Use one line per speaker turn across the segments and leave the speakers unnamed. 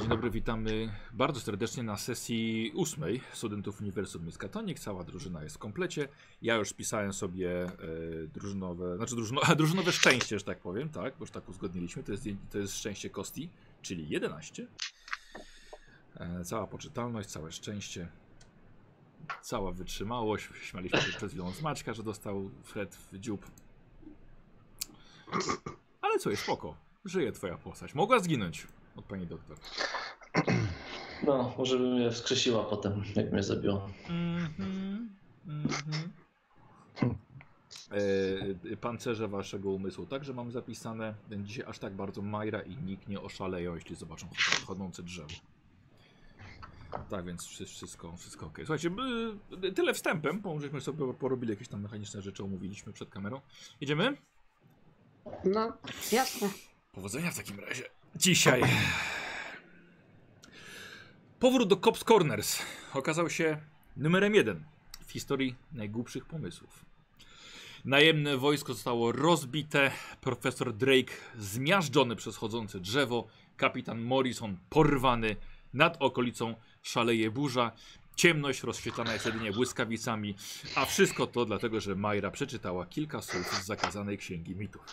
Dzień dobry, witamy bardzo serdecznie na sesji ósmej studentów Uniwersum Miskatonik. Cała drużyna jest w komplecie. Ja już pisałem sobie e, drużynowe, znaczy drużyno, a, drużynowe szczęście, że tak powiem, tak, bo już tak uzgodniliśmy. To jest, je- to jest szczęście Kosti, czyli 11. E, cała poczytalność, całe szczęście, cała wytrzymałość. Śmialiśmy się przed chwilą z Maćka, że dostał Fred w dziób. Ale co jest spoko. Żyje twoja postać. Mogła zginąć od pani doktor.
No, może by mnie wskrzesiła potem, jak mnie zabiła.
Mhm, mhm. E, pancerze waszego umysłu także mam zapisane. Dzisiaj aż tak bardzo Majra i nikt nie oszaleją, jeśli zobaczą chod- chodzące drzewo. Tak więc wszy- wszystko, wszystko ok. Słuchajcie, y, tyle wstępem, bo żeśmy sobie porobili jakieś tam mechaniczne rzeczy, omówiliśmy przed kamerą. Jedziemy?
No, jasne.
Powodzenia w takim razie. Dzisiaj. Powrót do Cops Corners okazał się numerem jeden w historii najgłupszych pomysłów. Najemne wojsko zostało rozbite, profesor Drake zmiażdżony przez chodzące drzewo, kapitan Morrison porwany, nad okolicą szaleje burza, ciemność rozświetlana jest jedynie błyskawicami, a wszystko to dlatego, że Majra przeczytała kilka słów z zakazanej księgi mitów.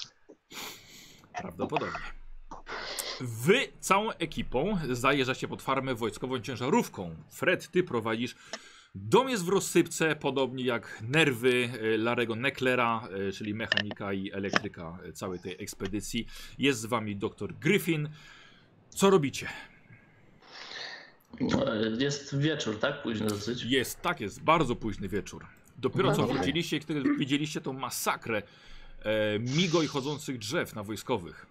Prawdopodobnie. Wy całą ekipą zajeżdżacie pod farmę wojskową ciężarówką. Fred, ty prowadzisz. Dom jest w rozsypce, podobnie jak nerwy e, Larego Necklera, e, czyli mechanika i elektryka e, całej tej ekspedycji. Jest z wami doktor Griffin. Co robicie?
E, Jest wieczór, tak? Późno dosyć.
Jest, tak jest, bardzo późny wieczór. Dopiero co
Bardzo.
wróciliście, kiedy widzieliście tą masakrę e, migo i chodzących drzew na wojskowych.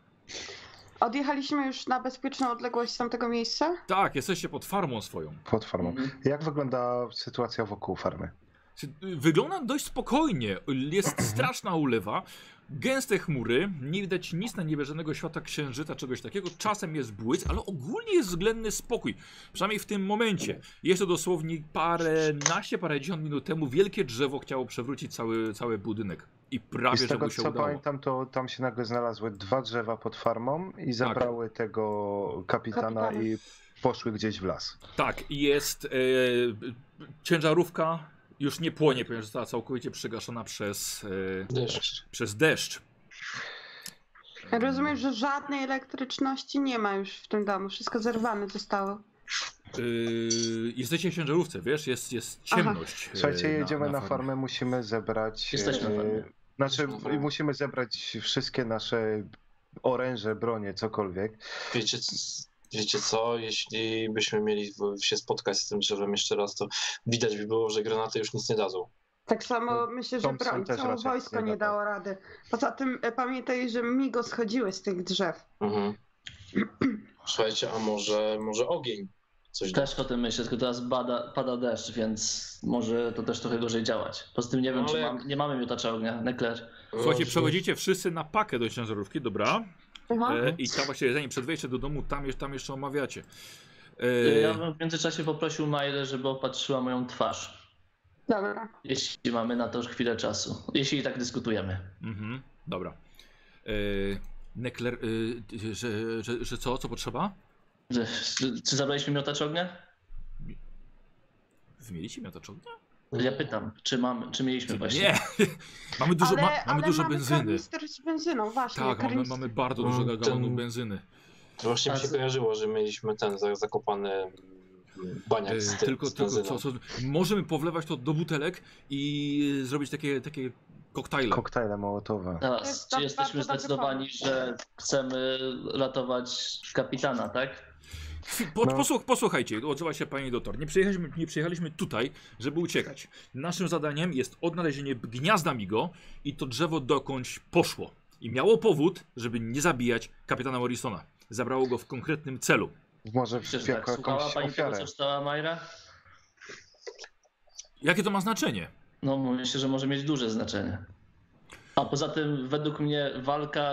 Odjechaliśmy już na bezpieczną odległość z tamtego miejsca?
Tak, jesteście pod farmą swoją.
Mhm.
Pod farmą. Jak wygląda sytuacja wokół farmy?
Czy- y, Wygląda dość spokojnie. Jest straszna ulewa. Gęste chmury, nie widać nic na niebie, żadnego świata księżyca, czegoś takiego. Czasem jest błysk, ale ogólnie jest względny spokój. Przynajmniej w tym momencie. Jeszcze dosłownie parę, naście, parę dziesiąt minut temu wielkie drzewo chciało przewrócić cały, cały budynek. I
I
prawie,
z
że
tego
mu się
co
udało.
pamiętam, to tam się nagle znalazły dwa drzewa pod farmą i
Tak.
zabrały tego kapitana
Kapitana.
i poszły gdzieś w las.
Tak, i jest e, b- ciężarówka już nie płonie, ponieważ została całkowicie przegaszona przez, e,
Deszcz.
przez deszcz.
Rozumiem, że żadnej elektryczności nie ma już w tym domu. Wszystko zerwane zostało.
Yy, jesteście w ciężarówce, wiesz, jest, jest ciemność. e,
Słuchajcie, jedziemy na,
farmie.
farmę, musimy zebrać...
Jesteśmy na
e,
farmie.
Znaczy,
Jesteśmy na farmie.
musimy zebrać wszystkie nasze oręże, bronie, cokolwiek.
Wiecie, c- wiecie co, jeśli byśmy mieli w- się spotkać z tym drzewem jeszcze raz, to widać by było, że granaty już nic nie dadzą.
Tak samo myślę, że
No, Thompson
broń,
też
całe
raczej
wojsko
nie
nie
da. tak.
dało rady. Poza tym e, pamiętaj, że migo schodziły z tych drzew.
Mhm. Słuchajcie, a może, może ogień? Coś da.
Też o tym myślę, tylko teraz bada, pada deszcz, więc może to też trochę gorzej działać. Poza tym nie wiem,
No,
czy
ale
mam, nie mamy miotacza ognia, Nekler.
Słuchajcie, przechodzicie wszyscy na pakę do ciężarówki, dobra?
Aha.
E, I tam właśnie, zanim przed wejściem do domu, tam, jeszcze- tam jeszcze omawiacie. E,
Y-
Ja bym w międzyczasie poprosił Majlę, żeby opatrzyła moją twarz.
Dobra.
Jeśli mamy na to już chwilę czasu. Jeśli i tak dyskutujemy.
mhm, dobra. E, Nekler, e, ty- że, że, że co, co potrzeba?
Że- Czy, czy zabraliśmy miotacz ognia?
Wymielicie miotacz ognia?
Ja pytam, czy, mamy, czy mieliśmy No właśnie.
Nie! mamy dużo,
ale,
ma, mamy
ale
dużo
mamy
benzyny.
kanister z benzyną, właśnie.
Tak, mamy,
kanis-
mamy bardzo dużo
Mm,
galonów
ten-
benzyny.
Właśnie mi
A
się
z-
kojarzyło, że mieliśmy ten za- zakopany mm, baniak z,
E,
ty,
tylko,
z
tylko
benzyną.
co, co, możemy powlewać to do butelek i zrobić takie, takie koktajle.
Koktajle mołotowe.
To
Teraz,
jest
czy
bardzo
jesteśmy
dobry
zdecydowani, że chcemy ratować kapitana, tak?
Chwi- Po,
No.
posłuch, posłuchajcie, odzywa się pani doktor. Nie przyjechaliśmy, nie przyjechaliśmy tutaj, żeby uciekać. Naszym zadaniem jest odnalezienie gniazda Migo i to drzewo dokądś poszło. I miało powód, żeby nie zabijać kapitana Morrisona. Zabrało go w konkretnym celu.
Może
Myślę, że tak.
jako
Słuchała
jakąś
pani tego,
ofiarę.
co czytała Majra?
Jakie to ma znaczenie?
No, myślę, że może mieć duże znaczenie. A poza tym, według mnie, walka.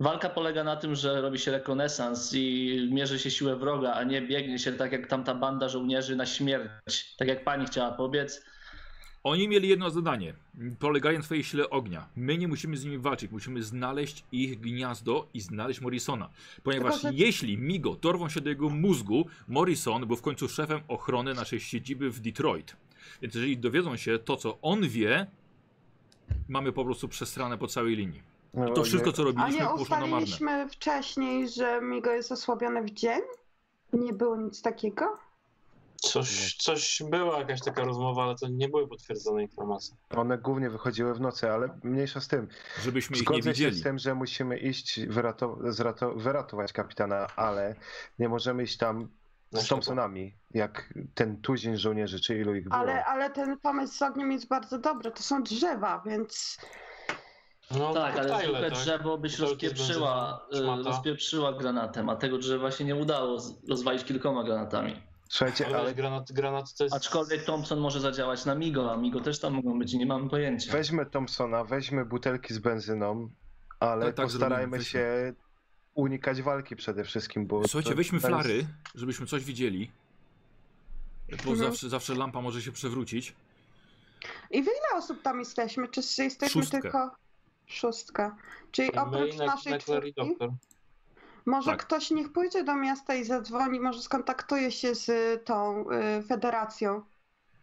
Walka polega na tym, że robi się rekonesans i mierzy się siłę wroga, a nie biegnie się tak jak tamta banda żołnierzy na śmierć. Tak jak pani chciała pobiec.
Oni mieli jedno zadanie, polegają na swojej sile ognia. My nie musimy z nimi walczyć, musimy znaleźć ich gniazdo i znaleźć Morrisona. Ponieważ
Tylko, że-
jeśli Migo dorwą się do jego mózgu, Morrison był w końcu szefem ochrony naszej siedziby w Detroit. Więc jeżeli dowiedzą się to, co on wie, mamy po prostu przesrane po całej linii.
No,
To wszystko,
nie-
co
A
robiliśmy,
nie
poszło na marne.
ustaliliśmy wcześniej, że Migo jest osłabiony w dzień? Nie było nic takiego?
Coś, coś była jakaś taka rozmowa, ale to nie były potwierdzone informacje.
One głównie wychodziły w nocy, ale mniejsza z tym.
Żebyśmy ich nie
Zgodzę się
widzieli.
z tym, że musimy iść wyrato- zrato- wyratować kapitana, ale nie możemy iść tam
Na
Znaczy,
z Thompsonami, jak ten tuzin żołnierzy, czy ilu ich było.
Ale, ale ten pomysł z ogniem jest bardzo dobry. To są drzewa, więc
No
Tak, ale
Tyler,
zwykłe
tak.
drzewo byś
Butelki
rozpieprzyła,
z benzyną,
y,
szmata.
rozpieprzyła granatem, a tego drzewa się nie udało z- rozwalić kilkoma granatami.
Słuchajcie,
Ale
ale
weź granat, granat to jest...
Aczkolwiek Thompson może zadziałać na Migo, a Migo też tam mogą być, nie mamy pojęcia.
weźmy Thompsona, weźmy butelki z benzyną, ale
Tak, tak,
postarajmy
zrobimy,
się unikać walki przede wszystkim, bo...
Słuchajcie,
to-
weźmy
to jest-
flary, żebyśmy coś widzieli. Bo
Mhm.
zawsze, zawsze lampa może się przewrócić.
I w ile osób tam jesteśmy? Czy jesteśmy
Szóstkę.
tylko szóstka? Czyli
My
oprócz
na-
naszej
Kneckler i
czwórki,
Doktor.
może
Tak.
ktoś niech pójdzie do miasta i zadzwoni, może skontaktuje się z tą y, federacją.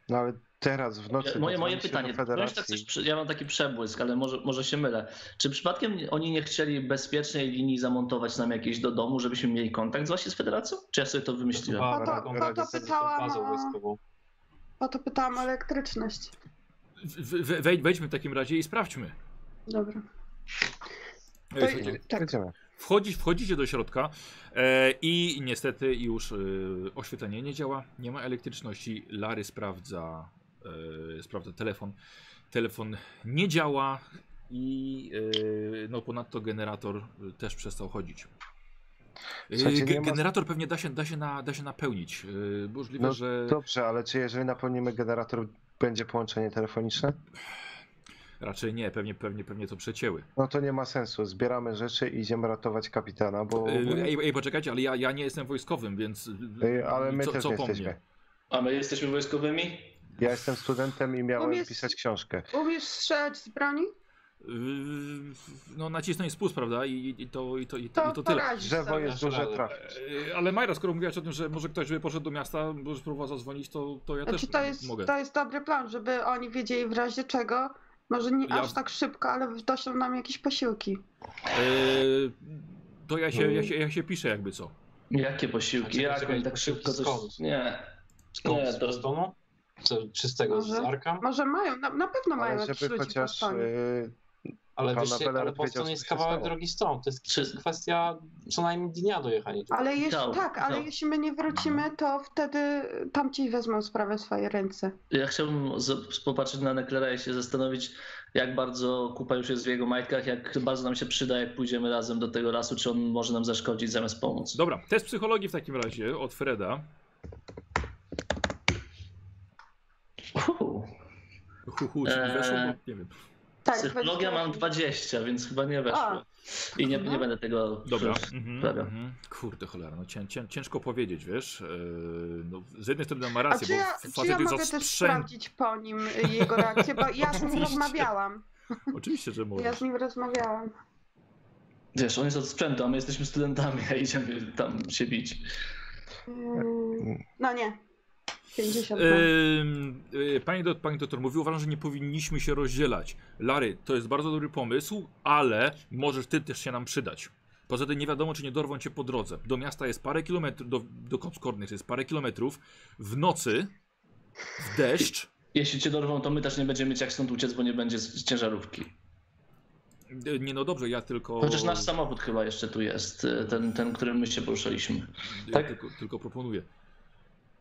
No ale teraz, w nocy...
Ja- Moje, moje
dzwoni się do
pytanie, ktoś tak
Federacji.
coś, przy- ja mam taki przebłysk, ale może, może się mylę. Czy przypadkiem oni nie chcieli bezpiecznej linii zamontować nam jakieś do domu, żebyśmy mieli kontakt właśnie z Federacją? Czy ja sobie to wymyśliłem?
Chyba
No to-
taką
no to
radę sobie z tą
pytałam
bazą
o-
wojskową.
O to pytałam o elektryczność.
W- w- Wejdź, wejdźmy w takim razie i sprawdźmy.
Dobra.
Ej,
To-
słuchajcie,
tak.
Jedziemy.
Wchodzi, wchodzicie do środka e, i niestety już e, oświetlenie nie działa, nie ma elektryczności. Lary sprawdza, e, sprawdza telefon. Telefon nie działa i e, no ponadto generator e, też przestał chodzić. E,
Słuchajcie,
ge-
nie ma-
generator pewnie da się, da się, na, da się napełnić. E, możliwe,
No
że
Dobrze, ale czy jeżeli napełnimy generator, będzie połączenie telefoniczne?
raczej nie, pewnie, pewnie, pewnie to przecięły.
No to nie ma sensu. Zbieramy rzeczy i idziemy ratować kapitana, bo...
E, ej, ej, poczekajcie, ale ja, ja nie jestem wojskowym, więc
Ej, ale my
co,
też
co
nie
po
jesteśmy.
mnie?
A my jesteśmy wojskowymi?
Ja jestem studentem i miałem
On jest-
pisać książkę.
Umiesz strzelać z broni?
Yy, No nacisnąć spust, prawda? I, i, to, i, to, i, to,
To,
i to
to
tak.
tyle.
radzisz
Drzewo
sobie.
jest duże
Radę.
trafić.
Yy, Ale Majra, skoro mówiłaś o tym, że może ktoś by poszedł do miasta, bo już próbował zadzwonić, to, to ja
Znaczy,
też
to, jest,
mogę.
tak-
to jest dobry plan, żeby oni wiedzieli w razie czego. Może nie
Ja-
aż tak szybko, ale doszą nam jakieś posiłki.
Yy, to ja się,
Hmm.
ja, się, ja się piszę jakby co.
Jakie
Czekaj,
posiłki? Jak
czekaj,
oni tak
Znaczy, posiłki
szybko coś...
skąd?
Nie.
Skąd?
Nie,
Z
to-
Bostonu? Co, czy z tego, z
Może.
Arkam?
Może mają, na, na pewno mają
Ale
jakieś
żeby
ludzi
chociaż...
w Bostonie.
y,
Ale
Pan
wiesz,
Abelar
ale
odpowiedział,
Boston
co
jest
się
kawałek
stało.
drogi stąd. To jest czy- kwestia co najmniej dnia dojechania. tu.
Ale jeśli,
Michał,
tak, ale
Michał.
jeśli my nie wrócimy, to wtedy tamci wezmą sprawę w swoje ręce.
Ja chciałbym z- popatrzeć na Neklera i się zastanowić, jak bardzo kupa już jest w jego majtkach, jak bardzo nam się przyda, jak pójdziemy razem do tego lasu, czy on może nam zaszkodzić zamiast pomóc.
Dobra, test psychologii w takim razie od Freda.
Uuu.
Huhu, czy mi
Eee.
weszło? Bo Nie wiem.
Tak,
Psychologia mam 20, więc chyba nie
A.
weszło. I nie, nie
Mhm.
będę tego.
Dobra. Mhm,
Dobra.
mhm. Kurde cholera, no cię, cię, ciężko powiedzieć, wiesz. Yy, no, z jednej strony ma
A
rację,
czy ja,
bo
czy ja
jest
mogę też sprawdzić po nim y, jego reakcję, bo ja z nim
Oczywiście.
rozmawiałam.
Oczywiście, że może.
Ja z nim rozmawiałam.
Wiesz, on jest od sprzętu, a my jesteśmy studentami, a idziemy tam się bić.
Mm, No nie. 50.
Ym, y, Pani, do, pani doktor mówi, uważam, że nie powinniśmy się rozdzielać. Lary, to jest bardzo dobry pomysł, ale możesz ty też się nam przydać. Poza tym nie wiadomo, czy nie dorwą cię po drodze. Do miasta jest parę kilometrów, do, do Kopskornych jest parę kilometrów. W nocy, w deszcz,
Jeśli cię dorwą, to my też nie będziemy mieć jak stąd uciec, bo nie będzie z- ciężarówki.
y, nie no dobrze, ja tylko...
Chociaż nasz samochód chyba jeszcze tu jest, y, ten, ten którym my się poruszaliśmy.
ja
tak?
tylko, tylko proponuję.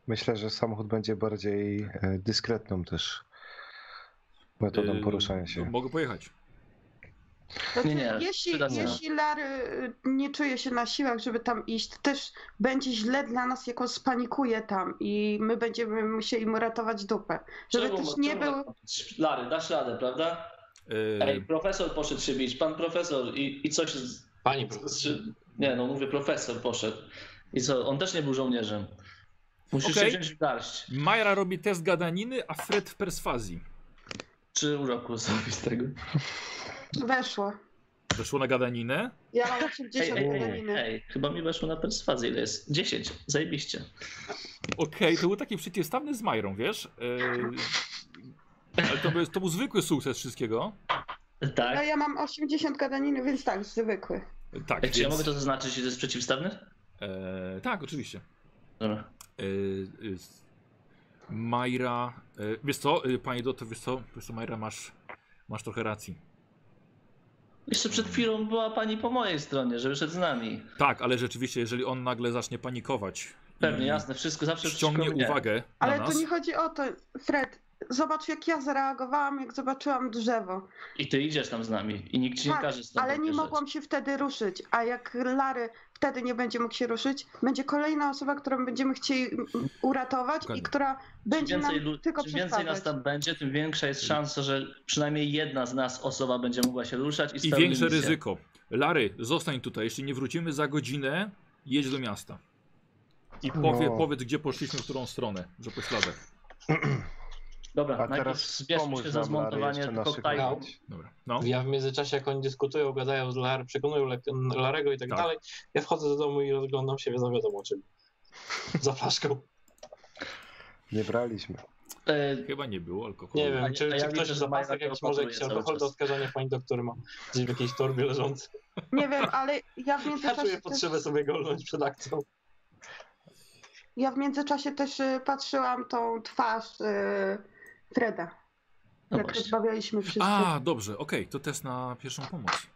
Myślę, że samochód będzie bardziej e, dyskretną też metodą
Y,
poruszania
no,
się.
Mogę pojechać.
Znaczy,
nie, nie,
jeśli,
przyda się.
jeśli Larry y, nie czuje się na siłach, żeby tam iść, to też będzie źle dla nas, jak on spanikuje tam i my będziemy musieli mu ratować dupę. Żeby
Czemu-
też nie
czemu-
był...
Lary, dasz radę, prawda?
Y,
Ej, profesor poszedł się bić, pan profesor i, i coś. Z,
Pani
z,
profesor.
z- nie, no mówię, profesor poszedł. I co, on też nie był żołnierzem. Musisz
Okej.
się wziąć w garść.
Majra robi test gadaniny, a Fred w perswazji.
czy uroku osobistego?
Weszło.
Weszło na gadaninę.
Ja mam
Ej,
80
ej, ej,
graniny.
ej, chyba mi weszło na perswazję, ile jest? 10, zajebiście.
Okej, to był taki przeciwstawny z Majrą, wiesz? Yy, ale to był, to był zwykły sukces wszystkiego.
No
Tak.
ja mam 80 gadaniny, więc tak, zwykły.
Tak,
Ej, czy ja
więc-
mogę to zaznaczyć, że to jest przeciwstawny?
E, tak, oczywiście.
Dobra.
E, e, s- Majra. E, wiesz co, e, panie Doto, wiesz co, wiesz co, Majra, masz, masz trochę racji.
Jeszcze przed chwilą była pani po mojej stronie, że wyszedł z nami.
Tak, ale rzeczywiście, jeżeli on nagle zacznie panikować.
Pewnie,
i
jasne, wszystko zawsze
Ściągnie
przeciwko mnie.
Mhm. uwagę
Ale
na
tu
nas.
nie chodzi o to, Fred. Zobacz, jak ja zareagowałam, jak zobaczyłam drzewo.
I ty idziesz tam z nami i nikt ci nie
Tak,
każe stąd
Ale nie
wyjeżdżać.
mogłam się wtedy ruszyć. A jak Lary wtedy nie będzie mógł się ruszyć, będzie kolejna osoba, którą będziemy chcieli mm, uratować i
Dokładnie.
która
Czym
będzie nam
więcej, lu-
tylko
czym więcej nas
przeszkadzać.
tam będzie, tym większa jest szansa, że przynajmniej jedna z nas osoba będzie mogła się ruszać i
I
spełni
większe
misję.
ryzyko. Lary, zostań tutaj. Jeśli nie wrócimy za godzinę, jedź do miasta. I powie,
No.
powiedz, gdzie poszliśmy, w którą stronę, że po śladach.
Dobra,
A
najpierw
teraz
zbierzmy
wspomóż
się za
nam Larry
zmontowanie
jeszcze
koktajlu.
naszykować.
Dobra. No.
Ja w międzyczasie, jak oni dyskutują, gadają z Lar, przekonują Le- Larego i tak,
Tak.
dalej, ja wchodzę do domu i rozglądam się, więc wiadomo czym. Za flaszką.
Nie braliśmy.
E,
Chyba nie było alkoholu.
Nie
A
wiem,
nie-
czy,
a ja
czy
widzę,
ktoś
że
z zapasek
Majra to
jakiś może
opatruje
jakiś
cały
alkohol do
czas.
oskarżenia pani doktor ma gdzieś w jakiejś torbie leżący.
Nie wiem, ale ja w
Ja
międzyczasie,
czuję potrzebę
też,
sobie golnąć przed akcją.
ja w międzyczasie też y, patrzyłam tą twarz y, Freda.
no
jak
właśnie.
rozmawialiśmy wszyscy.
A, dobrze, okej, to test na pierwszą pomoc.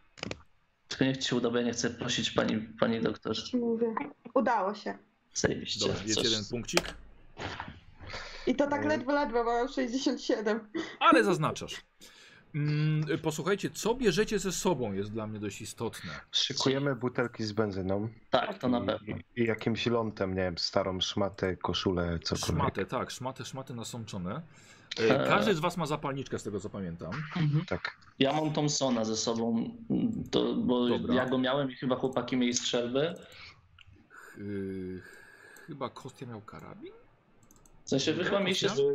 Tylko niech ci się uda, bo ja nie chcę prosić pani, pani doktor.
Ci mówię. Udało się.
Zajebiście.
Dobrze, jest
Coś-
jeden punkcik.
I to tak
Mm.
ledwo, ledwo, bo mam 67.
Ale zaznaczasz. Mm, posłuchajcie, co bierzecie ze sobą jest dla mnie dość istotne.
Szykujemy butelki z benzyną
Tak, to na pewno.
i, i jakimś lądem, nie wiem, starą szmatę, koszulę, cokolwiek.
Szmaty, tak, szmaty, szmaty nasączone. E, Każdy z was ma zapalniczkę, z tego co pamiętam.
Tak.
Ja mam Thompsona ze sobą, to, bo
Dobra.
ja go miałem i chyba chłopaki mieli strzelby.
Yy, chyba Kostia miał karabin?
W sensie wy chyba mieliście...
Thompsona?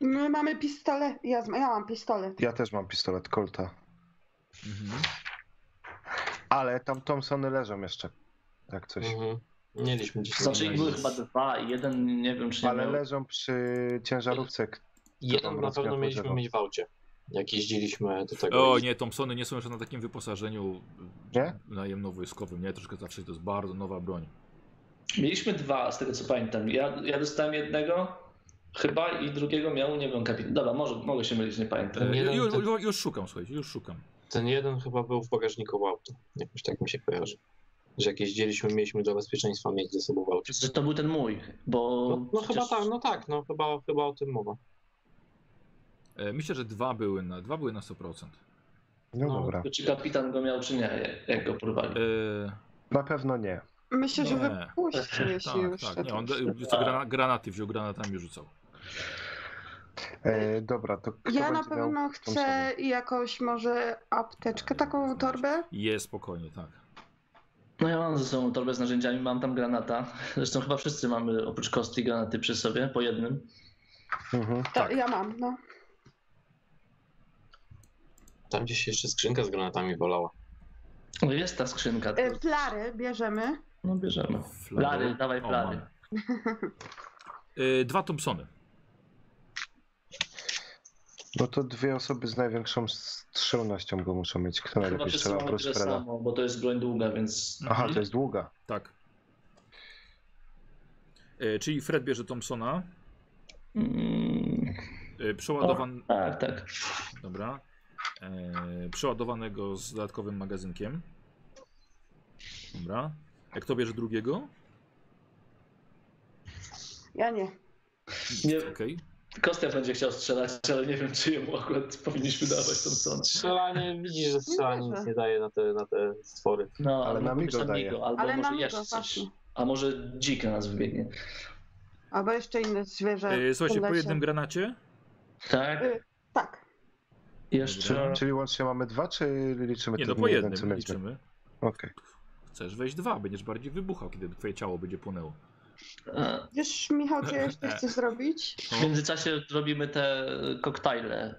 My mamy pistolet. Ja, z- ja mam pistolet.
Ja też mam pistolet Colta.
Mhm.
Ale tam Thompsony leżą jeszcze. Tak coś.
Mm,
Mhm. Mieliśmy dzisiaj.
Znaczy ich były
Jezus.
chyba dwa i jeden nie wiem czy nie
Ale
miał.
leżą przy ciężarówce.
Jeden na
rozmiar
pewno mieliśmy
podziału.
mieć w aucie. Jak jeździliśmy do tego.
O nie, Thompsony nie są jeszcze na takim wyposażeniu
Nie?
najemno-wojskowym, nie? Troszkę zawsze to jest bardzo nowa broń.
Mieliśmy dwa, z tego co pamiętam. Ja, ja dostałem jednego chyba i drugiego miał, nie wiem, kapitan. Dobra, może, mogę się mylić, nie pamiętam.
E,
Jeden
ju,
to-
ju, już szukam, słuchajcie, już szukam.
Ten jeden chyba był w bagażniku auta. Jakoś tak mi się kojarzy. Że jak jeździliśmy, mieliśmy do bezpieczeństwa mieć ze sobą w aucie.
Że to był ten mój, bo...
No, no chyba
przecież-
tak, no tak, no chyba, chyba o tym mowa.
E, myślę, że dwa były na, dwa były na 100%.
No,
No,
dobra.
Czy kapitan go miał, czy nie, jak go
E,
porwali.
Na pewno nie.
Myślę, że
Nie.
wypuścił, jeśli
tak,
już. to
tak, nie, on
tak.
co, grana, granaty wziął, granatami rzucał.
E, dobra, to kto
Ja na
będzie miał
pewno
Thompsona?
chcę jakąś może apteczkę, taką torbę.
Jest, spokojnie, tak.
No ja mam ze sobą torbę z narzędziami, mam tam granata. Zresztą chyba wszyscy mamy oprócz kosti granaty przy sobie, po jednym.
Mhm.
To ja mam, no.
Tam gdzieś się jeszcze skrzynka z granatami wolała.
No jest ta skrzynka. to-
E,
Y, Flary bierzemy.
No bierzemy.
Flary.
Flary, dawaj
O,
flary.
mamy. E, dwa Thompsony.
No to dwie osoby z największą strzelnością go muszą mieć. Kto
Chyba
najlepiej
wszyscy
strzela
mamy
oprócz
tyle
Freda?
samo, Mhm. bo to jest broń długa, więc...
Aha, to jest długa.
Tak. E, czyli Fred bierze Thompsona.
Mm,
E, przeładowan...
tak, tak.
Dobra. E, przeładowanego z dodatkowym magazynkiem. Dobra. Jak to bierze drugiego?
Ja nie.
Nie.
Okej.
Kostia będzie chciał strzelać, ale nie wiem, czy jemu akurat powinniśmy dawać tą stronę.
Strzelanie, widzisz, że strzelanie nic nie daje na te, na te stwory.
No,
Ale
albo
na migo
być tam
daje.
migo, albo
Ale
może
na niego
jeszcze coś.
właśnie.
A może dzik na nas wybiegnie.
Albo jeszcze inne zwierzę.
E, słuchajcie, po
Lesie.
jednym granacie.
Tak?
Y, Tak.
Jeszcze...
Czyli łącznie mamy dwa, czy liczymy
Nie,
ten
no po
jeden, co
jednym
mieliśmy?
liczymy.
Okej.
Chcesz wejść dwa, będziesz bardziej wybuchał, kiedy twoje ciało będzie płonęło.
E,
Wiesz, Michał, co ja jeszcze chcę zrobić?
W międzyczasie robimy te koktajle.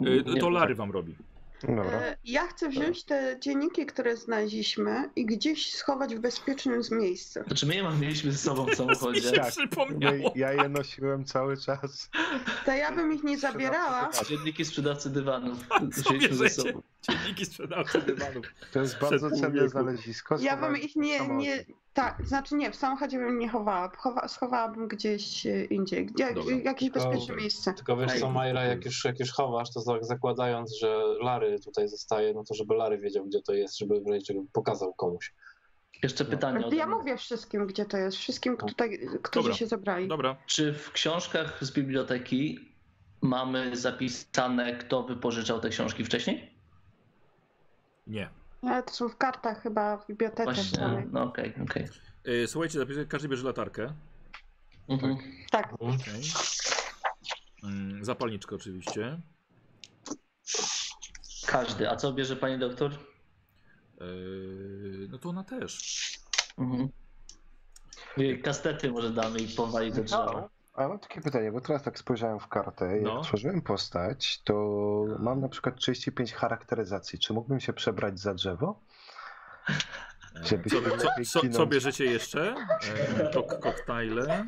Y,
Nie. tak.
To Lary wam robi.
Dobra.
E, Ja chcę wziąć te dzienniki, które znaleźliśmy i gdzieś schować w bezpiecznym z- miejscu.
Znaczy my je mam- mieliśmy ze sobą w samochodzie.
Mi się
Tak.
przypomniało.
Ja je nosiłem cały czas.
To ja bym ich nie zabierała.
Dzienniki sprzedawcy dywanów
Co
wzięliśmy ze
bierzecie?
sobą.
Dzienniki sprzedawcy dywanów.
To jest bardzo
Przed
cenne
wieku.
znalezisko.
Ja bym
Schowałem
ich
to w
nie,
samochodzie.
nie. Tak, znaczy nie, w samochodzie bym nie chowała. Chowa, schowałabym gdzieś e, indziej. Gdzie,
Dobra.
jakieś bezpieczne
Dobra.
miejsce.
Tylko wiesz co,
Ej.
Majra, jak już, jak już chowasz, to za- zakładając, że Lary tutaj zostaje, no to żeby Lary wiedział, gdzie to jest, żeby w razie czego pokazał komuś.
Jeszcze
No.
pytanie ode
Ja
mnie.
mówię wszystkim, gdzie to jest. Wszystkim, tutaj, którzy
Dobra.
się zebrali.
Dobra.
Czy w książkach z biblioteki mamy zapisane, kto wypożyczał te książki wcześniej?
Nie.
Ale E, to są w kartach chyba, w bibliotece.
Właśnie,
samej.
no okej, okej.
Y, Słuchajcie, zapisuję, każdy bierze latarkę.
Mhm.
Tak,
Okej. Mm, Zapalniczkę oczywiście.
Każdy. A co bierze pani doktor?
Yy, E, No to ona też.
Mhm. Jej, Kastety może damy i powali do drzewa.
A mam takie pytanie, bo teraz tak spojrzałem w kartę. Jak
No.
tworzyłem postać, to mam na przykład 35 charakteryzacji. Czy mógłbym się przebrać za drzewo?
E,
Żeby
Co,
się
co,
lepiej
co, co
kinąć.
bierzecie jeszcze? E, Kok, koktajle.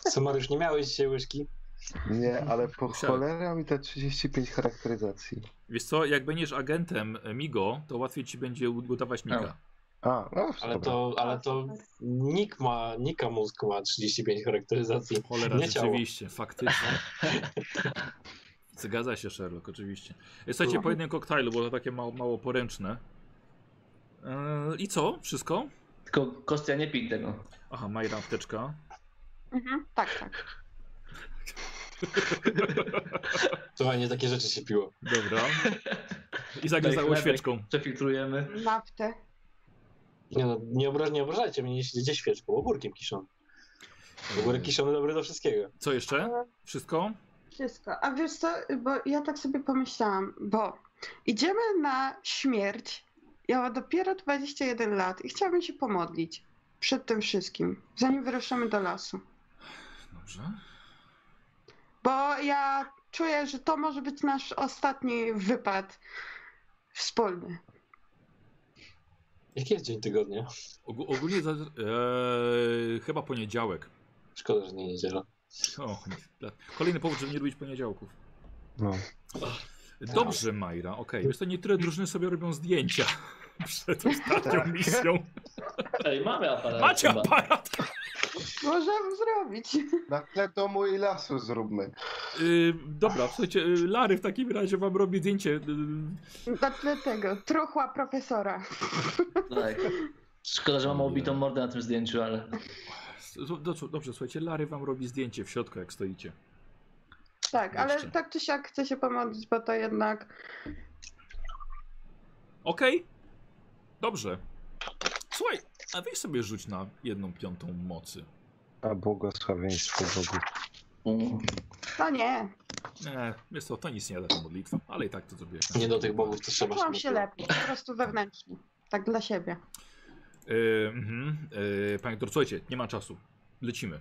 Co Mariusz, nie miałeś dzisiaj łyżki?
Nie, ale po
Musiałem.
cholera mi te 35 charakteryzacji.
Wiesz co, jak będziesz agentem Migo, to łatwiej ci będzie udawać Mika.
A, no
Ale
dobra.
to, ale to Nick ma, Nika mózg ma 35 charakteryzacji.
Cholera,
nie ciało.
rzeczywiście, faktycznie. Zgadza się Sherlock, oczywiście. E, Słuchajcie, po jednym koktajlu, bo to takie mało, mało poręczne. E, I co? Wszystko?
Tylko Kostia nie pij tego.
Aha, Majra, apteczka.
mhm, tak, tak.
Słuchaj, nie takie rzeczy się piło.
Dobra. I zagryzało
chlebek.
świeczką.
Przefiltrujemy.
Naftę.
Nie, no, nie, obraż, nie obrażajcie mnie, jeśli gdzie świeczką, ogórkiem kiszą. Ogórek
Eee.
kiszony dobry do wszystkiego.
Co jeszcze? Wszystko?
Wszystko. A wiesz co, bo ja tak sobie pomyślałam, bo idziemy na śmierć. Ja mam dopiero 21 lat i chciałabym się pomodlić przed tym wszystkim, zanim wyruszamy do lasu.
Dobrze.
Bo ja czuję, że to może być nasz ostatni wypad wspólny.
Jaki jest dzień tygodnia?
Ogó- ogólnie za, eee, chyba poniedziałek.
Szkoda, że nie niedziela.
O, dla- kolejny powód, żeby nie robić poniedziałków.
No.
Dobrze, Majra, okej. Wiesz Tak. to niektóre drużyny sobie robią zdjęcia przed
Tak.
ostatnią misją.
Ej, mamy aparat.
Macie
chyba.
aparat!
Możemy zrobić.
Na tle domu i lasu zróbmy.
Yy, dobra, słuchajcie, yy, Lary w takim razie wam robi zdjęcie. Yy,
Na tle tego, truchła profesora.
Tak. Szkoda, że mam obitą mordę na tym zdjęciu, ale.
s- y, do- dobrze, słuchajcie, Lary wam robi zdjęcie w środku, jak stoicie.
Tak, ale
Jeszcze.
tak czy siak chcę się pomodlić, bo to jednak...
Okej. Dobrze. Słuchaj, a weź sobie rzuć na jedną piątą mocy.
A błogosławieństwo Bogu.
Mm.
No nie,
Nie, jest to, to nic nie da ta modlitwa, ale i tak to zrobię.
Nie do tych bogów to trzeba
czułam się
mówić.
lepiej, po prostu wewnętrznie. Tak dla siebie.
Yy, mhm, yy, panie doktor, słuchajcie, nie ma czasu. Lecimy.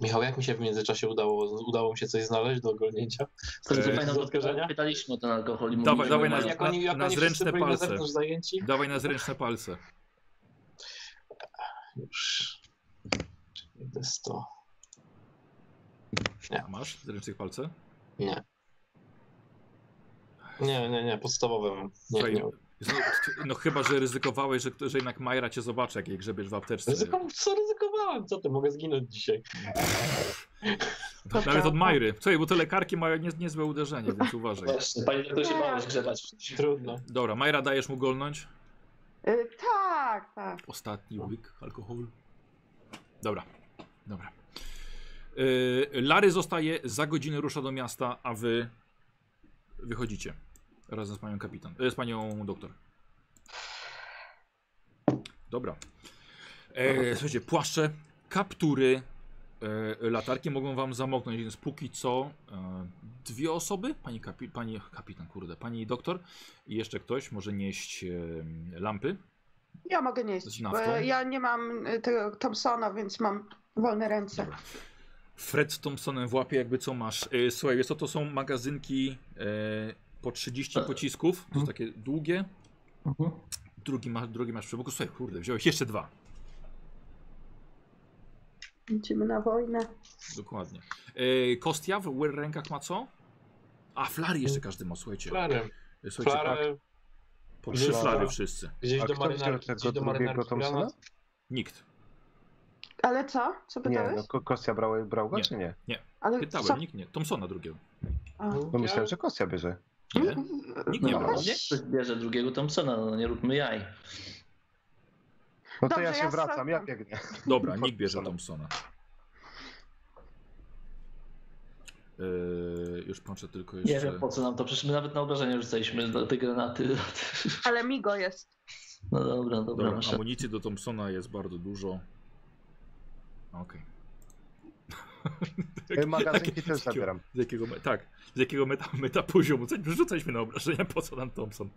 Michał, jak mi się w międzyczasie udało? Udało mi się coś znaleźć do ogarnięcia?
To
Eee,
eee, pamiętam,
do odkażenia?
że pytaliśmy o ten alkohol i mówiliśmy,
Dawaj, dawaj na-
że-
Jak oni, jak
na
oni
zręczne
wszyscy byli na
palce.
zewnątrz zajęci?
Dawaj na zręczne palce.
Już. Czekaj, to jest to.
A masz zręcznych palce?
Nie. Nie, nie, nie, podstawowe mam. Nie,
Słuchaj,
nie.
No, no chyba, że ryzykowałeś, że, że jednak Majra cię zobaczy, jak jej grzebiesz w apteczce.
Ryzyko, co ryzykowałem? Co ty, mogę zginąć dzisiaj.
To
tak.
Nawet od Majry. Słuchaj, bo te lekarki mają nie, niezłe uderzenie, więc uważaj.
No Właśnie, pani doktor się bała grzebać.
Trudno.
Dobra, Majra, dajesz mu golnąć?
Y, tak, tak.
Ostatni łyk alkoholu. Dobra, dobra. Yy, Lary zostaje, za godzinę rusza do miasta, a wy wychodzicie. Razem z panią kapitan, e, z panią doktor. Dobra. E, słuchajcie, płaszcze, kaptury, e, latarki mogą wam zamoknąć, więc póki co e, dwie osoby, pani, kapi, pani kapitan, kurde, pani doktor i jeszcze ktoś może nieść e, lampy.
Ja mogę nieść,
Z
bo
naftą?
ja nie mam y, tego Thompsona, więc mam wolne ręce.
Dobra. Fred z Thompsonem w łapie, jakby co masz. Yy, słuchaj, wiesz co, to są magazynki yy, po
E.
30 pocisków,
Mhm.
to są takie długie. Drugi, ma, drugi masz przy boku. Słuchaj, kurde, wziąłeś jeszcze dwa.
Idziemy na wojnę.
Dokładnie. Yy, Kostia w ły- rękach ma co? A, flary jeszcze każdy ma, słuchajcie.
Flarem.
Słuchajcie, tak,
Flarem.
po trzy flary
Flara.
wszyscy.
Gdzieś
A kto
do
wziął
marynarki.
tego
Gdzieś do
drugiego
marynarki.
Thompsona?
granat.
Nikt.
Ale co? Co
Nie,
pytałeś?
no Ko- Kostia brał, brał go,
Nie.
czy nie?
Ale
Pytałem,
co?
nikt nie. Thompsona drugiego.
A.
No myślałem, że Kostia bierze.
Nie? Nikt nie
No
brał,
weź.
nie?
Ktoś bierze drugiego Thompsona, no nie róbmy jaj.
No to
Dobrze,
ja
ja
się wracam, ja
wracam.
biegnę.
Dobra, nikt bierze Thompsona. Yy, już patrzę tylko jeszcze.
Nie wiem po co nam to, przecież my nawet na obrażenie rzucaliśmy do tej granaty.
Ale Migo jest.
No dobra, dobra,
Dobra,
masz
amunicji do Thompsona jest bardzo dużo. Okej.
Y, Magazynki też
z jakiego-
zabieram.
Z jakiego, me- tak, z jakiego meta, meta poziomu? Co- Rzucaliśmy na obrażenia, po co nam Thompson?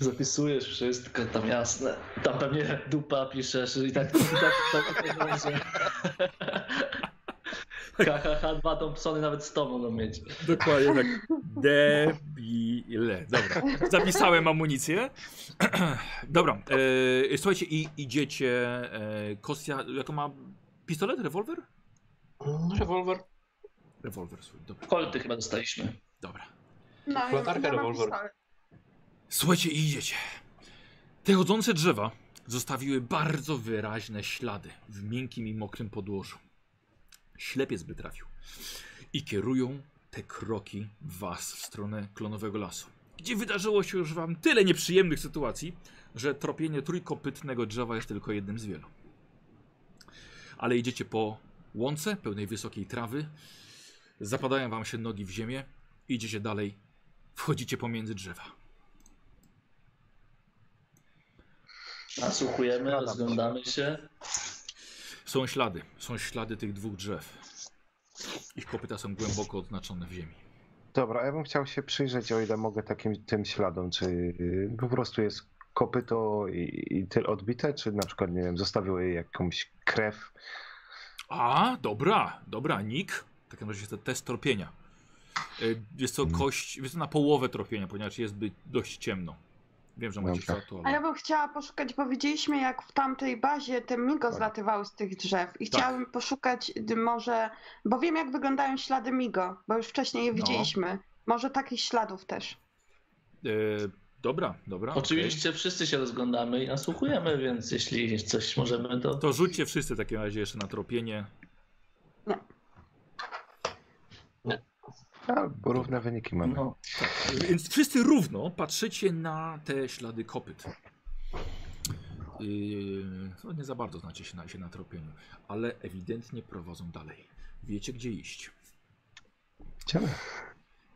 Zapisujesz wszystko, tam jasne. Tam pewnie dupa piszesz i tak. I tak, tak, tak będzie. tak, KHH, dwa Thompsony nawet z tobą będą mieć.
Dokładnie tak. Debile. Dobra, zapisałem amunicję. Dobra, e, słuchajcie, i idziecie. E, Kostia, jaką ma pistolet? Rewolwer?
Mm, Rewolwer.
Rewolwer, słuchaj, dobra.
Kolty chyba dostaliśmy.
dobra.
No, ja,
Latarka,
ja mam
rewolwer.
pistolet.
Słuchajcie, i idziecie. Te chodzące drzewa zostawiły bardzo wyraźne ślady w miękkim i mokrym podłożu. Ślepiec by trafił. I kierują te kroki was w stronę klonowego lasu, gdzie wydarzyło się już wam tyle nieprzyjemnych sytuacji, że tropienie trójkopytnego drzewa jest tylko jednym z wielu. Ale idziecie po łące pełnej wysokiej trawy, zapadają wam się nogi w ziemię, idziecie dalej, wchodzicie pomiędzy drzewa.
Nasłuchujemy,
Skradam
rozglądamy się.
Są ślady. Są ślady tych dwóch drzew. Ich kopyta są głęboko odznaczone w ziemi.
Dobra, ja bym chciał się przyjrzeć, o ile mogę, takim tym śladom. Czy y, po prostu jest kopyto i, i tyle odbite, czy na przykład, nie wiem, zostawiło jej jakąś krew.
A, dobra, dobra, Nik. W takim razie jest to test tropienia. Y, Jest to
Mm.
kość, jest to na połowę tropienia, ponieważ jest by dość ciemno. Wiem, że macie
Dobra.
światło,
A ja
ale...
bym chciała poszukać, bo widzieliśmy jak w tamtej bazie ten Migo zlatywał z tych drzew i chciałabym poszukać y, może, bo wiem jak wyglądają ślady Migo, bo już wcześniej je
No.
widzieliśmy. Może takich śladów też.
Y, dobra, dobra. okej.
Oczywiście wszyscy się rozglądamy i nasłuchujemy, więc jeśli coś możemy, to.
To rzućcie wszyscy w takim razie jeszcze na tropienie.
A, bo równe wyniki mamy.
No,
Więc wszyscy równo patrzycie na te ślady kopyt. Yy, no nie za bardzo znacie się na, się na tropieniu, ale ewidentnie prowadzą dalej. Wiecie gdzie iść.
Idziemy.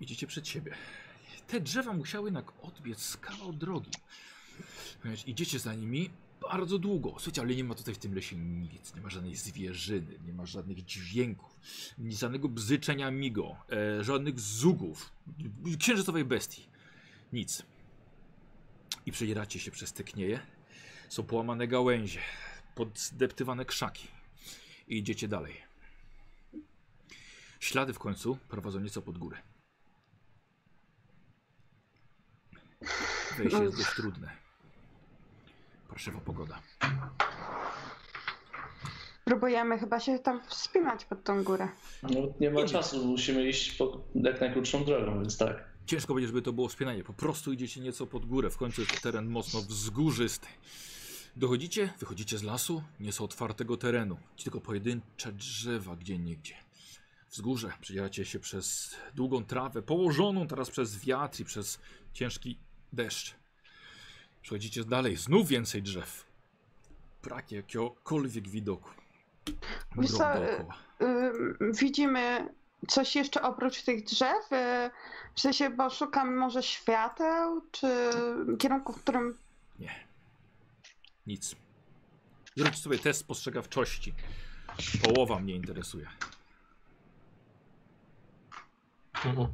Idziecie przed siebie. Te drzewa musiały jednak odbiec z kawał drogi. Ponieważ idziecie za nimi bardzo długo. Słuchajcie, ale nie ma tutaj w tym lesie nic. Nie ma żadnej zwierzyny, nie ma żadnych dźwięków, nie żadnego bzyczenia migo, e, żadnych zugów, księżycowej bestii. Nic. I przedzieracie się przez te knieje. Są połamane gałęzie, poddeptywane krzaki. I idziecie dalej. Ślady w końcu prowadzą nieco pod górę. Wejście jest dość trudne. Parszywa pogoda.
Próbujemy chyba się tam wspinać pod tą górę.
no, nie ma czasu, musimy iść po jak najkrótszą drogą, więc tak.
Ciężko będzie, żeby to było wspinanie. Po prostu idziecie nieco pod górę. W końcu jest to teren mocno wzgórzysty. Dochodzicie, wychodzicie z lasu, nieco otwartego terenu. Tylko pojedyncze drzewa gdzie niegdzie. Wzgórze przedzieracie się przez długą trawę, położoną teraz przez wiatr i przez ciężki deszcz. Przechodzicie dalej, znów więcej drzew. Brak jakiegokolwiek widoku. Mrok
Wiesz co, y,
dookoła.
Ym, widzimy coś jeszcze oprócz tych drzew? Y, W sensie, bo szukam może świateł, czy kierunku, w którym...
Nie. Nic. Zrób sobie test spostrzegawczości. Połowa mnie interesuje.
Mhm.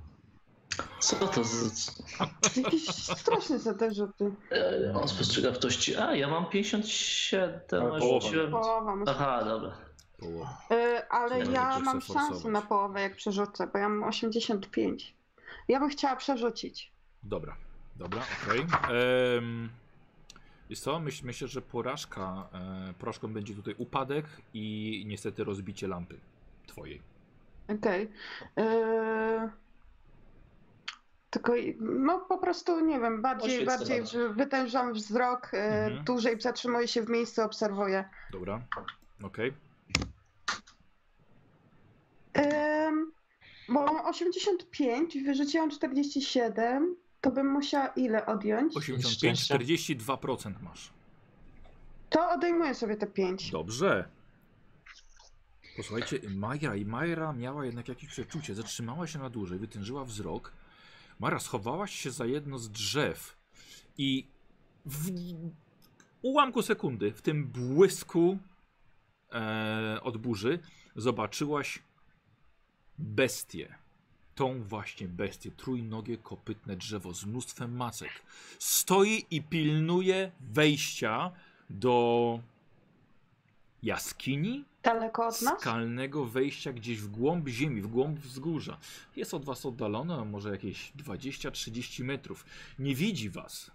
Co to z.
No
Jakieś straszne za te rzuty.
e, On spostrzegawczości. A, ja mam 57,
Ale
a
połowa.
rzuciłem.
Połowa może.
Aha, dobra.
Połowa.
Y, ale
Chyba, że
ja
chcę
mam
forsować.
szansę na połowę, jak przerzucę, bo ja mam 85. Ja bym chciała przerzucić.
Dobra, dobra, okej. Okay. Jest co? Myśl, myślę, że porażka, e, porażką będzie tutaj upadek i niestety rozbicie lampy twojej.
Okej. Yy, Tylko, i- no po prostu, nie wiem, bardziej,
Oświecę
bardziej
bardzo.
wytężam wzrok, y,
Mhm.
dłużej zatrzymuję się w miejscu, obserwuję.
Dobra, okej.
Ym, bo mam 85, wyrzuciłam 47, to bym musiała ile odjąć?
85, 42% masz.
To odejmuję sobie te 5.
Dobrze. Posłuchajcie, Maja i Majra miała jednak jakieś przeczucie. Zatrzymała się na dłużej, wytężyła wzrok. Mara, schowałaś się za jedno z drzew i w ułamku sekundy, w tym błysku e, od burzy, zobaczyłaś bestię. Tą właśnie bestię, trójnogie kopytne drzewo z mnóstwem macek. Stoi i pilnuje wejścia do jaskini
Daleko od nas?
skalnego wejścia gdzieś w głąb ziemi, w głąb wzgórza. Jest od was oddalone a może jakieś 20-30 metrów. Nie widzi was.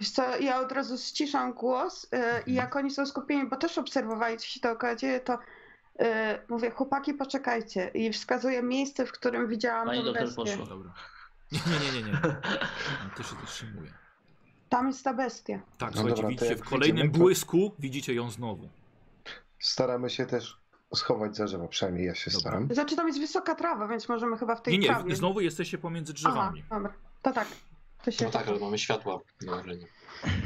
Wiesz co, ja od razu ściszam głos y, i jak oni są skupieni, bo też obserwowali, co się dookoła dzieje, to y, mówię, chłopaki, poczekajcie. I wskazuję miejsce, w którym widziałam
Pani
tę
doktor
bestię.
poszła.
Dobra. Nie, nie, nie, nie. nie. To się zatrzymuje.
Tam jest ta bestia.
Tak,
No
słuchajcie,
dobra, to
widzicie
jak
w kolejnym
wyjdziemy, to-
błysku, widzicie ją znowu.
Staramy się też schować za drzewo, przynajmniej ja się
Dobra.
staram.
Znaczy tam jest wysoka trawa, więc możemy chyba w tej
Nie, nie,
trawie.
znowu jesteście pomiędzy
Aha,
drzewami.
dobra. To tak. To się
No tak, ale mamy światła na arenie.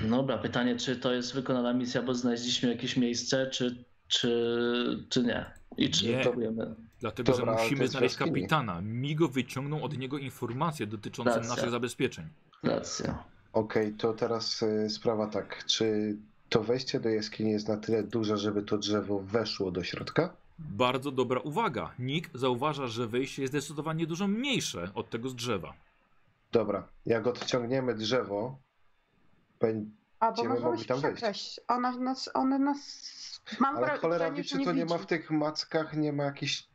No Dobra, pytanie, czy to jest wykonana misja, bo znaleźliśmy jakieś miejsce, czy, czy, czy nie? I czy
Nie.
próbujemy?
Dlatego,
Dobra,
że
ale to
musimy
jest
znaleźć
jaskini.
kapitana. Migo wyciągnął od niego informacje dotyczące
Racja.
naszych zabezpieczeń.
Racja.
Okej, to teraz y, sprawa tak. Czy to wejście do jaskini jest na tyle duże, żeby to drzewo weszło do środka?
Bardzo dobra uwaga. Nick zauważa, że wejście jest zdecydowanie dużo mniejsze od tego z drzewa.
Dobra, jak odciągniemy drzewo, będ-
A bo
Będziemy
możemy
mogli
się
tam wejść.
przekraść. Ona nas, one nas... Mam
ale
wra-
cholera
wrażenie,
wie,
że
czy to nie ma w
widzi.
tych mackach, nie ma jakichś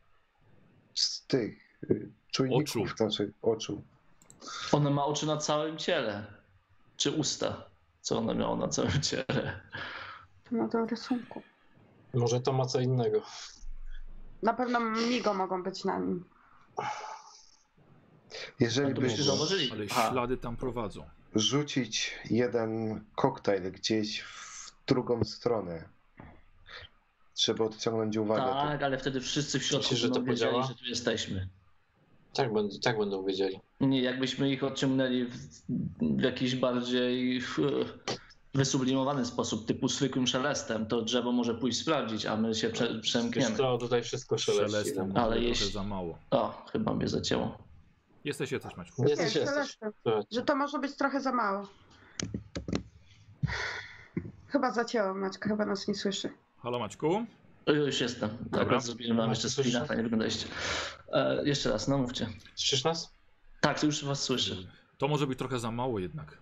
z tych y, czujników,
Oczu.
znaczy oczu.
Ona ma oczy na całym ciele. Czy usta? Co ona miała na całym ciele?
Na tym No, rysunku.
Może to ma co innego.
Na pewno migo mogą być na nim.
Jeżeli
A to byście
byśmy
zauważyli.
Ale
Aha.
ślady tam prowadzą.
rzucić jeden koktajl gdzieś w drugą stronę, żeby odciągnąć uwagę,
Tak, ale wtedy wszyscy w środku
Myślisz, że
będą
to
wiedzieli,
podziała?
że tu jesteśmy.
Tak, będą, tak będą wiedzieli.
Nie, jakbyśmy ich odciągnęli w, w jakiś bardziej w, wysublimowany sposób, typu zwykłym szelestem, to drzewo może pójść sprawdzić, a my się prze,
Wiesz
przemkniemy.
co, tutaj wszystko szeleści.
Szelestem,
no.
ale
Ale
trochę
jeśli-
za mało.
O, chyba mnie zacięło.
Jesteście też, Maćku.
Nie jesteś,
Nie,
jesteś.
Celeste, tak. Że to może być trochę za mało. Chyba zacięło Maćka, chyba nas nie słyszy.
Halo, Maćku.
O, Już jestem. Tak,
Dobra.
Akurat zrobiłem wam jeszcze
Słyszysz?
screena, fajnie wyglądaliście. E, jeszcze raz, no mówcie.
Słyszysz nas?
Tak, już was słyszę.
To może być trochę za mało jednak.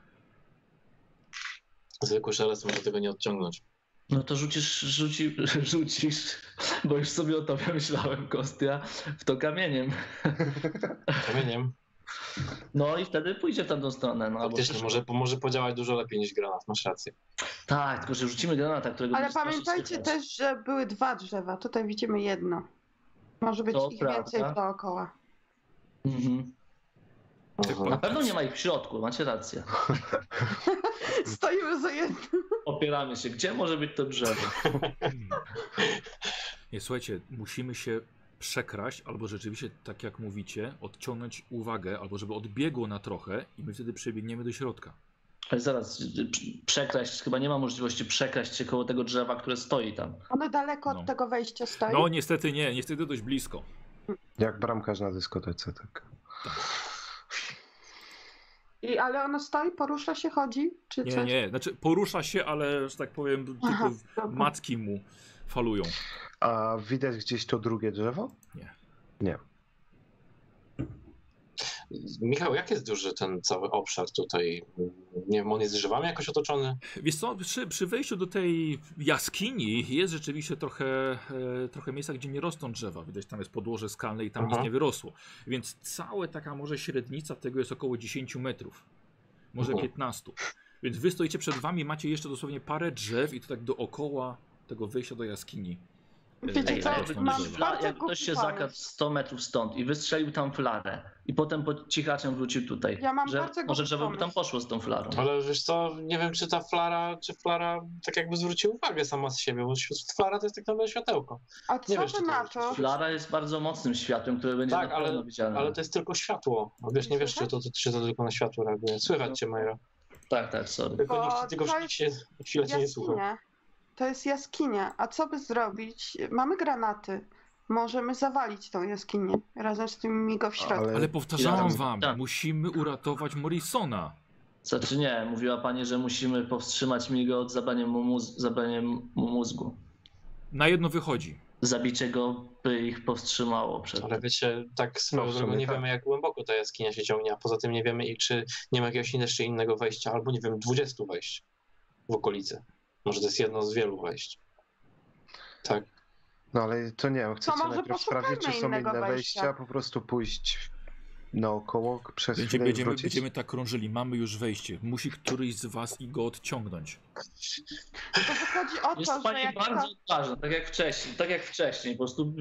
Zwykły szelest może tego nie odciągnąć.
No to rzucisz, rzuci, rzucisz, bo już sobie o tobie myślałem, Kostia, w to kamieniem.
Kamieniem
No i wtedy pójdzie w tamtą stronę. No, albo
faktycznie może, może podziałać dużo lepiej niż granat, masz rację.
Tak, tylko że rzucimy granata, którego
Ale
będzie strasznie
pamiętajcie
słychać.
też, że były dwa drzewa. Tutaj widzimy jedno. Może być
To
ich
prawda.
więcej dookoła.
Mhm.
Tak,
Aha.
Na pewno nie ma ich w środku, macie rację.
Stoimy za jednym.
Opieramy się. Gdzie może być to drzewo?
Hmm. Nie, słuchajcie, musimy się przekraść, albo rzeczywiście, tak jak mówicie, odciągnąć uwagę, albo żeby odbiegło na trochę i my wtedy przebiegniemy do środka.
Ale zaraz, prz- przekraść, chyba nie ma możliwości przekraść się koło tego drzewa, które stoi tam.
Ono daleko
No.
od tego wejścia stoi.
Tak.
No niestety nie, niestety dość blisko.
jak bramkarz na dyskotece, tak.
I, ale ono stoi, porusza się, chodzi, czy
Nie,
coś?
nie, znaczy porusza się, ale, że tak powiem,
Aha,
tylko
dobra.
matki mu falują.
A widać gdzieś to drugie drzewo?
Nie.
Nie.
Michał, jak jest duży ten cały obszar tutaj? Nie wiem, on jest drzewami jakoś otoczony?
Wiesz co, przy, przy wejściu do tej jaskini jest rzeczywiście trochę, e, trochę miejsca, gdzie nie rosną drzewa. Widać, tam jest podłoże skalne i tam
Aha.
nic nie wyrosło. Więc całe taka może średnica tego jest około 10 metrów. Może
Mhm.
15. Więc wy stoicie przed wami, macie jeszcze dosłownie parę drzew i to tak dookoła tego wyjścia do jaskini. e,
Wiecie co,
rosną
mam
drzewa.
bardzo
Fla, jak ktoś
głupi
się
pomysł.
zakradł 100 metrów stąd i wystrzelił tam flarę i potem po cichaczem wrócił tutaj.
Ja mam
że,
bardzo głupi
Może drzewo by tam
pomysł.
poszło z tą flarą.
No, Ale wiesz co, nie wiem czy ta flara, czy flara tak jakby zwróci uwagę sama z siebie, bo świ- flara to jest tak naprawdę światełko.
A
Nie
co
wiesz,
wy
czy to
na
jest
to?
Flara jest bardzo mocnym światłem, które będzie
Tak,
na pewno
ale-
widzialne.
Ale to jest tylko światło. A Wiesz, nie wiesz, czy to, to, czy to tylko na światło reaguje. Słychać cię, Majra.
Tak, tak, sorry.
Tylko
Bo
nikt, tylko
to
nikt się, chwilę cię nie słucha.
Jaskinia. To jest jaskinia. A co by zrobić? Mamy granaty. Możemy zawalić tą jaskinię razem z tym migo w środku.
Ale powtarzałam
Ja-
wam,
tak.
musimy uratować Morrisona.
Znaczy nie, mówiła pani, że musimy powstrzymać Migo od zabrania mu, mózg, zabrania mu mózgu.
Na jedno wychodzi.
Zabicie go by ich powstrzymało przed...
Ale wiecie, tak swoją
No, w sumie
drogą nie
tak.
wiemy, jak głęboko ta jaskinia się ciągnie, a poza tym nie wiemy, i czy nie ma jakiegoś jeszcze innego wejścia, albo nie wiem, 20 wejść w okolicy. Może to jest jedno z wielu wejść. Tak.
No ale to nie wiem, chcecie
może
najpierw
poszukajmy
sprawdzić, czy są inne
innego
wejścia,
wejścia.
po prostu pójść naokoło przez
Będziemy,
chwilę i
będziemy,
wrócić.
będziemy tak krążyli, mamy już wejście. Musi któryś z was i go odciągnąć.
To wychodzi o
Jest
to, że
pani
jak
bardzo
ta...
odważna, tak jak wcześniej, tak jak wcześniej, po prostu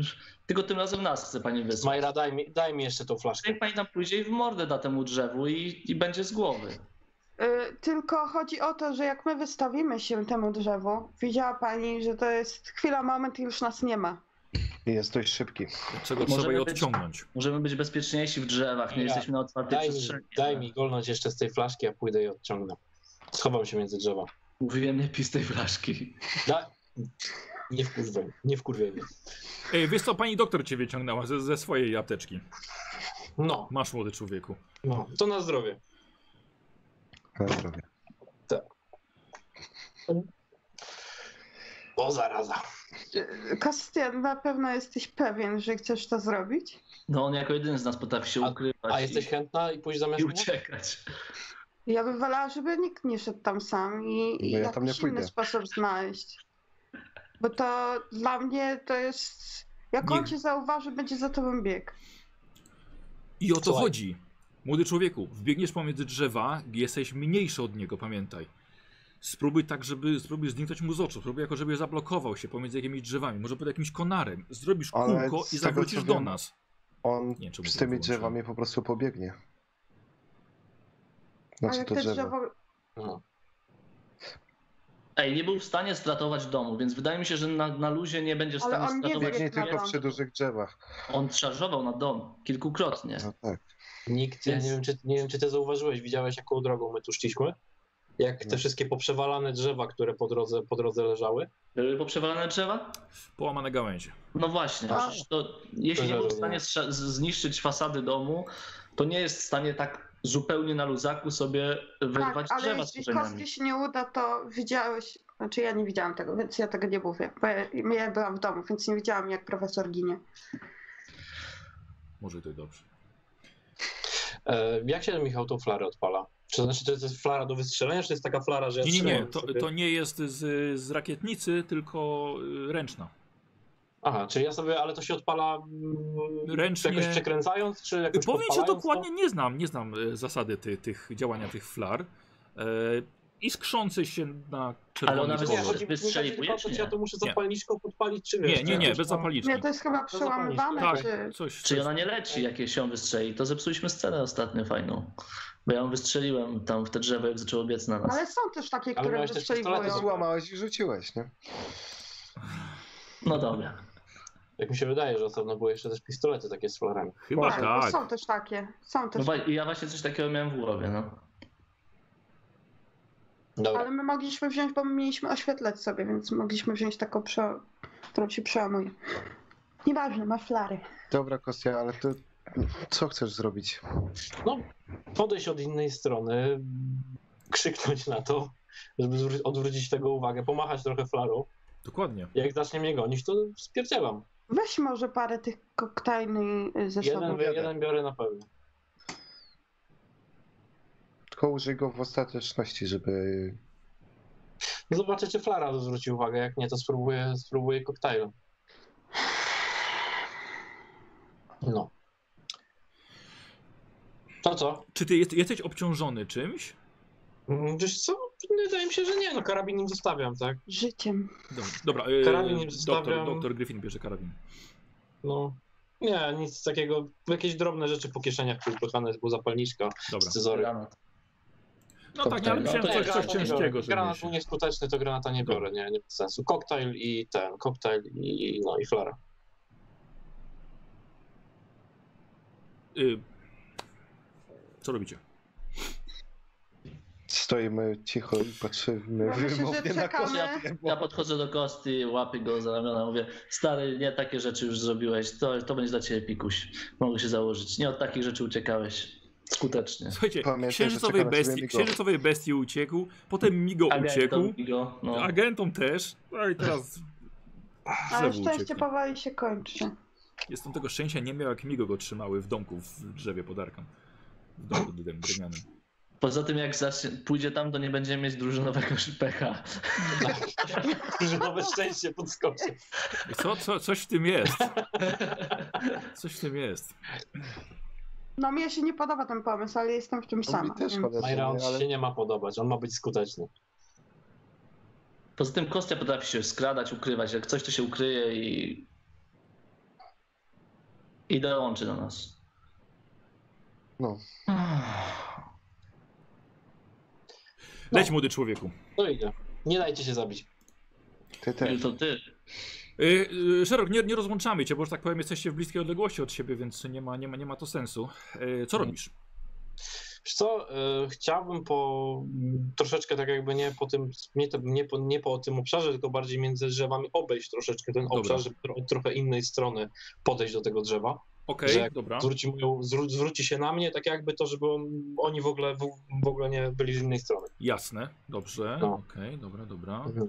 tylko tym razem nas chce pani wysłać.
Majra, daj mi, daj mi jeszcze tą flaszkę.
Niech pani tam pójdzie i w mordę da temu drzewu i, i będzie z głowy.
y, tylko chodzi o to, że jak my wystawimy się temu drzewu, widziała pani, że to jest chwila, moment i już nas nie ma.
Jest dość szybki.
Dlaczego
Możemy
trzeba je
być-
odciągnąć?
Możemy być bezpieczniejsi w drzewach, nie
Ja.
jesteśmy na otwartej
Daj mi,
przestrzeni.
daj
tak.
mi golnąć jeszcze z tej flaszki, ja pójdę i odciągnę. Schowam się między drzewa.
Mówiłem, nie pij z tej flaszki.
Da... Nie wkurwiaj, nie wkurwiaj mnie.
Ej, wiesz co, pani doktor cię wyciągnęła ze, ze swojej apteczki.
No,
Masz młody człowieku.
no, to na zdrowie.
Na zdrowie.
O zaraza.
Y, Kastian, na pewno jesteś pewien, że chcesz to zrobić?
No on jako jedyny z nas potrafi się
A-
ukrywać
A jesteś chętna i pójść zamiast
i, i
mnie?
uciekać.
Ja bym wolała, żeby nikt nie szedł tam sam i, i
No ja
jakiś
tam nie
inny
pójdę.
sposób znaleźć. Bo to dla mnie to jest... Jak on
Nie.
cię zauważy, będzie za tobą bieg.
I o to
Słuchaj.
chodzi. Młody człowieku, wbiegniesz pomiędzy drzewa, jesteś mniejszy od niego, pamiętaj. Spróbuj tak, żeby spróbuj zniknąć mu z oczu. Spróbuj jako, żeby zablokował się pomiędzy jakimiś drzewami, może pod jakimś konarem. Zrobisz
Ale
kółko
z
i
tego,
zawrócisz
co
do
wiem-
nas.
On
Nie, czemu
z
to tak
tymi
wyłączyłem?
drzewami po prostu pobiegnie.
A
Znaczy
jak
to
te
drzewo.
drzewo...
No.
Ej, nie był w stanie stratować domu, więc wydaje mi się, że na, na luzie nie będzie w
Ale
stanie
on nie
stratować.
Biegnie
Jak na
tylko
ląd.
przy dużych drzewach.
On szarżował na dom kilkukrotnie.
No tak.
Nikt, ja nie wiem, czy, nie wiem, czy ty zauważyłeś, widziałeś jaką drogą my tu szliśmy? Jak te
No.
wszystkie poprzewalane drzewa, które po drodze, po drodze leżały?
Były Y, poprzewalane drzewa?
Połamane gałęzie.
No właśnie,
A.
przecież to, jeśli nie był w stanie strza- z- zniszczyć fasady domu, to nie jest w stanie tak zupełnie na luzaku sobie wyrwać
Tak, ale
drzewa z
jeśli
korzeniami.
kostki się nie uda, to widziałeś... Znaczy ja nie widziałam tego, więc ja tego nie mówię. Bo ja, ja byłam w domu, więc nie widziałam jak profesor ginie.
Może to i dobrze.
E, jak się Michał tą flarę odpala? Czy to znaczy, czy to jest flara do wystrzelenia, czy to jest taka flara, że ja
Nie, nie, nie.
strzelam
To,
sobie?
to nie jest z, z rakietnicy, tylko y, ręczna.
Aha, czyli ja sobie, ale to się odpala mm,
Ręcznie-
jakoś przekręcając, czy jakoś
Powiem ci
podpalając
dokładnie, nie znam, nie znam e, zasady ty, tych działania tych flar. E, I skrzący się na czerwony
ona
To?
kolor.
Nie,
wystrze-
chodzi mi o
wystrzeliwujesz,
tylko, to, czy ja
nie?
to muszę
Nie.
zapalniczką podpalić, czy wiesz?
Nie, nie, nie, bez
No,
zapalniczki.
Nie, to jest chyba
To zapomnij,
przełamywane,
Tak,
czy...
coś.
Czy
coś.
ona nie leci, jak jej się wystrzeli? To zepsuliśmy scenę ostatnio fajną. Bo ja ją wystrzeliłem tam w te drzewo, jak zaczęło biec na nas.
Ale są też takie,
Ale
które
miałeś też
Ty
pistolety
wystrzeliwują.
z-
złamałeś i rzuciłeś, nie?
No dobra.
Jak mi się wydaje, że osobno były jeszcze też pistolety takie z flarami.
Chyba
Tak,
tak.
Są też takie. Są
No
też.
wa- ja właśnie coś takiego miałem w głowie, no.
Dobra,
Ale my mogliśmy wziąć, bo my mieliśmy oświetlać sobie, więc mogliśmy wziąć taką, prze... którą się przełamuje. Nieważne, masz flary.
Dobra, Kostia, ale ty co chcesz zrobić?
no podejść od innej strony, krzyknąć na to, żeby zwró- odwrócić tego uwagę, pomachać trochę flarą.
Dokładnie.
Jak zacznie mnie gonić, to spierdzielam.
Weź może parę tych koktajli y, ze
Jeden,
sobą.
jeden biorę na pewno.
tylko użyj go w ostateczności, żeby...
Zobaczę, czy Flara zwróci uwagę. Jak nie, to spróbuję, spróbuję koktajlu. No. To co?
Czy ty jest, jesteś obciążony czymś?
Mm, Wiesz co? Wydaje mi się, że nie. No karabin im zostawiam, tak?
Życiem.
Dobra, dobra e,
Karabin nie
doktor,
zostawiam.
doktor Griffin bierze karabin.
No. Nie, nic takiego. Jakieś drobne rzeczy po kieszeniach, które potrzebne jest, bo zapalniczka,
Dobra.
scyzory.
No tak, ja
No
myślałem
to
coś,
jest
coś
granat,
ciężkiego, że
Granat był nieskuteczny, to granata nie biorę, nie, nie ma sensu. Koktajl i ten, koktajl i no i flara.
y, Co robicie?
Stoimy cicho i patrzymy
Ja No, myślę, że
wymownie na
czekamy.
kosmię, bo
Ja podchodzę do kosty, łapię go za ramiona, mówię, stary, nie takie rzeczy już zrobiłeś, to, to będzie dla ciebie pikuś. Mogę się założyć. Nie od takich rzeczy uciekałeś. Skutecznie.
Słuchajcie,
Pamiętaj, że
księżycowej
czeka na ciebie
bestii,
Migo.
księżycowej bestii uciekł, potem Migo
A miałem
uciekł,
to Migo, no.
agentom też, a i teraz
Ale
znowu
szczęście
uciekł.
powoli się kończy.
Jestem tego szczęścia nie miał, jak Migo go trzymały w domku w drzewie pod Arkam. W domku drewnianym. drewnianym.
Poza tym jak zacznie, pójdzie tam, to nie będziemy mieć drużynowego szpecha.
Że nowe szczęście podskoczy.
I Co, co, coś w tym jest. Coś w tym jest.
No mnie się nie podoba ten pomysł, ale jestem w tym
No, Mi
sama.
też
więc-
szkoda, że nie,
Majra on
ale
się nie ma podobać, on ma być skuteczny.
Poza tym Kostia potrafi się skradać, ukrywać. Jak coś, to się ukryje i... I dołączy do nas.
no.
Leć, młody człowieku.
No idzie. Nie dajcie się zabić.
Ty też.
To ty.
Y, y, Szerok, nie, nie rozłączamy cię, bo że tak powiem, jesteście w bliskiej odległości od siebie, więc nie ma, nie ma, nie ma to sensu. Y,
No.
Co robisz?
Wiesz co, y, chciałbym po troszeczkę tak jakby nie po tym, nie, te- nie, po, nie po tym obszarze, tylko bardziej między drzewami obejść troszeczkę ten
Dobra.
obszar, żeby tro, od trochę innej strony podejść do tego drzewa.
Okej,
Że-
dobra.
Zwróci, moją, zwró, zwróci się na mnie, tak jakby to, żeby on, oni w ogóle, w, w ogóle nie byli z innej strony.
Mhm. Jasne, dobrze.
No.
Okej, dobra, dobra.
Mhm.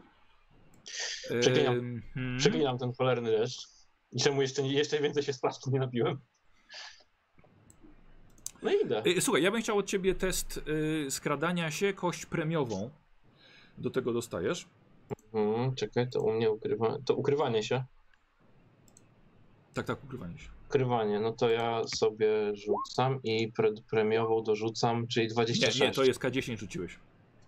Y,
Przeklinam.
mhm.
Przeklinam ten cholerny deszcz. I czemu jeszcze, jeszcze więcej się sprawdź nie napiłem? No i idę.
Y, Słuchaj, ja bym chciał od ciebie test y, skradania się, kość premiową. Do tego dostajesz.
Mm, czekaj, to u mnie ukrywa... to ukrywanie się.
Tak, tak, ukrywanie się.
Ukrywanie, no to ja sobie rzucam i pre premiową dorzucam, czyli
Nie,
26.
nie, to jest K10 rzuciłeś.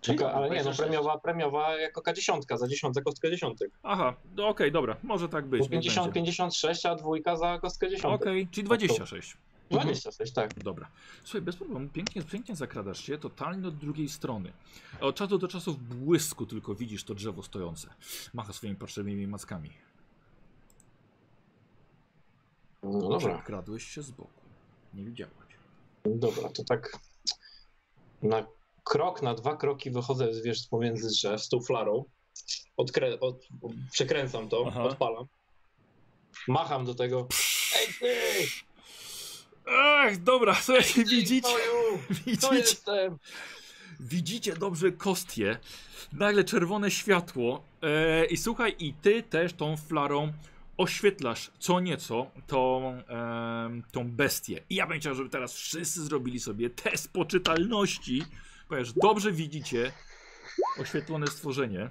Czyli ale nie, no
26.
premiowa, premiowa jako K10, za dziesiątek kostkę dziesiątek.
Aha, no okej, dobra, może tak być.
Bo
niech
50,
będzie.
56, a dwójka za kostkę dziesiątek.
Okej, Mhm. czyli 26.
26, tak.
Dobra. Słuchaj, bez problemu, pięknie, pięknie zakradasz się, totalnie od drugiej strony. Od czasu do czasu w błysku tylko widzisz to drzewo stojące. Macha swoimi patrzonymi mackami.
No dobra.
Kradłeś się z boku. Nie widziałeś.
Dobra, to tak na krok, na dwa kroki wychodzę z wiesz, pomiędzy drzew z tą flarą. Odkrę- od- przekręcam to,
Aha.
odpalam. Macham do tego. Ej, ty!
Ach, dobra, słuchajcie, widzicie,
Twoju! To
widzicie,
jestem!
widzicie dobrze kostię. Nagle czerwone światło. E, I słuchaj, i ty też tą flarą oświetlasz co nieco tą, em, tą bestię. I ja bym chciał, żeby teraz wszyscy zrobili sobie test poczytalności, ponieważ dobrze widzicie oświetlone stworzenie.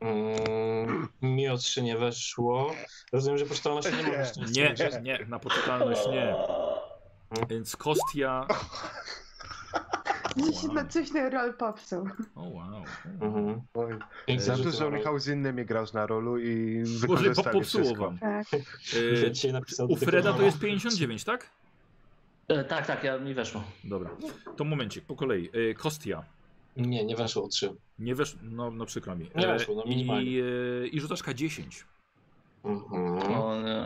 Mm, mi o trzy nie weszło. Rozumiem, że poczytalność nie ma.
Nie, nie, na poczytalność nie. Więc kostia...
Mi się na coś na rol popsuł.
O wow.
Mhm.
Oj,
Pięknie
Za
rzucę
dużo
na-
Michał z innymi grasz na rolu i
Może
wykorzystali
popsuło
wszystko.
wam.
Tak.
E,
Ja dzisiaj napisałem
U
tylko
Freda to
dwa.
jest 59, tak?
E, tak, tak, ja mi weszło.
Dobra. To momencik, po kolei. E, Kostia.
Nie, nie weszło o trzy.
Nie wesz... No, no przykro mi.
Nie weszło, no minimalnie.
I, e, I rzucasz K10.
Mhm.
O, nie.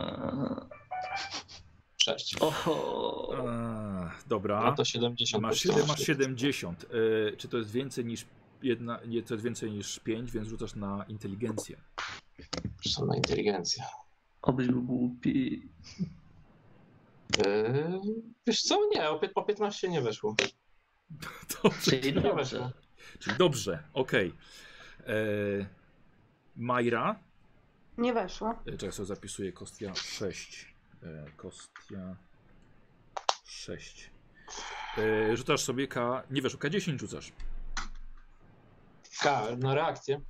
Sześć.
Oho.
Eee,
No
dobra.
to 70.
Masz,
poczytalność.
7, masz 70. E, czy to jest więcej niż jedna, nie, to jest więcej niż 5, więc rzucasz na inteligencję.
Szalona inteligencja.
Obyś był głupi.
Eee, Wiesz co? Nie, o, pię- o 15 nie weszło.
Dobrze.
Czyli
Nie
dobrze.
weszło.
Czyli Dobrze, okej. E, Majra.
Nie weszło.
E, Czekaj, sobie zapisuję. Kostia 6. E, Kostia 6. E, rzucasz sobie K. Nie wiesz, K10 rzucasz.
K, na reakcję.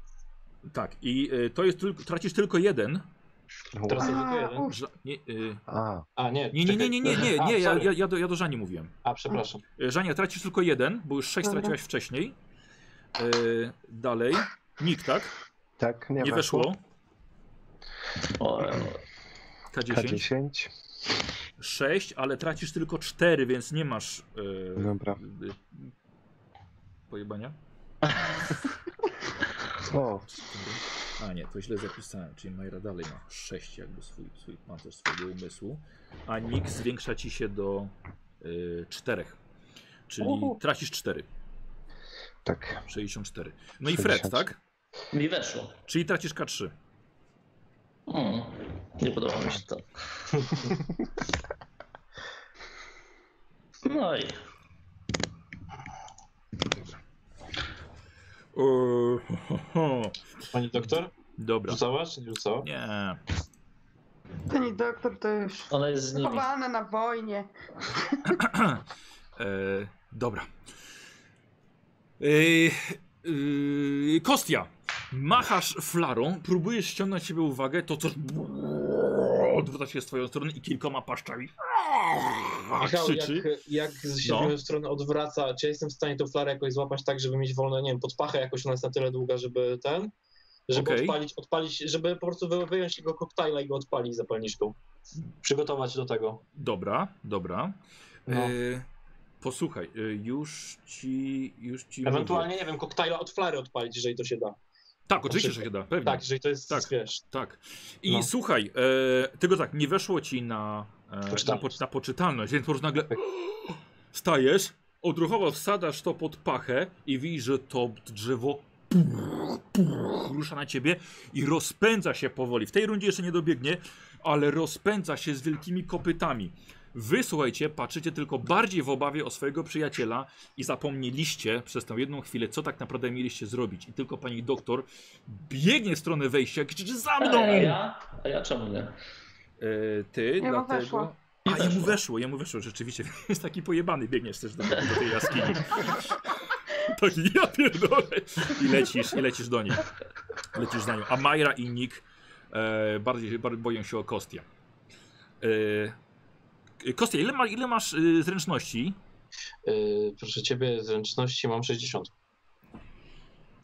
Tak, i e, to jest tylko. Tracisz tylko jeden.
Teraz jest
A,
tylko jeden.
uff,
Ża- nie, e,
A,
A, nie.
nie, nie, nie, nie, nie, nie,
czekaj.
nie.
A,
Ja,
sorry.
ja, ja, do, ja do Żani mówiłem.
A, przepraszam.
E, Żania, tracisz tylko jeden, bo już sześć
Dobra.
straciłaś wcześniej. E, dalej. Nikt, tak?
tak, nie,
Nie weszło.
O,
K10.
K10.
6, ale tracisz tylko 4, więc nie masz. e,
No.
Dobra.
y, Pojebania?
O,
A nie, to źle zapisałem, czyli Majra dalej ma 6 jakby swój, swój pancerz swojego umysłu, a Nick zwiększa ci się do 4, czyli
Uhu.
tracisz 4,
tak.
64. No i Fred,
60.
tak?
mi weszło.
Czyli tracisz K3.
Mm, nie podoba mi się to. No i
Uuu, ho, ho.
Pani doktor,
Dobra.
rzucała czy nie rzucała?
Nie.
Pani doktor to już
ona jest z nimi.
chowana na wojnie.
E, dobra. Yy, yy, Kostia, machasz flarą, próbujesz ściągnąć na siebie uwagę, to coś odwraca się w twoją stronę i kilkoma paszczami
Michał, jak,
krzyczy.
jak z siedmiu
No.
stron odwraca, czy ja jestem w stanie tą flarę jakoś złapać tak, żeby mieć wolne, nie wiem, pod pachę jakoś ona jest na tyle długa, żeby ten, żeby
Okej.
odpalić, odpalić, żeby po prostu wy- wyjąć jego koktajla i go odpalić zapalniczką. Przygotować do tego.
Dobra, dobra.
No.
Yy, posłuchaj, yy, już ci, już ci mówię.
Ewentualnie, nie wiem, koktajla od flary odpalić, jeżeli to się da.
Tak, oczywiście, że się da, pewnie.
Tak, jeżeli to jest,
Tak.
wiesz,
Tak. I
No.
słuchaj, e, tylko tak, nie weszło ci na, e, na, po,
Poczytalność.
na poczytalność, więc po prostu nagle stajesz, odruchowo wsadasz to pod pachę i widzisz, że to drzewo rusza na ciebie i rozpędza się powoli. W tej rundzie jeszcze nie dobiegnie, ale rozpędza się z wielkimi kopytami. Wy, słuchajcie, patrzycie tylko bardziej w obawie o swojego przyjaciela i zapomnieliście przez tę jedną chwilę, co tak naprawdę mieliście zrobić. I tylko pani doktor biegnie w stronę wejścia i krzyczy za
A
mną!
ja? A ja czemu nie?
E, ty,
Jemu
dlatego...
weszło.
A, jemu
Weszło.
weszło, jemu weszło, rzeczywiście. Jest taki pojebany, biegniesz też do, do tej jaskini. Taki, ja pierdolę. I lecisz, i lecisz do niej. Lecisz za nią. A Majra i Nick e, bardziej, bardziej boją się o Kostię. E, Kostia, ile, ma, ile masz e, zręczności?
Yy, proszę ciebie, zręczności mam 60.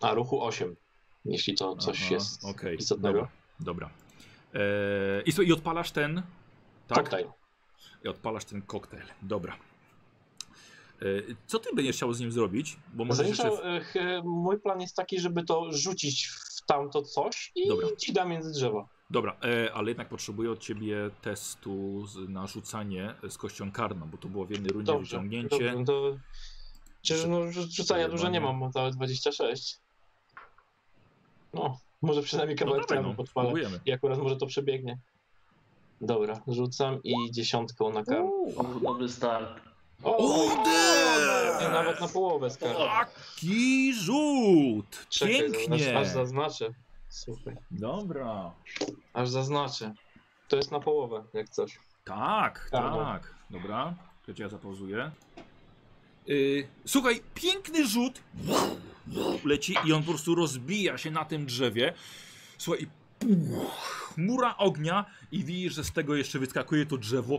A ruchu 8. Jeśli to coś
Aha,
jest
okej,
istotnego.
Dobra. dobra. E, i, słuchaj, I odpalasz ten... Tak?
Koktajl.
I odpalasz ten koktajl. Dobra. E, co ty będziesz chciał z nim zrobić? Bo może jeszcze...
Zresztą e, ch- mój plan jest taki, żeby to rzucić w tamto coś i
Dobra.
ci da między drzewa.
Dobra, e, ale jednak potrzebuję od ciebie testu z, na rzucanie z kością karną, bo to było w jednej rundzie
Dobrze.
wyciągnięcie.
Dobrze, no to... Przecież no, rzu- rzucania dużo nie
Zajebanie.
mam, mam całe 26. No, może przynajmniej
No
kawałek
dobra,
trawy
no,
podpalę.
spróbujemy.
I akurat może to przebiegnie. Dobra, rzucam i dziesiątką na karę.
Dobry start.
O,
O,
nie,
damn!
nawet na połowę skarb.
Taki rzut! Pięknie!
Aż zaznaczę. Super.
Dobra.
Aż zaznaczę. To jest na połowę, jak coś.
Tak,
Karną.
tak. Dobra, to ja zapauzuję. Y, słuchaj, piękny rzut leci i on po prostu rozbija się na tym drzewie. Słuchaj, i puch, chmura ognia i widzisz, że z tego jeszcze wyskakuje to drzewo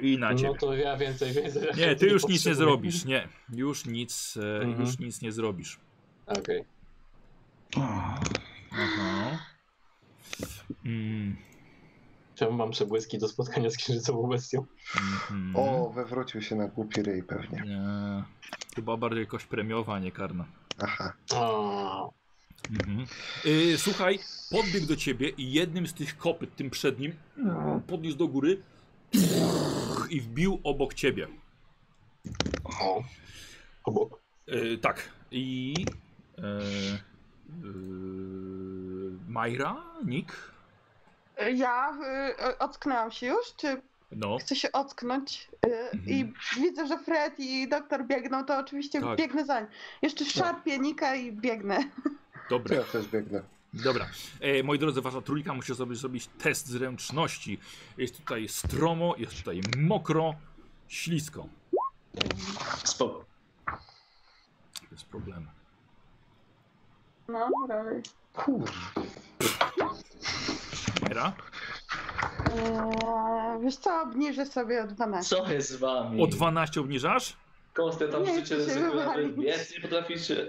i na ciebie.
No to ja więcej, więcej.
Nie, ty już nic nie
potrzebuję.
zrobisz, nie. Już nic, e,
Mhm.
już nic nie zrobisz.
Okej.
Aha. Mm,
Czemu mam przebłyski do spotkania z księżycową bestią?
mhm.
O, wywrócił się na głupi ryj pewnie.
Nie. Chyba bardziej jakoś premiowa, a nie karna.
Aha.
O,
Mhm. Y, słuchaj, podbiegł do ciebie i jednym z tych kopyt, tym przednim, podniósł do góry i wbił obok ciebie.
o. Obok.
Y, tak. I. E, y, Majra? Nick?
Ja y, ocknęłam się już, czy
No.
chcę się ocknąć y, i widzę, że Fred i doktor biegną, to oczywiście
Mhm. Tak.
biegnę za nim. Jeszcze szarpię Nika i biegnę.
Dobra.
Ja też biegnę.
Dobra. E, moi drodzy, wasza trójka musi sobie zrobić test zręczności. Jest tutaj stromo, jest tutaj mokro. Ślisko.
Spoko.
Bez problemu.
No, prawie.
Mera?
Eee, wiesz co, obniżę sobie o 12.
Co jest z wami?
O 12 obniżasz?
Kostę tam
Nie,
życie
chcę się
ryzykuje, ale
wywalić.
biec nie potraficie.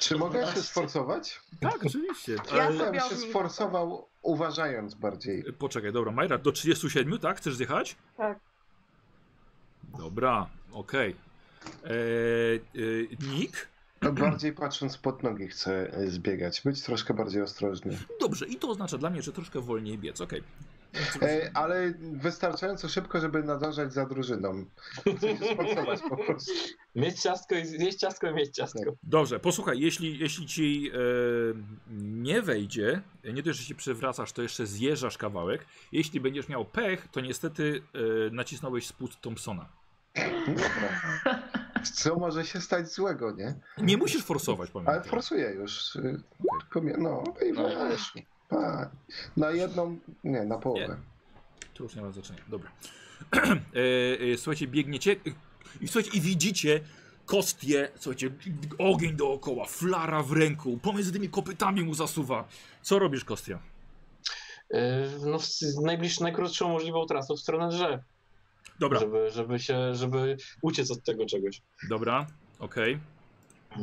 Czy mogę się sforsować?
Tak, oczywiście.
Ja
Ale...
sobie
bym się
obniżę.
sforsował, uważając bardziej.
Poczekaj, dobra, Majra, do 37, tak? Chcesz zjechać?
Tak.
Dobra, okej. Eee, e, Nick?
Bardziej patrząc pod nogi chcę e, zbiegać, być troszkę bardziej ostrożny.
Dobrze, i to oznacza dla mnie, że troszkę wolniej biec, okej.
E, ale wystarczająco szybko, żeby nadążać za drużyną. Chcę się sforsować po prostu.
Mieć ciastko i zjeść ciastko i mieć ciastko.
Dobrze, posłuchaj, jeśli, jeśli ci e, nie wejdzie, nie dość, że się przewracasz, to jeszcze zjeżdżasz kawałek. Jeśli będziesz miał pech, to niestety e, nacisnąłeś spód Thompsona.
Dobra. Co może się stać złego, nie?
Nie musisz forsować,
Ale
pamiętaj.
forsuję już. e, Tylko mnie, no i
No.
właśnie. A, Na jedną, nie, na połowę.
To już nie ma znaczenia. Dobra. e, e, słuchajcie, biegniecie e, i słuchajcie, i widzicie kostie, słuchajcie, ogień dookoła, flara w ręku, pomiędzy tymi kopytami mu zasuwa. Co robisz, Kostia?
Yy, No, w- z najbliższą, najkrótszą możliwą trasą w stronę drzew,
Dobra,
żeby, żeby się, żeby uciec od tego czegoś.
dobra, okej.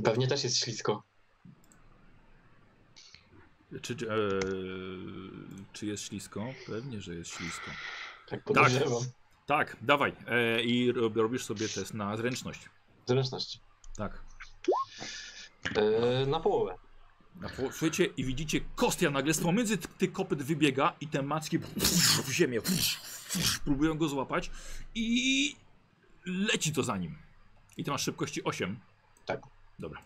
Pewnie też jest ślisko.
Czy, czy, e, czy jest ślisko? Pewnie, że jest ślisko.
Tak podejrzewam.
Tak, dawaj. E, I rob- robisz sobie test na zręczność.
Zręczność.
Tak.
Yy, Na połowę.
Na po- Słuchajcie i widzicie, Kostia nagle z pomiędzy t- tych kopyt wybiega i te macki w ziemię próbują go złapać i leci to za nim. I ty masz szybkości 8.
Tak.
Dobra,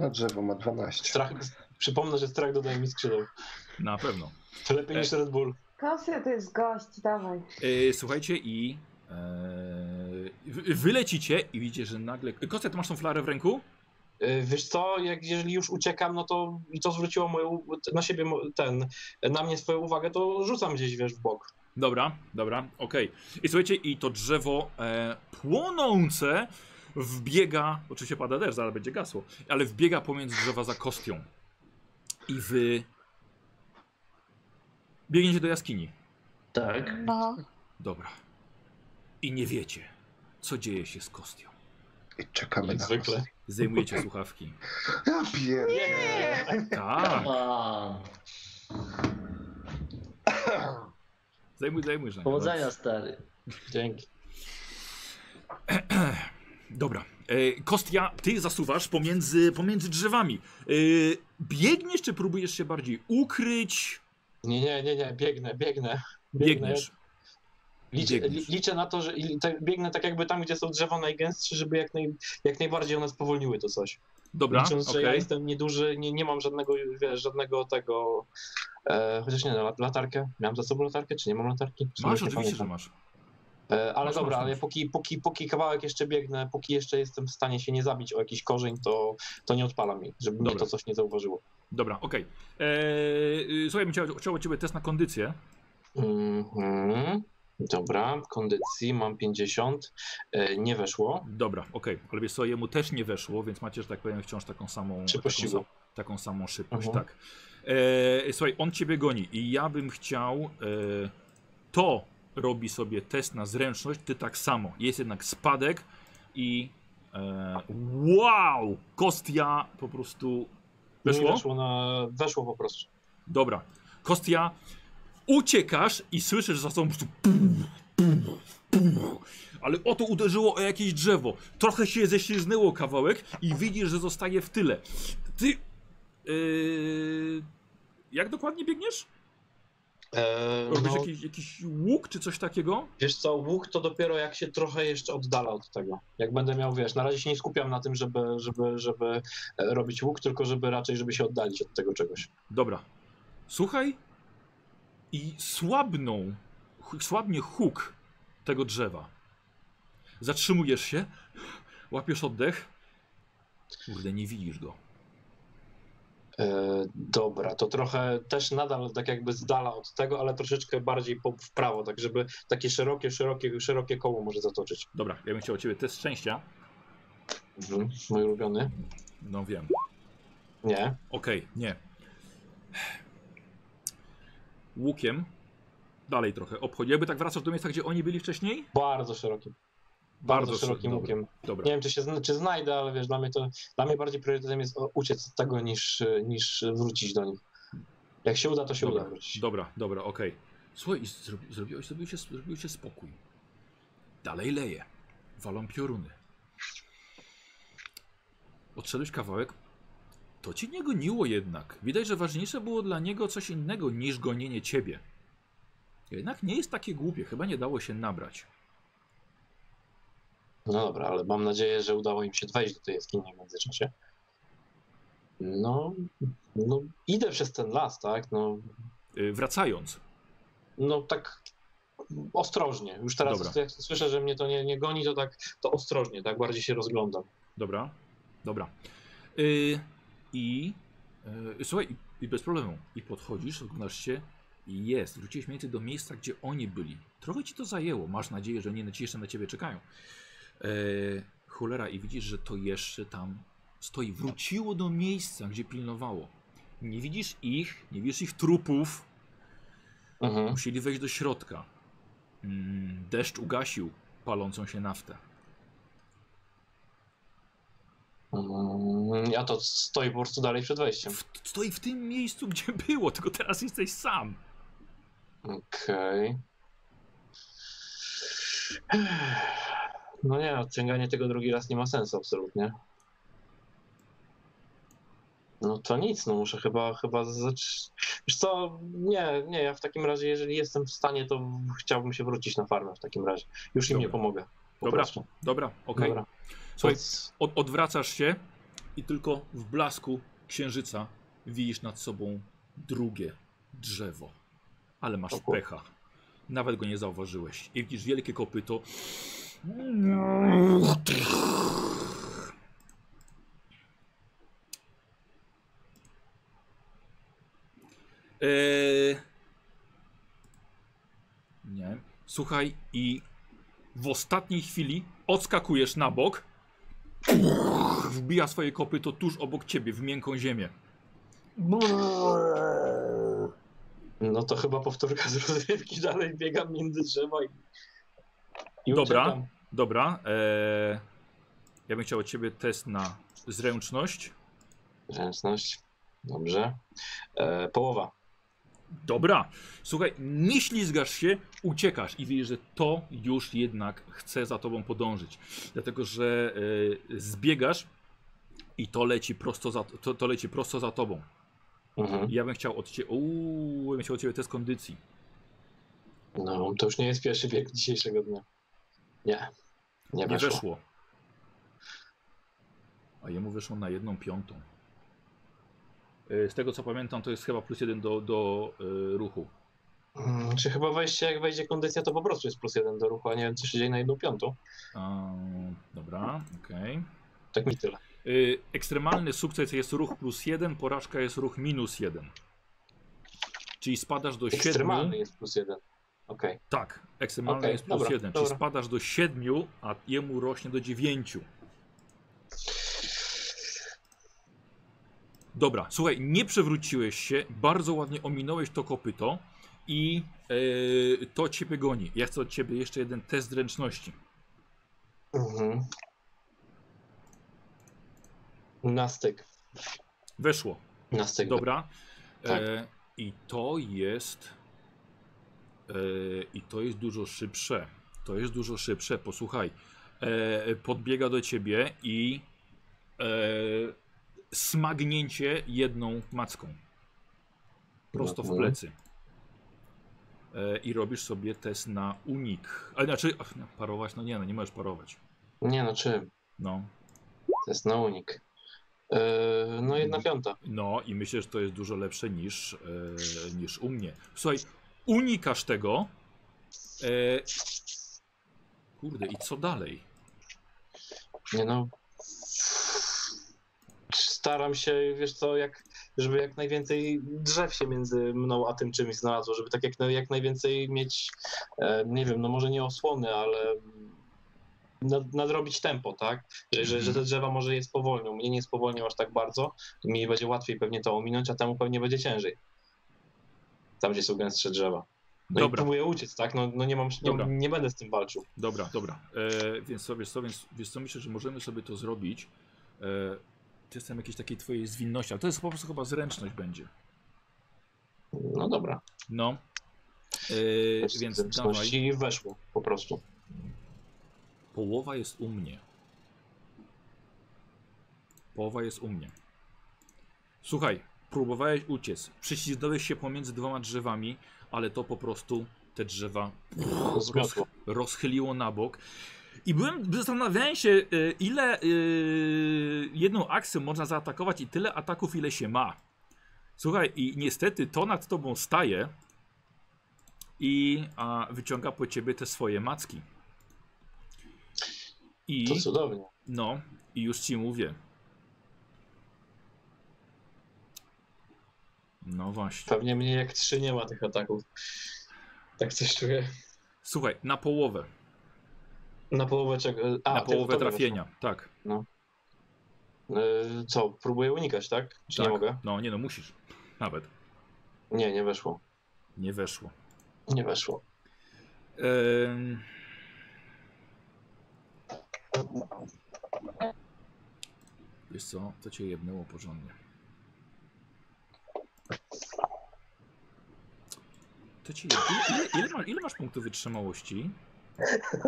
A drzewo ma 12.
Strach, przypomnę, że strach dodaje mi skrzydeł.
na pewno.
To lepiej niż Red Bull.
Kosja to jest gość, dawaj.
E, słuchajcie i e, wy- wylecicie i widzicie, że nagle... Kostia, ty masz tą flarę w ręku?
Yy, Wiesz co, jak, jeżeli już uciekam, no to i to zwróciło moją, na siebie mo- ten, na mnie swoją uwagę, to rzucam gdzieś, wiesz, w bok.
Dobra, dobra, okej. I słuchajcie, i to drzewo e, płonące wbiega, oczywiście pada deszcz, zaraz będzie gasło, ale wbiega pomiędzy drzewa za kostią. I wy biegniecie do jaskini.
Tak.
No.
Dobra. I nie wiecie, co dzieje się z kostią.
I czekamy
Jak
na
zwykle.
Zdejmujecie słuchawki.
was. Ja pier...
Nie!
Tak,
A,
zdejmuj, zdejmuj. Żania.
powodzenia stary.
Dzięki.
Dobra. E, Kostia, ty zasuwasz pomiędzy, pomiędzy drzewami. E, biegniesz, czy próbujesz się bardziej ukryć?
Nie, nie, nie, nie, biegnę, biegnę.
Biegniesz.
Liczę,
Biegniesz.
li- liczę na to, że i tak, biegnę tak jakby tam, gdzie są drzewa najgęstsze, żeby jak, naj, jak najbardziej one spowolniły to coś.
Dobra,
Licząc, że ja
okej.
jestem nieduży, nie, nie mam żadnego, wiesz, żadnego tego... E, chociaż nie, no, lat- latarkę. Miałem za sobą latarkę, czy nie mam latarki? W sumie
Masz,
już nie
oczywiście, że
pamiętam.
masz.
E, ale
Tak, Masz,
dobra,
masz,
ale
masz.
póki, póki, póki kawałek jeszcze biegnę, póki jeszcze jestem w stanie się nie zabić o jakiś korzeń, to, to nie odpala mi, żeby mnie
Dobra.
to coś nie zauważyło.
Dobra, okej. Eee, y, Słuchaj, bym chciał, chciał od ciebie test na kondycję.
Mhm. Dobra, kondycji mam 50, e, nie weszło.
Dobra, okej. Ale wiesz co, jemu też nie weszło, więc macie, że tak powiem, wciąż taką samą... Taką,
Szybkościową.
sa- taką samą szybkość,
Mhm.
tak. Eee, słuchaj, on ciebie goni i ja bym chciał... eee, to robi sobie test na zręczność, ty tak samo. Jest jednak spadek i... eee, wow! Kostia po prostu...
Nie
Weszło?
weszło, na, weszło po prostu.
Dobra. Kostia, uciekasz i słyszysz za sobą po prostu pum, pum, pum. Ale oto uderzyło o jakieś drzewo. Trochę się ześliznęło kawałek i widzisz, że zostaje w tyle. Ty... Yy, jak dokładnie biegniesz?
E,
Robisz
no,
jakiś, jakiś łuk czy coś takiego?
Wiesz co, łuk to dopiero jak się trochę jeszcze oddala od tego. Jak będę miał, wiesz, na razie się nie skupiam na tym, żeby, żeby, żeby e, robić łuk, tylko żeby raczej, żeby się oddalić od tego czegoś.
Dobra. Słuchaj. I słabną, hu- słabnie huk tego drzewa. Zatrzymujesz się, łapiesz oddech. Kurde, nie widzisz go.
E, dobra, to trochę też nadal tak jakby z dala od tego, ale troszeczkę bardziej po, w prawo, tak żeby takie szerokie, szerokie, szerokie koło może zatoczyć.
Dobra, ja bym chciał od ciebie test szczęścia.
Mhm. Mój ulubiony?
No wiem.
Nie.
Okej, nie. Łukiem. Dalej trochę obchodzi. Jakby tak wracasz do miejsca, gdzie oni byli wcześniej?
Bardzo szeroki. Bardzo,
Bardzo
szerokim
szeroki,
łukiem.
Dobra.
Nie wiem, czy się zna- czy znajdę, ale wiesz, dla mnie to dla mnie bardziej priorytetem jest o- uciec z tego niż, y, niż wrócić do nich. Jak się uda, to się
Dobra.
uda wrócić.
Dobra, dobra, okej. Słuchaj, i zrobi, zrobiłeś, zrobił, się, zrobił się spokój. Dalej leje. Walą pioruny. Odszedłeś kawałek. To ci nie goniło jednak. Widać, że ważniejsze było dla niego coś innego niż gonienie ciebie. Jednak nie jest takie głupie. Chyba nie dało się nabrać.
No dobra, ale mam nadzieję, że udało im się wejść do tej jaskini w międzyczasie. No, no idę przez ten las, tak? No,
Y, wracając.
no tak ostrożnie. Już teraz
Dobra.
jak słyszę, że mnie to nie, nie goni, to tak to ostrożnie, tak bardziej się rozglądam.
Dobra. Dobra. Y, I. y, słuchaj, i, i bez problemu. I podchodzisz, oglądasz się i jest. Wróciłeś mniej więcej do miejsca, gdzie oni byli. Trochę ci to zajęło. Masz nadzieję, że nie na- ci jeszcze na ciebie czekają. Yy, cholera, i widzisz, że to jeszcze tam stoi. Wróciło do miejsca, gdzie pilnowało. Nie widzisz ich, nie widzisz ich trupów.
Mhm.
Musieli wejść do środka. Mm, deszcz ugasił palącą się naftę.
Mm, Ja to stoi po prostu dalej przed wejściem.
W, stoi w tym miejscu, gdzie było, tylko teraz jesteś sam.
Okej. No nie, odciąganie tego drugi raz nie ma sensu absolutnie. No to nic, no muszę chyba, chyba zacząć. Wiesz co, nie, nie, ja w takim razie, jeżeli jestem w stanie, to chciałbym się wrócić na farmę w takim razie. Już im
Dobra.
nie pomogę. Po
Dobra,
prostu.
Dobra, okej.
Dobra.
Słuchaj,
Więc-
od, odwracasz się i tylko w blasku księżyca widzisz nad sobą drugie drzewo. Ale masz
O kur-
pecha. Nawet go nie zauważyłeś. I widzisz wielkie kopyto. Eee... Nie. Słuchaj, i w ostatniej chwili odskakujesz na bok. Wbija swoje kopyto tuż obok ciebie, w miękką ziemię.
No to chyba powtórka z rozrywki, dalej biegam między drzewa i. i
Dobra.
uciekam.
Dobra. Eee, ja bym chciał od ciebie test na zręczność.
Zręczność. Dobrze. E, połowa.
Dobra. Słuchaj, nie ślizgasz się, uciekasz i widzisz, że to już jednak chce za tobą podążyć. Dlatego, że e, zbiegasz i to leci prosto za, to, to leci prosto za tobą.
Mhm.
Ja bym chciał od ciebie. Uuu, ja bym chciał od ciebie test kondycji.
No, to już nie jest pierwszy bieg dzisiejszego dnia. Nie.
Nie
Nie weszło.
weszło. A jemu wyszło na jedną piątą. Y, Z tego co pamiętam, to jest chyba plus jeden do, do y, ruchu.
Mm, Czy chyba wejście, jak wejdzie kondycja, to po prostu jest plus jeden do ruchu, a nie wiem, co się dzieje na jedną piątą.
A, dobra, okej.
Tak mi tyle.
Y, ekstremalny sukces jest ruch plus jeden, porażka jest ruch minus jeden. Czyli spadasz do siedmiu.
Ekstremalny jest plus jeden. Okej.
Tak, ekstremalny
Okej,
jest plus
dobra,
jeden. Czyli
dobra.
spadasz do siedmiu, a jemu rośnie do dziewięciu. Dobra, słuchaj, nie przewróciłeś się, bardzo ładnie ominąłeś to kopyto i e, to ciebie goni. Ja chcę od ciebie jeszcze jeden test zręczności.
Mhm. Na styk.
Weszło,
Na styk.
dobra.
Tak.
E, I to jest. E, I to jest dużo szybsze. To jest dużo szybsze, posłuchaj. E, podbiega do ciebie i e, smagnięcie jedną macką. prosto w
Mhm.
plecy. E, I robisz sobie test na unik. A znaczy, ach, no, parować, no nie, no nie możesz parować.
Nie no, czym?
No,
To jest na unik. E, no jedna piąta.
no i myślę, że to jest dużo lepsze niż, e, niż u mnie. Słuchaj, unikasz tego. E, kurde, i co dalej?
Nie no. Staram się, wiesz co, jak, żeby jak najwięcej drzew się między mną a tym czymś znalazło, żeby tak jak, na- jak najwięcej mieć, e, nie wiem, no może nie osłony, ale nad, nadrobić tempo, tak? Że, że,
Mhm.
że te drzewa może je spowolnią. Mnie nie spowolnią aż tak bardzo, mi będzie łatwiej pewnie to ominąć, a temu pewnie będzie ciężej. Tam, gdzie są gęstsze drzewa. No i
Dobra.
próbuję uciec, tak? No, no nie mam, nie,
Dobra.
nie będę z tym walczył.
Dobra, dobra. E, więc sobie, sobie, wiesz co, myślę, że możemy sobie to zrobić. E, to jestem jakiejś takiej twojej zwinności, ale to jest po prostu chyba zręczność będzie.
No dobra.
No. E, więc dawaj.
I weszło po prostu.
Połowa jest u mnie. Połowa jest u mnie. Słuchaj, próbowałeś uciec. Przyślizgnąłeś się pomiędzy dwoma drzewami, ale to po prostu te drzewa
Zmiotło.
rozchyliło na bok. I byłem, zastanawiałem się, y, ile y, jedną akcją można zaatakować i tyle ataków, ile się ma. Słuchaj, i niestety to nad tobą staje i a, wyciąga po ciebie te swoje macki. I
To cudownie.
no, i już ci mówię. No właśnie.
Pewnie mnie jak trzy nie ma tych ataków. Tak coś czuję.
Słuchaj, na połowę.
Na połowę czego? A,
na
tego-
połowę
tego
trafienia. Tak.
weszło. Y, Co, próbuję unikać, tak? Czy
tak.
nie mogę?
No, nie no, musisz. Nawet.
Nie, nie weszło.
Nie weszło.
Nie weszło.
Em, Wiesz co, to cię jednęło porządnie. To cię jeb- ile, ile, ile, ma, ile masz punktów wytrzymałości?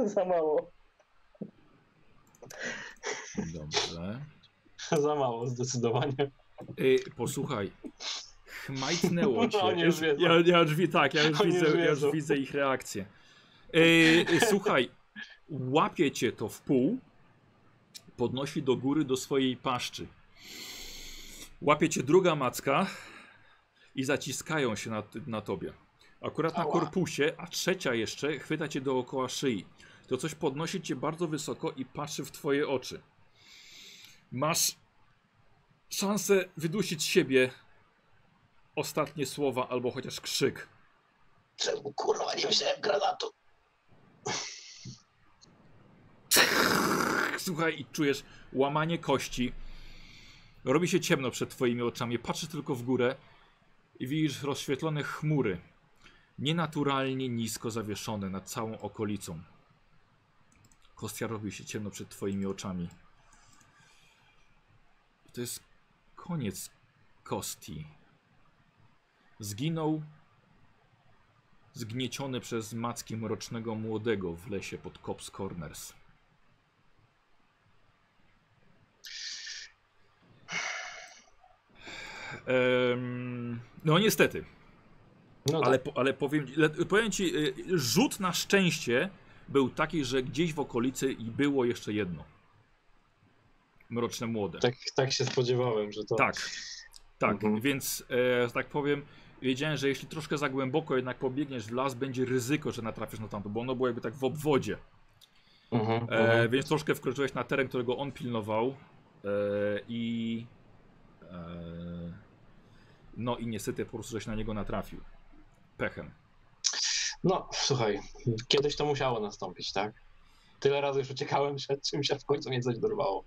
Za mało.
Dobrze.
Za mało, zdecydowanie.
Ej, posłuchaj. Chmajtnęło cię.
Oni już wiedzą.
ja, ja już widzę, tak, ja już,
Oni
widzę,
już
ja już
wiedzą.
widzę ich reakcję. Ej, ej, słuchaj, łapie cię to w pół, podnosi do góry do swojej paszczy. Łapie cię druga macka i zaciskają się na, na tobie. Akurat na
Ała.
korpusie, a trzecia jeszcze chwyta cię dookoła szyi. To coś podnosi cię bardzo wysoko i patrzy w twoje oczy. Masz szansę wydusić z siebie ostatnie słowa albo chociaż krzyk.
Czemu kurwa nie wziąłem granatu?
Słuchaj i czujesz łamanie kości. Robi się ciemno przed twoimi oczami. Patrzysz tylko w górę i widzisz rozświetlone chmury. Nienaturalnie nisko zawieszone nad całą okolicą. Kostia robi się ciemno przed twoimi oczami. To jest koniec Kosti. Zginął zgnieciony przez macki mrocznego młodego w lesie pod Cops Corners. Em, no niestety,
No
ale,
ale...
po- ale powiem, le- powiem ci, y, rzut na szczęście był taki, że gdzieś w okolicy i było jeszcze jedno. Mroczne młode.
tak, tak się spodziewałem, że to.
Tak, tak.
Mhm.
Więc, e, że tak powiem, wiedziałem, że jeśli troszkę za głęboko jednak pobiegniesz w las, będzie ryzyko, że natrafisz na tamto, bo ono było jakby tak w obwodzie.
Mhm,
E,
mhm.
Więc troszkę wkroczyłeś na teren, którego on pilnował e, i e, no i niestety po prostu żeś na niego natrafił. Pechem.
No, słuchaj, kiedyś to musiało nastąpić, tak? Tyle razy już uciekałem przed czymś, a w końcu mnie coś dorwało.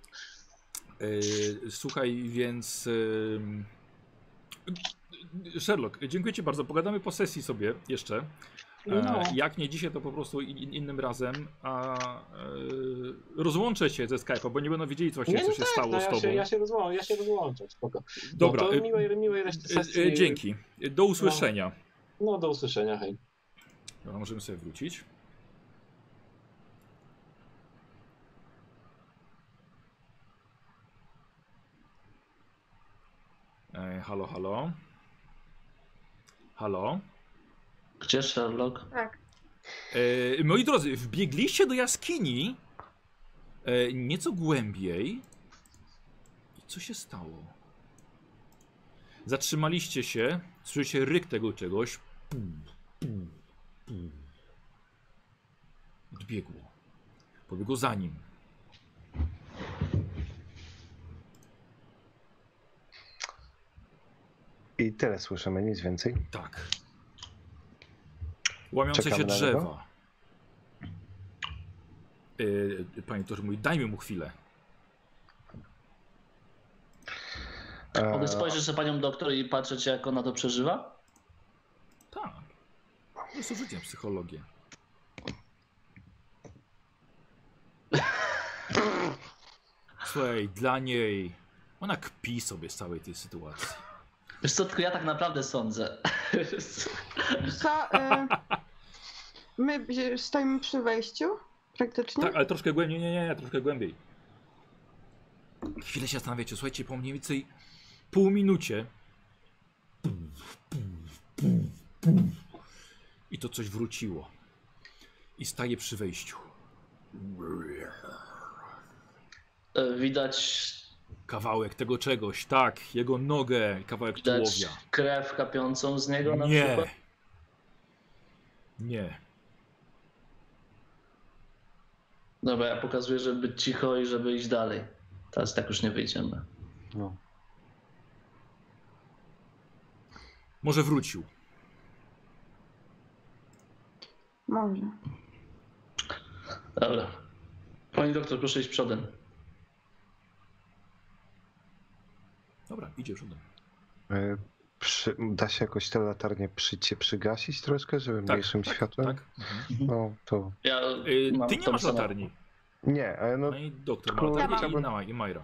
E, słuchaj, więc em, Sherlock, dziękuję ci bardzo. Pogadamy po sesji sobie jeszcze. E,
No.
Jak nie dzisiaj, to po prostu in, innym razem, a e, rozłączę się ze Skype'a, bo nie będą wiedzieli co, się,
Nie,
co
no
się stało
no,
z
ja
tobą.
Się, ja się rozłączę, ja się rozłączę, spoko.
Dobra,
No to
e,
miłej, miłej reszty
e,
sesji.
e, dzięki. E, Do usłyszenia.
No, do usłyszenia, hej.
Dobra, możemy sobie wrócić. E, halo, halo. Halo.
Gdzie Sherlock?
Tak.
E, moi drodzy, wbiegliście do jaskini e, nieco głębiej. I co się stało? Zatrzymaliście się, słyszycie ryk tego czegoś. Pum, pum, pum. Odbiegło. Pobiegło za nim.
I tyle słyszymy, nic więcej.
Tak. Łamiące
Czekamy
się
na niego?
drzewa. Yy, panie doktorze mówi, dajmy mu chwilę.
E,
Mogę spojrzeć za panią doktor i patrzeć, jak ona to przeżywa?
Tak. Jest użyciem psychologię. Słuchaj, dla niej. Ona kpi sobie z całej tej sytuacji.
Wiesz co, tylko ja tak naprawdę sądzę.
Wiesz co, y, my gdzie- stoimy przy wejściu praktycznie.
Tak, ale troszkę głębiej, nie, nie, nie, troszkę głębiej. Chwilę się zastanawiacie, słuchajcie, po mniej więcej pół minucie. I to coś wróciło. I staje przy wejściu.
E, Widać,
Kawałek tego czegoś, tak, jego nogę, kawałek
widać
tułowia.
krew kapiącą z niego na
Nie.
przykład.
Nie.
Dobra, ja pokazuję, żeby być cicho i żeby iść dalej. Teraz tak już nie wyjdziemy.
no.
Może wrócił.
Może.
Dobra. Pani doktor, proszę iść przodem.
Dobra, idzie przodem.
E, Przy, da się jakoś te latarnie przycie przygasić troszkę, żeby
Tak,
mniejszym
tak,
światłem?
Tak? Mhm.
No to.
Ja
Y,
mam
ty nie
tą
masz
samą-
latarni.
Nie, ale no.
Pani doktor ma
tylko-
latarnię
Ja
i, na, i Majra.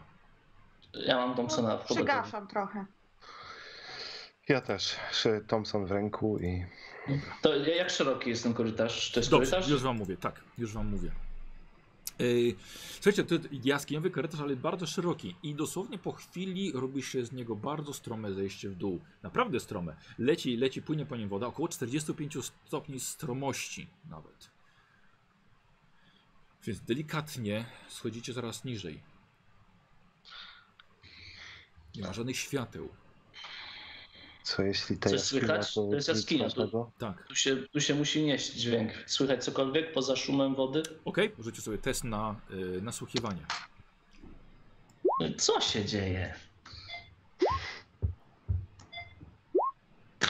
Ja mam Thompsona w pogotowiu.
Przygaszam trochę.
Ja też. Szy- Thompson w ręku i.
To jak szeroki jest ten korytarz? To jest
Dobrze,
korytarz?
już wam mówię, tak, już wam mówię. Yy, słuchajcie, to jaskiniowy korytarz, ale bardzo szeroki i dosłownie po chwili robi się z niego bardzo strome zejście w dół. Naprawdę strome. Leci, leci, płynie po nim woda, około 45 stopni stromości nawet. Więc delikatnie schodzicie coraz niżej. Nie ma żadnych świateł.
Co jeśli te
Coś
jaskinia,
słychać? To jest
nic
jaskinia, to-
ważnego?
Tak.
Tu się, tu się musi nieść dźwięk. Słychać cokolwiek poza szumem wody?
Okej, możecie sobie test na yy, nasłuchiwanie.
No Co się dzieje?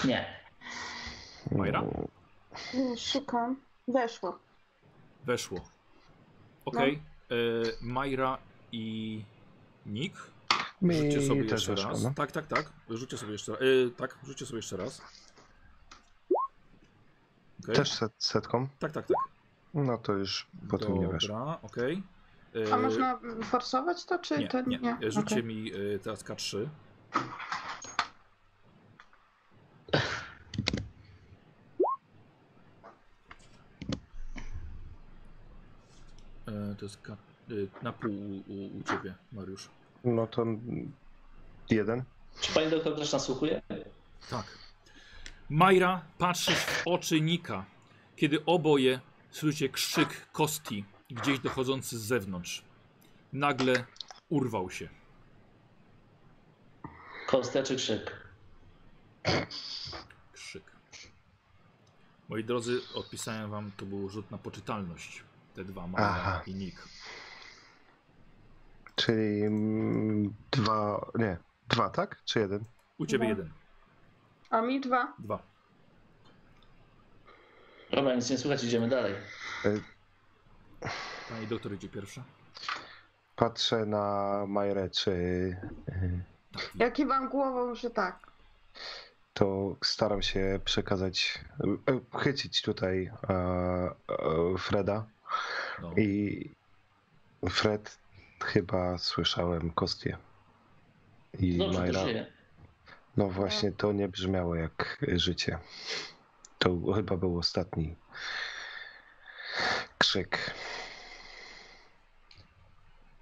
Nie.
Majra?
Mm,
Y, Szukam. Weszło.
Weszło. Okej. E, Majra i Nick.
Mi
Rzućcie sobie
też
jeszcze
weszło,
raz.
no.
Tak, tak, tak. Rzućcie sobie jeszcze raz. E, tak, rzućcie sobie jeszcze raz. Okej.
Też set, setką?
Tak, tak, tak.
No to już potem nie weszło.
Dobra, okej. E,
A można forsować to, czy
Nie,
to
nie.
nie?
E, Rzućcie
Okej.
mi e, teraz K3. E, To jest K... e, na pół u, u, u ciebie, Mariusz.
No to mm, jeden.
Czy pani doktor też nasłuchuje?
Tak. Majra, patrzysz w oczy Nika, kiedy oboje słyszycie krzyk Kosti gdzieś dochodzący z zewnątrz. Nagle urwał się.
Kostia czy krzyk?
Krzyk. Moi drodzy, odpisałem wam, to był rzut na poczytalność. Te dwa, Majra
Aha.
i Nik.
Czyli mm, dwa. Nie, dwa, tak? Czy jeden?
U ciebie
Dwa.
jeden,
A mi dwa.
dwa.
Dobra, nic nie słychać, idziemy dalej.
Pani doktor idzie pierwsza.
Patrzę na Majrę, czy y,
Tak,
Ja kiwam głową, że tak.
to staram się przekazać, y, y, chycić tutaj e, e, Freda.
no.
I Fred chyba słyszałem kostię. I
Dobrze,
Majra.
to żyje.
No właśnie, to nie brzmiało jak życie. To chyba był ostatni krzyk.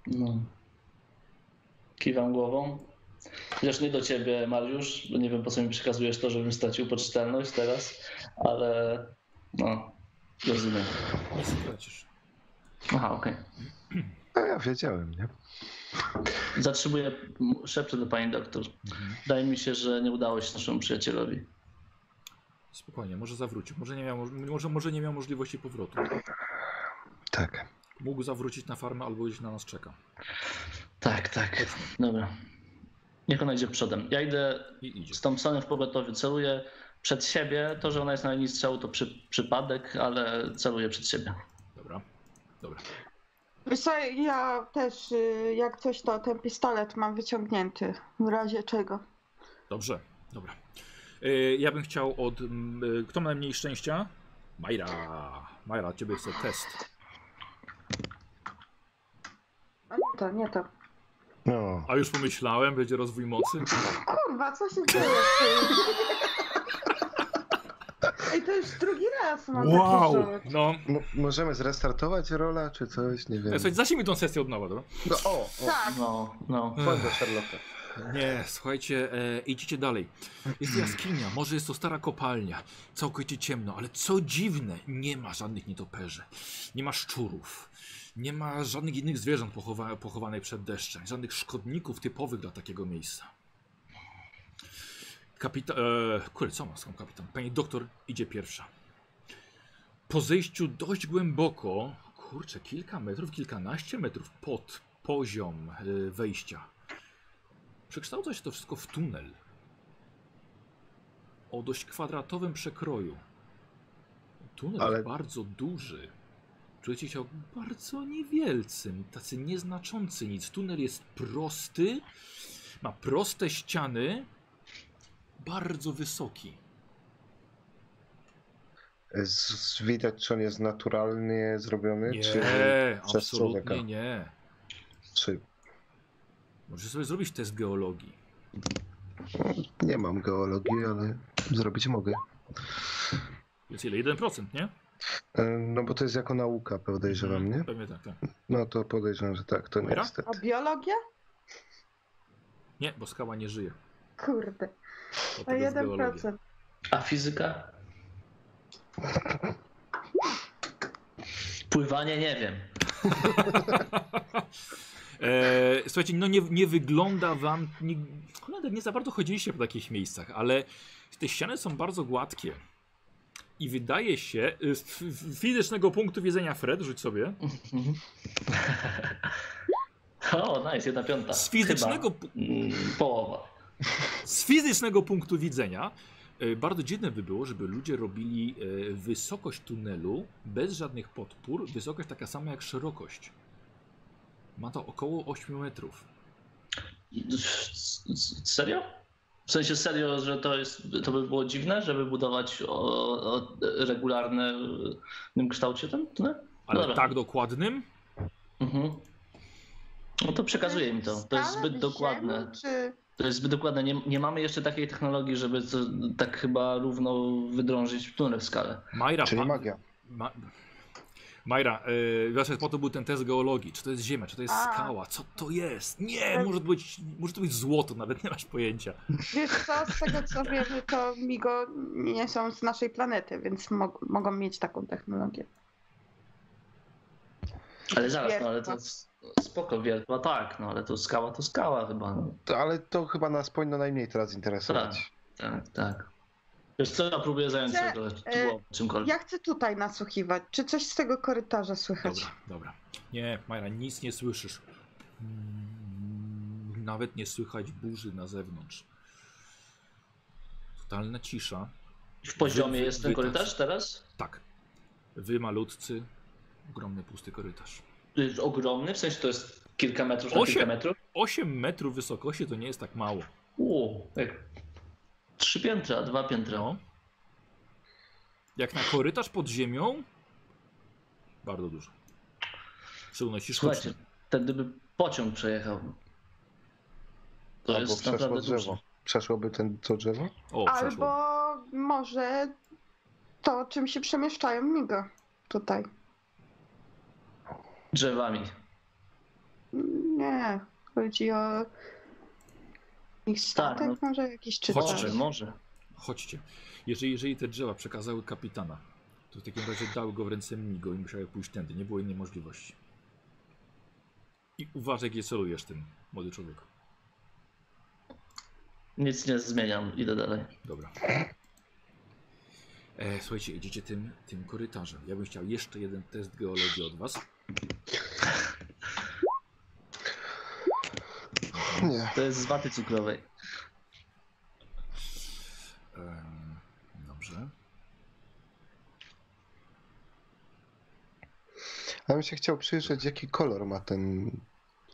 No. Kiwam głową. Chociaż nie do ciebie, Mariusz, bo nie wiem po co mi przekazujesz to, żebym stracił poczytalność teraz, ale no, rozumiem.
Nic nie tracisz.
Aha, okej.
A No, ja wiedziałem, nie?
Zatrzymuję, m- szepczę do pani doktor.
Mhm.
Wydaje mi się, że nie udało się naszemu przyjacielowi.
Spokojnie, może zawrócił. Może nie, miał, może, może nie miał możliwości powrotu.
Tak.
Mógł zawrócić na farmę albo gdzieś na nas czeka.
Tak, tak. Dobra. Niech ona idzie przodem. Ja idę
I idzie.
z Thompsonem w pogotowiu, celuję przed siebie. To, że ona jest na linii strzału, to przy, przypadek, ale celuję przed siebie.
Dobra. Dobra.
Wiesz co, ja też y, jak coś to ten pistolet mam wyciągnięty. W razie czego.
Dobrze. Dobra. Y, ja bym chciał od. mm, y, kto ma najmniej szczęścia? Majra. Majra, od ciebie chcę test.
A nie to, nie to.
No,
A już pomyślałem, będzie rozwój mocy.
Kurwa, co się dzieje? ty? Ej, to już drugi raz mam
Wow!
taki rzut.
No.
M- możemy zrestartować rola, czy coś? Nie wiem.
Słuchajcie, zacznijmy tą sesję od nowa, dobra?
No, o, o,
Tak,
No, no.
chodź do Sherlocka.
Nie, słuchajcie, e, idziecie dalej. Jest jaskinia, może jest to stara kopalnia. Całkowicie ciemno, ale co dziwne, nie ma żadnych nietoperzy. Nie ma szczurów. Nie ma żadnych innych zwierząt pochowa pochowanych przed deszczem. Żadnych szkodników typowych dla takiego miejsca. Kapitan... E, kurde, co ma z tą kapitan? Pani doktor idzie pierwsza. Po zejściu dość głęboko, kurczę, kilka metrów, kilkanaście metrów pod poziom e, wejścia. Przekształca się to wszystko w tunel o dość kwadratowym przekroju. Tunel
Ale-
bardzo duży. Czujecie się bardzo niewielcym, tacy nieznaczący nic. Tunel jest prosty, ma proste ściany, bardzo wysoki.
Z, z, widać, czy on jest naturalnie zrobiony, czy,
Nie,
przez człowieka.
absolutnie nie.
czy...
Możesz sobie zrobić test geologii.
Nie mam geologii, ale zrobić mogę.
Jest ile? 1%, nie?
E, No bo to jest jako nauka, podejrzewam, nie?
Pewnie tak, tak.
No to podejrzewam, że tak, to
Dobra.
niestety.
a biologia?
Nie, bo skała nie żyje.
Kurde, to
Dlatego jest geologia.
1%.
A fizyka? Pływanie nie wiem.
E, słuchajcie, no nie, nie wygląda wam. Nie, cholera, nie za bardzo chodziliście po takich miejscach, ale te ściany są bardzo gładkie. I wydaje się, y, z f- f- fizycznego punktu widzenia Fred, rzuć sobie.
o, nice, jedna piąta.
Z fizycznego, pu-
Tak, Chyba. Mm, Połowa.
z fizycznego punktu widzenia y, bardzo dziwne by było, żeby ludzie robili y, wysokość tunelu bez żadnych podpór. Wysokość taka sama jak szerokość. Ma to około 8 metrów.
S- s- Serio? W sensie serio, że to, jest, to by było dziwne, żeby budować o, o regularnym kształcie ten tunel?
Ale
Dobra.
tak dokładnym?
Mhm. No to przekazuję im to. To jest
Skala
zbyt
ziemi,
dokładne.
Czy...
To jest zbyt dokładne. Nie, nie mamy jeszcze takiej technologii, żeby to, tak chyba równo wydrążyć tunel w skalę.
Majra,
Czyli
pa-
magia.
Ma... Majra, yy, właśnie po to był ten test geologii. Czy to jest ziemia, czy to jest
A.
skała? Co to jest? Nie, może to być, może to być złoto, nawet nie masz pojęcia.
Wiesz co, z tego co wiemy, to migo nie są z naszej planety, więc mog- mogą mieć taką technologię.
Ale zaraz, no
Wiertła.
ale to spoko, wiertła tak, no ale to skała to skała chyba. No.
To, ale to chyba nas powinno najmniej teraz interesować.
Tak, tak. Wiesz co, ja próbuję zająć
Chcę,
się trochę
e,
głową czymkolwiek.
Ja chcę tutaj nasłuchiwać. Czy coś z tego korytarza słychać?
Dobra, dobra. Nie, Majra, nic nie słyszysz. Mm, Nawet nie słychać burzy na zewnątrz. Totalna cisza.
W poziomie
wy-
jest ten
wy-
korytarz teraz?
Tak. Wy malutcy, ogromny pusty korytarz.
To jest Ogromny, w sensie to jest kilka metrów na
Osiem.
kilka metrów?
8 metrów wysokości to nie jest tak mało.
Uuu, jak trzy piętra, dwa piętra.
No. Jak na korytarz pod ziemią? Bardzo dużo. W szczególności
Słuchajcie,
sztuczny.
ten gdyby pociąg przejechał. To
Albo
jest
przeszło
naprawdę
drzewo.
dużo.
Przeszłoby ten, to drzewo?
O, przeszło.
Albo może to, czym się przemieszczają migo tutaj.
Drzewami.
Nie, chodzi o ich statek,
no.
może jakiś czy coś.
Może, może.
Chodźcie. Jeżeli, jeżeli te drzewa przekazały kapitana, to w takim razie dały go w ręce Migo i musiały pójść tędy. Nie było innej możliwości. I uważaj, gdzie celujesz tym, młody człowieku.
Nic nie zmieniam, idę dalej.
Dobra. E, słuchajcie, idziecie tym, tym korytarzem. Ja bym chciał jeszcze jeden test geologii od was.
Nie.
To jest z waty cukrowej.
Em, E, Dobrze.
Ja bym się chciał przyjrzeć, jaki kolor ma ten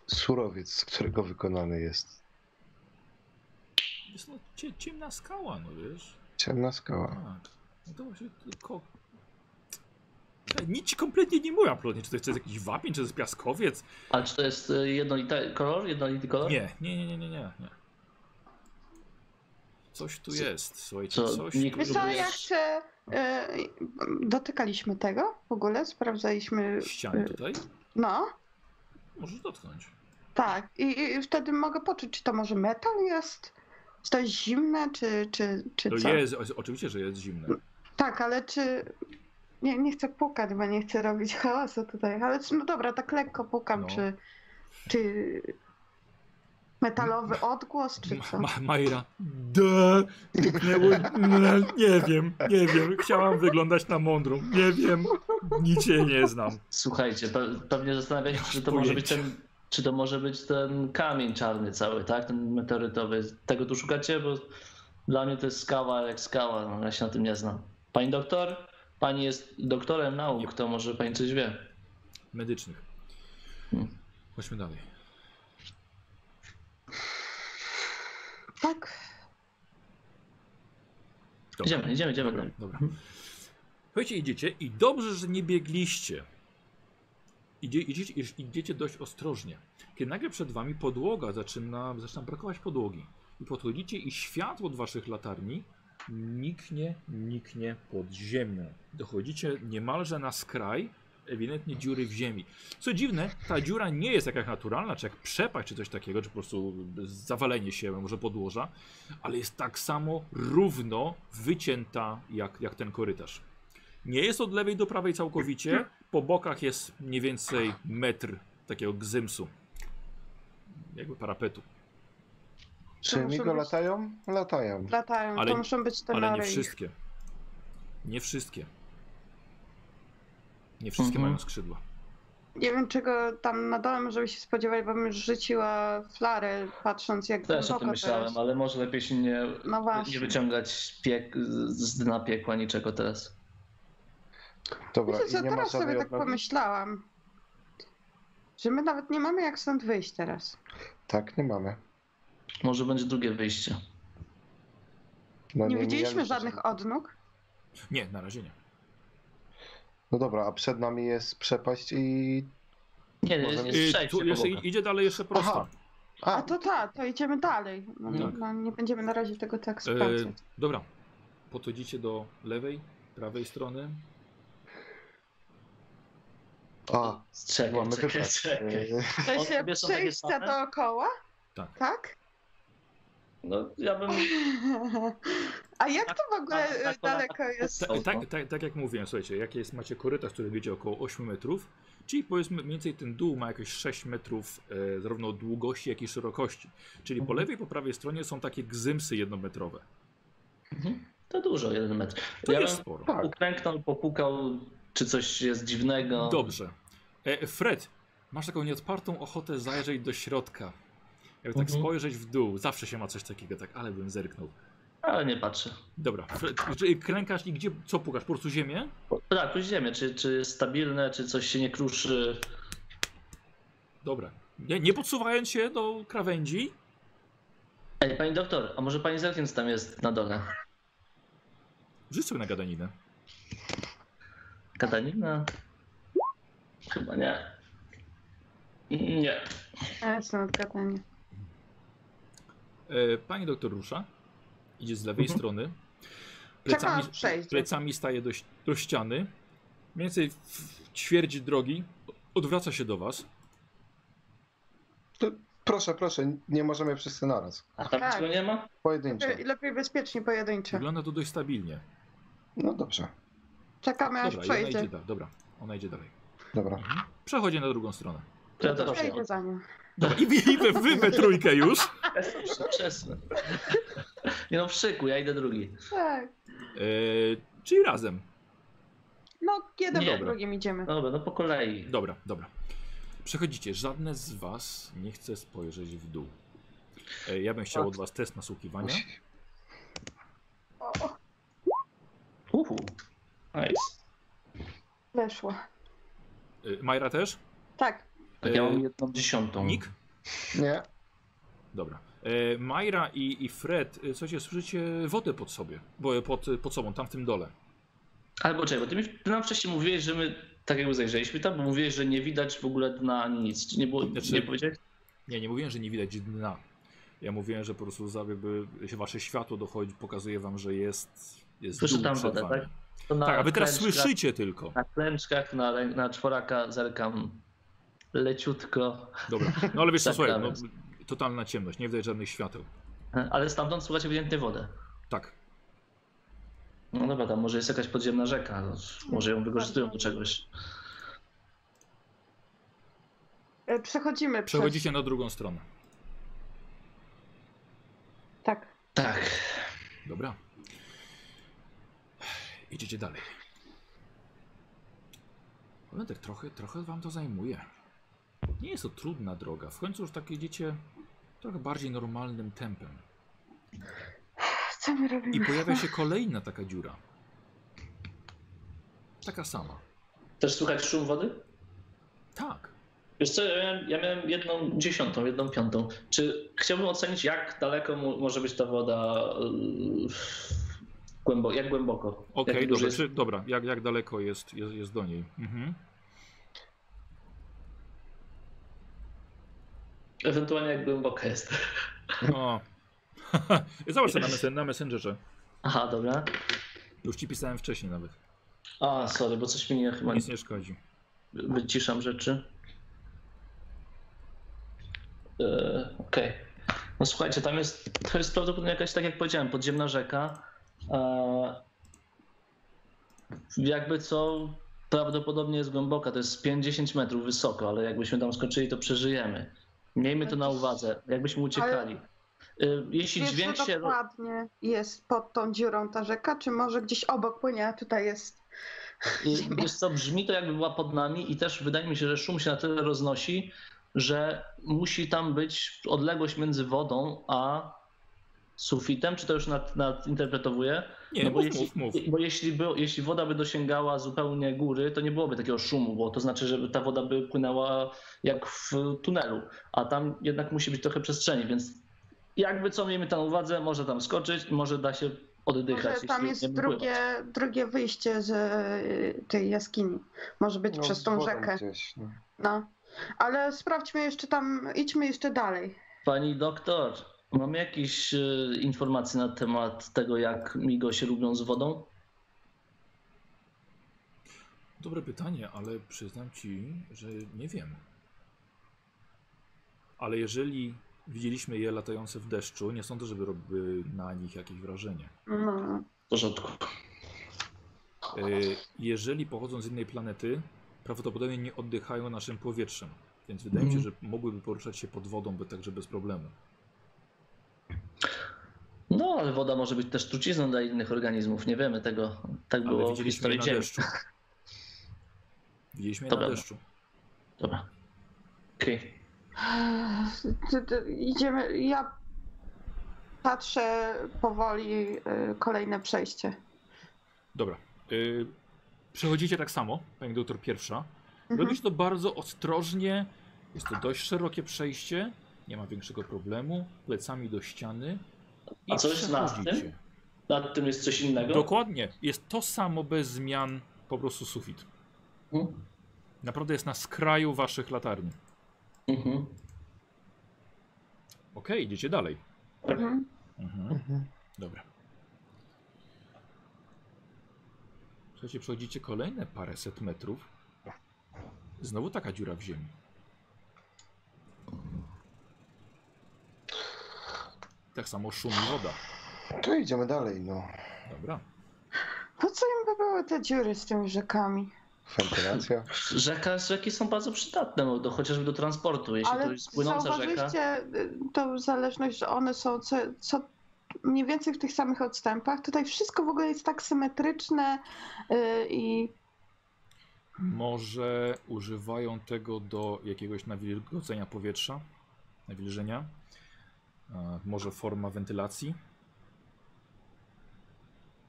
surowiec, z którego wykonany jest.
Jest no cie, ciemna skała, no wiesz.
Ciemna skała.
Tak. No to właśnie tylko... Słuchaj, Nic ci kompletnie nie mówię absolutnie, czy to jest jakiś wapień, czy to jest piaskowiec.
A czy to jest y, jednolity kolor? Jednolity kolor?
Nie, nie, nie, nie, nie, nie. nie. Coś tu
Co-
jest, słuchajcie,
co,
coś
nikt-
tu...
Wiesz co,
Próbujesz-
ja chcę... e, dotykaliśmy tego w ogóle? Sprawdzaliśmy...
Ściany tutaj?
No,
Możesz dotknąć.
tak. I, I wtedy mogę poczuć, czy to może metal jest? Czy to jest zimne, czy, czy, czy
To
co?
jest, o- oczywiście, że jest zimne.
Tak, ale czy... Nie, nie chcę pukać, bo nie chcę robić hałasu tutaj, ale czy- no dobra, tak lekko pukam,
No.
czy... czy... Metalowy odgłos, czy co?
Ma, Majra. Da, tyknęło, ne, nie wiem, nie wiem. Chciałam wyglądać na mądrą. Nie wiem, nic się nie znam.
Słuchajcie, pe- pewnie zastanawiacie się, czy to
masz
może być
pojęcia.
ten. Czy to może być ten kamień czarny cały, tak? Ten meteorytowy. Tego tu szukacie, bo dla mnie to jest skała jak skała, no ja się na tym nie znam. Pani doktor? Pani jest doktorem nauk, to może pani coś wie.
Medycznych.
Hmm.
Chodźmy dalej.
Tak,
Dobra.
Idziemy, idziemy, idziemy. dalej. Mhm.
Dobra. Słuchajcie, idziecie i dobrze, że nie biegliście. Idzie, idziecie, idziecie dość ostrożnie. Kiedy nagle przed wami podłoga zaczyna, zaczyna brakować podłogi. I podchodzicie i światło od waszych latarni niknie, niknie pod ziemią. Dochodzicie niemalże na skraj ewidentnie dziury w ziemi. Co dziwne, ta dziura nie jest jakaś naturalna, czy jak przepaść, czy coś takiego, czy po prostu zawalenie się może podłoża ale jest tak samo równo wycięta jak, jak ten korytarz. Nie jest od lewej do prawej całkowicie. Po bokach jest mniej więcej metr takiego gzymsu. Jakby parapetu.
Czy
muszę
migo
być- Tak,
latają? Latają.
latają,
Ale-
to muszą być te
Ale nie
nory ich.
wszystkie. Nie wszystkie. Nie wszystkie
Mhm.
mają skrzydła.
Nie wiem, czego tam na dole możemy się spodziewać, bo bym już rzuciła flarę, patrząc jak
Też o
głęboko
tym
to
myślałem,
jest.
ale może lepiej się nie,
No
nie
właśnie.
wyciągać piek, z dna piekła niczego teraz.
Dobra,
Myślę,
i
że
nie ma
teraz
żadnej
sobie tak
odnogi?
pomyślałam, że my nawet nie mamy jak stąd wyjść teraz.
Tak, nie mamy.
Może będzie drugie wyjście.
No,
Nie
mijaliśmy
widzieliśmy
się
żadnych odnóg.
Nie, na razie nie.
No dobra, a przed nami jest przepaść i...
Nie,
Może
jest,
mi-
jest
Y,
przejście
tu
po
jeszcze,
bokach.
idzie dalej jeszcze prosto.
Aha.
A to tak, to idziemy dalej. No,
Tak.
no, nie będziemy na razie tego tak
E,
sprawdzać.
dobra. Podchodzicie do lewej, prawej strony.
A,
Czekaj,
mamy
czekaj,
wypad.
czekaj.
Yy,
W sensie
obie są takie
przejścia
same?
dookoła?
Tak.
Tak?
No, ja bym
A jak to w ogóle y,
tak, tak,
daleko jest?
Ta, tak, tak, tak jak mówiłem, słuchajcie, jak jest, macie korytarz, który wiedzie około 8 metrów, czyli powiedzmy mniej więcej ten dół ma jakieś 6 metrów e, zarówno długości, jak i szerokości. Czyli po
Mhm.
lewej i po prawej stronie są takie gzymsy jednometrowe.
Mhm. To dużo, jeden metr.
To
ja
jest
bym
sporo.
uklęknął, popukał, czy coś jest dziwnego.
Dobrze. E, Fred, masz taką nieodpartą ochotę zajrzeć do środka. Jakby tak
Mhm.
spojrzeć w dół, zawsze się ma coś takiego, tak, ale bym zerknął.
Ale nie patrzę.
Dobra, Fred, czy klękasz i gdzie, co pukasz? Po prostu ziemię?
Tak, pójdź ziemię, czy, czy jest stabilne, czy coś się nie kruszy.
Dobra. Nie, nie podsuwając się do krawędzi,
Ej, pani doktor, a może pani zerknie, co tam jest na dole?
rzuć sobie na gadaninę.
Katanina? Chyba nie. Nie.
Jest na odgadanie.
E, Pani doktor rusza, idzie z lewej
Mhm.
strony.
Czekam
Plecami,
aż przejdzie.
plecami staje do, ś- do ściany. Mniej więcej w- w ćwierć drogi. Odwraca się do was.
Proszę, proszę, nie możemy wszyscy naraz.
A tam
Tak.
niczego nie
No
ma?
Pojedynczo.
Lepiej- Y, Lepiej bezpiecznie, pojedynczo.
Wygląda to dość stabilnie.
No dobrze,
Czekamy aż
Dobra, i ona idzie,
przejdzie.
da, dobra, ona idzie dalej.
dobra.
Przechodzi na drugą stronę.
To ja
To
też
przejdzie za nią.
Dobra, i wy- i wy, wy we trójkę już.
Przesnę. Nie no, w szyku, ja idę drugi.
Tak.
E, czyli razem.
No, jeden
Nie.
po drugim idziemy.
No Dobra, no po kolei.
Dobra, dobra. Przechodzicie. Żadne z was nie chce spojrzeć w dół. E, Ja bym chciał od was test nasłuchiwania.
Uhu. Nice.
Weszło.
E, Majra też?
Tak.
Tak ja
E,
mam jedną dziesiątą.
Nik?
Nie.
Dobra. E, Majra i, i Fred, e, słuchajcie, słyszycie wodę pod sobie, bo e, pod, pod sobą, tam w tym dole.
Ale poczekaj, bo ty, mi, ty nam wcześniej mówiłeś, że my tak jakby zajrzeliśmy tam, bo mówiłeś, że nie widać w ogóle dna ani nic. Czy nie było,
Znaczy-
nie powiedziałeś?
Nie, nie mówiłem, że nie widać dna. Ja mówiłem, że po prostu za- jakby się wasze światło dochodzi, pokazuje wam, że jest, jest
Słyszę
dół
tam
przed
wodę,
wami.
tak? To na
Tak, a wy teraz
klęczkach-
słyszycie tylko.
Na klęczkach, na, rę- na czworaka zerkam leciutko,
Dobra, no ale wiesz co,
Tak,
słuchaj, no,
nawet.
totalna ciemność, nie widać żadnych świateł.
ale stamtąd słychać ewidentnie wodę.
Tak,
No dobra, tam może jest jakaś podziemna rzeka, no, może ją wykorzystują do czegoś.
E, Przechodzimy
przechodzicie na drugą stronę.
przez... Tak.
Tak,
Dobra. Idziecie dalej. Ale tak trochę, trochę wam to zajmuje. Nie jest to trudna droga. W końcu już tak idziecie trochę bardziej normalnym tempem.
Co my
I
robimy?
pojawia się kolejna taka dziura. Taka sama.
też słychać szum wody?
Tak.
Wiesz co, ja miałem, ja miałem jedną dziesiątą, jedną piątą. Czy chciałbym ocenić, jak daleko mu, może być ta woda głęboko, jak głęboko?
Okej,
jak duży
dobra,
jest-
czy, dobra. Jak, jak daleko jest, jest, jest do niej? Mhm.
Ewentualnie jak głęboka jest.
O. Zobacz to na, messen- na Messengerze.
Aha, dobra.
Już ci pisałem wcześniej nawet.
A, sorry, bo coś mi nie chyba
Nic nie szkodzi.
wyciszam rzeczy. E, Okej. No słuchajcie, tam jest, to jest prawdopodobnie jakaś, tak jak powiedziałem, podziemna rzeka. E, jakby co, prawdopodobnie jest głęboka, to jest 50 metrów wysoko, ale jakbyśmy tam skończyli, to przeżyjemy. Miejmy to
No
na uwadze, jakbyśmy uciekali. E, jeśli
Wiesz,
dźwięk
że
się...
dokładnie jest pod tą dziurą ta rzeka, czy może gdzieś obok płynie, a tutaj jest...
I- Wiesz co, brzmi to jakby była pod nami i też wydaje mi się, że szum się na tyle roznosi, że musi tam być odległość między wodą a sufitem, czy to już nad, nadinterpretowuję? No
Nie,
bo,
mów,
jeśli,
mów, mów.
bo jeśli, by, jeśli woda by dosięgała zupełnie góry, to nie byłoby takiego szumu, bo to znaczy, że ta woda by płynęła jak w tunelu, a tam jednak musi być trochę przestrzeni, więc jakby co miejmy tam uwadze, może tam skoczyć i może da się oddychać.
Może
jeśli
tam
nie
jest
będziemy pływać.
drugie, drugie wyjście z e, tej jaskini. Może być
No,
przez
z
tą
wodą
rzekę.
Gdzieś, no.
No. Ale sprawdźmy jeszcze tam, idźmy jeszcze dalej.
Pani doktor, mam jakieś y, informacje na temat tego, jak migosie lubią z wodą?
Dobre pytanie, ale przyznam ci, że nie wiem. Ale jeżeli widzieliśmy je latające w deszczu, nie sądzę, żeby robiły na nich jakieś wrażenie.
No.
W porządku.
E, Jeżeli pochodzą z innej planety, prawdopodobnie nie oddychają naszym powietrzem. Więc wydaje mi się, że mogłyby poruszać się pod wodą, by także bez problemu.
No, ale woda może być też trucizną dla innych organizmów, nie wiemy tego. Tak
Ale
było w
widzieliśmy je
historii
na
Ziemi.
deszczu. Widzieliśmy je
To
na
prawda.
deszczu.
Dobra. Okej.
Ty- ty- Idziemy, ja patrzę powoli e, kolejne przejście.
Dobra. Y, przechodzicie tak samo, pani doktor pierwsza.
Mhm.
Robisz to bardzo ostrożnie. Jest to dość szerokie przejście. Nie ma większego problemu. Plecami do ściany. I
A coś nad tym?
przechodzicie.
Nad tym jest coś innego?
Dokładnie. Jest to samo bez zmian, po prostu sufit.
Mhm.
Naprawdę jest na skraju waszych latarni.
Mhm.
Okej, idziecie dalej.
Mhm.
Mhm. Dobra. Słuchajcie, przechodzicie kolejne paręset metrów. Znowu taka dziura w ziemi. Tak samo szum i woda.
To idziemy dalej, no.
Dobra.
Po co im by były te dziury z tymi rzekami?
Wentylacja.
Rzeka, rzeki są bardzo przydatne, bo do, chociażby do transportu. Jeśli to
Ale
jest płynąca rzeka,
zauważyliście y, tą zależność, że one są co, co mniej więcej w tych samych odstępach. Tutaj wszystko w ogóle jest tak symetryczne y, i
Może używają tego do jakiegoś nawilgocenia powietrza, nawilżenia. E, Może forma wentylacji?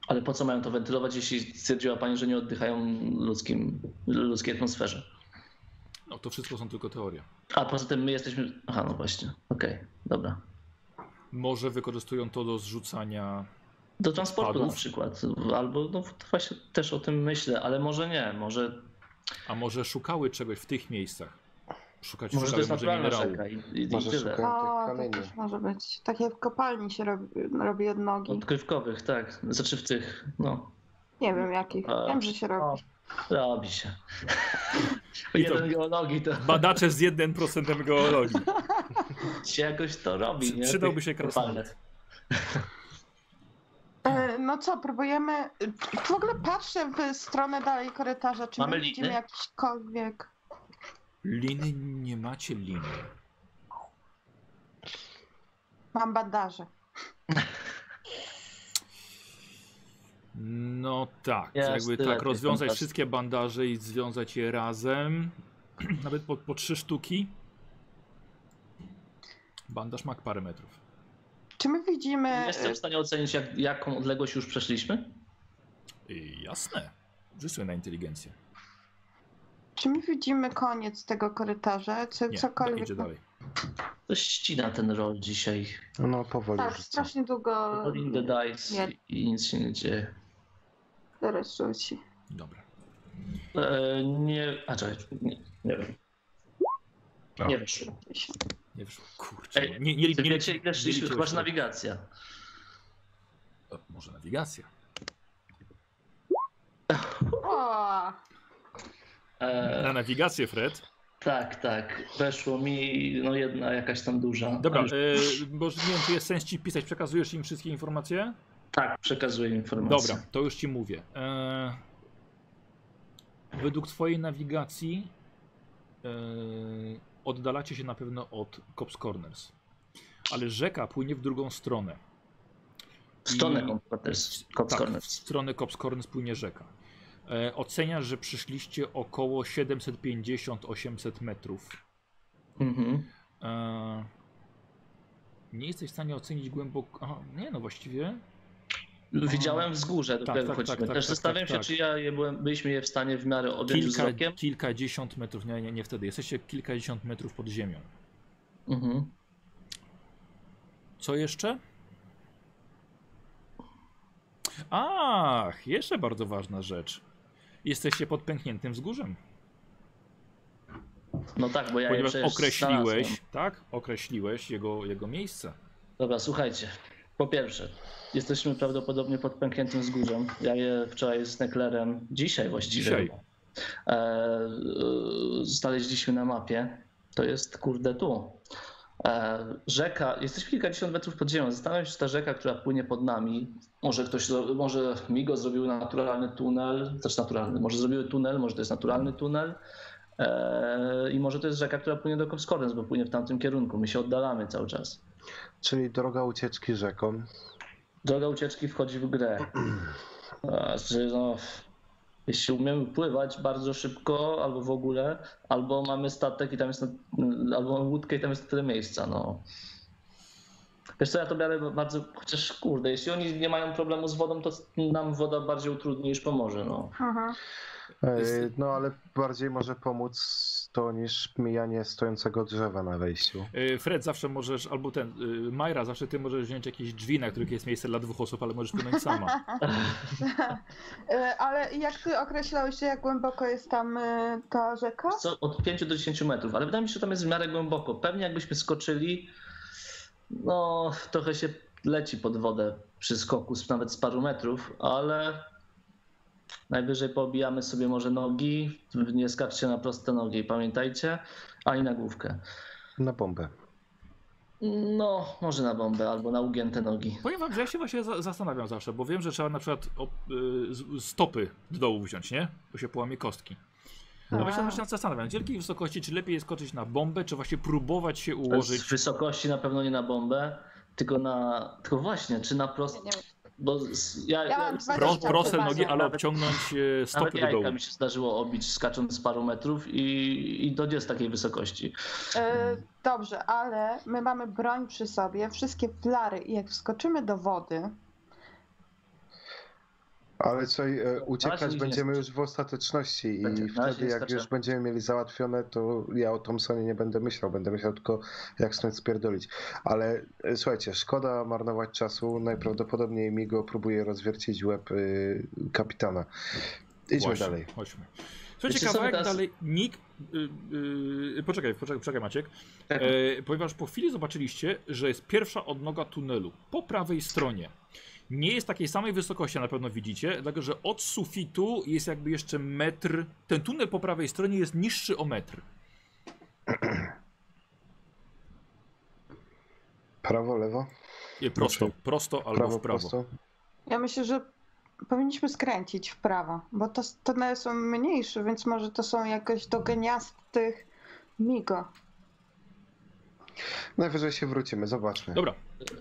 Ale po co mają to wentylować, jeśli stwierdziła pani, że nie oddychają ludzkim, ludzkiej atmosferze?
No to wszystko są tylko teorie.
A poza tym my jesteśmy. Aha, no właśnie. Okej, dobra.
Może wykorzystują to do zrzucania.
Do transportu
Odpadów?
na przykład. Albo no to właśnie też o tym myślę, ale może nie, może,
A może szukały czegoś w tych miejscach? Szukać
może
szukały
to jest
może
naturalna
minerału.
rzeka i, i, i
Może
tyle.
szuka-
O,
Piątek
to
kamieni.
też może być. Tak jak w kopalni się robi, robi
No
odnogi.
Odkrywkowych, tak. Znaczy w tych, no,
Nie wiem jakich.
A.
Wiem, że się robi.
robi się.
I to-
Jeden geologii to
Badacze z 1% geologii.
się jakoś to robi. Nie?
Przydałby się
Tych
krasnolud.
E, no co, próbujemy... W ogóle patrzę w stronę dalej korytarza, czy
Mamy
my widzimy
liny?
jakikolwiek...
Liny nie macie liny.
Mam bandaże.
No tak,
Ja
jakby
tyle
tak
tych
rozwiązać
fantazji.
wszystkie bandaże i związać je razem. Nawet po, po trzy sztuki. Bandaż ma parę metrów.
Czy my widzimy...
Nie Jestem w stanie ocenić, jak, jaką odległość już przeszliśmy.
I Y, jasne. Rzucę na inteligencję.
Czy my widzimy koniec tego korytarza? Czy
Nie,
cokolwiek?
idzie dalej.
To ścina ten rol dzisiaj.
No powoli
Tak,
rzucę.
strasznie długo
Rolling the dice
Nie.
i nic się nie dzieje.
teraz rzuci.
Dobra.
E, nie, a czekaj, nie, nie wiem.
No.
Nie wyszło.
Nie wyszło. Kurczę.
Ej,
nie, nie, nie,
Ty
nie,
wiecie, ile szliśmy? Chyba,
liczyłeś
że
tego.
nawigacja.
O, Może nawigacja.
O,
Na
E,
nawigację, Fred.
tak, tak. Weszło mi no jedna jakaś tam duża.
Dobra,
Ale-
e, może nie wiem, czy jest sens ci pisać. Przekazujesz im wszystkie informacje?
Tak, przekazuję informację.
Dobra, to już ci mówię. E, według twojej nawigacji e, oddalacie się na pewno od Cops Corners. Ale rzeka płynie w drugą stronę.
W stronę
I-
Computers.
Tak, w stronę Cops Corners płynie rzeka. E, oceniasz, że przyszliście około 750-800 metrów.
Mhm.
E, nie jesteś w stanie ocenić głęboko... Aha, nie no, właściwie...
Widziałem wzgórze, do
Tak,
którego
tak,
chodzimy.
tak, tak,
Też
tak,
zastanawiam
tak,
się,
tak.
czy ja je byłem, byliśmy je w stanie w miarę objąć
Kilka,
wzrokiem.
kilkadziesiąt metrów, nie, nie, nie wtedy. Jesteście kilkadziesiąt metrów pod ziemią.
Mhm.
Co jeszcze? Ach, jeszcze bardzo ważna rzecz. Jesteście pod pękniętym wzgórzem,
No tak, bo ja
ponieważ
je przecież no.
określiłeś,
znalazłem.
tak? Określiłeś jego, jego miejsce.
Dobra, słuchajcie. Po pierwsze, jesteśmy prawdopodobnie pod pękniętym wzgórzem. Ja je wczoraj z Neklerem, dzisiaj właściwie,
Dzisiaj.
E, e, znaleźliśmy na mapie. To jest kurde tu. E, rzeka, jesteśmy kilkadziesiąt metrów pod ziemią. Zastanawiam się, czy ta rzeka, która płynie pod nami, może ktoś, zro- może Migo zrobił naturalny tunel, też naturalny, może zrobiły tunel, może to jest naturalny tunel. E, I może to jest rzeka, która płynie do Kopskorens, bo płynie w tamtym kierunku. My się oddalamy cały czas.
Czyli droga ucieczki rzeką.
Droga ucieczki wchodzi w grę. Znaczy, no, jeśli umiemy pływać bardzo szybko, albo w ogóle, albo mamy statek i tam jest, na- albo mamy łódkę i tam jest tyle miejsca, no. Wiesz co, ja to biorę bardzo, chociaż kurde, jeśli oni nie mają problemu z wodą, to nam woda bardziej utrudni niż pomoże, no.
aha.
E,
Jest-
No ale bardziej może pomóc to niż mijanie stojącego drzewa na wejściu.
Yy, Fred, zawsze możesz, albo ten, yy, Majra, zawsze ty możesz wziąć jakieś drzwi, na których jest miejsce dla dwóch osób, ale możesz płynąć sama.
E, Ale jak ty określałeś, jak głęboko jest tam e, ta rzeka?
Wiesz Co, od 5 do 10 metrów, ale wydaje mi się, że tam jest w miarę głęboko. Pewnie jakbyśmy skoczyli, no trochę się leci pod wodę przy skoku z- nawet z paru metrów, ale najwyżej pobijamy sobie może nogi, nie skaczcie na proste nogi, pamiętajcie, ani na główkę.
Na bombę.
No, może na bombę albo na ugięte nogi.
Powiem wam, że ja się właśnie za zastanawiam zawsze, bo wiem, że trzeba na przykład o, yy, z- stopy do dołu wziąć, nie? Bo się połamie kostki. No
A.
właśnie zawsze się zastanawiam, z wielkiej wysokości, czy lepiej jest skoczyć na bombę, czy właśnie próbować się ułożyć
Z wysokości na pewno nie na bombę, tylko na, tylko właśnie, czy na
Nie,
prost,
nie wiem.
Bo z- ja,
Ja mam dwa-
Pro,
Dwadzieścia
proste
chyba,
nogi,
no.
ale
Nawet-
obciągnąć e,
nawet
stopy do
jajka
dołu.
mi się zdarzyło obić skacząc z paru metrów i, i do jest takiej wysokości.
E, dobrze, ale my mamy broń przy sobie, wszystkie flary i jak wskoczymy do wody,
Ale co, e,
Właśnie
uciekać
nie
będziemy
jest-
już w ostateczności i
Będzie- na razie
wtedy jak
wystarczy.
już będziemy mieli załatwione, to ja o Thompsonie nie będę myślał, będę myślał tylko jak stąd spierdolić. Ale e, słuchajcie, szkoda marnować czasu, najprawdopodobniej mi go próbuje rozwiercić łeb y, kapitana. Idźmy
Właśnie,
dalej.
Chodźmy. Słuchajcie,
Wiecie co,
kawałek
teraz-
dalej Nick... Y, y, poczekaj, poczekaj, poczekaj Maciek.
Tak.
E, ponieważ po chwili zobaczyliście, że jest pierwsza odnoga tunelu po prawej stronie. Nie jest takiej samej wysokości, a na pewno widzicie, dlatego że od sufitu jest jakby jeszcze metr. Ten tunel po prawej stronie jest niższy o metr.
Prawo, lewo?
Nie, Prosto, prosto albo
prawo,
w prawo.
prosto?
ja myślę, że powinniśmy skręcić w prawo, bo to one są mniejsze, więc może to są jakoś do geniastych migo.
Najwyżej się wrócimy, zobaczmy.
Dobra,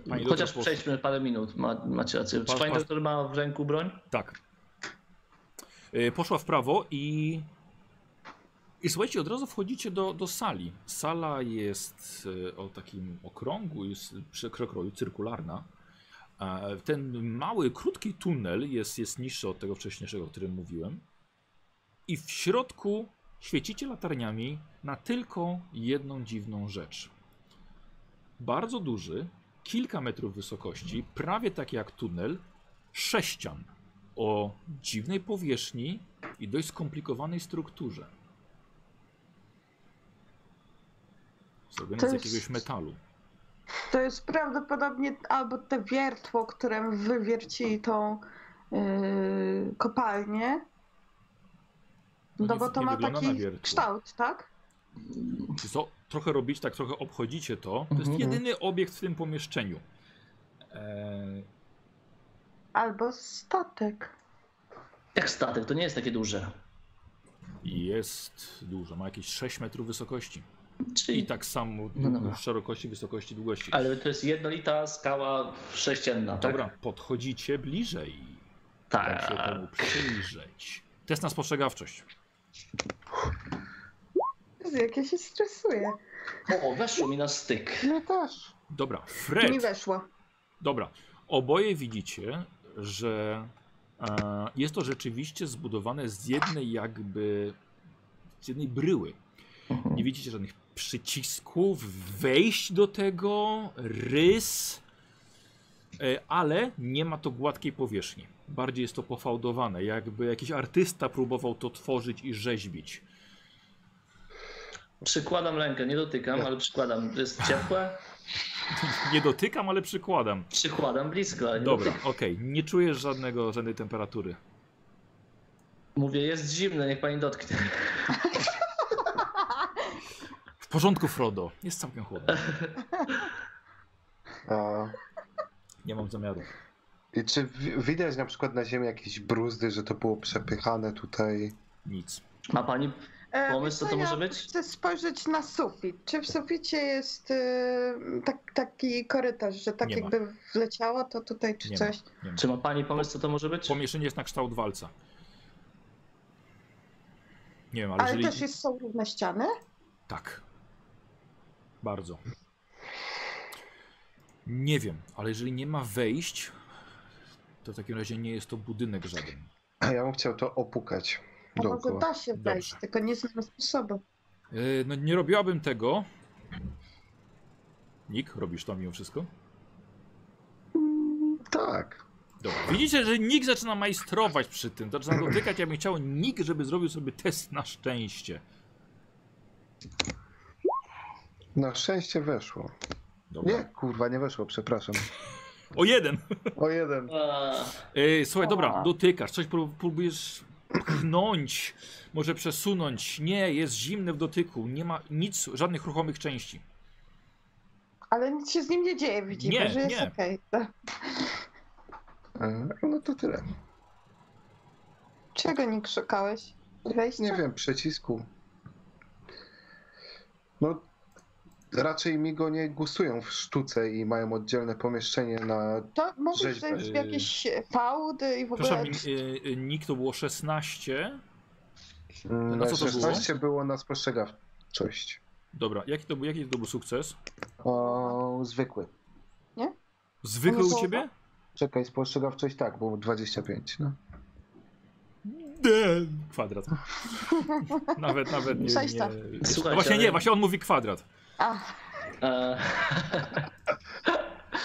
Pani
Chociaż
doktor,
przejdźmy parę minut, ma, macie rację. Czy
Pan-
pani
pan-
doktor ma w ręku broń?
tak. E, Poszła w prawo i. I słuchajcie, od razu wchodzicie do, do sali. Sala jest e, o takim okrągu, jest przy- przekroju cyrkularna. E, Ten mały, krótki tunel jest, jest niższy od tego wcześniejszego, o którym mówiłem. I w środku świecicie latarniami na tylko jedną dziwną rzecz. Bardzo duży, kilka metrów wysokości, prawie taki jak tunel, sześcian o dziwnej powierzchni i dość skomplikowanej strukturze. Zrobiony
To
z
jest-
jakiegoś metalu.
To jest prawdopodobnie albo te wiertło, którym wywiercili tą yy, kopalnię,
No
no,
nie-
bo to
nie
ma
wygląda na
taki
wiertło.
kształt, tak?
Czy co trochę robić, tak trochę obchodzicie to. To jest
Mhm.
jedyny obiekt w tym pomieszczeniu. Eee,
Albo statek.
Jak statek, to nie jest takie duże.
Jest dużo, ma jakieś 6 metrów wysokości.
Czyli
I tak samo
No dobra.
szerokości, wysokości, długości.
Ale to jest jednolita skała sześcienna, tak?
Dobra, podchodzicie bliżej. Tak się
Tak.
temu przyjrzeć. Test na spostrzegawczość.
Jezu, Jak ja się stresuję.
O, weszło mi na styk.
No też.
Dobra, Fred.
Mi weszło.
Dobra, oboje widzicie, że e, jest to rzeczywiście zbudowane z jednej jakby, z jednej bryły. Nie widzicie żadnych przycisków, wejść do tego, rys, e, ale nie ma to gładkiej powierzchni. Bardziej jest to pofałdowane, jakby jakiś artysta próbował to tworzyć i rzeźbić.
Przykładam rękę, nie dotykam, ale przykładam. To Jest ciepłe?
Nie dotykam, ale przykładam.
Przykładam blisko, ale nie
Dobra,
dotykam.
okej, nie czujesz żadnego, żadnej temperatury.
Mówię, jest zimne, niech pani dotknie.
W porządku, Frodo, jest całkiem chłodno.
A,
Nie mam zamiaru.
i czy wi- widać na przykład na ziemi jakieś bruzdy, że to było przepychane tutaj?
Nic.
Ma pani
E,
Pomysł,
wiesz
co to może
ja
być?
Chcę spojrzeć na sufit. Czy w suficie jest y, tak, taki korytarz, że tak
Nie ma.
jakby wleciało to tutaj czy
Nie ma.
coś?
Nie ma.
Czy ma pani pomysł, co to może być?
Pomieszczenie jest na kształt walca. Nie wiem, ale,
Ale
jeżeli...
też jest, są równe ściany?
Tak. Bardzo. Nie wiem, ale jeżeli nie ma wejść, to w takim razie nie jest to budynek żaden.
A ja bym chciał to opukać
A może tak?
dookoła.
da się wejść,
Dobrze.
tylko nie znam sposobu.
Yy, no nie robiłabym tego. Nick, robisz to mimo wszystko?
Mm,
Tak.
Dobra. Widzicie, że Nick zaczyna majstrować przy tym. Zaczyna dotykać. Ja bym chciał Nick, żeby zrobił sobie test na szczęście.
Na szczęście weszło.
Dobra.
Nie, kurwa, nie weszło, przepraszam.
O jeden!
O jeden.
A,
Ej, E, słuchaj, dobra,
A.
dotykasz, coś pró- próbujesz pchnąć, może przesunąć. Nie, jest zimne w dotyku, nie ma nic, żadnych ruchomych części.
Ale nic się z nim nie dzieje, widzimy,
Nie,
że jest
nie.
okej.
E, No to tyle.
Czego nie szukałeś? Wejścia?
Nie wiem, przycisku. No, raczej Migo nie gustują w sztuce i mają oddzielne pomieszczenie na...
To mówisz, że
Rzeźba.
już jakieś e, fałdy i w ogóle...
Przepraszam, y, y, Nick to było 16.
Na
co to było?
16 było? na spostrzegawczość.
Dobra, jaki to był, jaki to był sukces?
O, zwykły.
Zwykły
Ono
u
było-
ciebie?
Czekaj, spostrzegawczość tak, było 25. No.
Nie. Kwadrat. Nawet, nawet nie.
Sześć tak.
nie.
Słuchajcie,
No właśnie
ale-
nie, właśnie on mówi kwadrat.
A,
E,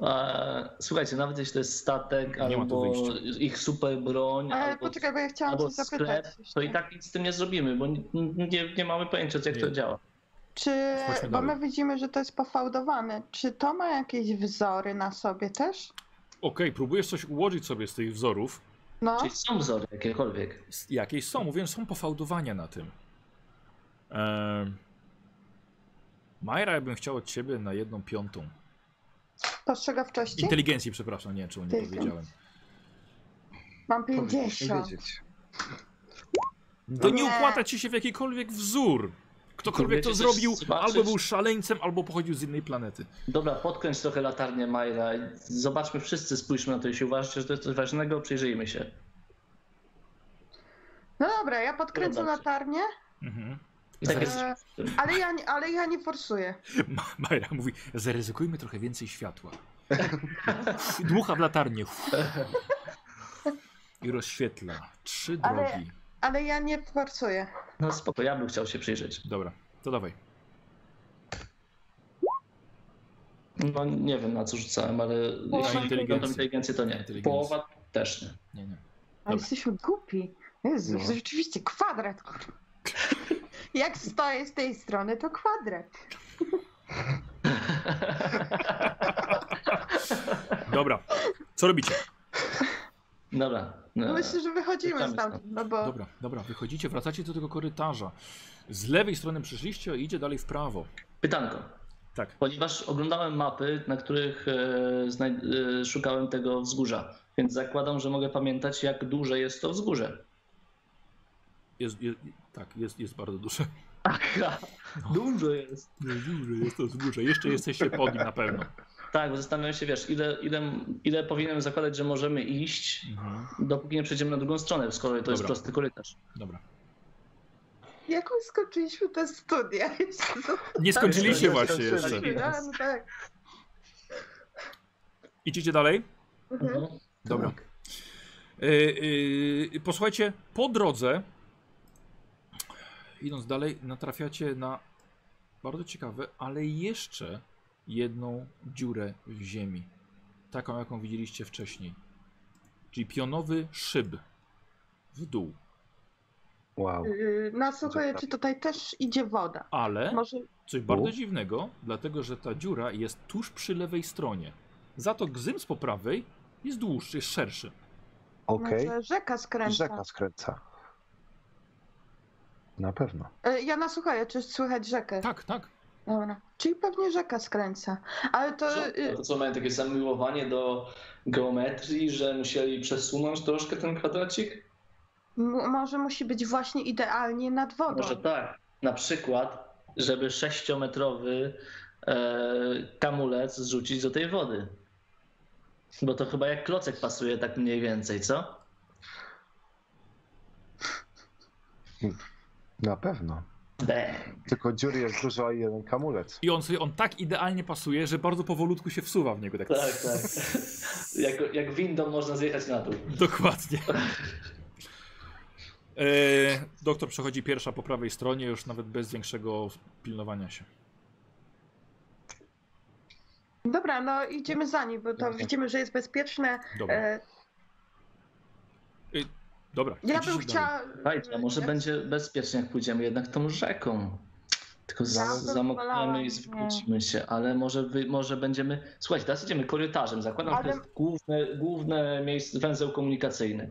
e, Słuchajcie, nawet jeśli to jest statek
Nie ma tu
albo ich super broń,
ale
albo,
e, poczekaj, bo ja chciałam
albo
coś zapytać.
sklep, to i tak nic z tym nie zrobimy, bo nie, nie, nie mamy pojęcia, jak to
Nie.
działa.
Czy,
Chodźmy
bo
dalej.
my widzimy, że to jest pofałdowane, czy to ma jakieś wzory na sobie też?
Okej, próbujesz coś ułożyć sobie z tych wzorów.
No,
Czyli są wzory jakiekolwiek.
S- Jakieś są, mówiłem, są pofałdowania na tym. Ehm. Majra, ja bym chciał od ciebie na jedną piątą.
spostrzegawczości?
Inteligencji, przepraszam, nie wiem, czemu nie
Inteligencji.
powiedziałem.
Mam
Powinieneś
50.
wiedzieć.
To nie
Nie.
układa ci się w jakikolwiek wzór. Ktokolwiek to
Próbujecie
zrobił,
coś zobaczyć?
albo był szaleńcem, albo pochodził z innej planety.
Dobra, podkręć trochę latarnię Majra i zobaczmy wszyscy, spójrzmy na to, jeśli uważacie, że to jest coś ważnego, przyjrzyjmy się.
No dobra, ja podkręcę
Zobaczcie.
latarnię,
Mhm.
Tak jest.
e, ale ja, nie- ale ja nie forsuję.
Ma- Majra mówi, zaryzykujmy trochę więcej światła. I Dmucha w latarnię. I rozświetla. Trzy
Ale-
drogi.
Ale ja nie forsuję.
No spoko, ja bym chciał się przyjrzeć.
Dobra, to dawaj.
No nie wiem na co rzucałem, ale
Na
jeśli
inteligencję.
inteligencję. inteligencję, to nie.
Inteligencję.
Połowa też nie.
Nie, nie.
A
Dobra.
jesteśmy głupi. Jezu,
No.
rzeczywiście, kwadrat. kurwa. Jak stoję z tej strony, to kwadrat.
Dobra, co robicie?
Dobra.
No.
No,
Myślę, że wychodzimy
Wracamy
stamtąd, no bo
Tak. Dobra, dobra, wychodzicie, wracacie do tego korytarza. Z lewej strony przyszliście i idzie dalej w prawo.
Pytanko.
Tak.
Ponieważ oglądałem mapy, na których e, znaj- e, szukałem tego wzgórza, więc zakładam, że mogę pamiętać, jak duże jest to wzgórze.
Jest, jest, tak, jest, jest bardzo duże.
Aha, duże jest.
Jest duże, jest to wzgórze. Jeszcze jesteście pod nim na pewno.
Tak, bo zastanawiam się, wiesz, ile, ile, ile powinienem zakładać, że możemy iść,
Mhm.
dopóki nie przejdziemy na drugą stronę, skoro to jest
Dobra.
prosty korytarz.
Dobra.
jaką skończyliśmy te studia?
Nie skończyliście
jeszcze,
właśnie
jeszcze,
jeszcze.
jeszcze.
No, no tak.
Idziecie dalej?
Mhm.
Mhm.
Dobra. Y, y, posłuchajcie, po drodze, idąc dalej, natrafiacie na bardzo ciekawe, ale jeszcze jedną dziurę w ziemi. Taką, jaką widzieliście wcześniej. Czyli pionowy szyb w dół.
Wow.
Yy, Nasłuchuję, czy tutaj też idzie woda.
Ale
Może
coś bardzo dziwnego, dlatego że ta dziura jest tuż przy lewej stronie. Za to gzym z po prawej jest dłuższy, jest szerszy.
Okej.
może rzeka skręca.
Rzeka skręca. Na pewno.
Yy, Ja nasłuchuję, czy słychać rzekę.
Tak, tak.
Dobra. Czyli pewnie rzeka skręca. Ale to...
A
yy,
To co mają takie zamiłowanie do geometrii, że musieli przesunąć troszkę ten kwadracik?
m- może musi być właśnie idealnie nad wodą.
Może tak. Na przykład, żeby sześciometrowy e, kamulec zrzucić do tej wody. Bo to chyba jak klocek pasuje, tak mniej więcej, co?
Na pewno.
Be.
Tylko dziury jest dużo, a jeden kamulec.
I on sobie, on tak idealnie pasuje, że bardzo powolutku się wsuwa w niego. Tak,
Tak, tak. Jak, jak windą można zjechać na dół.
Dokładnie. E, doktor przechodzi pierwsza po prawej stronie, już nawet bez większego pilnowania się.
Dobra, no idziemy za nim, bo to
Dobra.
widzimy, że jest bezpieczne.
Dobra.
E,
Dobra.
ja
idziecie dalej.
bym chciała... e,
Słuchajcie, a może będzie bezpiecznie, jak pójdziemy jednak tą rzeką. Tylko za,
Ja bym wolała,
zamokniemy
nie.
i zwrócimy się, ale może, wy, może będziemy. Słuchajcie, teraz idziemy korytarzem. Zakładam,
Ale-
że to jest główne, główne miejsce, węzeł komunikacyjny.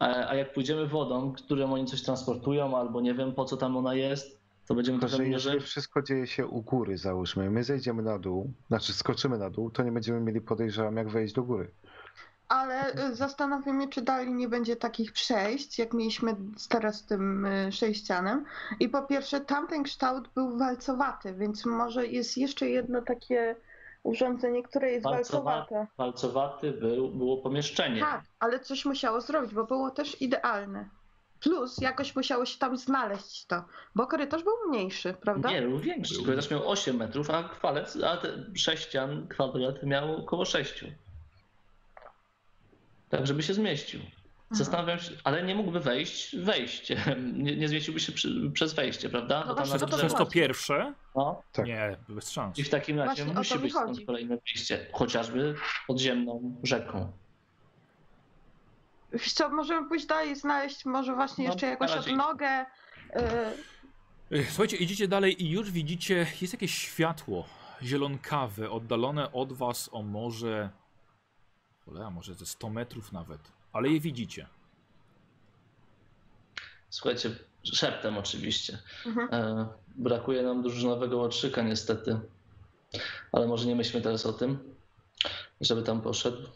A, a jak pójdziemy wodą, którą oni coś transportują, albo nie wiem po co tam ona jest, to będziemy
Tylko,
trochę
że jeżeli
mniej.
wszystko dzieje się u góry, załóżmy, my zejdziemy na dół, znaczy skoczymy na dół, to nie będziemy mieli podejrzewam, jak wejść do góry.
ale y, zastanawiam się, czy dalej nie będzie takich przejść, jak mieliśmy z- teraz z tym y, sześcianem. I po pierwsze, tamten kształt był walcowaty, więc może jest jeszcze jedno takie urządzenie, które jest
Walcowa-
walcowate.
Palcowaty był, było pomieszczenie.
Tak, ale coś musiało zrobić, bo było też idealne. Plus jakoś musiało się tam znaleźć to, bo korytarz był mniejszy, prawda?
Nie, był większy.
Był.
Korytarz miał 8 metrów, a kwalec, a te sześcian kwadrat miał około 6. Tak, żeby się zmieścił.
Aha.
Zastanawiam się, ale nie mógłby wejść, wejść. Nie, nie zmieściłby się przy, przez wejście, prawda?
No
Bo
właśnie,
na
Przez,
to
Znaczy,
drzewo.
przez to
właśnie.
pierwsze?
No.
Tak.
Nie, bez szans.
I w takim razie
Właśnie o to
musi
mi
być
chodzi.
stąd kolejne wyjście, chociażby podziemną rzeką.
Wiesz co, możemy pójść dalej, znaleźć może właśnie
No,
jeszcze jakąś
na razie-
odnogę. y,
Ech, E, Słuchajcie, idziecie dalej i już widzicie, jest jakieś światło zielonkawe, oddalone od was o może, cholera, może ze 100 metrów nawet, ale je widzicie.
Słuchajcie, szeptem oczywiście.
Mhm.
E, brakuje nam drużynowego łotrzyka niestety. Ale może nie myślmy teraz o tym, żeby tam poszedł.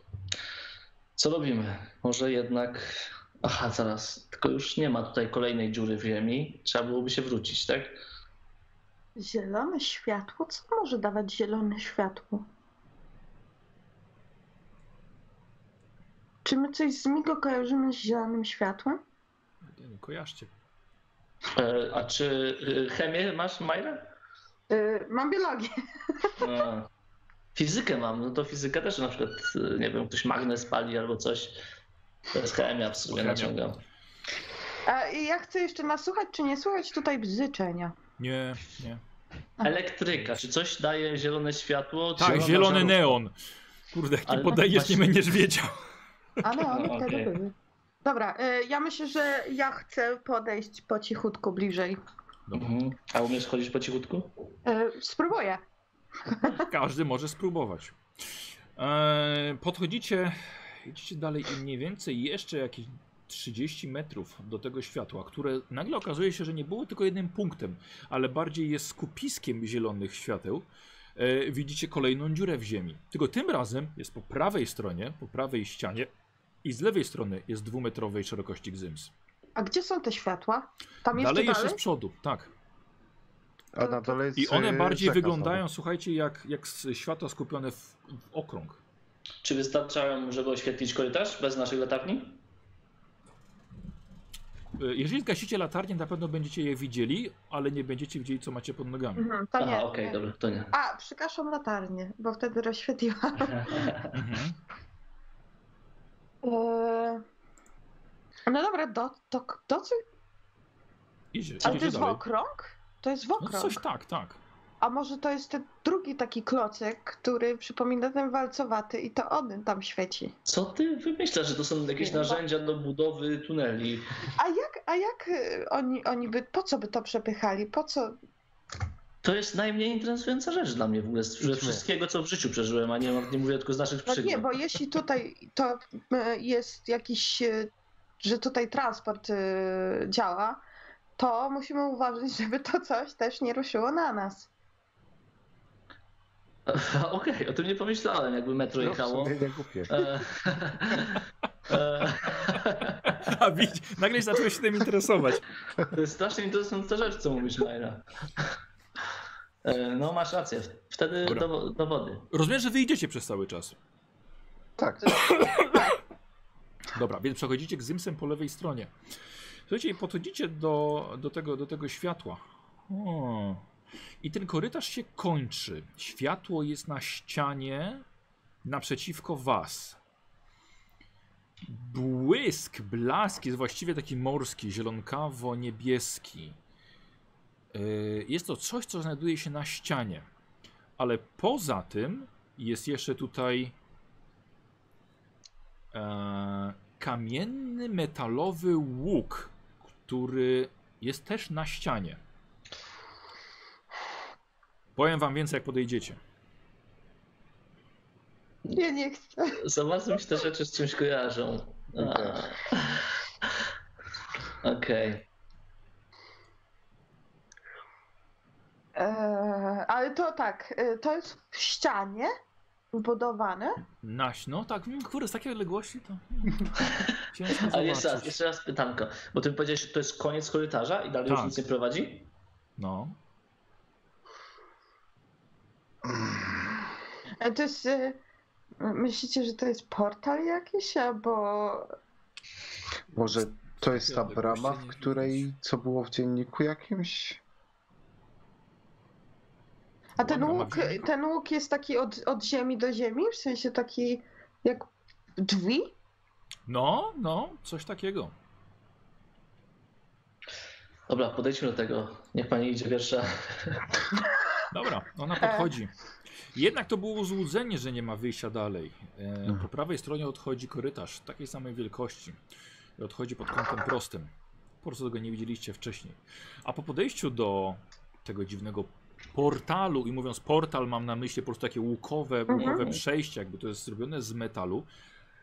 Co robimy? Może jednak... Aha, zaraz. Tylko już nie ma tutaj kolejnej dziury w ziemi. Trzeba byłoby się wrócić, tak?
Zielone światło? Co może dawać zielone światło? Czy my coś z Migo kojarzymy z zielonym światłem?
Nie, nie kojarzcie.
E, a czy y, chemię masz, Majra?
Yy, mam biologię.
A, Fizykę mam, no to fizyka też na przykład, y, nie wiem, ktoś magnes pali albo coś. To jest chemia w sumie
Chemia.
naciągam.
A i ja chcę jeszcze nasłuchać, czy nie słuchać tutaj życzenia.
Nie, nie.
Elektryka, czy coś daje zielone światło? czy
Tak,
zielona
zielony
żarówka?
neon. Kurde, jak nie
Ale-
podajesz, nie
właśnie-
będziesz wiedział.
Ale one
No,
wtedy
okej.
były. Dobra, y, ja myślę, że ja chcę podejść po cichutku bliżej.
Mhm. A umiesz chodzić po cichutku?
Y, spróbuję.
Każdy może spróbować. Eee, podchodzicie, idziecie dalej i mniej więcej jeszcze jakieś 30 metrów do tego światła, które nagle okazuje się, że nie było tylko jednym punktem, ale bardziej jest skupiskiem zielonych świateł. Eee, widzicie kolejną dziurę w ziemi. Tylko tym razem jest po prawej stronie, po prawej ścianie i z lewej strony jest dwumetrowej szerokości gzyms.
A gdzie są te światła? Tam jeszcze
Dalej
dalej?
jeszcze z przodu, tak.
A na dole jest,
I one
y,
bardziej
rzeka
wyglądają, słuchajcie, jak, jak z światła skupione w, w okrąg.
Czy wystarczają, żeby oświetlić korytarz bez naszych latarni?
Y, Jeżeli zgasicie latarnię, na pewno będziecie je widzieli, ale nie będziecie widzieli, co macie pod nogami.
Mhm, to nie.
Aha, okej,
nie.
dobra, to nie.
A, przykaszam latarnię, bo wtedy rozświetliłam.
Mhm.
Eee, No dobra, do, do, do co?
Idzie, idzie
Ale to jest
dalej.
wokrąg? To jest
No
wokrąg.
coś tak, tak.
A może to jest ten drugi taki klocek, który przypomina ten walcowaty i to on tam świeci.
Co ty wymyślasz, że to są jakieś narzędzia do budowy tuneli?
A jak, a jak y, oni, oni by, po co by to przepychali? Po co?
To jest najmniej interesująca rzecz dla mnie w ogóle, ze
Idźmy.
wszystkiego, co w życiu przeżyłem, a nie, nie mówię tylko z naszych
No
przygód.
nie, bo jeśli tutaj to y, jest jakiś, y, że tutaj transport y, działa, to musimy uważać, żeby to coś też nie ruszyło na nas.
Okej, o tym nie pomyślałem, jakby metro
No, w
jechało.
sumie nie głupie.
E, e,
A widz, nagle się zacząłeś się tym interesować.
To jest strasznie interesująca rzecz, co mówisz, Majra. E, No masz rację, wtedy
Dobra.
do, do wody.
Rozumiem, że wyjdziecie przez cały czas.
Tak,
Dobra, więc przechodzicie gzymsem po lewej stronie. Słuchajcie, i podchodzicie do, do, tego, do tego światła. O. I ten korytarz się kończy. Światło jest na ścianie naprzeciwko was. Błysk, blask jest właściwie taki morski, zielonkawo-niebieski. Yy, Jest to coś, co znajduje się na ścianie. Ale poza tym jest jeszcze tutaj E, kamienny metalowy łuk, który jest też na ścianie. Powiem wam więcej, jak podejdziecie.
Ja nie chcę.
Za bardzo mi się te rzeczy z czymś kojarzą. A. Okej.
E, Eee, ale to tak, y, to jest w ścianie, wbudowane?
Naś, no tak, mm, kurde, z takiej odległości to... Ciężko
Ale jeszcze raz,
zobaczyć.
jeszcze raz pytanko. Bo ty powiedziałeś, że to jest koniec korytarza i dalej
Tak.
już nic nie prowadzi?
No.
E, To jest. e, Myślicie, że to jest portal jakiś, albo.
Może to jest ta
Ja tego
brama,
gościa
w
nie
której
widać.
co było w dzienniku jakimś?
A ten
Łamka ma
łuk,
drzwi.
ten łuk jest taki od, od ziemi do ziemi, w sensie taki jak drzwi?
No, no, coś takiego.
Dobra, podejdźmy do tego. Niech pani idzie pierwsza.
Dobra, ona podchodzi. Jednak to było złudzenie, że nie ma wyjścia dalej. E, po prawej stronie odchodzi korytarz takiej samej wielkości. I odchodzi pod kątem prostym. Po prostu tego nie widzieliście wcześniej. A po podejściu do tego dziwnego portalu, i mówiąc portal, mam na myśli po prostu takie łukowe,
Mhm.
łukowe przejście, jakby to jest zrobione z metalu,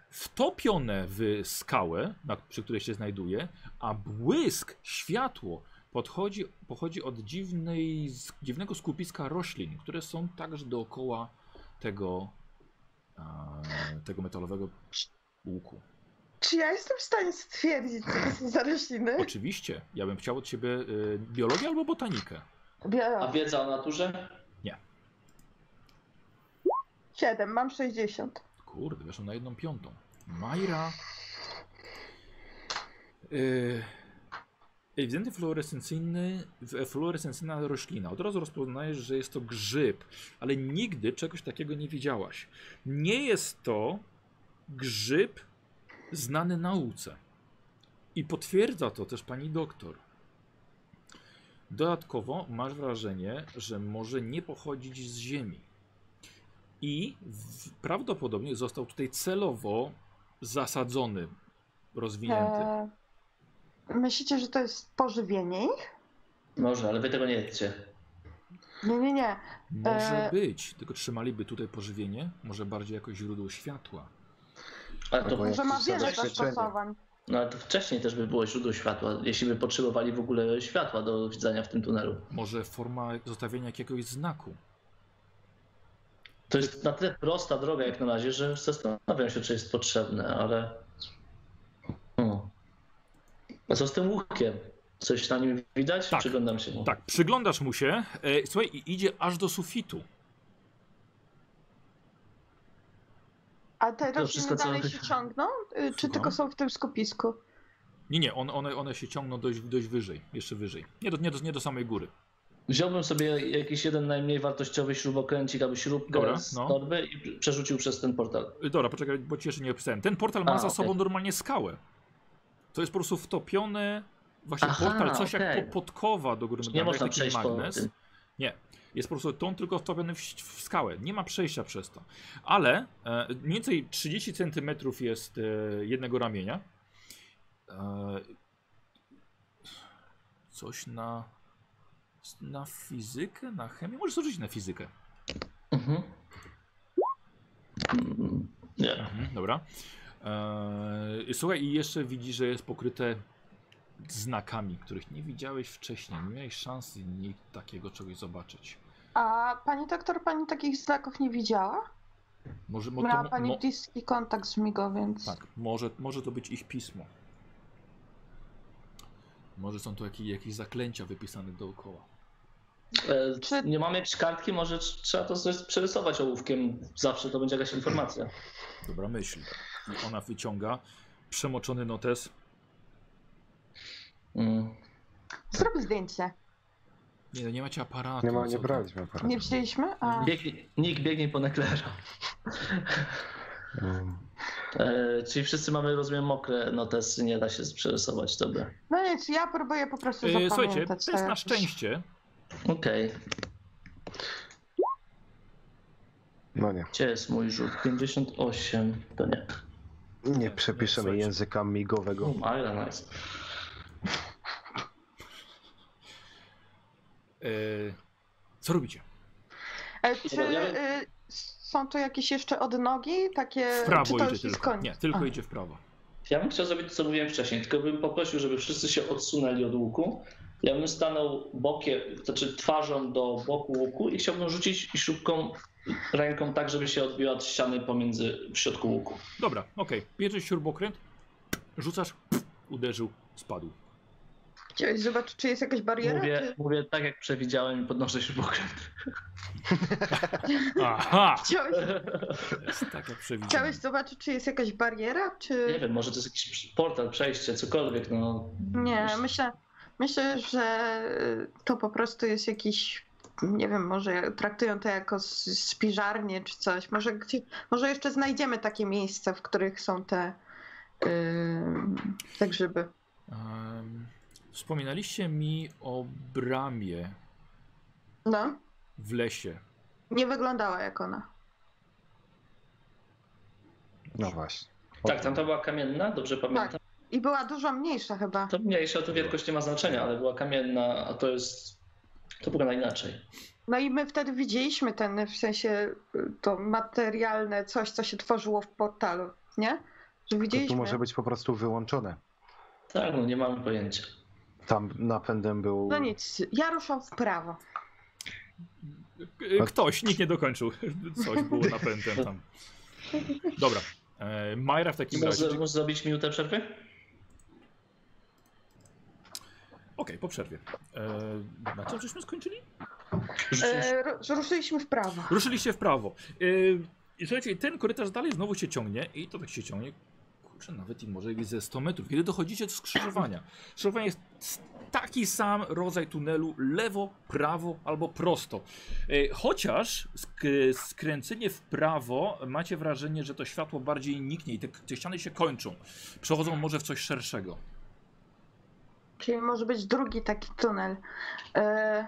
wtopione w skałę, na, przy której się znajduje, a błysk, światło podchodzi, pochodzi od dziwnej, z- dziwnego skupiska roślin, które są także dookoła tego, e, tego metalowego łuku.
Czy ja jestem w stanie stwierdzić, co to są za rośliny?
Oczywiście, ja bym chciał od ciebie y, biologię albo botanikę.
A
Biorę.
wiedza o naturze?
7, mam 60.
Kurde, weszło na jedną piątą. Majra. Yy, ewidentnie fluorescencyjny, w- fluorescencyjna roślina. Od razu rozpoznajesz, że jest to grzyb, ale nigdy czegoś takiego nie widziałaś. Nie jest to grzyb znany nauce. I potwierdza to też pani doktor. Dodatkowo masz wrażenie, że może nie pochodzić z ziemi i w, prawdopodobnie został tutaj celowo zasadzony, rozwinięty.
E, myślicie, że to jest pożywienie ich?
Może, ale wy tego nie jedzcie.
Nie, nie, nie.
Może
e-
być, tylko trzymaliby tutaj pożywienie, może bardziej jako źródło światła.
Ale to,
Albo jak-
Że ma
Jakieś
wiele
zabezpieczenie.
zastosowań.
no, ale to wcześniej też by było źródło światła, jeśli by potrzebowali w ogóle światła do widzenia w tym tunelu.
Może forma zostawienia jakiegoś znaku.
To jest na tyle prosta droga jak na razie, że zastanawiam się, czy jest potrzebne, ale... Hmm. A co z tym łukiem? Coś na nim widać?
Tak.
Przyglądam się mu.
Tak, przyglądasz mu się, e, słuchaj, i idzie aż do sufitu.
A te
To
rośliny
wszystko, co
dalej
ty-
się ciągną? Y, Czy
Słucham?
tylko są w tym skupisku?
Nie, nie, on, one, one się ciągną dość, dość wyżej, jeszcze wyżej. Nie do, nie, do, nie do samej góry.
Wziąłbym sobie jakiś jeden najmniej wartościowy śrubokręcik albo śrubkę
Dobra,
z
no.
torby i przerzucił przez ten portal.
Y, Dobra, poczekaj, bo ci jeszcze nie opisałem. Ten portal ma
A,
za
okej.
sobą normalnie skałę. To jest po prostu wtopione, właśnie
Aha,
portal, coś
okej.
jak po- podkowa do góry.
Nie
nogami,
można
jak taki
przejść po tym.
Jest po prostu ton tylko wtopiony w, ś- w skałę. Nie ma przejścia przez to. Ale e, mniej więcej 30 cm jest e, jednego ramienia. E, coś na. Na fizykę? Na chemię? Możesz rzucić na fizykę.
Mhm. Mm, Nie.
Mhm, dobra. Eee, słuchaj, i jeszcze widzisz, że jest pokryte znakami, których nie widziałeś wcześniej. Nie miałeś szansy nie takiego czegoś zobaczyć.
A pani doktor, pani takich znaków nie widziała?
Może, mo, to,
Miała
mo-
pani
mo,
bliski kontakt z Migo, więc.
tak, może, może to być ich pismo. Może są to jakieś, jakieś zaklęcia wypisane dookoła.
E,
Czy-
nie mamy jakiejś kartki, może tr- trzeba to coś przerysować ołówkiem. Zawsze to będzie jakaś informacja.
Dobra myśl. I ona wyciąga przemoczony notes.
Mm.
Zrób zdjęcie.
Nie, no, nie macie aparatu.
Nie, ma,
co
nie
to? E,
braliśmy aparatu.
Nie wzięliśmy? A,
Biegnie, nikt biegnie po neklero.
Mm.
E, czyli wszyscy mamy, rozumiem, mokre notes, nie da się przerysować, dobra.
no nic, ja próbuję po prostu
Eee,
zapamiętać. e,
słuchajcie, to jest na
jakoś.
szczęście.
Okej,
No nie.
gdzie jest mój rzut? 58, to nie.
Nie przepiszemy
Słuchajcie.
języka migowego.
O, ale nice.
Eee, co robicie?
E, Czy
Dobra, ja bym-
y, są tu jakieś jeszcze odnogi? Takie.
W
czy
prawo
to
idzie
już jest
tylko.
E, koniec?
Nie, tylko
A.
idzie w prawo.
Ja bym chciał zrobić to, co mówiłem wcześniej, tylko bym poprosił, żeby wszyscy się odsunęli od łuku. Ja bym stanął bokiem, to znaczy twarzą do boku łuku i chciałbym rzucić śrubką ręką tak, żeby się odbiła od ściany pomiędzy w środku łuku.
Dobra, okej. Bierzesz śrubokręt, rzucasz, uderzył, spadł.
Chciałeś zobaczyć, czy jest jakaś bariera?
Mówię,
Czy...
mówię tak jak przewidziałem i podnoszę się
Aha!
Chciałeś,
Jest tak jak przewidziałem.
chciałeś zobaczyć, czy jest jakaś bariera,
Nie
czy...
wiem, może to jest jakiś portal, przejście, cokolwiek, no.
Nie,
Wiesz,
myślę, myślę, że to po prostu jest jakiś... Nie wiem, może traktują to jako s- spiżarnię czy coś. Może, gdzie, może jeszcze znajdziemy takie miejsca, w których są te, ym, te grzyby.
Em, wspominaliście mi o bramie
No,
w lesie.
nie wyglądała jak ona.
No właśnie.
Tak, tamta była kamienna, dobrze pamiętam.
I była dużo mniejsza chyba.
To mniejsza, to wielkość nie ma znaczenia, ale była kamienna, a to jest. To wygląda inaczej.
No i my wtedy widzieliśmy ten, w sensie y, to materialne coś, co się tworzyło w portalu, nie? Że
To tu
widzieliśmy.
może być po prostu wyłączone.
Tak, no nie mamy pojęcia.
Tam napędem był.
No nic, ja ruszam w prawo.
K- Ktoś, nikt nie dokończył. Coś było napędem tam. Dobra. E, Majra w takim razie.
Możesz,
Okej,
możesz zrobić minutę przerwy?
po przerwie. E, na czym żeśmy skończyli?
Rzuciłeś-
E, ru- ruszyliśmy w prawo.
Ruszyliście w prawo. E, i słuchajcie, ten korytarz dalej znowu się ciągnie i to tak się ciągnie. Kurczę, nawet i może i ze 100 metrów. Kiedy dochodzicie do skrzyżowania. Skrzyżowanie jest s- taki sam rodzaj tunelu lewo, prawo albo prosto. E, Chociaż sk- skręcenie w prawo macie wrażenie, że to światło bardziej niknie i te, te ściany się kończą. Przechodzą może w coś szerszego.
Czyli może być drugi taki tunel. E,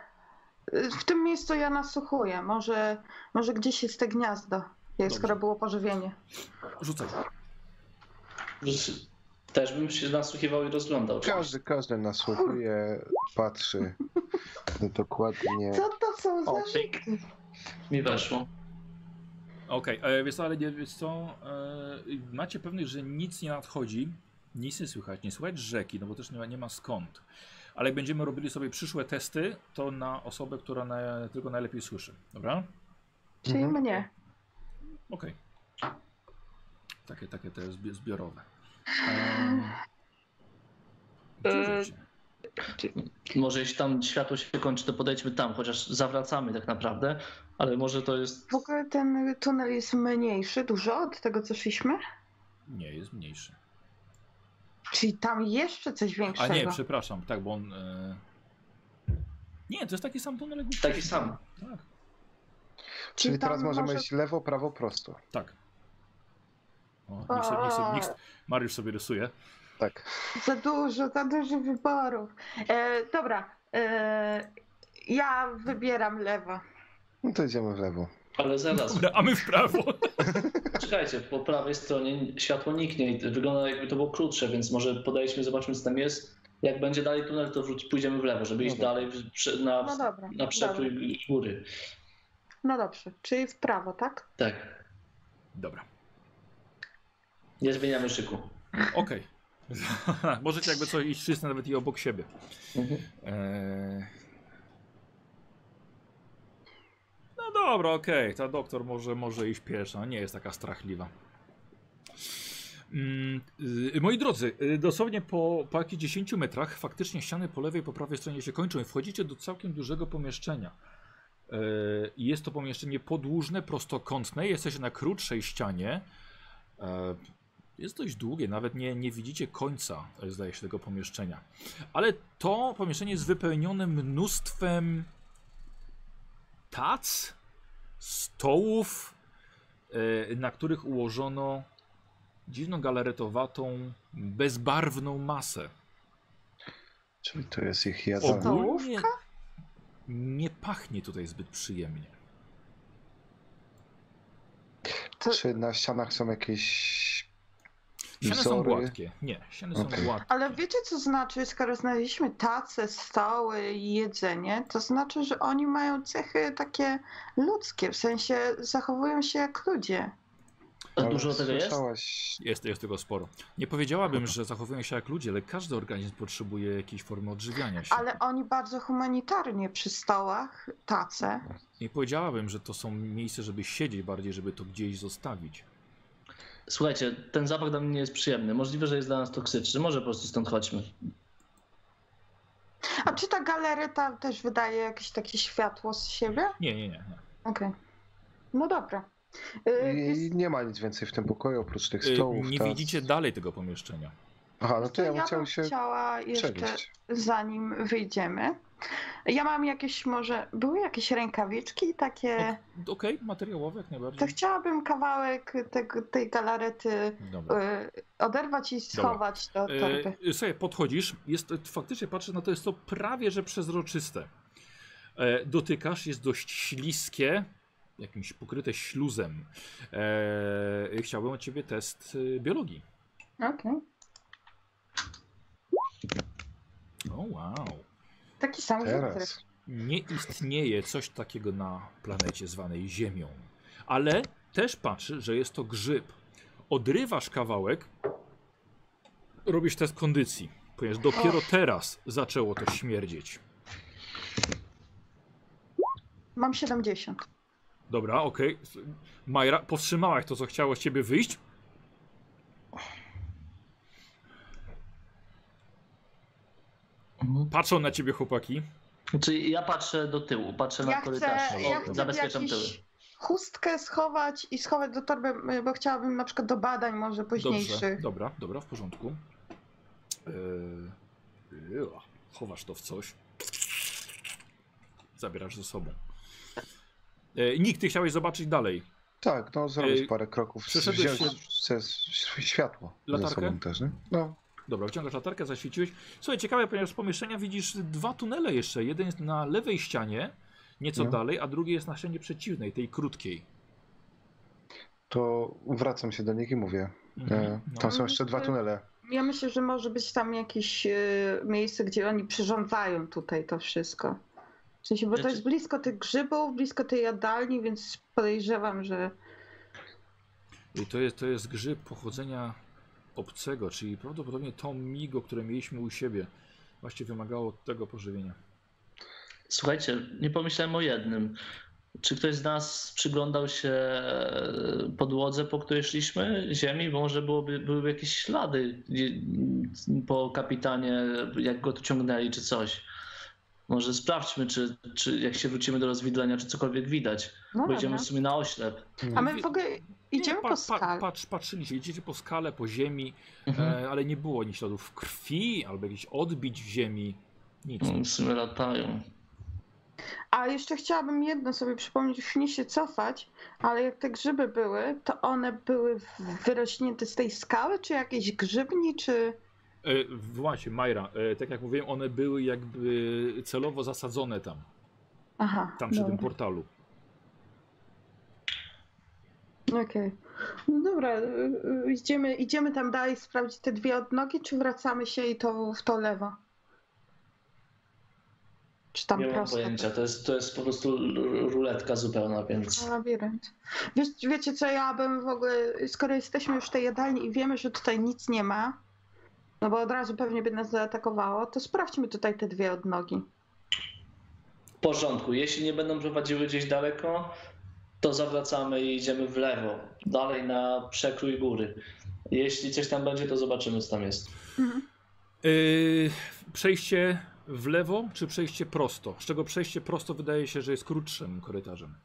y, w tym miejscu ja nasłuchuję. Może, może gdzieś jest te gniazdo, jak
Dobrze.
skoro było pożywienie.
Rzucaj.
rzuci- Też bym się nasłuchiwał i rozglądał.
Każdy, każdy nasłuchuje, patrzy. No, Dokładnie.
Co to są za
O,
rzeki?
Mi weszło.
Okej, okay, wiesz co, ale nie, wiesz co, e, macie pewność, że nic nie nadchodzi, nic nie słychać, nie słychać rzeki, no bo też nie ma, nie ma skąd. Ale jak będziemy robili sobie przyszłe testy, to na osobę, która na, tylko najlepiej słyszy, dobra?
Czyli
Mhm.
mnie.
Okej. Takie, takie te zbi- zbiorowe. Ehm,
E,
rzućcie.
Może jeśli tam światło się kończy, to podejdźmy tam, chociaż zawracamy tak naprawdę, ale może to jest.
W ogóle ten tunel jest mniejszy dużo od tego, co szliśmy?
nie, jest mniejszy.
Czyli tam jeszcze coś
A
większego.
nie, przepraszam, tak, bo on... E... Nie, to jest taki sam tunel jak
Taki sam.
Tak,
Czyli
tam
teraz możemy
może-
iść lewo, prawo, prosto.
tak. O, niech sobie, niech sobie, niech... Mariusz sobie rysuje.
Tak.
Za dużo, za dużo wyborów. E, dobra, e, ja wybieram lewo.
No to idziemy w lewo.
Ale zaraz.
Dobra, a my w prawo.
Czekajcie, po prawej stronie światło niknie i wygląda jakby to było krótsze, więc może podejdźmy, zobaczmy co tam jest. Jak będzie dalej tunel, to wróć, pójdziemy w lewo, żeby iść
Dobra.
dalej w- prze- na,
No dobra.
na
dobra.
przekrój góry.
No dobrze, czyli w prawo, tak?
Tak,
Dobra,
nie zmieniamy szyku.
okej. Możecie jakby coś iść wszyscy nawet i obok siebie.
Mhm.
Eee... No dobra, okej, ta doktor może, może iść pierwsza, nie jest taka strachliwa. Mm, y, moi drodzy, y, dosłownie po, po jakichś 10 metrach faktycznie ściany po lewej i po prawej stronie się kończą i wchodzicie do całkiem dużego pomieszczenia. Eee, jest to pomieszczenie podłużne, prostokątne, jesteście na krótszej ścianie. Eee, jest dość długie, nawet nie, nie widzicie końca, e, zdaje się, tego pomieszczenia. Ale to pomieszczenie jest wypełnione mnóstwem tac, stołów, e, na których ułożono dziwną galaretowatą, bezbarwną masę.
Czyli to jest ich jadalnia.
Ogół?
Ogólnie nie pachnie tutaj zbyt przyjemnie.
To,
Czy na ścianach są jakieś.
Ściany są
Wzory.
gładkie. Nie, ściany są
Okej.
gładkie.
ale wiecie, co znaczy, skoro znaleźliśmy tace, stoły i jedzenie, to znaczy, że oni mają cechy takie ludzkie, w sensie zachowują się jak ludzie.
A
Ale
dużo tego jest?
Słyszałaś...
Jest, jest tego sporo. Nie powiedziałabym, że zachowują się jak ludzie, ale każdy organizm potrzebuje jakiejś formy odżywiania się.
Ale oni bardzo humanitarnie przy stołach, tace.
Nie powiedziałabym, że to są miejsca, żeby siedzieć bardziej, żeby to gdzieś zostawić.
Słuchajcie, ten zapach dla mnie nie jest przyjemny. Możliwe, że jest dla nas toksyczny. Może po prostu stąd chodźmy.
A czy ta galereta też wydaje jakieś takie światło z siebie?
Nie, nie, nie. nie.
Okej. No dobra. Y,
I
jest-
nie ma nic więcej w tym pokoju oprócz tych
Y,
stołów.
nie
tac.
widzicie dalej tego pomieszczenia.
Aha, no
to
to ja bym
bym
chciał się
chciała jeszcze,
przenieść.
zanim wyjdziemy. Ja mam jakieś może, były jakieś rękawiczki takie,
Okej, materiałowe jak najbardziej.
to chciałabym kawałek tego, tej galarety
Dobra.
y, oderwać i schować do torby.
E, Słuchaj, podchodzisz, jest, faktycznie patrzę na to, jest to prawie że przezroczyste. E, dotykasz, jest dość śliskie, jakimś pokryte śluzem. E, chciałbym od ciebie test y, biologii.
Okej.
O wow.
Taki sam rzut
teraz.
zresztą.
Nie istnieje coś takiego na planecie zwanej Ziemią. Ale też patrzy, że jest to grzyb. Odrywasz kawałek, robisz test kondycji, ponieważ dopiero teraz zaczęło to śmierdzieć.
Mam 70.
Dobra, okej. S- Majra, powstrzymałaś to, co chciało z ciebie wyjść. Patrzą na ciebie chłopaki.
Czyli ja patrzę do tyłu, patrzę na
Ja
korytarz.
chcę, ja chcę
zabezpieczam
jakiś
tyły.
chustkę schować i schować do torby, y, bo chciałabym na przykład do badań może
Dobrze,
późniejszych.
dobra, dobra, w porządku. Yy, ua, chowasz to w coś. Zabierasz ze sobą. Yy, nikt, ty chciałeś zobaczyć dalej.
Tak, no zrobić
Ej,
parę kroków,
Y, przeszedłeś
wziąć
się-
ze- ś- światło
Latarkę?
ze sobą też, nie? No,
Dobra, wyciągasz latarkę, zaświeciłeś. Słuchaj, ciekawe, ponieważ z pomieszczenia widzisz dwa tunele jeszcze. Jeden jest na lewej ścianie, nieco
No.
dalej, a drugi jest na ścianie przeciwnej, tej krótkiej.
to wracam się do nich i mówię. E,
Mhm.
Tam
No.
są jeszcze
Y,
dwa tunele.
Ja myślę, że może być tam jakieś y, miejsce, gdzie oni przyrządzają tutaj to wszystko. W sensie, bo to
Znaczy-
jest blisko tych grzybów, blisko tej jadalni, więc podejrzewam, że
No. I to jest, to jest grzyb pochodzenia obcego, czyli prawdopodobnie to migo, które mieliśmy u siebie, właśnie wymagało tego pożywienia.
Słuchajcie, nie pomyślałem o jednym. Czy ktoś z nas przyglądał się e, podłodze, po której szliśmy, ziemi? Bo może byłoby, byłyby jakieś ślady gdzie- po kapitanie, jak go tu ciągnęli, czy coś. Może sprawdźmy, czy, czy jak się wrócimy do rozwidlenia, czy cokolwiek widać.
no
Bo idziemy
dobra.
w sumie na oślep.
A my w ogóle idziemy
pa-
po
pa-
skal.
patrz, patrzyliście, idziecie po skale, po ziemi,
Mhm.
e, ale nie było ani śladów krwi, albo jakichś odbić w ziemi, nic.
Mm, W sumie latają.
A jeszcze chciałabym jedno sobie przypomnieć, już nie się cofać, ale jak te grzyby były, to one były w- wyrośnięte z tej skały, czy jakiejś grzybni, czy...
E, właśnie, Majra, e, tak jak mówiłem, one były jakby celowo zasadzone tam,
Aha. No.
tam przy
dobra.
tym portalu.
Okej. No dobra, y, y, idziemy, idziemy tam dalej sprawdzić te dwie odnogi, czy wracamy się i to w to lewo? Czy tam
Nie mam
prosto?
pojęcia, to jest, to jest po prostu r- ruletka zupełna, więc...
No, Labirynt. Wiesz, wiecie co, ja bym w ogóle, skoro jesteśmy już w tej jadalni i wiemy, że tutaj nic nie ma, no bo od razu pewnie by nas zaatakowało, to sprawdźmy tutaj te dwie odnogi.
W porządku, jeśli nie będą prowadziły gdzieś daleko, to zawracamy i idziemy w lewo, dalej na przekrój góry. Jeśli coś tam będzie, to zobaczymy, co tam jest.
E, przejście w lewo, czy przejście prosto? Z czego przejście prosto wydaje się, że jest krótszym korytarzem.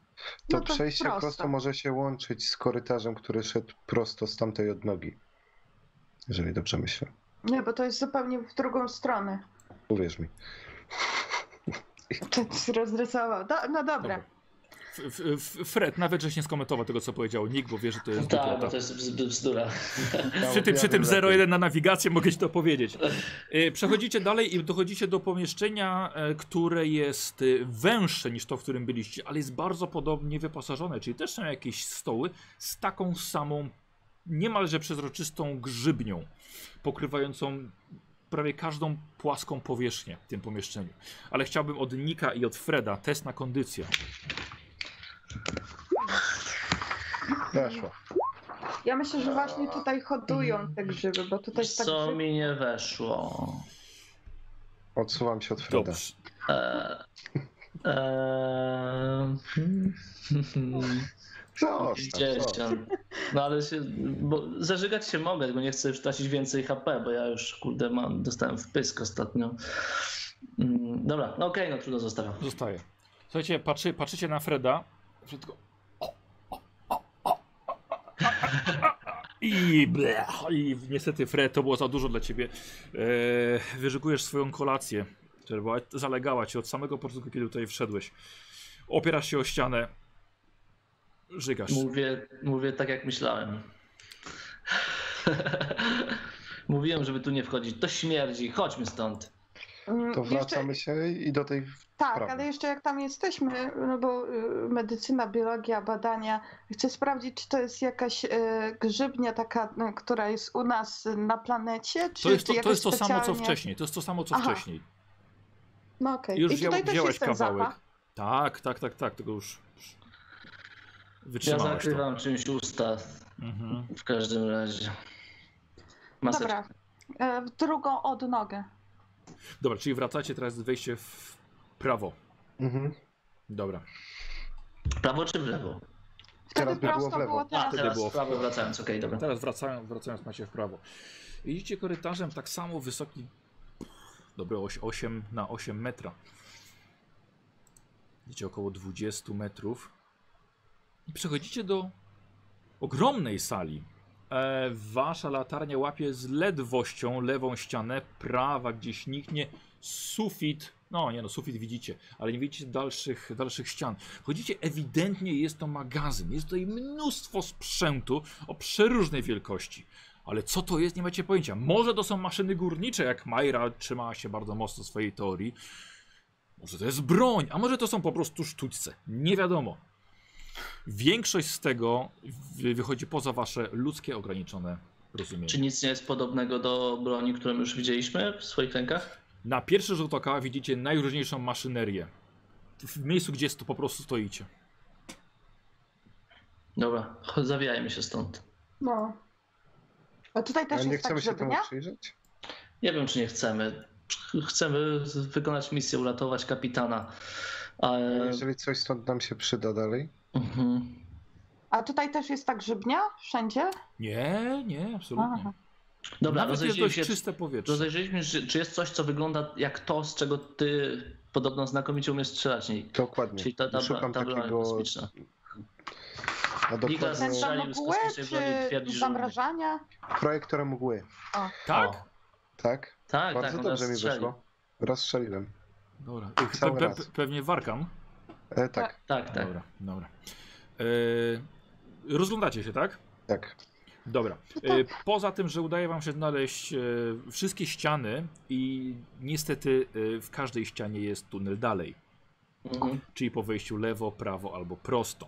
To,
No to
przejście
prosto.
prosto. może się łączyć z korytarzem, który szedł prosto z tamtej odnogi. Jeżeli dobrze myślę.
Nie, bo to jest zupełnie w drugą stronę.
Uwierz mi.
To się rozrysował. Do, no dobra.
F, f, f, Fred, nawet żeś nie skomentował tego, co powiedział Nick, bo wie, że to jest
Tak, bo
głupota.
to jest bzd- bzdura.
Przy tym, przy
Ja
tym
wiem lepiej.
0,1 na nawigację mogę ci to powiedzieć. E, Przechodzicie dalej i dochodzicie do pomieszczenia, e, które jest e, węższe niż to, w którym byliście, ale jest bardzo podobnie wyposażone, czyli też są jakieś stoły z taką samą, niemalże przezroczystą grzybnią, pokrywającą prawie każdą płaską powierzchnię w tym pomieszczeniu. Ale chciałbym od Nika i od Freda test na kondycję.
Weszło.
Ja myślę, że właśnie tutaj hodują te grzyby, bo tutaj jest tak
Co
grzyb...
mi nie weszło?
Odsuwam się od Freda.
Dobrze.
Eee, eee,
Zostaw, zostaw.
Dzieciom. No ale się, bo zażygać się mogę, tylko nie chcę już tracić więcej HP, bo ja już kurde mam, dostałem w pysk ostatnio. Mm, Dobra, no okej, no trudno zostawiam.
Zostaje. Słuchajcie, patrzy, patrzycie na Freda. Fred tylko... o, o, o, o, o, o, o, o, I, ble, I niestety, Fred, to było za dużo dla ciebie. E, wyrzykujesz swoją kolację, która była, zalegała cię od samego początku, kiedy tutaj wszedłeś. Opierasz się o ścianę. Żygasz.
Mówię, mówię tak jak myślałem. Mówiłem, żeby tu nie wchodzić. To śmierdzi, chodźmy stąd.
Mm,
To
jeszcze,
wracamy się i do tej.
Tak,
Prawda.
ale jeszcze jak tam jesteśmy, no bo y, medycyna, biologia, badania, chcę sprawdzić, czy to jest jakaś y, grzybnia taka, no, która jest u nas y, na planecie, czy
To jest to,
czy
to, jest to
jakoś
samo, co
specjalnie-
wcześniej. To jest to samo, co
Aha.
wcześniej.
No okej,
Już
i
wziął,
tutaj też
wziąłeś
jest ten
kawałek.
zapach.
Tak, tak, tak, tak, tylko już już
Ja
wytrzymałeś to.
zakrywam czymś usta
Mhm.
w każdym razie. Maseczka.
Dobra, e, w drugą odnogę.
Dobra, czyli wracacie teraz wejście w prawo.
Mhm.
Dobra.
Prawo czy w lewo?
Wtedy
Teraz by było
prosto
w lewo. Tak.
było
A,
Tak. teraz.
teraz
było
w
w-
prawo wracając, okej, dobra.
Teraz wracając, wracając macie w prawo. Idziecie korytarzem tak samo wysoki. Dobre oś 8 na 8 metra. Idziecie około 20 metrów. I przechodzicie do ogromnej sali. E, wasza latarnia łapie z ledwością lewą ścianę, prawa gdzieś niknie, sufit. No nie no, sufit widzicie, ale nie widzicie dalszych, dalszych ścian. Chodzicie, ewidentnie jest to magazyn. Jest tutaj mnóstwo sprzętu o przeróżnej wielkości. Ale co to jest, nie macie pojęcia. Może to są maszyny górnicze, jak Majra trzymała się bardzo mocno swojej teorii. Może to jest broń, a może to są po prostu sztućce. Nie wiadomo. Większość z tego wy- wychodzi poza wasze ludzkie ograniczone rozumienie.
Czy nic nie jest podobnego do broni, którą już widzieliśmy w swoich rękach?
Na pierwszy rzut oka widzicie najróżniejszą maszynerię. W miejscu, gdzie sto- po prostu stoicie.
Dobra, cho- zawijajmy się stąd.
No. A tutaj
A
też
nie
jest tak
chcemy się temu
grzybnia?
przyjrzeć?
Nie wiem, czy nie chcemy. Chcemy z- wykonać misję, uratować kapitana. Ale...
Jeżeli coś stąd nam się przyda dalej.
Mhm.
A tutaj też jest ta grzybnia? Wszędzie?
Nie, nie, absolutnie.
Aha.
Dobra,
Nawet jest
rozejrzyjmy
dość
się,
czyste powietrze.
rozejrzyjmy się, czy jest coś, co wygląda jak to, z czego ty podobno znakomicie umiesz strzelać. Nie?
Dokładnie.
Czyli ta, ta, ta,
Szukam
ta broń
takiego.
kosmiczna. Giga
A dokładnie
Ten
strzelił
tam
z
mgłę,
kosmicznej broni,
czy
twierdzi, że
zamrażania?
projektora mgły.
Tak?
Tak?
Tak,
Bardzo
tak, on
dobrze mi
rozstrzelił.
wyszło. Rozstrzeliłem.
Dobra. Pe,
Cały
pe,
raz.
pewnie warkam.
E, tak,
Tak, tak.
Dobra, dobra. E, rozglądacie się, tak?
tak.
Dobra. E, poza tym, że udaje wam się znaleźć e, wszystkie ściany i niestety e, w każdej ścianie jest tunel dalej.
Mhm.
czyli po wejściu lewo, prawo albo prosto.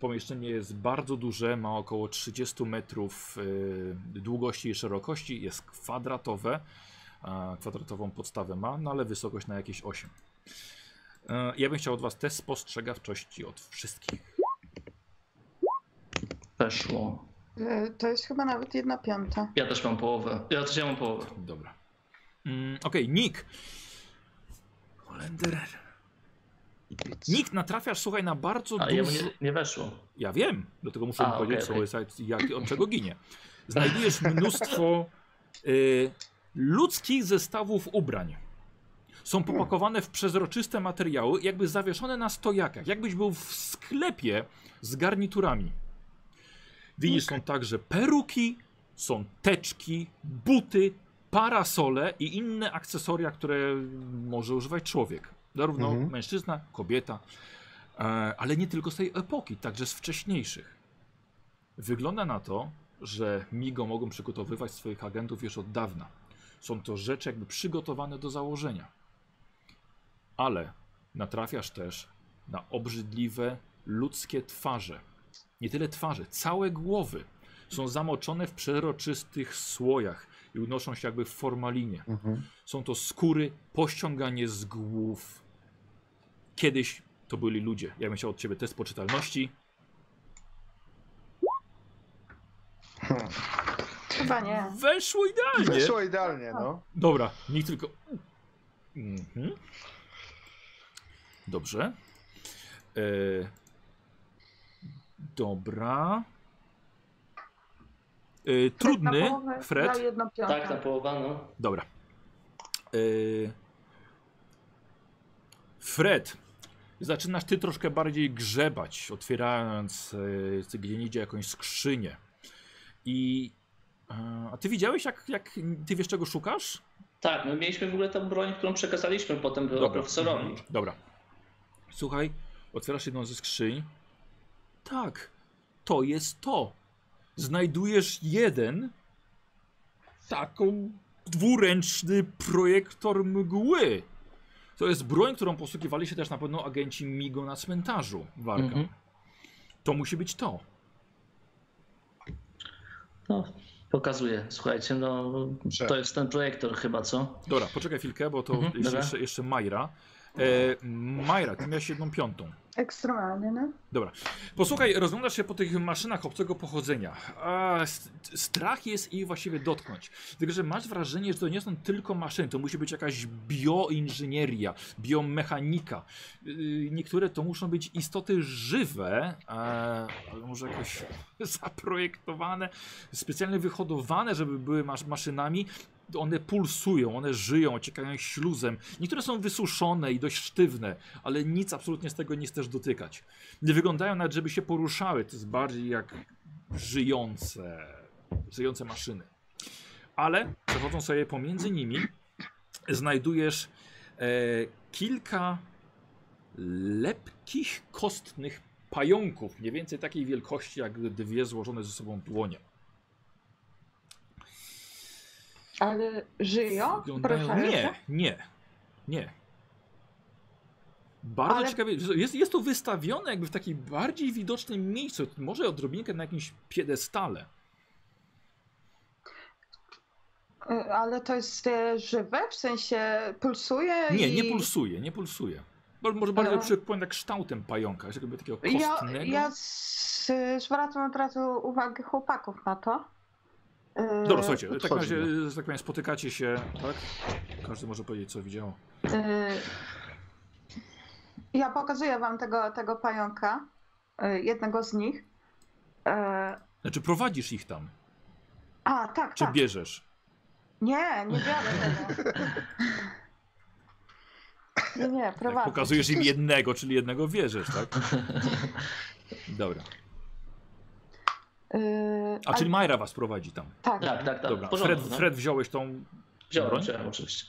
Pomieszczenie jest bardzo duże, ma około 30 metrów y, długości i szerokości, jest kwadratowe, a kwadratową podstawę ma, no ale wysokość na jakieś 8. Y, Ja bym chciał od Was test spostrzegawczości od wszystkich.
Weszło.
Y, To jest chyba nawet jedna piąta.
Ja też mam połowę. Ja też ja mam połowę.
Dobra. Mm, Okej, Nick. Holender. Nick, natrafiasz, słuchaj, na bardzo
A jemu
dużo...
nie, nie weszło.
Ja wiem, dlatego muszę
A,
mu powiedzieć,
okej,
co
okej.
jest, jak, od czego ginie. Znajdujesz mnóstwo y, ludzkich zestawów ubrań. Są popakowane w przezroczyste materiały, jakby zawieszone na stojakach, jakbyś był w sklepie z garniturami. Widzisz, są także peruki, są teczki, buty, parasole i inne akcesoria, które może używać człowiek. Zarówno
Mhm.
mężczyzna, kobieta, e, ale nie tylko z tej epoki, także z wcześniejszych. Wygląda na to, że MIGO mogą przygotowywać swoich agentów już od dawna. Są to rzeczy jakby przygotowane do założenia. Ale natrafiasz też na obrzydliwe ludzkie twarze. Nie tyle twarze, całe głowy są zamoczone w przeroczystych słojach i unoszą się jakby w formalinie.
Mhm.
Są to skóry, pościąganie z głów. Kiedyś to byli ludzie. Ja bym chciał od ciebie test poczytalności.
Chyba nie.
Weszło idealnie.
Wyszło idealnie, no.
Dobra, niech tylko. Mhm. Dobrze. E... Dobra. E,
Tak, Na
trudny,
połowę
Fred.
Dla jednopiąta.
Tak, na połowę, no.
Dobra. Y... Fred, zaczynasz ty troszkę bardziej grzebać, otwierając y, gdzie indziej jakąś skrzynię. I. y, A ty widziałeś, jak, jak ty wiesz, czego szukasz?
Tak, my mieliśmy w ogóle tą broń, którą przekazaliśmy potem profesorowi.
Mhm. Dobra. Słuchaj, otwierasz jedną ze skrzyń. Tak, to jest to. Znajdujesz jeden taką dwuręczny projektor mgły. To jest broń, którą posługiwali się też na pewno agenci MIGO na cmentarzu. Warga.
Mhm.
To musi być to.
No, pokazuję. Słuchajcie, no
Prze-
to jest ten projektor chyba, co?
Dobra, poczekaj chwilkę, bo to
Mhm,
jeszcze,
dobra.
jeszcze, jeszcze Majra. E, Majra, ty miałeś jedną piątą.
Ekstremalnie, no.
Posłuchaj, rozglądasz się po tych maszynach obcego pochodzenia. A, s- strach jest ich właściwie dotknąć. Tylko, że masz wrażenie, że to nie są tylko maszyny, to musi być jakaś bioinżynieria, biomechanika. Yy, Niektóre to muszą być istoty żywe, e, ale może jakoś zaprojektowane, specjalnie wyhodowane, żeby były masz maszynami. One pulsują, one żyją, ciekają śluzem. Niektóre są wysuszone i dość sztywne, ale nic absolutnie z tego nie chcesz dotykać nie wyglądają nawet, żeby się poruszały. To jest bardziej jak żyjące, żyjące maszyny. Ale przechodząc sobie pomiędzy nimi, znajdujesz e, kilka lepkich, kostnych pająków, mniej więcej takiej wielkości, jak dwie złożone ze sobą dłonie.
Ale żyją? Proszę.
Nie, nie, nie. Bardzo
Ale-
ciekawie, jest, jest to wystawione jakby w takim bardziej widocznym miejscu, może odrobinkę na jakimś piedestale.
Y, Ale to jest e, żywe? W sensie pulsuje?
Nie,
i...
nie pulsuje, nie pulsuje. Bo- Może bardziej
Aha.
przypomina kształtem pająka, jest jakby takiego
Ja,
kostnego.
ja z, y, zwracam od razu uwagę chłopaków na to. Y,
Dobra, słuchajcie, w takim
Otworzy
razie, że tak powiem, spotykacie się, tak? Każdy może powiedzieć, co widział.
Y, Ja pokazuję wam tego, tego pająka, y, jednego z nich. Y,
Znaczy, prowadzisz ich tam,
A, tak,
czy
tak.
bierzesz?
Nie, nie biorę tego. Nie, nie,
Tak,
prowadzę.
pokazujesz im jednego, czyli jednego bierzesz, tak? Dobra.
Y,
A
a-
czyli Majra was prowadzi tam.
Tak,
Tak, tak, tak.
Dobra,
w porządku,
Fred,
no.
Fred wziąłeś tą.
Wziąłem,
broń?
wziąłem oczywiście.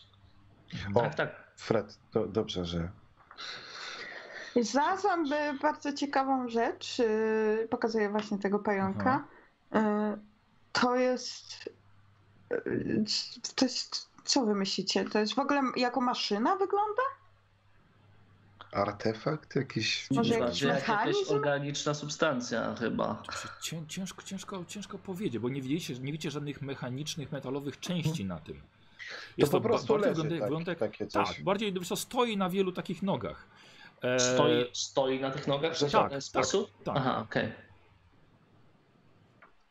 O,
Tak, tak.
Fred, do, dobrze, że
Znalazłam e, bardzo ciekawą rzecz. e, Pokazuję właśnie tego pająka. E, To jest. e, c- To jest. Co wy myślicie? To jest w ogóle jako maszyna wygląda?
artefakt jakiś...
Może
Chyba,
jakiś
że jakaś
mechanizm?
organiczna substancja chyba.
Cię- Ciężko, ciężko, ciężko powiedzieć, bo nie widzicie, nie widzicie żadnych mechanicznych, metalowych części na tym.
To po
ba-
prostu
bardziej
leży
wygląda-
tak,
wygląda jak-
takie coś.
Tak, bardziej wiesz co, stoi na wielu takich nogach. E,
Stoi, stoi na tych nogach w
tak,
żaden
tak,
sposób?
tak.
Aha, okej.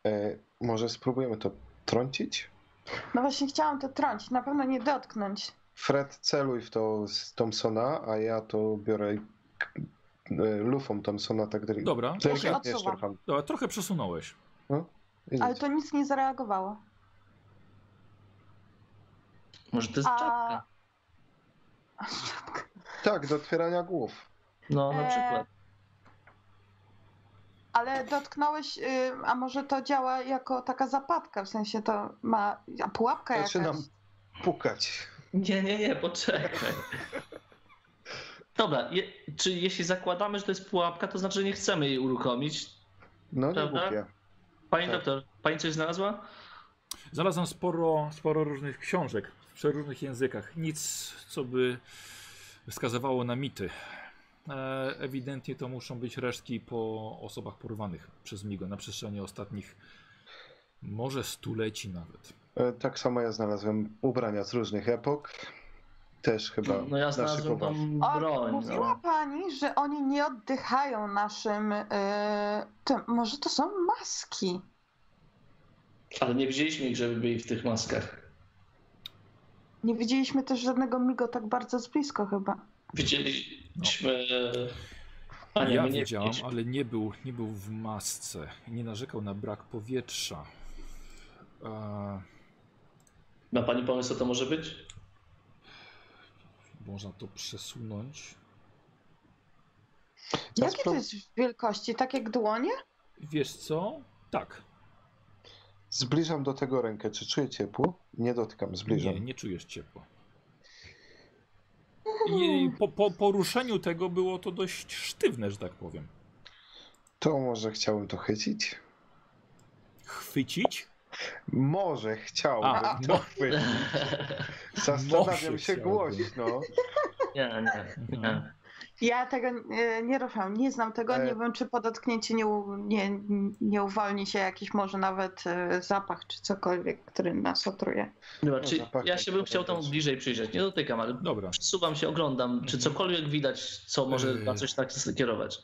E, może spróbujemy to trącić?
No właśnie chciałam to trącić, na pewno nie dotknąć.
Fred, celuj w to z Thompsona, a ja to biorę k- e, lufą Thompsona tak delikatnie.
Dobra,
Delikatnie
Odsuwam.
szturcham.
dobra, trochę przesunąłeś.
I
Ale
nic.
to nic nie zareagowało.
Może to jest
A-
czapka?
Tak, do otwierania głów.
No, na
E,
przykład.
Ale dotknąłeś, y, a może to działa jako taka zapadka, w sensie to ma a pułapka
Znaczy,
jakaś.
no,
Zaczynam pukać.
Nie, nie, nie, poczekaj. Dobra, je, czy jeśli zakładamy, że to jest pułapka, to znaczy, że nie chcemy jej uruchomić.
No nie
Dobra.
głupie.
Pani
Tak.
doktor, pani coś znalazła?
Znalazłem sporo, sporo różnych książek w przeróżnych językach. Nic, co by wskazywało na mity. E, ewidentnie to muszą być resztki po osobach porwanych przez Migo na przestrzeni ostatnich może stuleci nawet.
E, Tak samo ja znalazłem ubrania z różnych epok. Też chyba
No ja znalazłem
poważ.
tą
O,
broń.
mówiła
No.
pani, że oni nie oddychają naszym. y, tym. Może to są maski?
Ale nie widzieliśmy ich, żeby byli w tych maskach.
Nie widzieliśmy też żadnego migo tak bardzo z blisko chyba.
Widzieliśmy. A nie,
Ja
my nie
wiedziałam,
widzieliśmy.
ale nie był, nie był w masce. Nie narzekał na brak powietrza. Eee,
Ma pani pomysł, co to może być?
można to przesunąć.
Ja
Jakie to
spro-
jest w wielkości? Tak jak dłonie?
Wiesz co? Tak.
Zbliżam do tego rękę. Czy czuję ciepło? Nie dotykam, zbliżam.
Nie, nie czujesz ciepła. I po, po poruszeniu tego było to dość sztywne, że tak powiem.
To może chciałem to chycić?
Chwycić?
Może chciałbym
A.
to chycić. Zastanawiam
Może
się
chciałbym.
głośno.
Nie, nie. nie.
Ja tego e, nie ruszam, nie znam tego,
E.
nie wiem czy po dotknięciu nie, u- nie, nie uwolni się jakiś może nawet e, zapach czy cokolwiek, który nas otruje.
Zobaczy,
No, zapach
ja
tak
się bym chciał tam
też.
bliżej przyjrzeć. Nie dotykam, ale
Dobra.
przesuwam się, oglądam,
Mhm.
czy cokolwiek widać, co może
Yy.
na coś tak skierować.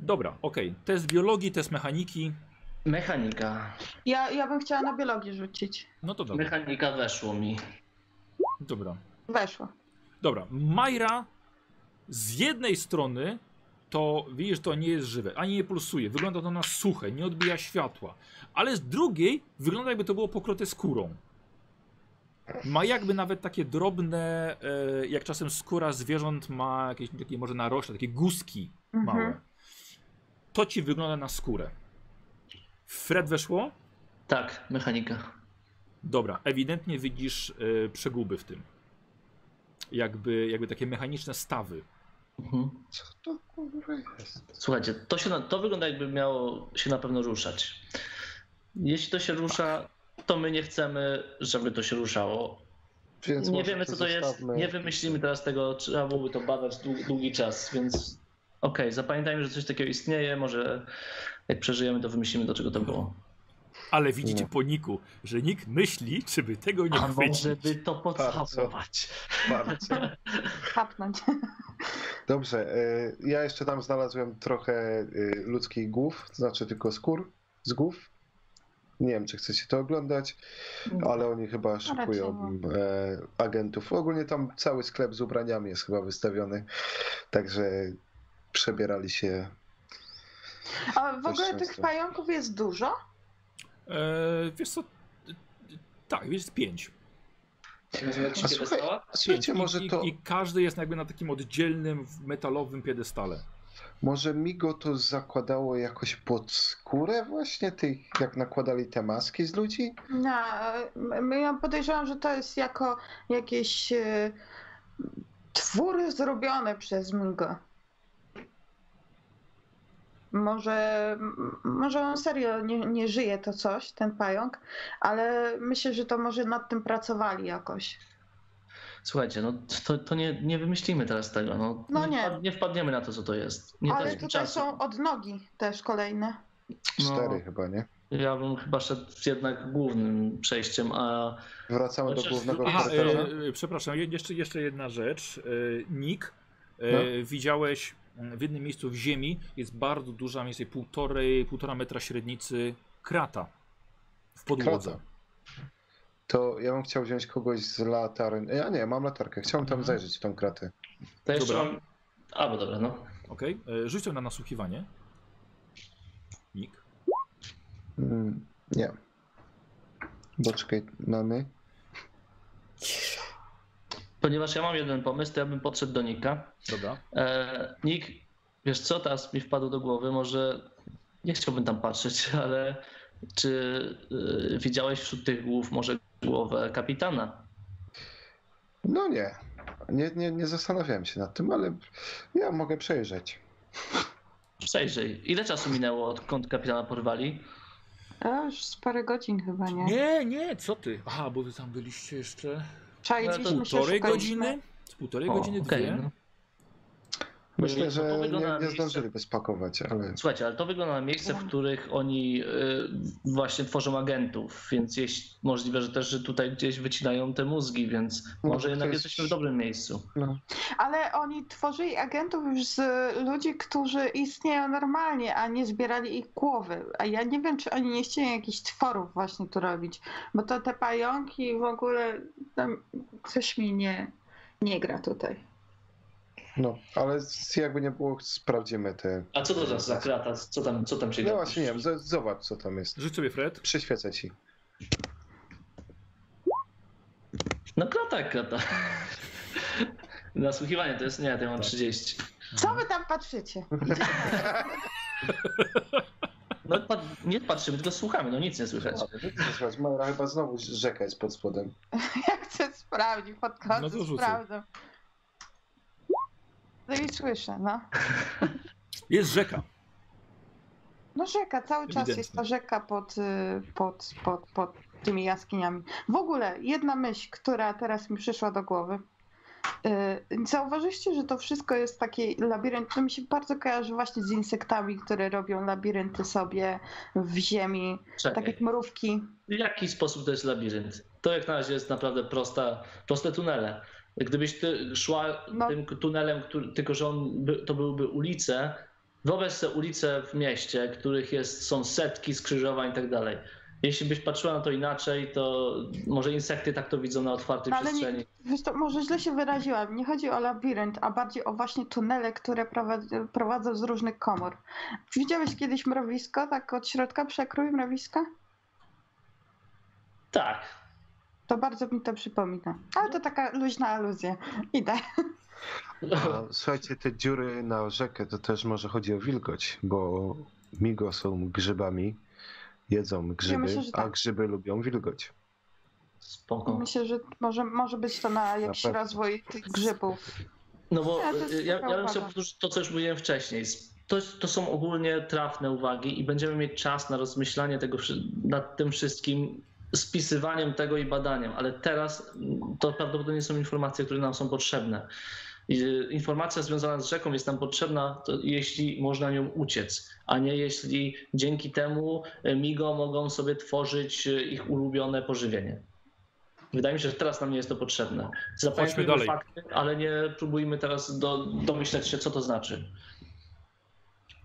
Dobra, okej. Test biologii, test mechaniki.
Mechanika.
Ja, ja bym chciała na biologię rzucić.
No to dobra.
Mechanika weszło mi.
Dobra.
Weszło.
Dobra. Majra z jednej strony to widzisz, to nie jest żywe, ani nie pulsuje. Wygląda to na suche, nie odbija światła. Ale z drugiej wygląda jakby to było pokrote skórą. Ma jakby nawet takie drobne, e, jak czasem skóra zwierząt ma jakieś takie może narośle, takie guski
Mhm.
małe. To ci wygląda na skórę. Fred weszło?
Tak, mechanika.
Dobra, ewidentnie widzisz e, przeguby w tym. Jakby, jakby takie mechaniczne stawy.
Mhm.
Co to kurwa jest?
Słuchajcie, to, się na, to wygląda jakby miało się na pewno ruszać. Jeśli to się rusza, to my nie chcemy, żeby to się ruszało.
Więc
nie
może
wiemy, co to jest.
zostawmy.
Nie wymyślimy teraz tego, trzeba byłoby to badać dłu- długi czas, więc okej, zapamiętajmy, że coś takiego istnieje. Może jak przeżyjemy, to wymyślimy, do czego to było.
Ale widzicie
Nie.
po niku, że nikt myśli, czy by tego nie
A
chwycić.
może by to pocałować.
Bardzo.
Chapnąć.
Dobrze, y, ja jeszcze tam znalazłem trochę y, ludzkich głów, to znaczy tylko skór z głów. Nie wiem, czy chcecie to oglądać, ale oni chyba szykują e, agentów. Ogólnie tam cały sklep z ubraniami jest chyba wystawiony, także przebierali się.
A w
Coś
ogóle
często.
tych pająków jest dużo?
E, wiesz co? Tak, wiesz, pięć.
A słuchaj, słuchajcie,
Pięć.
może
I,
to,
i, I każdy jest jakby na takim oddzielnym, metalowym piedestale.
może Migo to zakładało jakoś pod skórę właśnie tych, jak nakładali te maski z ludzi?
No, e, ja podejrzewam, że to jest jako jakieś e, twór zrobione przez Migo. Może, m- może on serio nie, nie żyje to coś, ten pająk, ale myślę, że to może nad tym pracowali jakoś.
Słuchajcie, no to, to nie, nie wymyślimy teraz tego. No,
No nie.
wpad- nie wpadniemy na to, co to jest. Nie
ale
daliśmy
tutaj
czasu.
są odnogi też kolejne.
Cztery
No.
chyba, nie?
Ja bym chyba szedł jednak głównym przejściem, a
Wracamy do
Chociaż-
głównego
Znaczy, Aha, y,
Aha,
korytarza.
e, e, przepraszam, je- jeszcze, jeszcze jedna rzecz. E, Nick, e,
No.
widziałeś m, w jednym miejscu w ziemi, jest bardzo duża, mniej więcej półtorej, półtora metra średnicy krata w podłodze.
Krata. To ja bym chciał wziąć kogoś z latarni. Ja nie, mam latarkę. Chciałem tam
Mhm.
zajrzeć w tą kratę.
to jeszcze
Dobra.
mam... A, bo dobra, no.
Okej, okay? rzuć ją na nasłuchiwanie. Nick.
Mm, nie. no Doczekaj, mamy.
Ponieważ ja mam jeden pomysł, to ja bym podszedł do Nika.
Dobra.
E, Nik, wiesz co, teraz mi wpadło do głowy, może nie chciałbym tam patrzeć, ale czy y, widziałeś wśród tych głów może głowę kapitana?
No nie. Nie, nie. nie zastanawiałem się nad tym, ale ja mogę przejrzeć.
Przejrzyj. Ile czasu minęło, odkąd kapitana porwali?
A już z parę godzin chyba, nie?
Nie, nie, co ty? Aha, bo wy tam byliście jeszcze
Czailiśmy się,
półtorej
szukaliśmy.
godziny? Z półtorej
no.
O, no.
godziny,
okej,
dwie?
no.
Myślę,
Jak to
że
wygląda
nie,
na
nie
miejsce?
zdążyliby spakować, ale
Słuchajcie, ale to wygląda na miejsce, w których oni y, właśnie tworzą agentów, więc jeśli, możliwe, że też że tutaj gdzieś wycinają te mózgi, więc
No,
może
to
jednak
jest-
jesteśmy w dobrym miejscu.
No.
Ale oni tworzyli agentów już z ludzi, którzy istnieją normalnie, a nie zbierali ich głowy. A ja nie wiem, czy oni nie chcieli jakichś tworów właśnie tu robić, bo to te pająki w ogóle tam coś mi nie, nie gra tutaj.
no, ale z- jakby nie było, sprawdzimy te.
A co to za, za krata? Co tam, co tam się
No właśnie, nie wiem, z- zobacz co tam jest.
Rzuć sobie Fred.
Przyświecę ci.
No krata jak krata. Nasłuchiwanie to jest, nie, to ja mam 30.
Co wy tam patrzycie?
No pat, nie patrzymy, tylko słuchamy, no nic nie słychać.
Słuchaj, Majra chyba znowu rzeka jest pod spodem.
Ja chcę sprawdzić, pod koniec
No to rzucaj.
sprawdzę. No i słyszę, no.
Jest rzeka.
No rzeka, cały czas
Ewidentnie.
jest ta rzeka pod, y, pod, pod, pod tymi jaskiniami. W ogóle jedna myśl, która teraz mi przyszła do głowy. Y, Zauważyliście, że to wszystko jest taki labirynt, to mi się bardzo kojarzy właśnie z insektami, które robią labirynty sobie w ziemi, tak
Czekaj,
jak mrówki.
w jaki sposób to jest labirynt? To jak na razie jest naprawdę prosta, proste tunele. Gdybyś ty szła
No.
tym tunelem, który, tylko że on by, to byłby ulice, wyobraź sobie ulice w mieście, których jest, są setki skrzyżowań i tak dalej. Jeśli byś patrzyła na to inaczej, to może insekty tak to widzą na otwartej
Ale nie,
przestrzeni.
wiesz to może źle się wyraziłam. Nie chodzi o labirynt, a bardziej o właśnie tunele, które prowadzą, prowadzą z różnych komór. Widziałeś kiedyś mrowisko, tak od środka przekrój mrowiska?
Tak,
To bardzo mi to przypomina. Ale to taka luźna aluzja. Idę.
A, słuchajcie, te dziury na rzekę to też może chodzi o wilgoć, bo migo są grzybami, jedzą grzyby,
myślę, że tak.
a grzyby lubią wilgoć.
spoko.
Myślę, że może, może być to na jakiś
pewno.
rozwój tych grzybów.
No bo
Ja też
y, ja,
taka
ja bym chciał
uwaga.
powtórzyć to, co już mówiłem wcześniej. To, to są ogólnie trafne uwagi i będziemy mieć czas na rozmyślanie tego, wszy- nad tym wszystkim, spisywaniem tego i badaniem, ale teraz mm, to prawdopodobnie są informacje, które nam są potrzebne. I, y, Informacja związana z rzeką jest nam potrzebna, to jeśli można nią uciec, a nie jeśli dzięki temu y, migo mogą sobie tworzyć y, ich ulubione pożywienie. Wydaje mi się, że teraz nam nie jest to potrzebne. Zapamiętajmy
dalej.
fakty, ale nie próbujmy teraz do, domyśleć się, co to znaczy.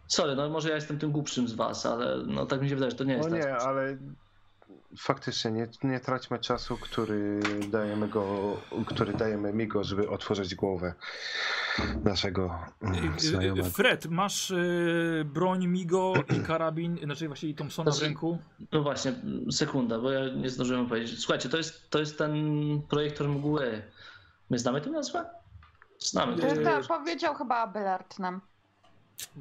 Sorry, no może ja jestem tym głupszym z was, ale no tak mi się wydaje, że to nie
No
jest tak.
nie, ale faktycznie nie, nie traćmy czasu, który dajemy go, który dajemy migo, żeby otworzyć głowę naszego mm, znajomego.
Y, Fred, masz y, broń Migo i karabin, znaczy właściwie Thompsona w
Znaczy-
ręku.
No właśnie, sekunda, bo ja nie zdążyłem powiedzieć. Słuchajcie, to jest, to jest ten projektor mgły. My znamy tę nazwę? Znamy. tak?
Nie.
To-
To tak powiedział chyba Abelard nam.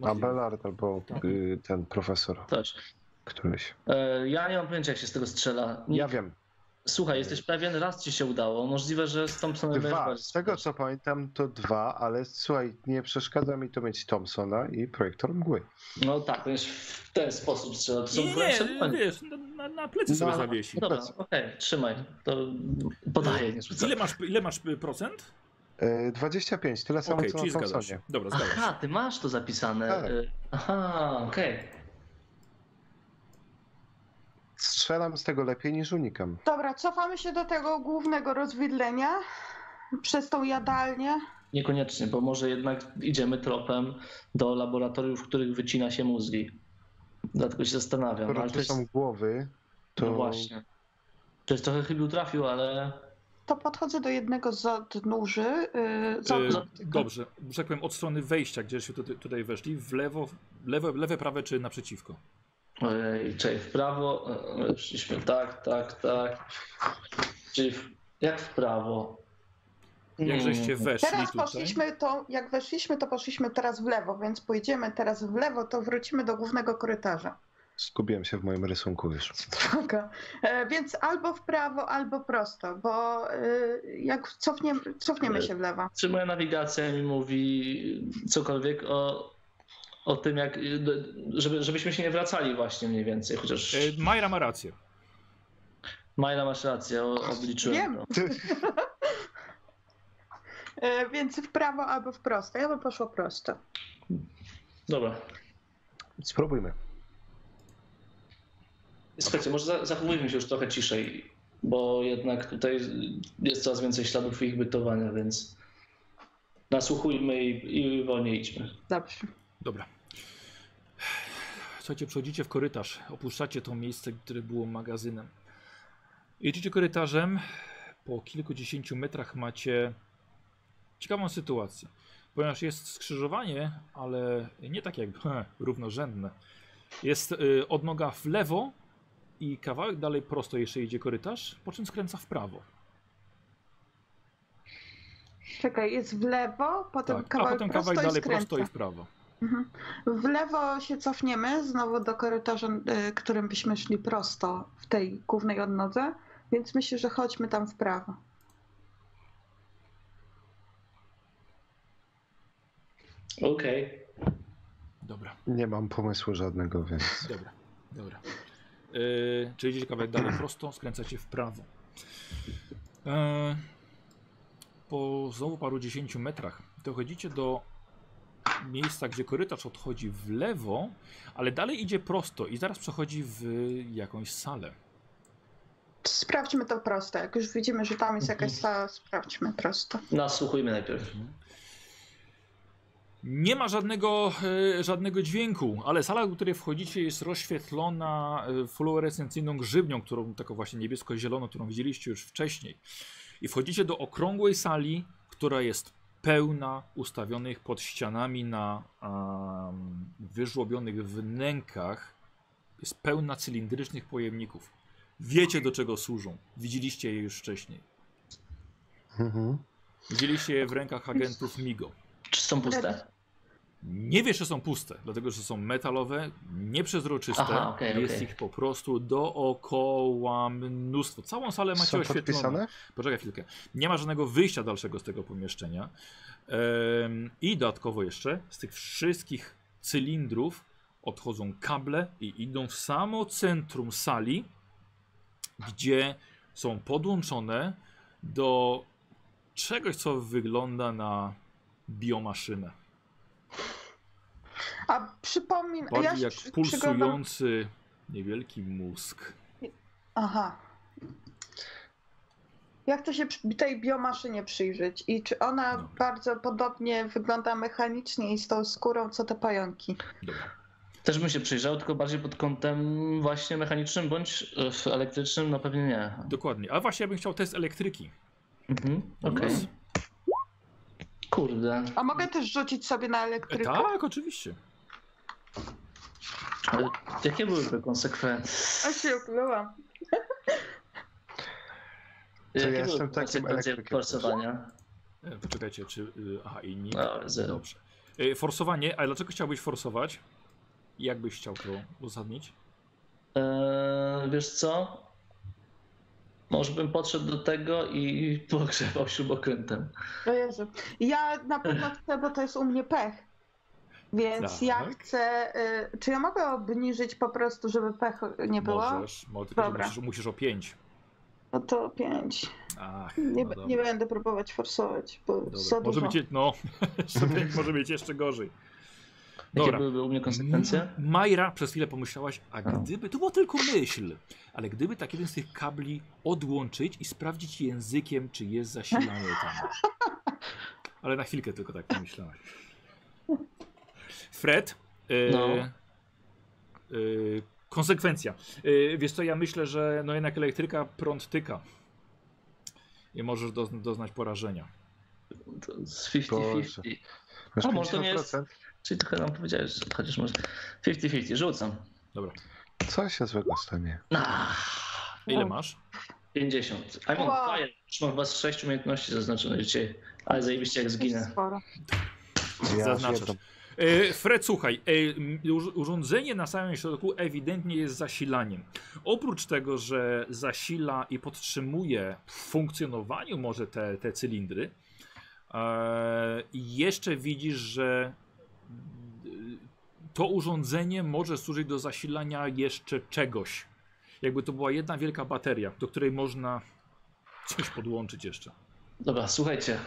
A Bellard albo
Tak.
y, ten profesor
Też.
któryś.
E, Ja nie mam pojęcia, jak się z tego strzela. Nie,
Ja wiem.
Słuchaj, jesteś pewien, raz ci się udało. Możliwe, że z Thompsonem
Dwa.
bardziej-
Z tego co pamiętam to dwa, ale słuchaj, nie przeszkadza mi to mieć Thompsona i projektor mgły.
No tak, to jest w ten sposób strzela. To są
Nie, nie,
gorętsze
nie,
bronie.
wiesz, na, na, na plecy sobie
No.
zawiesi.
Dobra, okej, trzymaj. To podaję, nie rzucę.
Ile masz, ile masz procent?
Y, 25, tyle samo
Okej,
co
czyli
na
zgadzasz.
Thompsonie.
Dobra, zgadzasz.
Aha, ty masz to zapisane.
Tak.
E, Aha, okej.
Strzelam z tego lepiej niż unikam.
No,
Dobra, cofamy się do tego głównego rozwidlenia przez tą jadalnię.
Niekoniecznie, bo może jednak idziemy tropem do laboratoriów, w których wycina się mózgi. Dlatego się zastanawiam.
Skoro
Ale to
tu
jest,
są głowy, to
No właśnie. To jest trochę chybił trafił, ale
To podchodzę do jednego z odnóży. Yy, z
Y,
odnóż.
dobrze, że tak powiem, od strony wejścia, gdzieśmy tutaj, tutaj weszli, w lewo, w lewe, lewe, prawe czy naprzeciwko.
Ojej, czyli w prawo. e, Szliśmy tak, tak, tak. Czyli w... jak w prawo?
Jak żeście
Mm.
weszli
Teraz
tutaj.
poszliśmy to, jak weszliśmy, to poszliśmy teraz w lewo, więc pójdziemy teraz w lewo, to wrócimy do głównego korytarza.
Skubiłem się w moim rysunku już.
Spoko. E, Więc albo w prawo, albo prosto, bo y, jak cofniemy, cofniemy się w lewo.
Czy moja nawigacja mi mówi cokolwiek o, o tym, jak. Żeby, żebyśmy się nie wracali, właśnie mniej więcej, chociaż.
Y, Majra ma rację.
Majla masz rację, o- obliczyłem
Wiem.
to.
E, Więc w prawo albo w prosto. Ja bym poszła prosto.
Dobra.
Spróbujmy.
Słuchajcie, może za- zachowujmy się już trochę ciszej, bo jednak tutaj jest coraz więcej śladów ich bytowania, więc nasłuchujmy i, i wolniej idźmy.
Dobrze.
Dobra. Słuchajcie, przechodzicie w korytarz, opuszczacie to miejsce, które było magazynem. Jedziecie korytarzem, po kilkudziesięciu metrach macie ciekawą sytuację, ponieważ jest skrzyżowanie, ale nie tak jak he, równorzędne. Jest y, odnoga w lewo i kawałek dalej prosto jeszcze idzie korytarz, po czym skręca w prawo.
Czekaj, jest w lewo, potem
Tak. A
kawałek
potem
prosto
kawałek dalej
i skręca.
prosto i w prawo.
Mhm. W lewo się cofniemy znowu do korytarza, y, którym byśmy szli prosto w tej głównej odnodze, więc myślę, że chodźmy tam w prawo.
Okej.
Dobra.
Nie mam pomysłu żadnego, więc.
Dobra, dobra. Yy, czyli idziecie kawałek dalej prosto, skręcacie w prawo. Yy, po znowu paru dziesięciu metrach dochodzicie do miejsca, gdzie korytarz odchodzi w lewo, ale dalej idzie prosto i zaraz przechodzi w jakąś salę.
Sprawdźmy to prosto. Jak już widzimy, że tam jest jakaś
Mhm.
sala, sprawdźmy prosto.
Nasłuchujmy najpierw.
Nie ma żadnego, e, żadnego dźwięku, ale sala, do której wchodzicie, jest rozświetlona e, fluorescencyjną grzybnią, którą taką właśnie niebiesko-zieloną, którą widzieliście już wcześniej. I wchodzicie do okrągłej sali, która jest pełna ustawionych pod ścianami na am, wyżłobionych wnękach. Jest pełna cylindrycznych pojemników. Wiecie do czego służą. Widzieliście je już wcześniej.
Mhm.
Widzieliście je w rękach agentów MIGO.
Czy są puste?
Nie wiesz, że są puste, dlatego że są metalowe, nieprzezroczyste.
Aha, okej,
jest
okej.
ich po prostu dookoła mnóstwo. Całą salę macie
Są
oświetloną.
podpisane?
Poczekaj chwilkę. Nie ma żadnego wyjścia dalszego z tego pomieszczenia. Em, I dodatkowo jeszcze z tych wszystkich cylindrów odchodzą kable i idą w samo centrum sali, gdzie są podłączone do czegoś, co wygląda na biomaszynę.
A przypomnij, ja
Bardziej
się
jak
przy- przyglądam-
pulsujący niewielki mózg.
Aha. Ja chcę się przy- tej biomaszynie przyjrzeć i czy ona
Dobra.
bardzo podobnie wygląda mechanicznie i z tą skórą, co te pająki.
Dobra.
Też bym się przyjrzał, tylko bardziej pod kątem właśnie mechanicznym bądź e, elektrycznym, no pewnie nie.
Dokładnie. A właśnie ja bym chciał test elektryki. E,
Mhm.
od
Okej.
was.
Kurde.
A mogę też rzucić sobie na
E,
elektrykę?
tak, oczywiście.
Ale jakie byłyby konsekwencje?
A się ukryłam.
ja
Jakie
jestem
byłyby
takim
konsekwencje
elektrykiem.
forsowania?
E, Poczekajcie, czy. y, Aha, inni.
No, zero.
Dobrze. E, Forsowanie, a dlaczego chciałbyś forsować? Jak byś chciał to uzasadnić?
Eee, wiesz co? Może bym podszedł do tego i pogrzebał śrubokrętem.
O Jezu. Ja na pewno chcę, bo to jest u mnie pech. Więc
Tak.
ja chcę. Y, czy ja mogę obniżyć po prostu, żeby pech nie było?
Możesz, może, tylko, że
Dobra.
musisz, musisz o 5.
No to pięć.
Ach,
Nie,
no
b-
dobra.
nie będę próbować forsować, bo
Dobra.
za
Może
dużo.
być, je- no, jeszcze pięć, może być jeszcze gorzej.
Jakie
Dobra.
byłyby u mnie
Mhm.
konsekwencje?
M- No, Majra, przez chwilę pomyślałaś, a
No.
gdyby, to była tylko myśl, ale gdyby tak jeden z tych kabli odłączyć i sprawdzić językiem, czy jest zasilanie tam. Ale na chwilkę tylko tak pomyślałaś. Fred, e,
No.
e, konsekwencja. E, wiesz co, ja myślę, że no jednak elektryka prąd tyka. I możesz dozn- doznać porażenia.
To z
Boże.
50-50.
Masz
A może to nie
50%?
Czyli trochę nam powiedziałeś, że chociaż może 50-50, rzucam.
Dobra.
Co się złego stanie?
Ah,
Ile
Wow.
masz?
50. I'm on
Wow.
fire. Już mam chyba z 6 umiejętności zaznaczonych dzisiaj. Ale zajebiście jak
To jest
zginę.
sporo.
Ja
Zaznaczasz.
zjedzą.
E, Fred, słuchaj, e, m, urz- urządzenie na samym środku ewidentnie jest zasilaniem. Oprócz tego, że zasila i podtrzymuje w funkcjonowaniu może te, te cylindry, e, jeszcze widzisz, że y, to urządzenie może służyć do zasilania jeszcze czegoś. Jakby to była jedna wielka bateria, do której można coś podłączyć jeszcze.
Dobra, słuchajcie.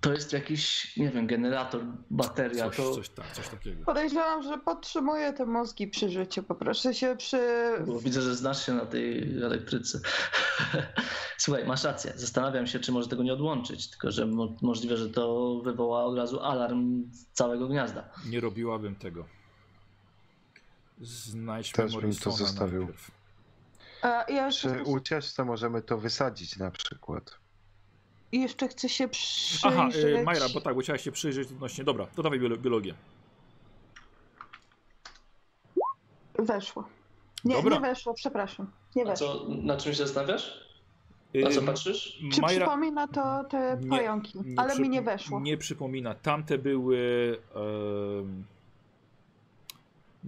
to jest jakiś, nie wiem, generator, bateria.
Coś,
to...
coś, tak, coś takiego.
Podejrzewam, że podtrzymuje te mózgi przy życiu. Poproszę się przy.
Bo widzę, że znasz się na tej elektryce. Słuchaj, masz rację. Zastanawiam się, czy może tego nie odłączyć, tylko że mo- możliwe, że to wywoła od razu alarm z całego gniazda.
Nie robiłabym tego. Znajdźmy
Też bym to
Morrisona
zostawił.
najpierw.
E, ja jeszcze,
Przy ucieczce możemy to wysadzić na przykład.
jeszcze chcę się przyjrzeć.
Aha, y, Majra, bo tak, bo chciałaś się przyjrzeć odnośnie. Dobra, to dawaj biolo- biologię.
Weszło. Nie,
Dobra.
nie weszło, przepraszam. Nie
A
weszło.
co, na czym się zastanawiasz? Na No co
Ym,
patrzysz?
Czy
Y, Majra-
przypomina to te
Nie,
pająki? Ale
przypo-
mi nie weszło.
Nie przypomina. Tamte były. em,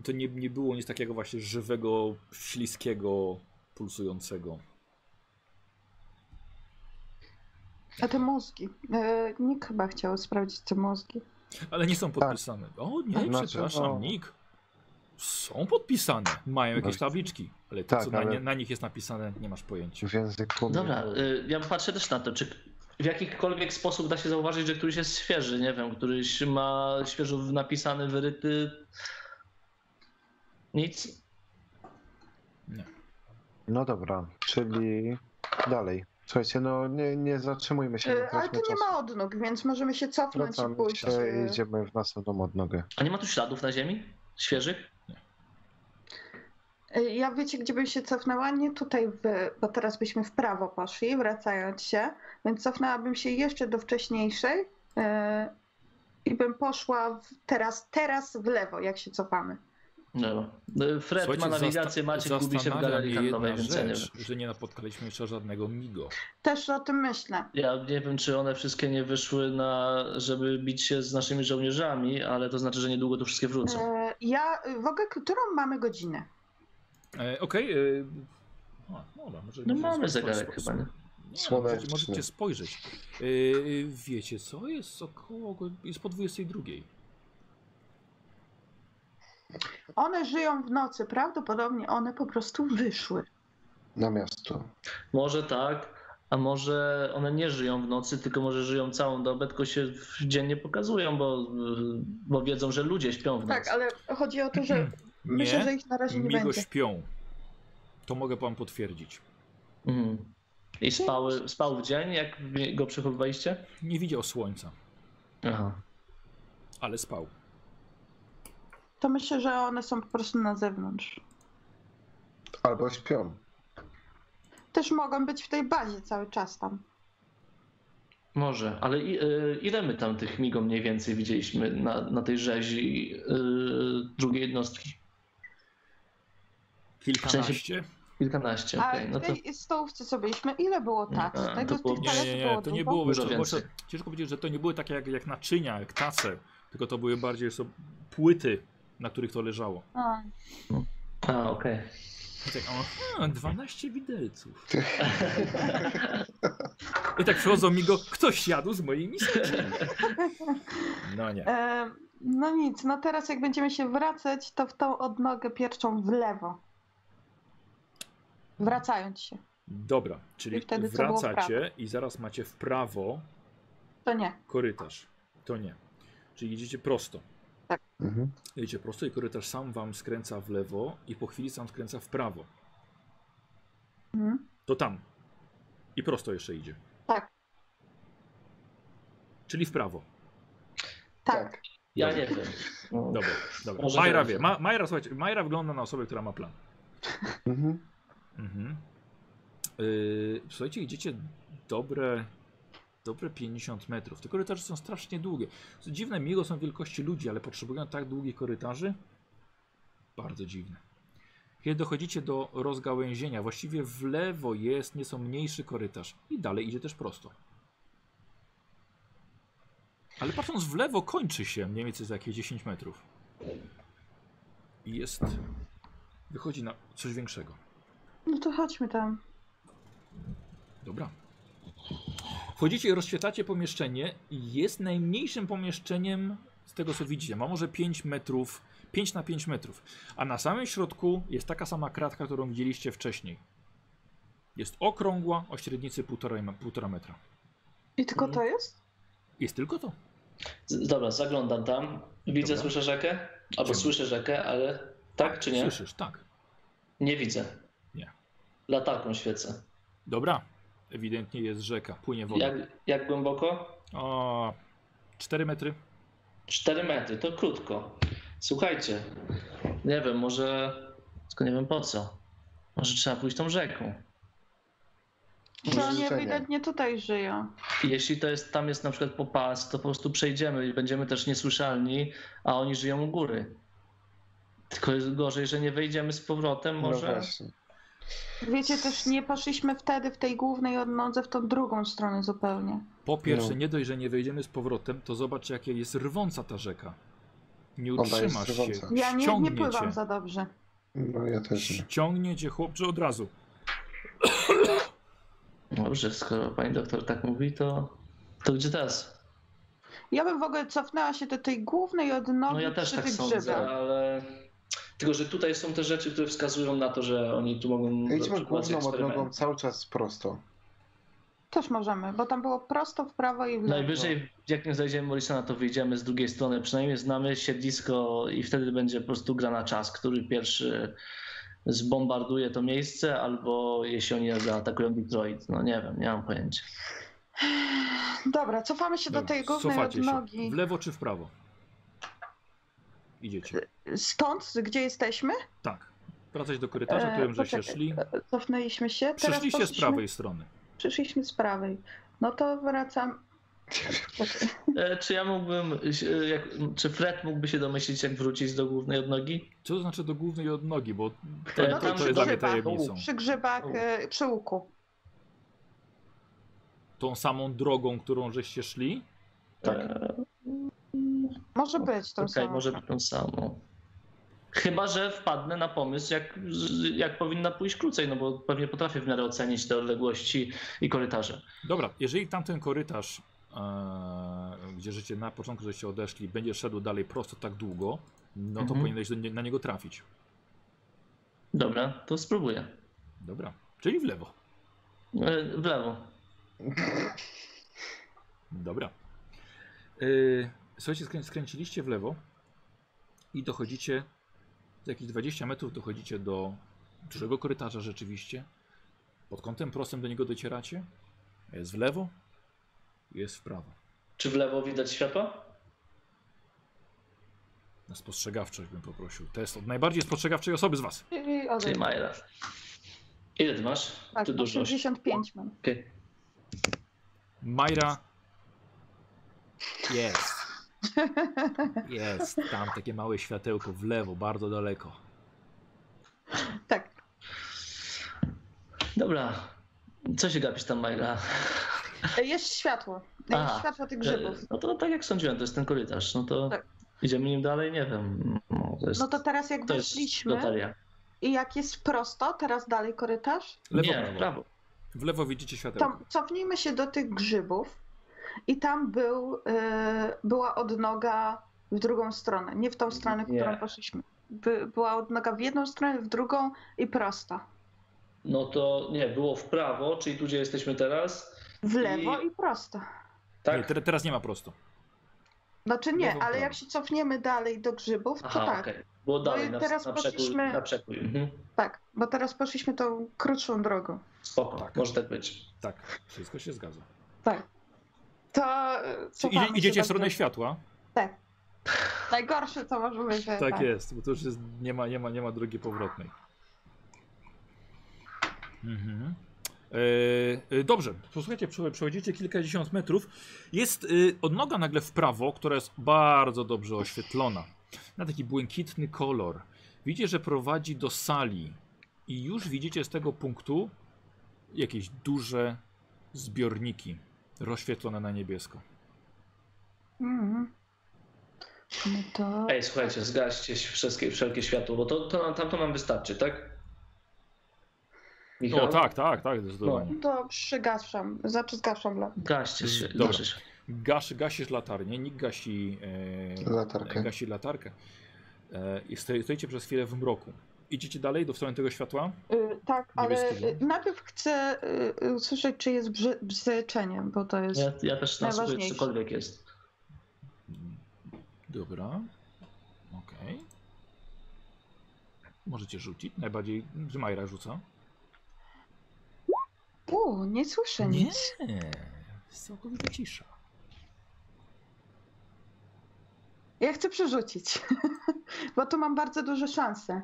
to nie, nie było nic takiego właśnie żywego, śliskiego, pulsującego.
A te mózgi. E, Nick chyba chciał sprawdzić te mózgi.
Ale nie są podpisane. O nie,
Tak. Znaczy,
przepraszam,
no.
Nick. Są podpisane. Mają jakieś
Dość.
tabliczki, ale to,
Tak,
co na,
ale-
nie, na nich jest napisane, nie masz pojęcia.
W języku.
Dobra, y, ja patrzę też na to, czy w jakikolwiek sposób da się zauważyć, że któryś jest świeży, nie wiem, któryś ma świeżo napisany, wyryty... Nic?
No dobra, czyli dalej. Słuchajcie, no nie, nie zatrzymujmy się.
E, ale
traćmy
to nie
czasu.
ma odnóg, więc możemy się cofnąć i
Wracamy
pójść.
się i
e,
idziemy w następną odnogę.
A nie ma tu śladów na ziemi? Świeżych?
e, Ja wiecie, gdzie bym się cofnęła? Nie tutaj, w, bo teraz byśmy w prawo poszli, wracając się, więc cofnęłabym się jeszcze do wcześniejszej e, i bym poszła w, teraz, teraz w lewo, jak się cofamy.
No. Y, Fred
Słuchajcie,
ma nawigację,
zasta-
Maciek gubi się w
zastanawia
galerii
mnie jedna
handlowej, więc ja nie wiem.
rzecz, że nie napotkaliśmy jeszcze żadnego migo.
Też o tym myślę.
Ja nie wiem, czy one wszystkie nie wyszły na, żeby bić się z naszymi żołnierzami, ale to znaczy, że niedługo tu wszystkie wrócą.
E, ja w ogóle, którą mamy godzinę?
E, Okej. e, a, dobra, może-
No
może spo-
mamy zegarek
spo-
chyba, nie?
Nie,
Słoneczny.
możecie, możecie spojrzeć. Yy, wiecie co? Jest około. go- Jest po 22.
One żyją w nocy, prawdopodobnie one po prostu wyszły.
Na miasto.
Może tak, a może one nie żyją w nocy, tylko może żyją całą dobę, tylko się w dzień nie pokazują, bo, bo wiedzą, że ludzie śpią w nocy.
Tak, ale chodzi o to, że myślę, że ich na razie nie
migo
będzie.
śpią. To mogę wam potwierdzić.
Mhm. I spały, spał w dzień, jak wy go przechowywaliście?
Nie widział słońca,
Aha.
ale spał.
To myślę, że one są po prostu na zewnątrz.
Albo śpią.
Też mogą być w tej bazie cały czas tam.
Może, ale i, y, ile my tam tych migą mniej więcej widzieliśmy na, na tej rzezi y, drugiej jednostki?
Kilkanaście?
Kilkanaście,
A
okej. No to...
Tak,
Mm,
tej stołówce co byliśmy, ile było tak?
A,
Tego
to było-
tych
Nie,
paletów
nie, nie. To nie było
Dużo
wiesz co,
więcej.
może- Ciężko powiedzieć, że to nie były takie jak, jak naczynia, jak tace, tylko to były bardziej so, płyty, na których to leżało.
A,
A, okej.
I tak, aha, 12 widelców. I tak przychodzą mi go, ktoś jadł z mojej miski. No nie.
e, no nic, no teraz jak będziemy się wracać, to w tą odnogę pierwszą w
Mm.
lewo. Wracając się.
Dobra, czyli
I wtedy co było w
wracacie i zaraz macie w prawo
To nie.
korytarz. To nie. Czyli idziecie prosto.
Mhm.
Idziecie prosto i korytarz sam wam skręca w lewo i po chwili sam skręca w prawo.
Mhm.
To tam. I prosto jeszcze idzie.
Tak.
Czyli w prawo.
Tak.
Ja nie wiem. No.
Dobra, dobra.
Może
Majra
teraz.
wie. Ma, Majra, słuchajcie, Majra wygląda na osobę, która ma plan.
Mhm.
Mhm. Yy, słuchajcie, idziecie dobre, dobre 50 metrów. Te korytarze są strasznie długie. Co dziwne, miło są wielkości ludzi, ale potrzebują tak długich korytarzy? Bardzo dziwne. Kiedy dochodzicie do rozgałęzienia, właściwie w lewo jest nieco mniejszy korytarz i dalej idzie też prosto. Ale patrząc w lewo kończy się mniej więcej za jakieś 10 metrów. I jest... Wychodzi na coś większego.
No to chodźmy tam.
Dobra. Wchodzicie i rozświetlacie pomieszczenie. Jest najmniejszym pomieszczeniem z tego co widzicie. Ma może 5 metrów, 5 na 5 metrów. A na samym środku jest taka sama kratka, którą widzieliście wcześniej. Jest okrągła o średnicy 1,5 ma- 1,5 metra.
I tylko
Mhm.
to jest?
Jest tylko to.
Z- Dobra, zaglądam tam. Widzę,
Dobra.
słyszę rzekę? Albo
Ciemno.
słyszę rzekę, ale tak czy nie?
Słyszysz, tak.
Nie widzę.
Nie.
Latarką świecę.
Dobra. Ewidentnie jest rzeka, płynie woda.
Jak, jak głęboko?
O, 4 metry.
4 metry, to krótko. Słuchajcie, nie wiem, może. Tylko nie wiem po co. Może trzeba pójść tą rzeką.
Że
Może
oni
życzenia.
ewidentnie tutaj żyją.
Jeśli to jest, tam jest na przykład popas, to po prostu przejdziemy i będziemy też niesłyszalni, a oni żyją u góry. Tylko jest gorzej, że nie wejdziemy z powrotem,
No
może.
właśnie.
Wiecie, też nie poszliśmy wtedy w tej głównej odnodze w tą drugą stronę zupełnie.
Po pierwsze,
No.
nie dość, że nie wejdziemy z powrotem, to zobacz, jakie jest rwąca ta rzeka. Nie
Ona jest
utrzymasz się.
rwąca.
Ja nie, nie
Ściągnie
pływam
cię.
za dobrze.
No ja też nie.
Ściągnie cię chłopcze od razu.
Dobrze, skoro pani doktor tak mówi, to. To gdzie teraz?
Ja bym w ogóle cofnęła się do tej głównej odnogi
No ja też
przy
tak
tych
sądzę,
grzybach.
ale. Tylko, że tutaj są te rzeczy, które wskazują na to, że oni tu mogą.
Idźmy
dokonać
główną odnogą
eksperymentu.
cały czas prosto.
Też możemy, bo tam było prosto w prawo i w lewo.
Najwyżej, jak nie znajdziemy Morrisona, to wyjdziemy z drugiej strony. Przynajmniej znamy siedlisko i wtedy będzie po prostu gra na czas, który pierwszy zbombarduje to miejsce, albo jeśli oni zaatakują Detroit. No nie wiem, nie mam pojęcia.
Dobra, cofamy się do
Dobra,
tej głównej
cofacie
odnogi.
Się. W lewo czy w prawo? Idziecie.
Stąd, gdzie jesteśmy?
Tak. Wracać do korytarza,
E,
którym żeście
poczekaj. e,
szli.
Cofnęliśmy się. Teraz
Przeszliście z
poszliśmy-
prawej strony.
Przyszliśmy z prawej. No to wracam.
E, Czy ja mógłbym, e, jak, czy Fred mógłby się domyślić, jak wrócić do głównej odnogi?
Co to znaczy do głównej odnogi, bo to, to,
E,
znaczy, to, jest
tam
dla mnie
przy drzewach.
tajemnicą.
Przy grzybach,
U.
e, przy łuku.
Tą samą drogą, którą żeście szli?
Tak.
Może być tą
Okej,
samą.
może tą samą. Chyba, że wpadnę na pomysł, jak, jak powinna pójść krócej, no bo pewnie potrafię w miarę ocenić te odległości i korytarze.
Dobra, jeżeli tamten korytarz, e, gdzie żeście na początku żeście odeszli, będzie szedł dalej prosto tak długo, no to
Mhm.
powinieneś do nie, na niego trafić.
Dobra, to spróbuję.
Dobra, czyli w lewo.
E, W lewo.
Dobra. Yy, słuchajcie, skrę skręciliście w lewo i dochodzicie, za jakieś 20 metrów dochodzicie do dużego korytarza rzeczywiście. Pod kątem prostym do niego docieracie. Jest w lewo, jest w prawo.
Czy w lewo widać światła?
Na spostrzegawczość bym poprosił. Test od najbardziej spostrzegawczej osoby z was.
Czyli
Czyli
odejdź.
Majra. Ile ty masz?
Tak,
ty dużo.
85 mam.
Okej.
Majra. Jest. Jest. Tam takie małe światełko w lewo, bardzo daleko.
Tak.
Dobra. Co się gapisz tam, Majra?
E, Jest światło.
A.
Jest światło tych grzybów.
E, No to tak jak sądziłem, to jest ten korytarz. No to
Tak.
idziemy nim dalej? Nie wiem. No to jest,
No to teraz jak
to jest
weszliśmy
loteria.
i jak jest prosto, teraz dalej korytarz,
Lewo,
Nie,
prawo.
prawo.
W lewo widzicie światełko.
to cofnijmy się do tych grzybów i tam był, e, była odnoga w drugą stronę, nie w tą stronę, w
Nie.
którą poszliśmy. By, była odnoga w jedną stronę, w drugą i prosto.
No to nie, było w prawo, czyli tu gdzie jesteśmy teraz.
W lewo i,
I-
prosto.
Nie,
Tak?
te, teraz nie ma prosto.
Znaczy nie,
Lewo,
ale
prawo.
jak się cofniemy dalej do grzybów, to
Aha,
tak,
okej. Było dalej,
i
na,
teraz
na przekój.
poszliśmy-
Na przekój. Mhm.
tak, bo teraz poszliśmy tą krótszą drogą.
Spoko,
Tak.
może tak być.
Tak, wszystko się zgadza.
To e,
Czy
cofamy
idzie, idziecie
się
w stronę
do-
światła?
Najgorsze co może być.
Tak, jest, bo to już jest, nie, ma, nie, ma, nie ma drogi powrotnej. Mhm. E, e, dobrze, posłuchajcie, prze- przechodzicie kilkadziesiąt metrów. Jest y, odnoga nagle w prawo, która jest bardzo dobrze oświetlona. Na taki błękitny kolor. Widzicie, że prowadzi do sali i już widzicie z tego punktu jakieś duże zbiorniki rozświetlone na niebiesko.
Mhm. No to...
Ej, słuchajcie, zgaście wszystkie, wszelkie światło, bo to, to nam, tamto nam wystarczy, tak?
O tak, tak, tak, zdecydowanie.
No To przygaszam, znaczy zgaszam lampę.
Gaście się,
Dobra.
nasze światło.
Gasz, gasisz latarnię, nikt gasi, e,
Latarkę.
Tak, gasi latarkę. E, I stoi- stoicie przez chwilę w mroku. Idziecie dalej do w stronę tego światła?
Y, tak, ale
Niebieskiego.
y, najpierw chcę y, y, usłyszeć, czy jest brze- brzeczenie, bo to jest.
Ja, ja też nasłuchuję, czy
Najważniejsze.
cokolwiek jest.
Dobra. Okej. Możecie rzucić. Najbardziej Majra rzuca.
U, nie słyszę nic.
Nie. Jest całkowita cisza.
Ja chcę przerzucić, bo tu mam bardzo duże szanse.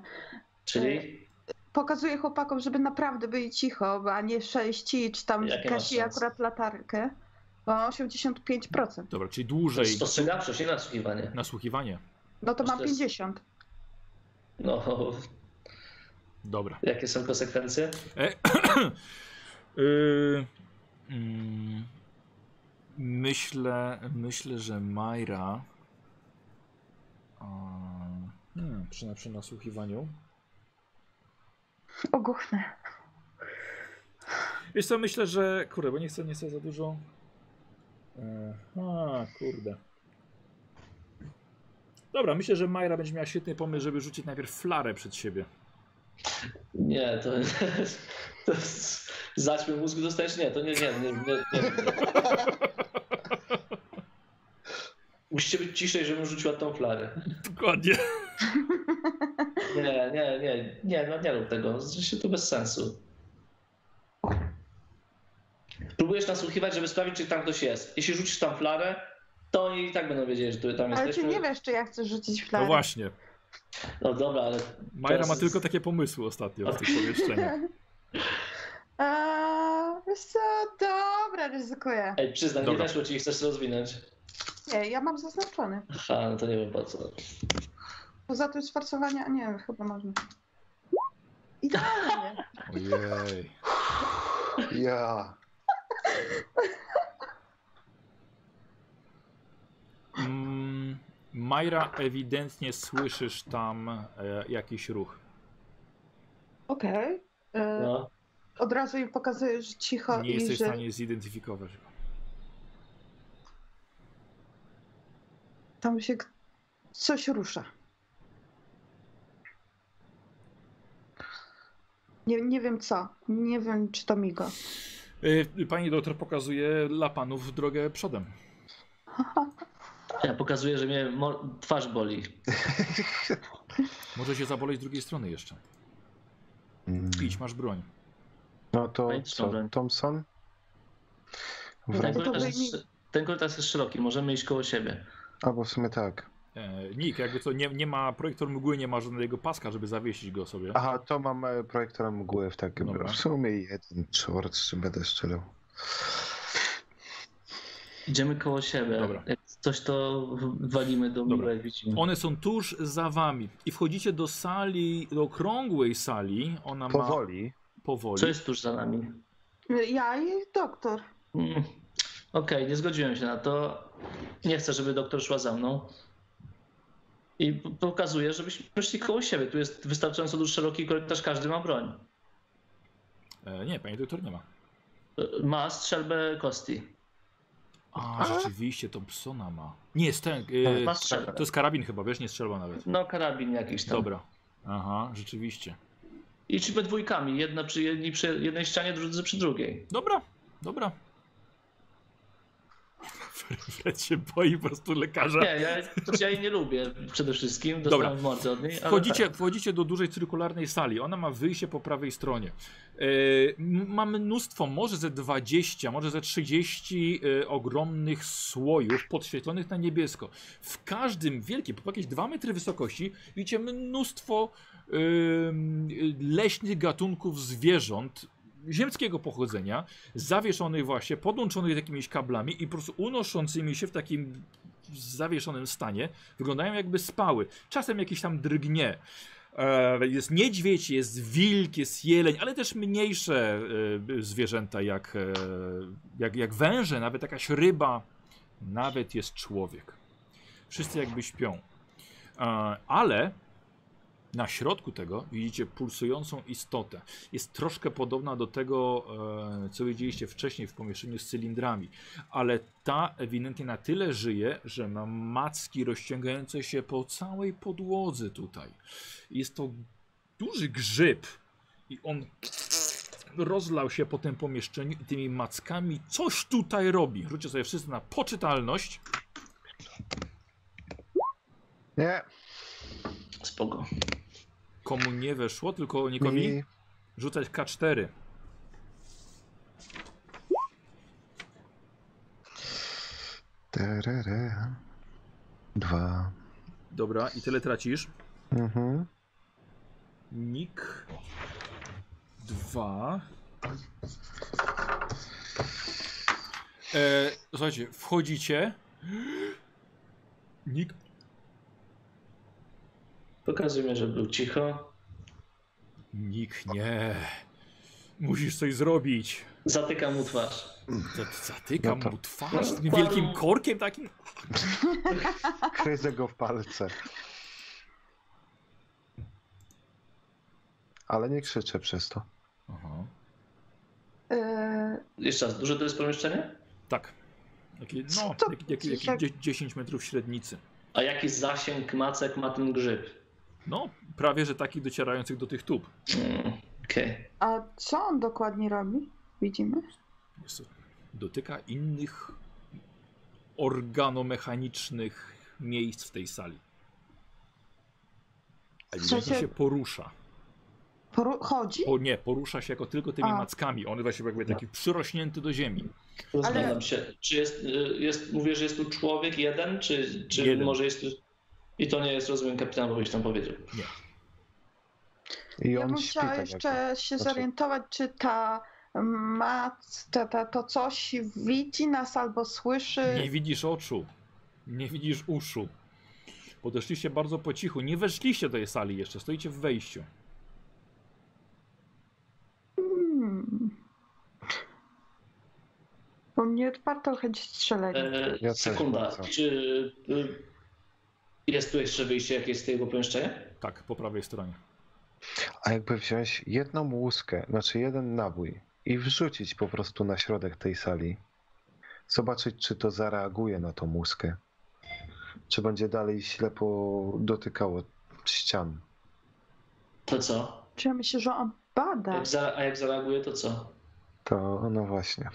Czyli
Pokazuję chłopakom, żeby naprawdę byli cicho, a nie sześci, czy tam
Jakie masz
kasi
szanse?
akurat latarkę. Bo mam 85%.
Dobra, czyli
to
dłużej
jest spostrzegawczość, nie nasłuchiwanie.
nasłuchiwanie.
No to
To
mam
jest-
50.
No,
Dobra.
jakie są konsekwencje?
E, y, mm, myślę, myślę, że Majra. a, Hmm, przy, przy nasłuchiwaniu.
Ogłuchnę.
Wiesz co, myślę, że... Kurde, bo nie chcę, nie chcę za dużo... e, A, kurde. Dobra, myślę, że Majra będzie miała świetny pomysł, żeby rzucić najpierw flarę przed siebie.
Nie, to, to jest- zaćmy mózgu dostajesz? Nie, to nie, nie, nie, nie, nie. Musicie być ciszej, żebym rzuciła tą flarę.
Dokładnie.
Nie, nie, nie, nie, no nie rób tego, się to bez sensu. Próbujesz nasłuchiwać, żeby sprawdzić, czy tam ktoś jest. Jeśli rzucisz tam flarę, to oni i tak będą wiedzieli, że tu tam
Ale ty
jesteśmy.
nie wiesz, czy ja chcę rzucić flarę.
No właśnie.
No dobra, ale
Majra ma
Teraz-
tylko takie pomysły ostatnio w tych pomieszczeniach.
Eee, wiesz co, dobra, ryzykuję.
ej, przyznam, nie
Dobra.
weszło ci i chcesz się rozwinąć.
Nie, ja mam zaznaczony.
Aha, no to nie wiem po co.
Poza tym sforsowania, nie wiem, chyba można.
Tak.
Idealnie.
Ojej.
Ja.
Mm, Majra, ewidentnie słyszysz tam e, jakiś ruch.
Okej. Eee,
No.
Od razu im pokazuję, że cicho
Nie
i
jesteś w
że...
stanie zidentyfikować go.
Tam się g- coś rusza. Nie, nie wiem co. Nie wiem, czy to migo.
E, Pani doktor pokazuje dla panów drogę przodem.
Ja pokazuję, że mnie mo- twarz boli.
Może się zaboleć z drugiej strony jeszcze. Idź, masz broń.
Mm. No to
Fajeczną
co,
broń.
Thompson?
Ten
Wrac-
to
korytarz,
wyjmij-
jest, ten korytarz jest szeroki, możemy iść koło siebie.
Albo w sumie tak.
E, Nick, jakby co, nie, nie ma, projektor mgły nie ma żadnego paska, żeby zawiesić go sobie.
Aha, to mam e, projektorem mgły w takim.
Dobra.
W sumie jeden czwart, z czym będę strzelał.
Idziemy koło siebie.
Dobra.
Jak coś to walimy do
Dobra.
miłe, jak widzimy.
One są tuż za wami i wchodzicie do sali, do okrągłej sali. Ona ma
Powoli.
powoli.
Co jest tuż za nami?
Ja i doktor.
Mm. Okej, nie zgodziłem się na to. Nie chcę, żeby doktor szła za mną. I p- pokazuję, żebyśmy szli koło siebie. Tu jest wystarczająco duży szeroki korytarz, każdy ma broń.
E, nie, pani doktor nie ma.
E, Ma strzelbę kosti.
A, rzeczywiście, to psona ma. Nie, jest ten.
Tak,
E,
Ma strzelbę.
to jest karabin chyba, wiesz, nie strzelba nawet.
No, karabin jakiś tam.
Dobra. Aha, rzeczywiście.
I czy we dwójkami, jedna przy, jedni przy jednej ścianie, drudzy przy drugiej.
Dobra, dobra. Fred się boi po prostu lekarza.
Nie, ja, to ja jej nie lubię przede wszystkim, dostałem
Dobra.
w mordę od niej. ale
Wchodzicie,
tak.
wchodzicie do dużej cyrkularnej sali. Ona ma wyjście po prawej stronie. E, m- ma mnóstwo, może ze 20, może ze 30 e, ogromnych słojów podświetlonych na niebiesko. W każdym wielkim, po jakieś 2 metry wysokości, widzicie mnóstwo e, m, leśnych gatunków zwierząt ziemskiego pochodzenia, zawieszonych właśnie, podłączonych jakimiś kablami i po prostu unoszącymi się w takim zawieszonym stanie. Wyglądają jakby spały. Czasem jakieś tam drgnie. E, Jest niedźwiedź, jest wilk, jest jeleń, ale też mniejsze e, zwierzęta jak, e, jak, jak węże, nawet jakaś ryba, nawet jest człowiek. Wszyscy jakby śpią. E, Ale na środku tego widzicie pulsującą istotę. Jest troszkę podobna do tego, e, co widzieliście wcześniej w pomieszczeniu z cylindrami ale ta ewidentnie na tyle żyje, że ma macki rozciągające się po całej podłodze tutaj. Jest to duży grzyb i on rozlał się po tym pomieszczeniu i tymi mackami coś tutaj robi. Rzućcie sobie wszyscy na poczytalność.
Nie,
tak, Spoko.
Komu nie weszło, tylko nikomu
mi
rzucać K4.
Terere. Dwa.
Dobra, i tyle tracisz.
Mhm.
Nik. Dwa. E, słuchajcie, wchodzicie. Nik.
Pokazujmy, że był cicho.
Nik, nie. Musisz coś zrobić.
Zatyka mu twarz.
Z- Zatykam
No to-
mu twarz takim wielkim korkiem takim.
Kryzę go w palce. Ale nie krzyczę przez to.
Aha.
Yy,
Jeszcze raz, duże to jest pomieszczenie?
Tak. Jakie, no,
Sto-
jak- jak- jakieś
tak.
dzie- 10 metrów średnicy.
A jaki zasięg macek ma ten grzyb?
No, prawie że takich docierających do tych tub.
Mm, Okej.
a co on dokładnie robi? Widzimy?
Jest- Dotyka innych organomechanicznych miejsc w tej sali. A
W sensie-
się porusza.
Poru- chodzi?
Po, nie, porusza się jako tylko tymi
A.
mackami. On właśnie jakby taki przyrośnięty do ziemi.
Zastanawiam
Ale-
się, czy jest, y, jest, mówię, że jest tu człowiek jeden, czy, czy
Jeden.
może jest tu... I to nie jest, rozumiem, kapitan, bo byś tam powiedział.
I
Ja
on
bym
śpi tak
chciała
jakby.
jeszcze się
Znaczy-
zorientować, czy ta mac, ta, ta, to coś widzi nas albo słyszy.
Nie widzisz oczu. Nie widzisz uszu. Podeszliście bardzo po cichu. Nie weszliście do tej sali jeszcze. Stoicie w wejściu.
Hmm. Bo mnie otwarto chęć strzelenia.
E,
Ja też tak
sekunda,
bardzo.
czy y, jest tu jeszcze wyjście jakieś z tego pomieszczenia?
Tak, po prawej stronie.
A jakby wziąć jedną łuskę, znaczy jeden nabój i wrzucić po prostu na środek tej sali. Zobaczyć, czy to zareaguje na tą łuskę. Czy będzie dalej ślepo dotykało ścian.
To co?
Czy ja myślę, że on bada?
Jak za, a jak zareaguje, to co?
To no właśnie.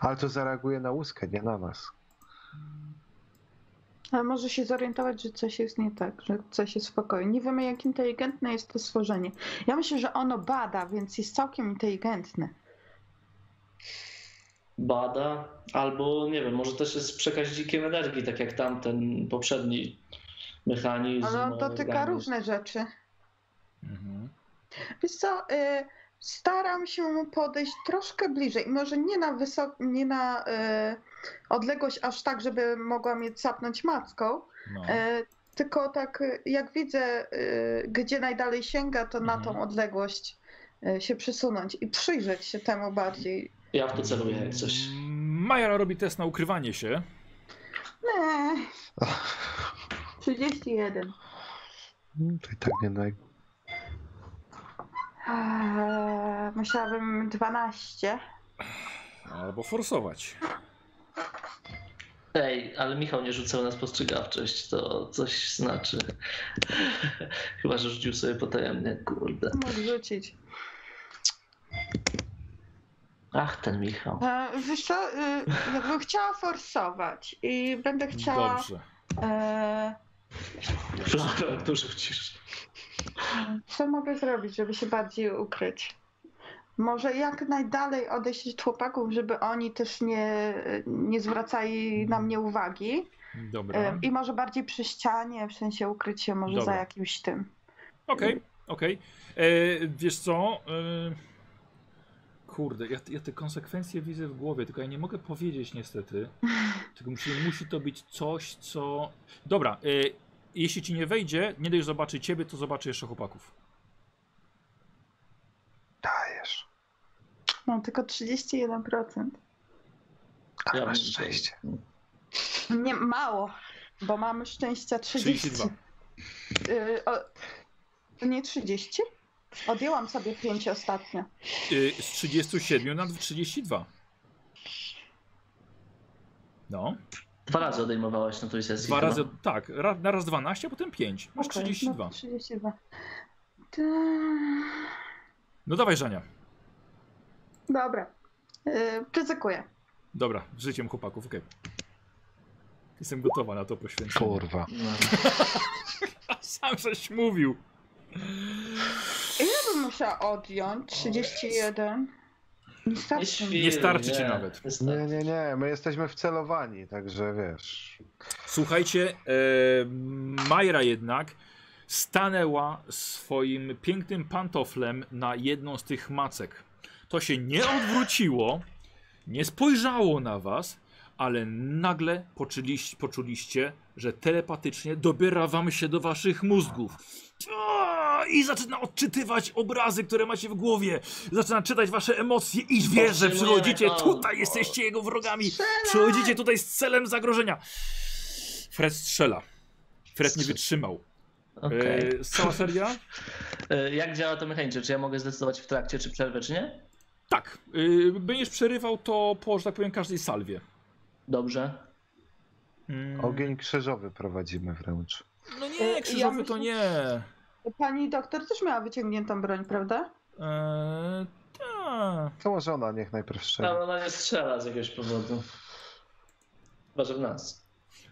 Ale to zareaguje na łuskę, nie na nas.
A może się zorientować, że coś jest nie tak, że coś jest w pokoju. Nie wiemy, jak inteligentne jest to stworzenie. Ja myślę, że ono bada, więc jest całkiem inteligentne.
Bada, albo nie wiem, może też jest przekaźnikiem energii, tak jak tamten poprzedni mechanizm.
Ale on dotyka
organizm.
różne rzeczy.
Mhm.
Wiesz co, y, staram się mu podejść troszkę bliżej. Może nie na wysok, nie na y, odległość aż tak, żeby mogła mnie capnąć macką,
No.
y, tylko tak y, jak widzę, y, gdzie najdalej sięga, to na
Mhm.
tą odległość y, się przesunąć i przyjrzeć się temu bardziej.
Ja w to celuję jak coś.
Majora robi test na ukrywanie się.
Nie. 31.
To i tak nie naj...
Eee, Musiałabym 12.
Albo forsować.
Ej, ale Michał nie rzucał na spostrzegawczość, to coś znaczy. Chyba, że rzucił sobie potajemnie, kurde.
Mógł rzucić.
Ach, ten Michał.
E, Wiesz co, y, ja bym chciała forsować i będę chciała...
Dobrze.
E,
Florą tu rzucisz.
co mogę zrobić, żeby się bardziej ukryć? Może jak najdalej odejść od chłopaków, żeby oni też nie, nie zwracali na mnie uwagi.
Dobra.
E, I może bardziej przy ścianie, w sensie ukryć się może
Dobra.
za jakimś tym.
Okej, okej. E, Wiesz co? E, Kurde, ja, ja te konsekwencje widzę w głowie, tylko ja nie mogę powiedzieć niestety. Tylko musi, musi to być coś, co. Dobra, e, jeśli ci nie wejdzie, nie dość zobaczy ciebie, to zobaczy jeszcze chłopaków.
Dajesz.
Mam No, tylko 31%.
A
Ja
masz
bym-
szczęście.
Nie, mało, bo mam szczęścia 30.
32.
Y, o, nie 30? Odjęłam sobie 5 ostatnio.
E, Z 37 na 32. No,
Dwa razy odejmowałaś na tej sesji.
dwa
chyba.
no,
razy, tak, ra, na raz 12, a potem 5. Masz
Okej,
32.
No, 32. Ta-
No dawaj, Żania.
Dobra. Yy, ryzykuję.
Dobra, z życiem chłopaków, okej. Jestem gotowa na to poświęcenie.
Kurwa.
No.
A sam żeś mówił.
Ile bym musiała odjąć? 31. Nie starczy mi.
Nie starczy ci nawet.
Nie, nie, nie, my jesteśmy wcelowani, także wiesz.
Słuchajcie, e, Majra jednak stanęła swoim pięknym pantoflem na jedną z tych macek. To się nie odwróciło, nie spojrzało na was, ale nagle poczuliście, poczuliście że telepatycznie dobiera wam się do waszych mózgów. Aaa! I zaczyna odczytywać obrazy, które macie w głowie. Zaczyna czytać wasze emocje i wie, że
Powstrzymujemy
przychodzicie
to.
tutaj, jesteście jego wrogami.
Strzelaj!
Przychodzicie tutaj z celem zagrożenia. Fred strzela. Fred nie
Strzel-
wytrzymał.
Okej.
E, cała seria?
E, Jak działa to mechanicznie? Czy ja mogę zdecydować w trakcie, czy przerwę, czy nie?
Tak. E, będziesz przerywał to po, że tak powiem, każdej salwie.
Dobrze.
Mm,
Ogień krzyżowy prowadzimy wręcz.
No
Ja
nie, krzyżowy
myślę-
to nie.
Pani doktor też miała wyciągniętą broń, prawda?
E, ta.
To może ona niech najpierw
Tak.
strzeli.
Tam ona nie strzela z jakiegoś powodu. Chyba, że w nas.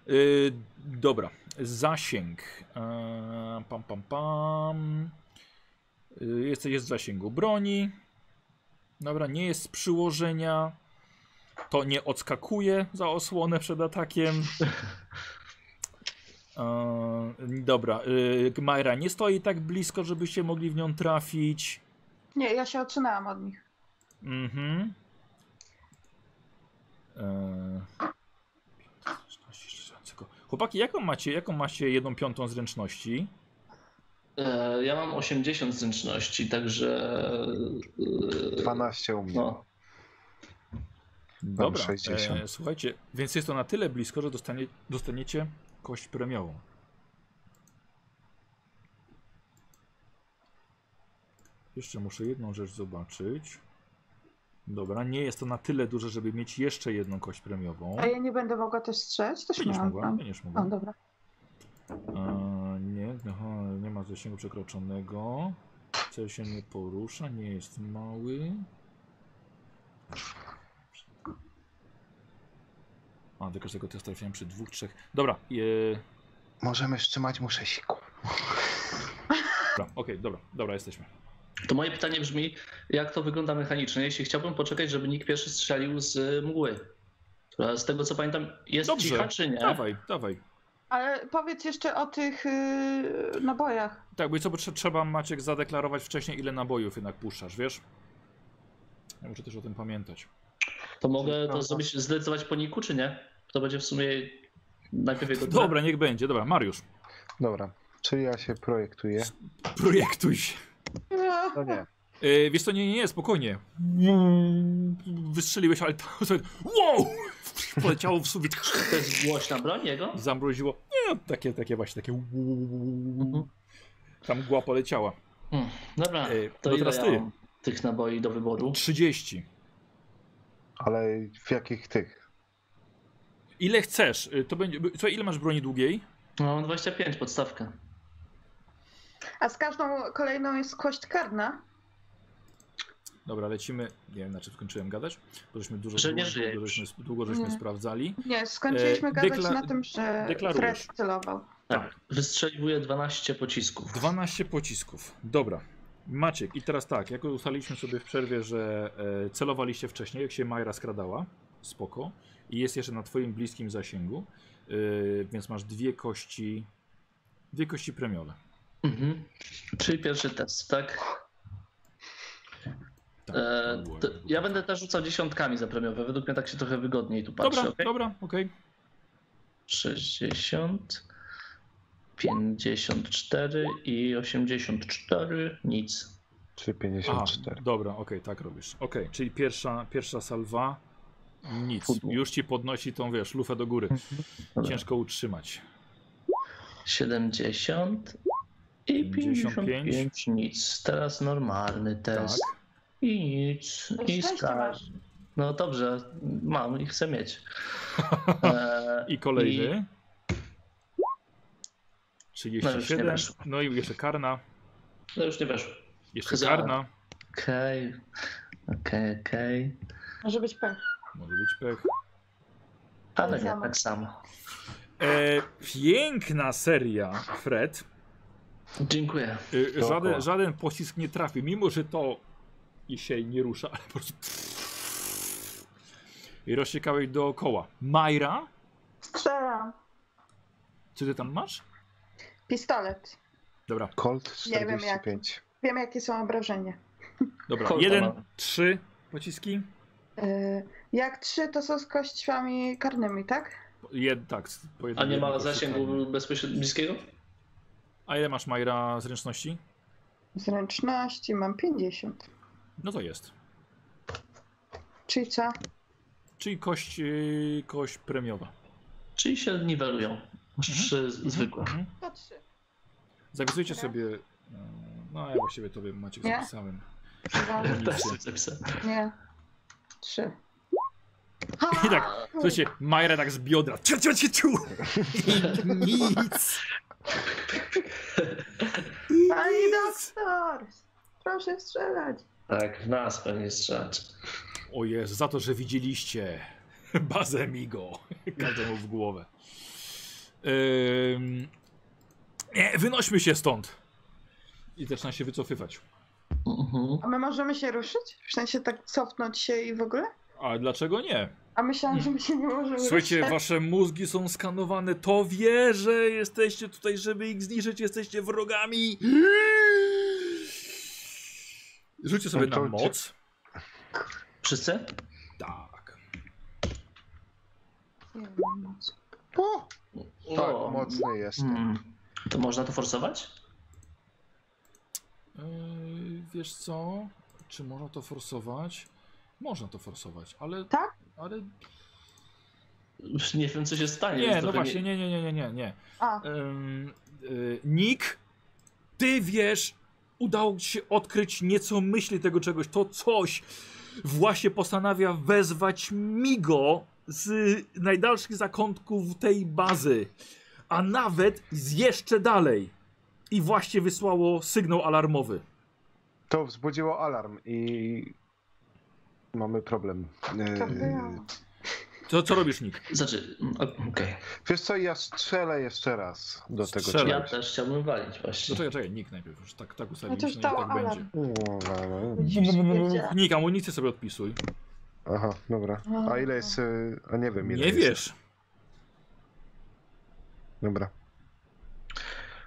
Y, dobra, zasięg. E, pam, pam, pam. Y, jest, jest w zasięgu broni. Dobra, nie jest z przyłożenia. To nie odskakuje za osłonę przed atakiem. E, dobra, y, Majra nie stoi tak blisko, żebyście mogli w nią trafić.
Nie, ja się odsunęłam od nich.
Mhm. Eee, 16 strzelającego. Chłopaki, jaką macie, jaką macie jedną piątą zręczności?
E, Ja mam 80 zręczności, także. e,
12 u mnie.
No,
Dobra, 60.
eee, słuchajcie, więc jest to na tyle blisko, że dostanie, dostaniecie kość premiową. Jeszcze muszę jedną rzecz zobaczyć. Dobra, nie jest to na tyle duże, żeby mieć jeszcze jedną kość premiową.
A ja nie będę mogła też strzelać? Też
Będziesz
miałam.
mogła,
tam.
będziesz
O,
mogła.
dobra.
A, nie, aha, nie ma zasięgu przekroczonego. Cel się nie porusza, nie jest mały. A, do każdego testu trafiłem przy dwóch, trzech. Dobra, je...
Możemy wstrzymać muszę siku.
dobra okej, dobra, dobra, jesteśmy.
To moje pytanie brzmi, jak to wygląda mechanicznie, jeśli chciałbym poczekać, żeby nikt pierwszy strzelił z y, mgły. Która z tego co pamiętam jest
Dobrze,
cicha czy nie?
Dawaj, dawaj.
Ale powiedz jeszcze o tych yy, nabojach.
Tak, bo i co, bo trze- trzeba Maciek zadeklarować wcześniej, ile nabojów jednak puszczasz, wiesz? Ja muszę też o tym pamiętać.
To mogę
Aha.
to zrobić, zdecydować po niku czy nie? To będzie w sumie najpierw jego
Dobra, niech będzie, dobra, Mariusz,
Dobra, czyli ja się projektuję.
projektuj się.
Ja-
No nie.
E, wiesz co, nie, nie, nie, spokojnie. Wystrzeliłeś, ale to sobie, wow! Poleciało w sufit
To jest głośna broń jego?
i zamroziło. Nie, no, takie, takie właśnie, takie Tam mgła poleciała.
Hmm, Dobra,
Ej,
to
no
ile
teraz
ja
ty.
mam tych naboi do wyboru?
30.
Ale w jakich tych?
Ile chcesz? E, To będzie, co, ile masz broni długiej?
No, mam 25 podstawkę.
A z każdą kolejną jest kość karna.
Dobra, lecimy. Nie wiem, na czym skończyłem gadać. Bo żeśmy dużo,
Że nie
długo,
żyje
długo
już.
żeśmy, długo żeśmy
Nie.
sprawdzali.
Nie, skończyliśmy
E,
gadać
dekla-
na tym, że
deklarujesz.
Fred celował.
Tak. Wystrzeliwuję 12 pocisków.
12 pocisków. Dobra. Maciek, i teraz tak, jak ustaliliśmy sobie w przerwie, że e, celowaliście wcześniej, jak się Majra skradała, spoko, i jest jeszcze na twoim bliskim zasięgu, e, więc masz dwie kości, dwie kości premiowe.
Mhm. Czyli pierwszy test, tak?
Tak,
E,
to było- tak.
to ja będę też rzucał dziesiątkami za premiowe. Według mnie tak się trochę wygodniej tu patrzy.
Dobra,
okej?
dobra, okej.
60, 54 i 84. Nic.
Czy
Aha,
54?
Dobra, okej, tak robisz. Okej, czyli pierwsza, pierwsza salwa, nic.
Pudło.
Już ci podnosi tą, wiesz, lufę do góry.
Dobra.
Ciężko utrzymać.
70 i 55.
55.
Nic. Teraz normalny
Tak.
test. I nic.
No
I
szczęście
skala.
masz.
No dobrze, mam i chcę mieć. E,
I kolejny. 37.
No już nie weszło.
No i jeszcze karna.
No już nie weszło.
Jeszcze
Za-
czarna.
Okej, okej, okej.
Może być pech.
Może być pech.
Ale
Tak
nie,
samo.
tak samo.
E, piękna seria, Fred.
Dziękuję.
E, żaden,
Dookoła.
żaden pocisk nie trafi, mimo że to i się nie rusza, ale po prostu. I rozciekałeś dookoła. Majra,
Strzelam.
co ty tam masz?
Pistolet.
Dobra,
Colt
Nie wiem, jak.
45.
Wiem, jakie są obrażenia.
dobra.
Kolta
Jeden,
mam.
trzy pociski.
Yy, Jak trzy, to są z kościami karnymi, tak?
Jed, tak, z- po
A
jednym-
nie ma
jednym
zasięgu
koszykiem.
bezpośrednio bliskiego?
A ile masz Majra zręczności?
Zręczności mam 50.
No to jest.
Czyli co?
Czyli kość, yy, kość premiowa.
Czyli się niwelują. Trzy z- zwykłe.
Mhm.
To trzy.
Zapisujcie
Dobra.
sobie. e, No ja właściwie tobie Maciek
Nie.
zapisałem.
Chyba
Ja też tak sobie zapisałem.
Nie. Trzy.
I tak, słuchajcie, Majra tak z biodra. Ciu, ciu, ciu, ciu. I nic.
Pani doktor! Proszę strzelać.
Tak, w nas pewnie strzelacz.
O jest, za to, że widzieliście bazę Migo. Każdemu w głowę. Ym... Nie, wynośmy się stąd. I zaczyna się wycofywać.
Mhm.
A my możemy się ruszyć? W sensie tak cofnąć się i w ogóle?
A dlaczego nie?
A myślałam, że my się nie możemy
Słuchajcie,
ruszyć.
wasze mózgi są skanowane. To wie, że jesteście tutaj, żeby ich zniszczyć. Jesteście wrogami. Rzućcie sobie na
To-
moc.
Wszyscy?
Tak.
Nie no mam mocy.
O, tak,
O.
mocny jest.
Mm. To można to forsować?
Yy, wiesz co? Czy można to forsować? Można to forsować, ale.
Tak?
Ale.
Już Nie wiem, co się stanie.
Nie,
więc
no
trochę
właśnie, nie, nie, nie, nie, nie. nie.
A,
Ym, y, Nick, ty wiesz, udało ci się odkryć nieco myśli tego czegoś. To coś właśnie postanawia wezwać Migo z najdalszych zakątków tej bazy, a nawet z jeszcze dalej. I właśnie wysłało sygnał alarmowy.
To wzbudziło alarm i mamy problem.
to
Yy,
ja.
To co robisz, Nick?
Znaczy, mm, o- okej.
wiesz co, ja strzelę jeszcze raz do tego
Strzelaj.
Ja
czegoś.
też chciałbym walić
No
właśnie.
czekaj, czekaj, Nick najpierw już tak, tak
No to
ustawiliśmy,
już
że
dało
tak będzie.
alarm.
Nick, Nick, amunicję sobie odpisuj.
Aha, dobra. A ile jest... yy, A nie wiem ile
Nie
jest.
wiesz.
Dobra.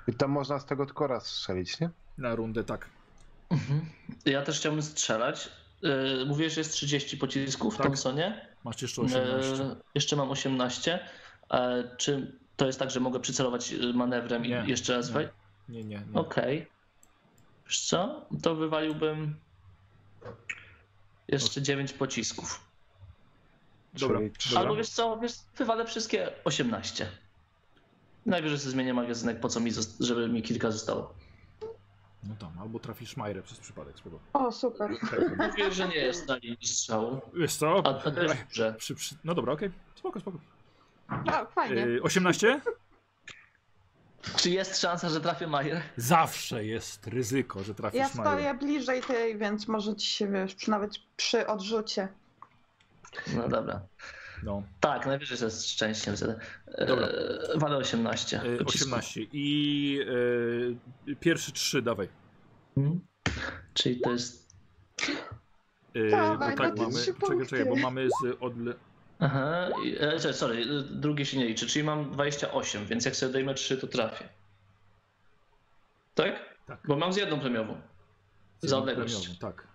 I tam można z tego tylko raz strzelić, nie?
Na rundę tak.
Mhm. Ja też chciałbym strzelać. Yy, mówiłeś, że jest 30 pocisków w
Tak.
Thompsonie.
Masz jeszcze 18.
Yy, jeszcze mam 18. E, czy to jest tak, że mogę przycelować yy, manewrem
Nie,
i jeszcze raz
nie.
wejść?
Nie, nie, nie.
Okej. Wiesz co? To wywaliłbym jeszcze 9 pocisków.
Dobra.
Czyli trzy.
Dobra.
Albo wiesz co, wiesz, wywalę wszystkie 18. Najwyżej sobie zmienię magazynek, po co mi, zost- żeby mi kilka zostało.
No tam, albo trafisz Majrę przez przypadek, spoko. Tak,
O, super.
Mówię, że nie jest na linii strzału.
Wiesz co?
A a to jest dobrze.
Przy, przy... No dobra, okej. Spoko, spoko.
A, No, fajnie.
Yy, 18?
Czy jest szansa, że trafię Majer?
Zawsze jest ryzyko, że trafisz
Ja
Majrę.
stoję bliżej tej, więc może ci się, wiesz, przy, nawet przy odrzucie.
No dobra.
No,
Tak, najwyżej ze szczęściem wtedy.
Dobra.
E, walę 18.
yy,
pocisków.
18. I yy, pierwszy 3, dawaj.
Mhm. Czyli to jest...
Yy,
Dawaj, no
bo tak
bo to
mamy.
trzy
Czekaj, czekaj, bo
punkty.
mamy z odle...
Aha, i- e, czekaj, sorry, e, drugie się nie liczy, czyli mam 28, więc jak sobie dojmę 3, to trafię. Tak?
Tak.
Bo mam z jedną premiową.
z
Za odległość.
premiową, Tak.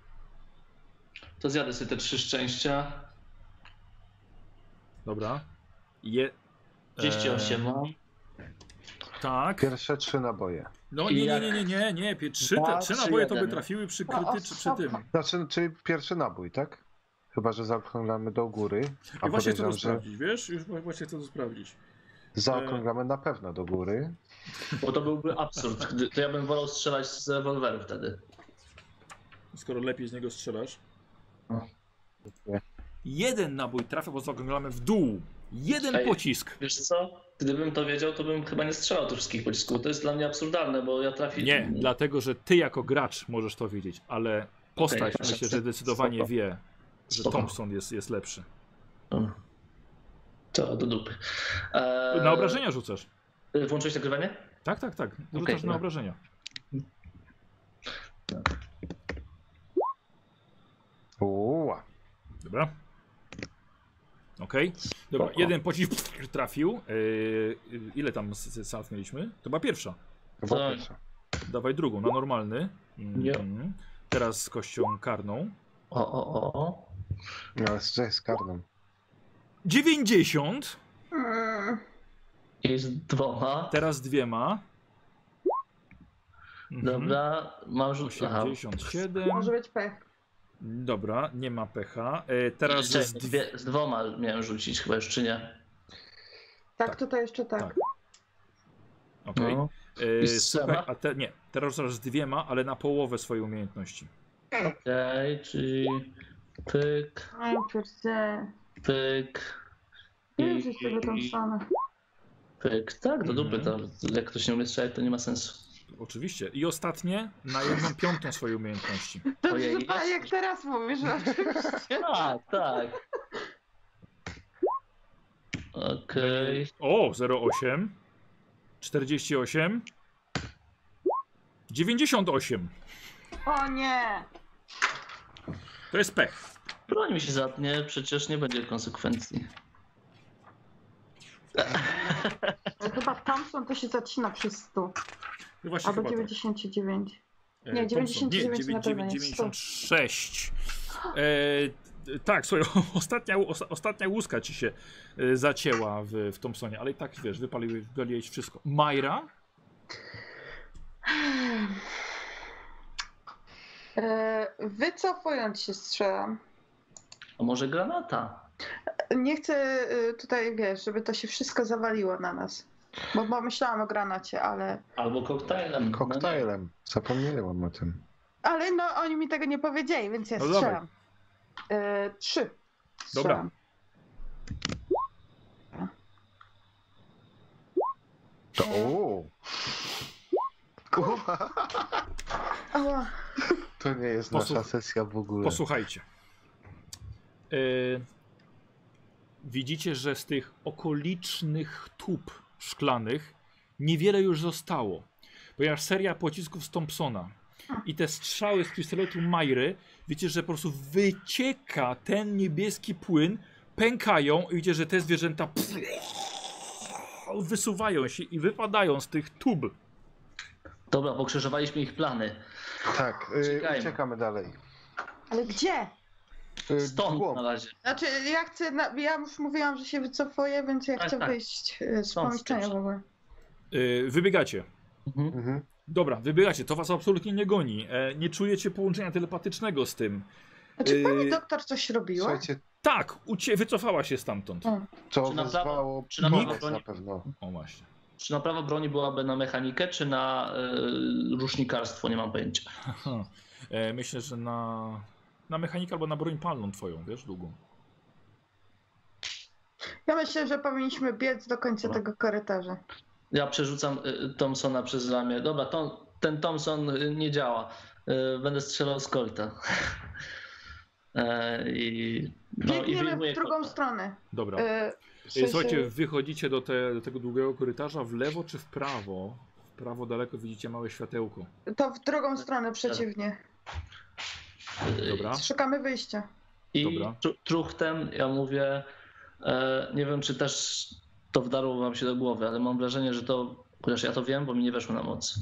To zjadę sobie te trzy szczęścia.
Dobra. Je...
38 mam.
E, tak.
Pierwsze trzy naboje.
No
I
nie, nie,
jak-
nie, nie, nie, nie. pie- Trzy, te,
Dwa,
trzy
trzy,
naboje to by
jeden.
trafiły przy
No,
kryty czy przy tym.
osoba.
Znaczy, czyli pierwszy nabój, tak? Chyba, że zaokrąglamy do góry. A
I właśnie chcę
podejrzewam,
to
że
sprawdzić, wiesz? Już wa- właśnie chcę to sprawdzić.
zaokrąglamy na pewno do góry.
Bo to byłby absurd. gdy- To ja bym wolał strzelać z rewolweru wtedy.
Skoro lepiej z niego strzelasz.
No.
Jeden nabój trafia, bo zaokrąglamy w dół. Jeden
Ej.
pocisk.
Wiesz co? gdybym to wiedział, to bym chyba nie strzelał tych wszystkich pocisków. To jest dla mnie absurdalne, bo ja trafię.
Nie, dlatego że ty jako gracz możesz to wiedzieć, ale postać
Okej, proszę,
myślę, że zdecydowanie
spoko.
wie, że
Spoko.
Thompson jest, jest lepszy.
To do dupy. Eee,
Na obrażenia rzucasz.
Włączyłeś nagrywanie?
Tak, tak, tak. Rzucasz
Okej,
na
no.
obrażenia.
Uła.
Dobra. Okej. Dobra,
Spoko.
jeden pocisk trafił. Yy, ile tam s- s- salw mieliśmy? To była pierwsza.
Chyba
Tak.
pierwsza.
Dawaj drugą, na normalny. Mhm.
Nie.
Teraz z kością karną.
O, o, o, o.
No, ale co jest karną?
90.
Mm,
I z dwoma.
Teraz dwiema. Mhm.
Dobra, mam rzut. aha.
87.
może być pech.
Dobra, nie ma pecha. E, teraz
Czekaj,
z dwie...
dwie, z dwoma miałem rzucić chyba już, czy nie?
Tak,
Tak.
tutaj jeszcze tak.
Tak. Okej.
No.
E,
I z
słuchaj,
trzema?
a te, nie, teraz rzucasz z dwiema, ale na połowę swojej umiejętności.
Okej, czyli pyk,
Ej, pierdzie.
pyk
Nie wiem, czy jest tego tam same.
pyk. Tak, do dupy
Mhm.
tam. Jak ktoś nie umie strzelać, to nie ma sensu.
Oczywiście. I ostatnie, na jedną piątą swojej umiejętności.
Dobrze,
Ojej,
że pa- jak teraz mówisz o czymś.
A, tak. Okej,
O, 08, 48, 98.
O nie!
To jest pech.
broń mi się zatnie, przecież nie będzie konsekwencji.
Chyba Thompson to się zacina przy 100.
No Właśnie
Albo
chyba tak.
99.
E,
nie,
Thompson.
99
dziewię-
na pewno
dziewię-
jest,
96. E, t- tak, słuchaj, ostatnia, osta- ostatnia łuska ci się e, zacięła w, w Thompsonie, ale i tak wiesz, wypaliłeś, wypaliłeś wszystko. Majra?
E, Wycofując się strzelam.
A może granata?
Nie chcę e, tutaj, wiesz, żeby to się wszystko zawaliło na nas. Bo, bo myślałam o granacie, ale...
Albo koktajlem. No,
Koktajlem. Zapomniałem o tym.
Ale no, oni mi tego nie powiedzieli, więc ja
No dawaj.
strzelam. E, trzy.
Dobra.
Strzelam.
To uuu. Uła.
O,
To nie jest
Posłuch-
nasza sesja w ogóle.
Posłuchajcie. E, widzicie, że z tych okolicznych tub szklanych niewiele już zostało, ponieważ seria pocisków z Thompsona i te strzały z pistoletu Majry, wiecie, że po prostu wycieka ten niebieski płyn, pękają i widzicie, że te zwierzęta wysuwają się i wypadają z tych tub.
Dobra, pokrzyżowaliśmy ich plany.
Tak, y,
Uciekajmy.
uciekamy dalej.
ale gdzie?
Y,
Stąd
głąb.
na razie.
Znaczy, ja chcę... Na... Ja już mówiłam, że się wycofuję, więc ja
Tak,
chcę
tak.
wyjść e, z
Stąd
pomieszczenia
chcesz.
w ogóle.
E, wybiegacie.
Mhm.
Mhm.
Dobra, wybiegacie, to was absolutnie nie goni. E, nie czujecie połączenia telepatycznego z tym.
Znaczy, pani
Yy,
doktor coś robiła?
Słuchajcie,
Tak, ucie wycofała się stamtąd.
O.
to
Czy na prawo-
wezwało
czy na
prawo
pomoc
broni?
na pewno.
O właśnie.
Czy naprawa broni byłaby na mechanikę, czy na y, rusznikarstwo? Nie mam pojęcia.
Aha. E, myślę, że na, na mechanikę albo na broń palną twoją, wiesz, długą.
Ja myślę, że powinniśmy biec do końca
Dobra.
tego korytarza.
Ja przerzucam y, Thompsona przez ramię. Dobra, to, ten Thompson y, nie działa. Y, będę strzelał z kolta. Y, I, no, i
Biegniemy
wyjmuję
w drugą
kolta.
stronę.
Dobra. E,
E, w sensie-
Słuchajcie, wychodzicie do, te, do tego długiego korytarza w lewo czy w prawo? W prawo daleko widzicie małe światełko.
To w drugą stronę przeciwnie.
Y,
Dobra.
Szukamy wyjścia.
I
Dobra.
tru- truchtem ja mówię, e, nie wiem czy też to wdarło wam się do głowy, ale mam wrażenie, że to, chociaż ja to wiem, bo mi nie weszło na moc.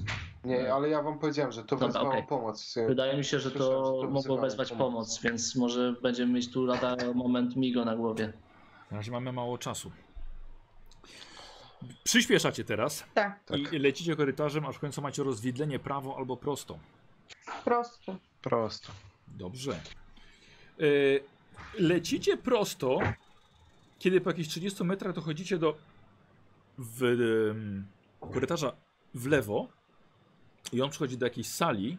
Nie, ale ja wam powiedziałem, że to
Dobra,
wezwało
okej.
pomoc. y,
Wydaje mi się, że
Słyszałem,
to
że to
mogło
wzywało
wezwać
pomoc.
pomoc, więc może będziemy mieć tu lada moment migo na głowie.
Na razie mamy mało czasu. Przyspieszacie teraz
Tak,
Tak,
i lecicie korytarzem, aż w końcu macie rozwidlenie prawo albo prosto.
prosto.
prosto.
Dobrze. Y, Lecicie prosto, kiedy po jakichś 30 metrach dochodzicie do w, em, korytarza w lewo i on przychodzi do jakiejś sali,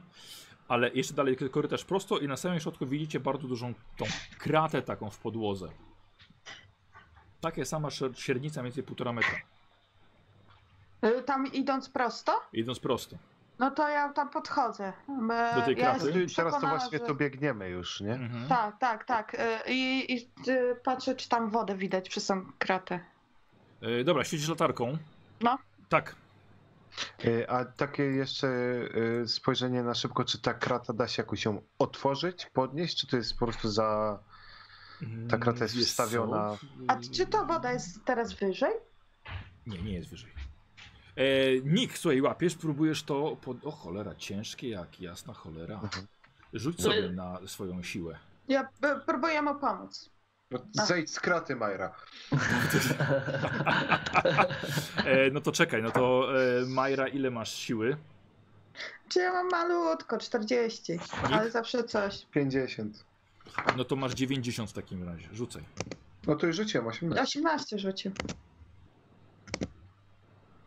ale jeszcze dalej korytarz prosto i na samym środku widzicie bardzo dużą tą kratę taką w podłodze. Takie sama szer- średnica mniej więcej 1,5 metra.
Y, Tam idąc prosto?
Idąc prosto.
No to ja tam podchodzę. Y,
Do tej
ja
krapy?
jestem
Czyli No teraz to
przekonana,
właśnie
że-
tu biegniemy już, nie?
Mhm.
Tak, tak, tak. Y, I, i y, patrzę, czy tam wodę widać przez tą kratę.
E, dobra, świecisz latarką.
No.
Tak.
Y, A takie jeszcze y, spojrzenie na szybko, czy ta krata da się jakoś ją otworzyć, podnieść, czy to jest po prostu za... Ta krata jest
Wiesz co?
wstawiona-
A czy ta woda jest teraz wyżej?
Nie, nie jest wyżej. E, Nik, słuchaj, łapiesz, próbujesz to. Pod... O cholera, ciężkie jak jasna cholera.
Mhm.
No.
Rzuć sobie na swoją siłę.
Ja y, próbuję mu pomóc.
No, Zejdź z kraty, Majra.
E, no to czekaj, no to e, Majra, ile masz siły?
Czy ja mam malutko, 40, ale zawsze coś.
50.
No to masz 90 w takim razie. Rzucaj.
No to już rzuciłem 18.
18 rzucił.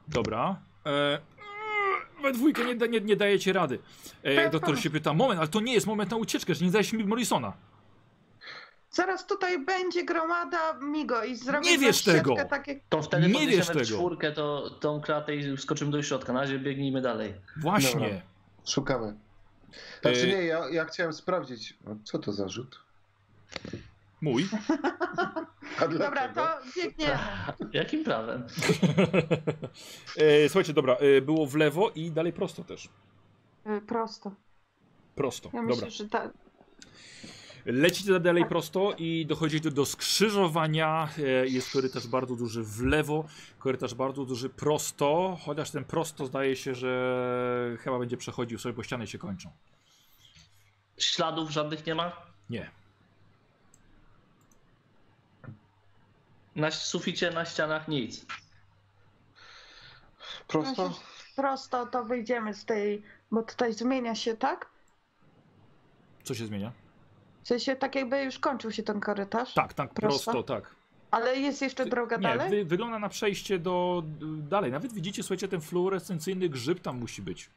Dobra. E, we dwójkę nie, da, nie, nie dajecie rady. E, doktor się pyta, moment, ale to nie jest moment na ucieczkę, że nie zdajesz mi Morrisona.
Zaraz tutaj będzie gromada Migo i zrobię
Nie wiesz
siatkę
tego!
Takie...
To wtedy
Nie
podniesiemy
wiesz tego.
czwórkę to, tą klatę i skoczymy do środka. Na razie biegnijmy dalej.
Właśnie.
Dobra.
Tak.
Szukamy. Znaczy
Y-
nie, ja, ja chciałem sprawdzić, no, co to za rzut?
Mój.
A
Dobra,
dlaczego?
to biegniemy.
Jakim prawem?
E, słuchajcie, dobra, e, było w lewo i dalej prosto też.
Y, Prosto.
Prosto.
Ja myślę,
dobra.
że ta...
Lecicie dalej prosto i dochodzicie do skrzyżowania. E, Jest korytarz bardzo duży w lewo, korytarz bardzo duży prosto, chociaż ten prosto zdaje się, że chyba będzie przechodził sobie, bo ściany się kończą.
Śladów żadnych nie ma?
Nie.
Na suficie, na ścianach nic.
Prosto?
prosto to wyjdziemy z tej, bo tutaj zmienia się, tak?
Co się zmienia?
W sensie tak jakby już kończył się ten korytarz,
Tak, tak, prosto,
Prosto?
tak.
ale jest jeszcze droga
Nie,
dalej?
wy, wygląda na przejście do dalej. Nawet widzicie, słuchajcie, ten fluorescencyjny grzyb tam musi być.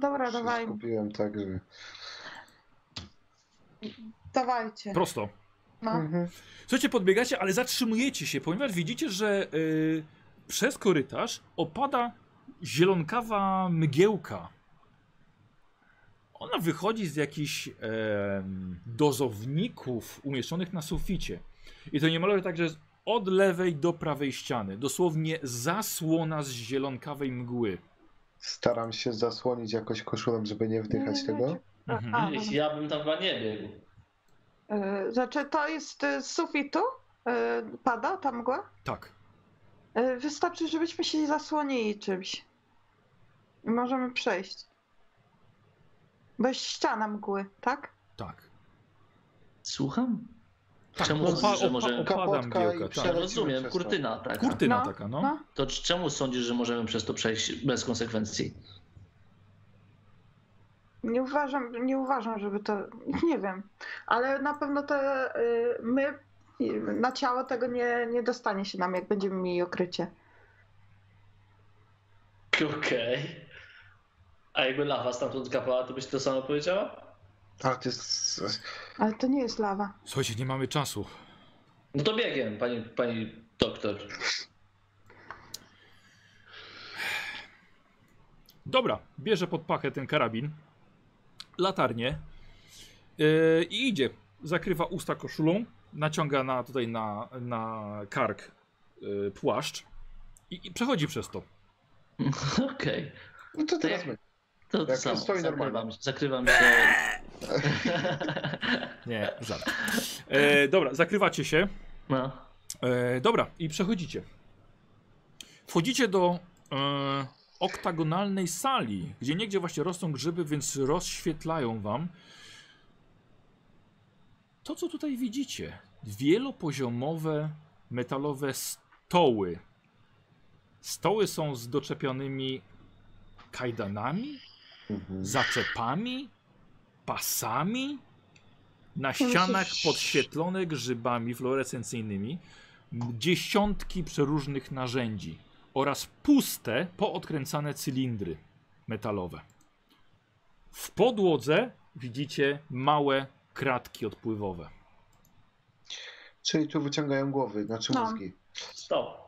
Dobra,
Się
dawaj,
Skupiłem tak, że...
dawajcie.
Prosto.
No.
Słuchajcie, podbiegacie, ale zatrzymujecie się, ponieważ widzicie, że y, przez korytarz opada zielonkawa mgiełka. Ona wychodzi z jakichś em, dozowników umieszczonych na suficie. I to niemalże tak, że jest od lewej do prawej ściany. Dosłownie zasłona z zielonkawej mgły.
Staram się zasłonić jakoś koszulą, żeby nie wdychać
Nie, nie,
tego.
nie.
Mhm.
A,
Ja bym tam chyba nie biegł.
y, znaczy to jest y, z sufitu? Y, Pada ta mgła?
Tak.
Y, Wystarczy, żebyśmy się zasłonili czymś. I Możemy przejść. Bo jest ściana mgły, tak?
Tak.
Słucham?
Tak,
Czemu
opa-
sądzisz, że
opa-
możemy...
opa- Opada
Kapotka i
mgiełka, tak.
przelecimy
Rozumiem,
przez to.
kurtyna, tak.
Kurtyna
No,
taka, no.
no.
To c- czemu sądzisz, że możemy przez to przejść bez konsekwencji?
Nie uważam, nie uważam, żeby to. Nie wiem, ale na pewno te. y, My y, na ciało tego nie, nie dostanie się nam, jak będziemy mieli okrycie.
Okej. A jakby lawa stamtąd kapała, to byś to samo powiedziała?
Ale to jest...
Ale to nie jest lawa.
Słuchajcie, nie mamy czasu.
No to biegiem, pani, pani doktor.
Dobra, bierze pod pachę ten karabin, latarnię yy, i idzie. Zakrywa usta koszulą, naciąga na, tutaj na, na kark yy, płaszcz i, i przechodzi przez to.
Okej.
No to
To
teraz
jak-
my.
To to
Jak
samo.
stoi
Zakrywam,
normalnie.
zakrywam się.
Nie, żart. E, dobra, zakrywacie się.
No.
E, dobra, i przechodzicie. Wchodzicie do e, oktagonalnej sali, gdzie niegdzie właśnie rosną grzyby, więc rozświetlają wam. To, co tutaj widzicie, wielopoziomowe metalowe stoły. Stoły są z doczepionymi kajdanami,
Mhm.
zaczepami, pasami. Na
myślę,
ścianach
że-
podświetlone grzybami fluorescencyjnymi dziesiątki przeróżnych narzędzi oraz puste, poodkręcane cylindry metalowe. W podłodze widzicie małe kratki odpływowe.
Czyli tu wyciągają głowy, znaczy
No.
mózgi.
Stop.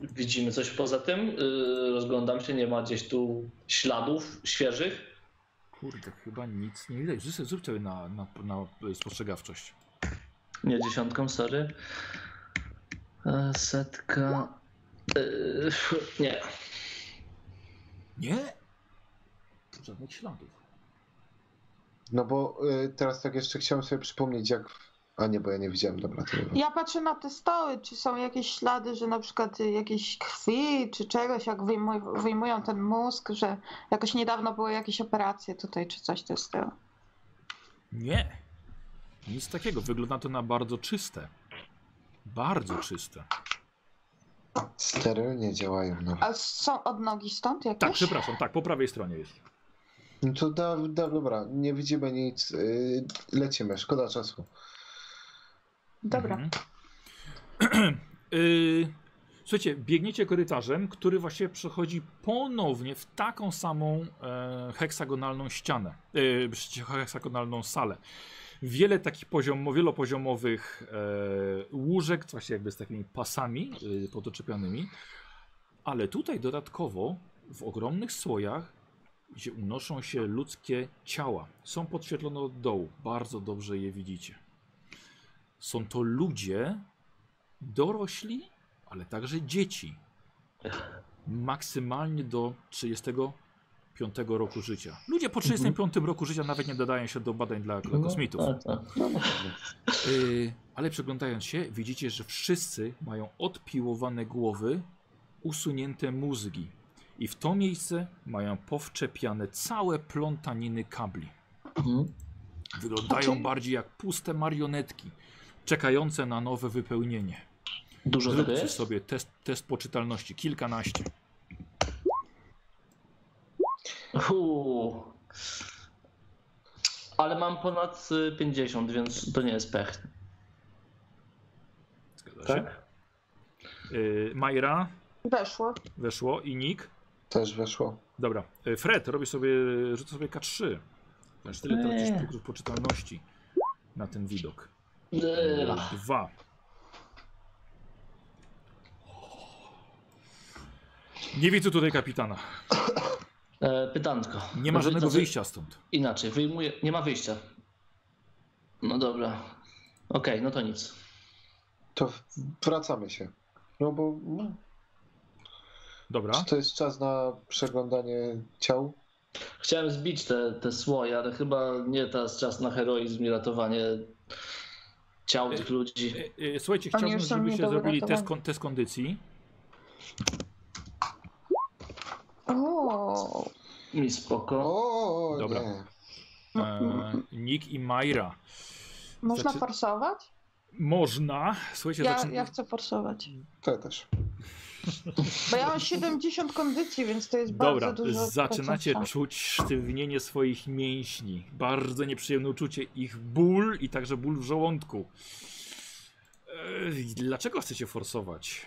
Widzimy coś poza tym. Yy, Rozglądam się, nie ma gdzieś tu śladów świeżych.
Kurde, chyba nic nie widać. Zrób, zrób sobie na, na, na e, spostrzegawczość.
Nie dziesiątką, sorry. E, Setka. Yy, Nie.
Nie? Żadnych śladów.
No bo y, teraz tak jeszcze chciałem sobie przypomnieć, jak. A nie, bo ja nie widziałem, dobra. To nie
Ja patrzę na te stoły, czy są jakieś ślady, że na przykład y, jakiejś krwi czy czegoś, jak wyjmuj- wyjmują ten mózg, że jakoś niedawno były jakieś operacje tutaj, czy coś to jest tego.
Nie. Nic takiego. Wygląda to na bardzo czyste. Bardzo czyste.
Sterylnie działają no. nawet.
A są odnogi stąd jakieś?
Tak, przepraszam, tak, po prawej stronie jest.
No to da, da, dobra, nie widzimy nic. y, lecimy, szkoda czasu.
Dobra.
Mhm. Y, Słuchajcie, biegniecie korytarzem, który właśnie przechodzi ponownie w taką samą e, heksagonalną ścianę, e, przecie- heksagonalną salę. Wiele takich poziom, wielopoziomowych e, łóżek, właśnie jakby z takimi pasami e, podoczepianymi, ale tutaj dodatkowo w ogromnych słojach, gdzie unoszą się ludzkie ciała, są podświetlone od dołu. Bardzo dobrze je widzicie. Są to ludzie dorośli, ale także dzieci. Maksymalnie do 35 roku życia. Ludzie po 35 roku życia nawet nie dodają się do badań dla, dla kosmitów.
Mhm. No, tak, tak.
Y, ale przeglądając się, widzicie, że wszyscy mają odpiłowane głowy, usunięte mózgi. I w to miejsce mają powczepiane całe plątaniny kabli.
Mhm.
Wyglądają
Okej.
bardziej jak puste marionetki, czekające na nowe wypełnienie.
Dużo tego
Zróbcie
jest?
sobie test, test poczytalności, kilkanaście.
Uuu. Ale mam ponad y, 50, więc to nie jest pech.
Zgadza
Tak.
się? Y, Majra
Weszło.
weszło i Nick.
Też weszło.
Dobra, Y, Fred, robię sobie, rzucę sobie K3. Znaczy tyle tracisz
Eee.
punktów poczytalności na ten widok.
Ela.
Dwa. Nie widzę tutaj kapitana.
E, Pytanko.
Nie ma
Znaczy-
żadnego
znaczy-
wyjścia stąd.
Inaczej, wyjmuję. Nie ma wyjścia. No dobra. Okej, no to nic.
To w- wracamy się. No bo no,
Dobra.
czy to jest czas na przeglądanie ciał?
Chciałem zbić te, te słoje, ale chyba nie teraz czas na heroizm i ratowanie ciał tych ludzi.
Y, y, Słuchajcie,
Oni
chciałbym,
już są
żebyście
nie do
zrobili test,
uratowania.
kon- test kondycji.
O,
Mi spoko.
O, o
Dobra.
nie.
E, Nick i Majra.
Mm, można
Znaczy-
forsować?
Można. Słuchajcie,
Ja,
zaczyna...
ja chcę forsować.
To ja też.
Bo ja mam 70 kondycji, więc to jest
Dobra,
bardzo dużo.
zaczynacie
procenta.
czuć sztywnienie swoich mięśni. Bardzo nieprzyjemne uczucie ich ból i także ból w żołądku. Ej, Dlaczego chcecie forsować?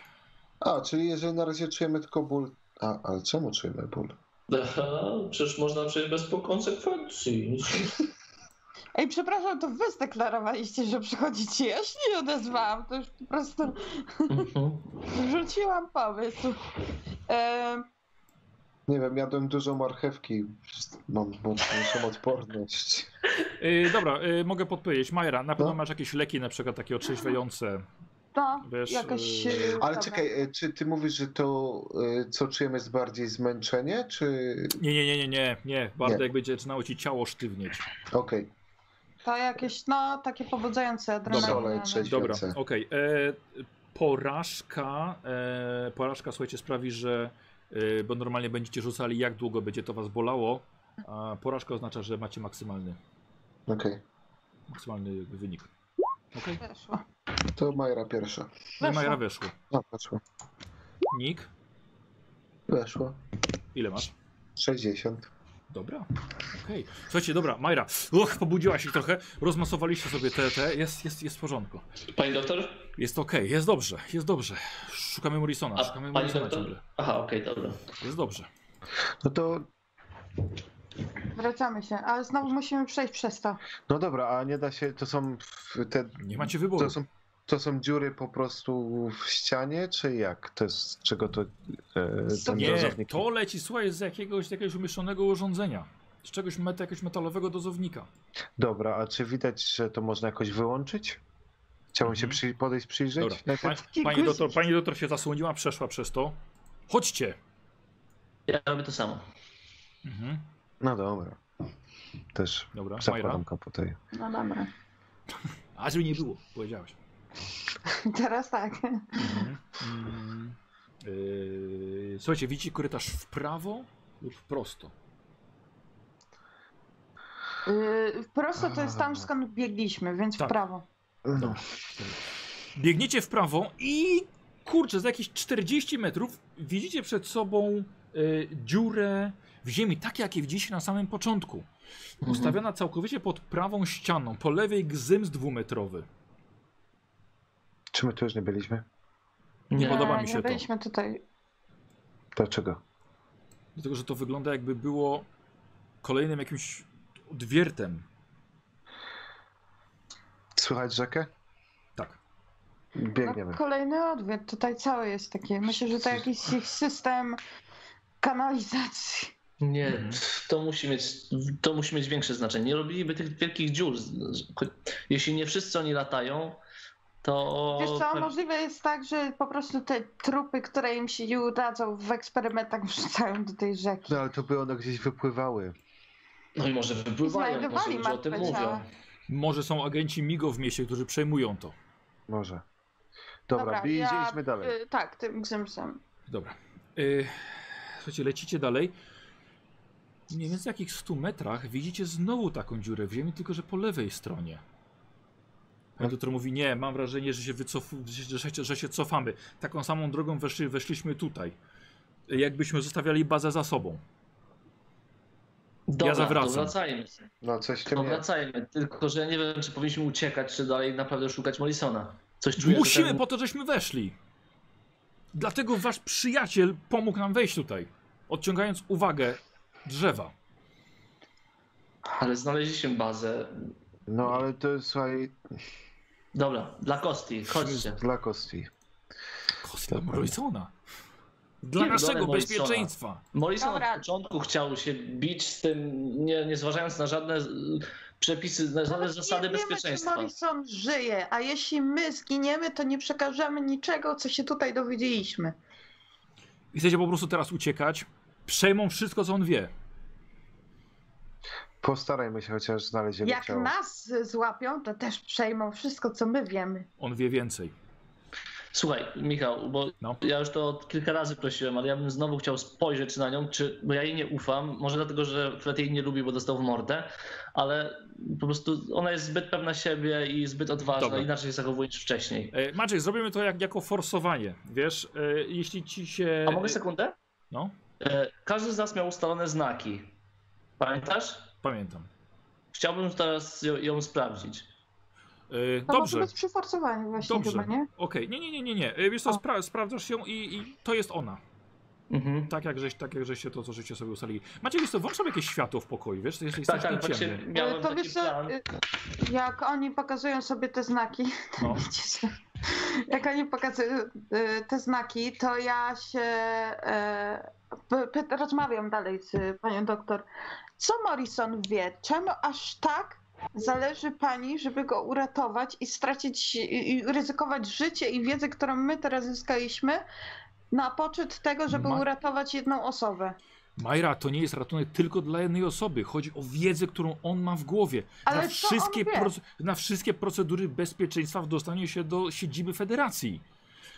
A, czyli jeżeli na razie czujemy tylko ból. A, ale czemu czujemy ból?
No, Przecież można przejść bez konsekwencji.
Ej, przepraszam, to wy zdeklarowaliście, że przychodzicie. Ja się nie odezwałam, to już po prostu
Mhm.
rzuciłam pomysł. E, Em,
Nie wiem, jadłem dużo marchewki. Mam mocniejszą odporność.
Ej, dobra, ej, mogę podpowiedzieć. Majra, na pewno
No.
masz jakieś leki, na przykład takie otrzeźwiające.
no,
Wiesz,
jakaś...
e,
e,
Ale
dobra.
czekaj, e, czy ty mówisz, że to, e, co czujemy, jest bardziej zmęczenie, czy.
Nie, nie, nie, nie, nie, nie. Bardzo
Nie.
jak będzie zaczynało ci ciało sztywnieć.
Okej,
To jakieś, no, takie pobudzające
Dobra,
No,
adrenalina.
trzeci.
Dobra,
Świecę.
okej. E, Porażka, e, porażka, słuchajcie, sprawi, że, e, bo normalnie będziecie rzucali, jak długo będzie to was bolało, a porażka oznacza, że macie maksymalny,
okej.
maksymalny jakby wynik.
no,
Okej,
Weszło.
To Majra pierwsza.
nie
Weszło.
No Majra weszło.
A, weszło.
Nik,
Weszło.
ile masz?
60.
Dobra, okej. Słuchajcie, dobra, Majra, uch, pobudziła się trochę, rozmasowaliście sobie te, te, jest, jest, jest w porządku.
Pani doktor?
Jest okej, jest dobrze, jest dobrze. Szukamy Morrisona,
A
szukamy
pani
Morrisona ciągle.
doktor? Aha, okej, dobra.
Jest dobrze.
No to.
Wracamy się, ale znowu musimy przejść przez to.
No dobra, a nie da się. To są w- te.
Nie macie wyboru.
To są To są dziury po prostu w ścianie, czy jak? To jest, z czego to e, ten
Nie,
dozownik?
to leci, słuchaj, z jakiegoś, jakiegoś umieszczonego urządzenia. Z czegoś met, jakiegoś metalowego dozownika.
Dobra, a czy widać, że to można jakoś wyłączyć? Chciałbym się
Mhm.
przy, podejść przyjrzeć.
Dobra.
najpierw?
Pani, pani, doktor, pani doktor się zasłoniła, przeszła przez to. Chodźcie!
Ja robię to samo.
Mhm.
No dobra. Też
Dobra, Majra.
zakładam komputer.
No dobra.
A żeby nie było, powiedziałeś.
Teraz tak.
Mhm. Mm. Yy, słuchajcie, widzicie korytarz w prawo lub w prosto?
Yy, prosto to jest tam, skąd biegliśmy, więc
Tak.
w prawo.
No.
Biegniecie w prawo i kurczę, za jakieś 40 metrów widzicie przed sobą y, dziurę w ziemi, takie jakie widzieliście na samym początku.
Mhm.
Ustawiona całkowicie pod prawą ścianą, po lewej gzyms dwumetrowy.
Czy my tu już nie byliśmy?
Nie
Nie.
podoba
Nie,
mi
nie
się to.
byliśmy tutaj.
Dlaczego?
Dlatego, że to wygląda jakby było kolejnym jakimś odwiertem.
Słychać rzekę?
Tak.
Biegniemy.
No, kolejny odwiet, tutaj całe jest takie. Myślę, że to jakiś ich system kanalizacji.
Mhm.
Nie, to musi, mieć, to musi mieć większe znaczenie. Nie robiliby tych wielkich dziur. Jeśli nie wszyscy oni latają, to.
Wiesz co, możliwe jest tak, że po prostu te trupy, które im się nie udadzą w eksperymentach wrzucają do tej rzeki.
No ale to by one gdzieś wypływały.
No i może wypływają, może
Znajdowali
ludzie o tym
martwe ciała.
mówią.
Może są agenci MIGO w mieście, którzy przejmują to.
Może. Dobra,
Dobra,
i
ja-
idziemy dalej.
Yy, tak, tym grzymsem.
Dobra. Y, słuchajcie, lecicie dalej. Mniej więcej w jakich 100 metrach widzicie znowu taką dziurę w ziemi, tylko że po lewej stronie. Pan doktor mówi, nie, mam wrażenie, że się, wycofu- że, że, się- że się cofamy. Taką samą drogą weszli, weszliśmy tutaj. Y, Jakbyśmy zostawiali bazę za sobą.
Dobra,
zawracam.
To wracajmy.
No coś w
To
tym jest.
wracajmy. Tylko, że ja nie wiem, czy powinniśmy uciekać, czy dalej naprawdę szukać Morrisona. Coś czuję, że
Musimy,
ten-
po to żeśmy weszli. Dlatego wasz przyjaciel pomógł nam wejść tutaj, odciągając uwagę drzewa.
Ale znaleźliśmy bazę.
No ale to jest słuchaj,
Dobra, dla Kosti, chodźcie.
dla kosti.
Kostla Morrisona. Dla
Pierdolę
naszego
Morrisona.
bezpieczeństwa.
Morrison
Dobra.
od początku chciał się bić z tym, nie, nie zważając na żadne y, przepisy, na żadne
Nawet
zasady
No nie wiemy, czy
bezpieczeństwa.
Morrison żyje, a jeśli my zginiemy, to nie przekażemy niczego, co się tutaj dowiedzieliśmy.
I Chcecie po prostu teraz uciekać. Przejmą wszystko, co on wie.
Postarajmy się chociaż znaleźć jego
Jak
ciało.
nas złapią, to też przejmą wszystko, co my wiemy.
On wie więcej.
Słuchaj, Michał, bo
No.
ja już to od kilka razy prosiłem, ale ja bym znowu chciał spojrzeć na nią, czy, bo ja jej nie ufam, może dlatego, że Fred jej nie lubi, bo dostał w mordę, ale po prostu ona jest zbyt pewna siebie i zbyt odważna,
Dobra.
inaczej się zachowuje niż wcześniej.
E, Maciek, zrobimy to jak, jako forsowanie. Wiesz, e, jeśli ci się.
A mogę sekundę?
No.
E, Każdy z nas miał ustalone znaki. Pamiętasz?
Pamiętam.
Chciałbym teraz ją, ją sprawdzić.
E,
To
dobrze.
może być przy forsowaniu właśnie
Dobrze.
chyba, nie?
Okej, nie, nie, nie, nie, nie. E, Wiesz co,
O.
spra- sprawdzasz ją i, i to jest ona.
Mhm.
Tak jak żeś, tak jak żeś się to, co żeście sobie ustalili. Maciek, wiesz co, włącz sobie jakieś światło w pokoju, wiesz, to jest
Tak,
tak,
tak,
ciemny.
właśnie miałem
to
taki
wiesz, co,
plan.
y, jak oni pokazują sobie te znaki, to
No.
widzicie, jak oni pokazują y, te znaki, to ja się e, p- py- rozmawiam dalej z y, panią doktor. Co Morrison wie? Czemu aż tak zależy pani, żeby go uratować i stracić, i, i ryzykować życie i wiedzę, którą my teraz zyskaliśmy, na poczet tego, żeby
Ma-
uratować jedną osobę?
Majra, to nie jest ratunek tylko dla jednej osoby. Chodzi o wiedzę, którą on ma w głowie.
Ale
na,
co
wszystkie
on wie?
proce- na wszystkie procedury bezpieczeństwa w dostaniu się do siedziby federacji.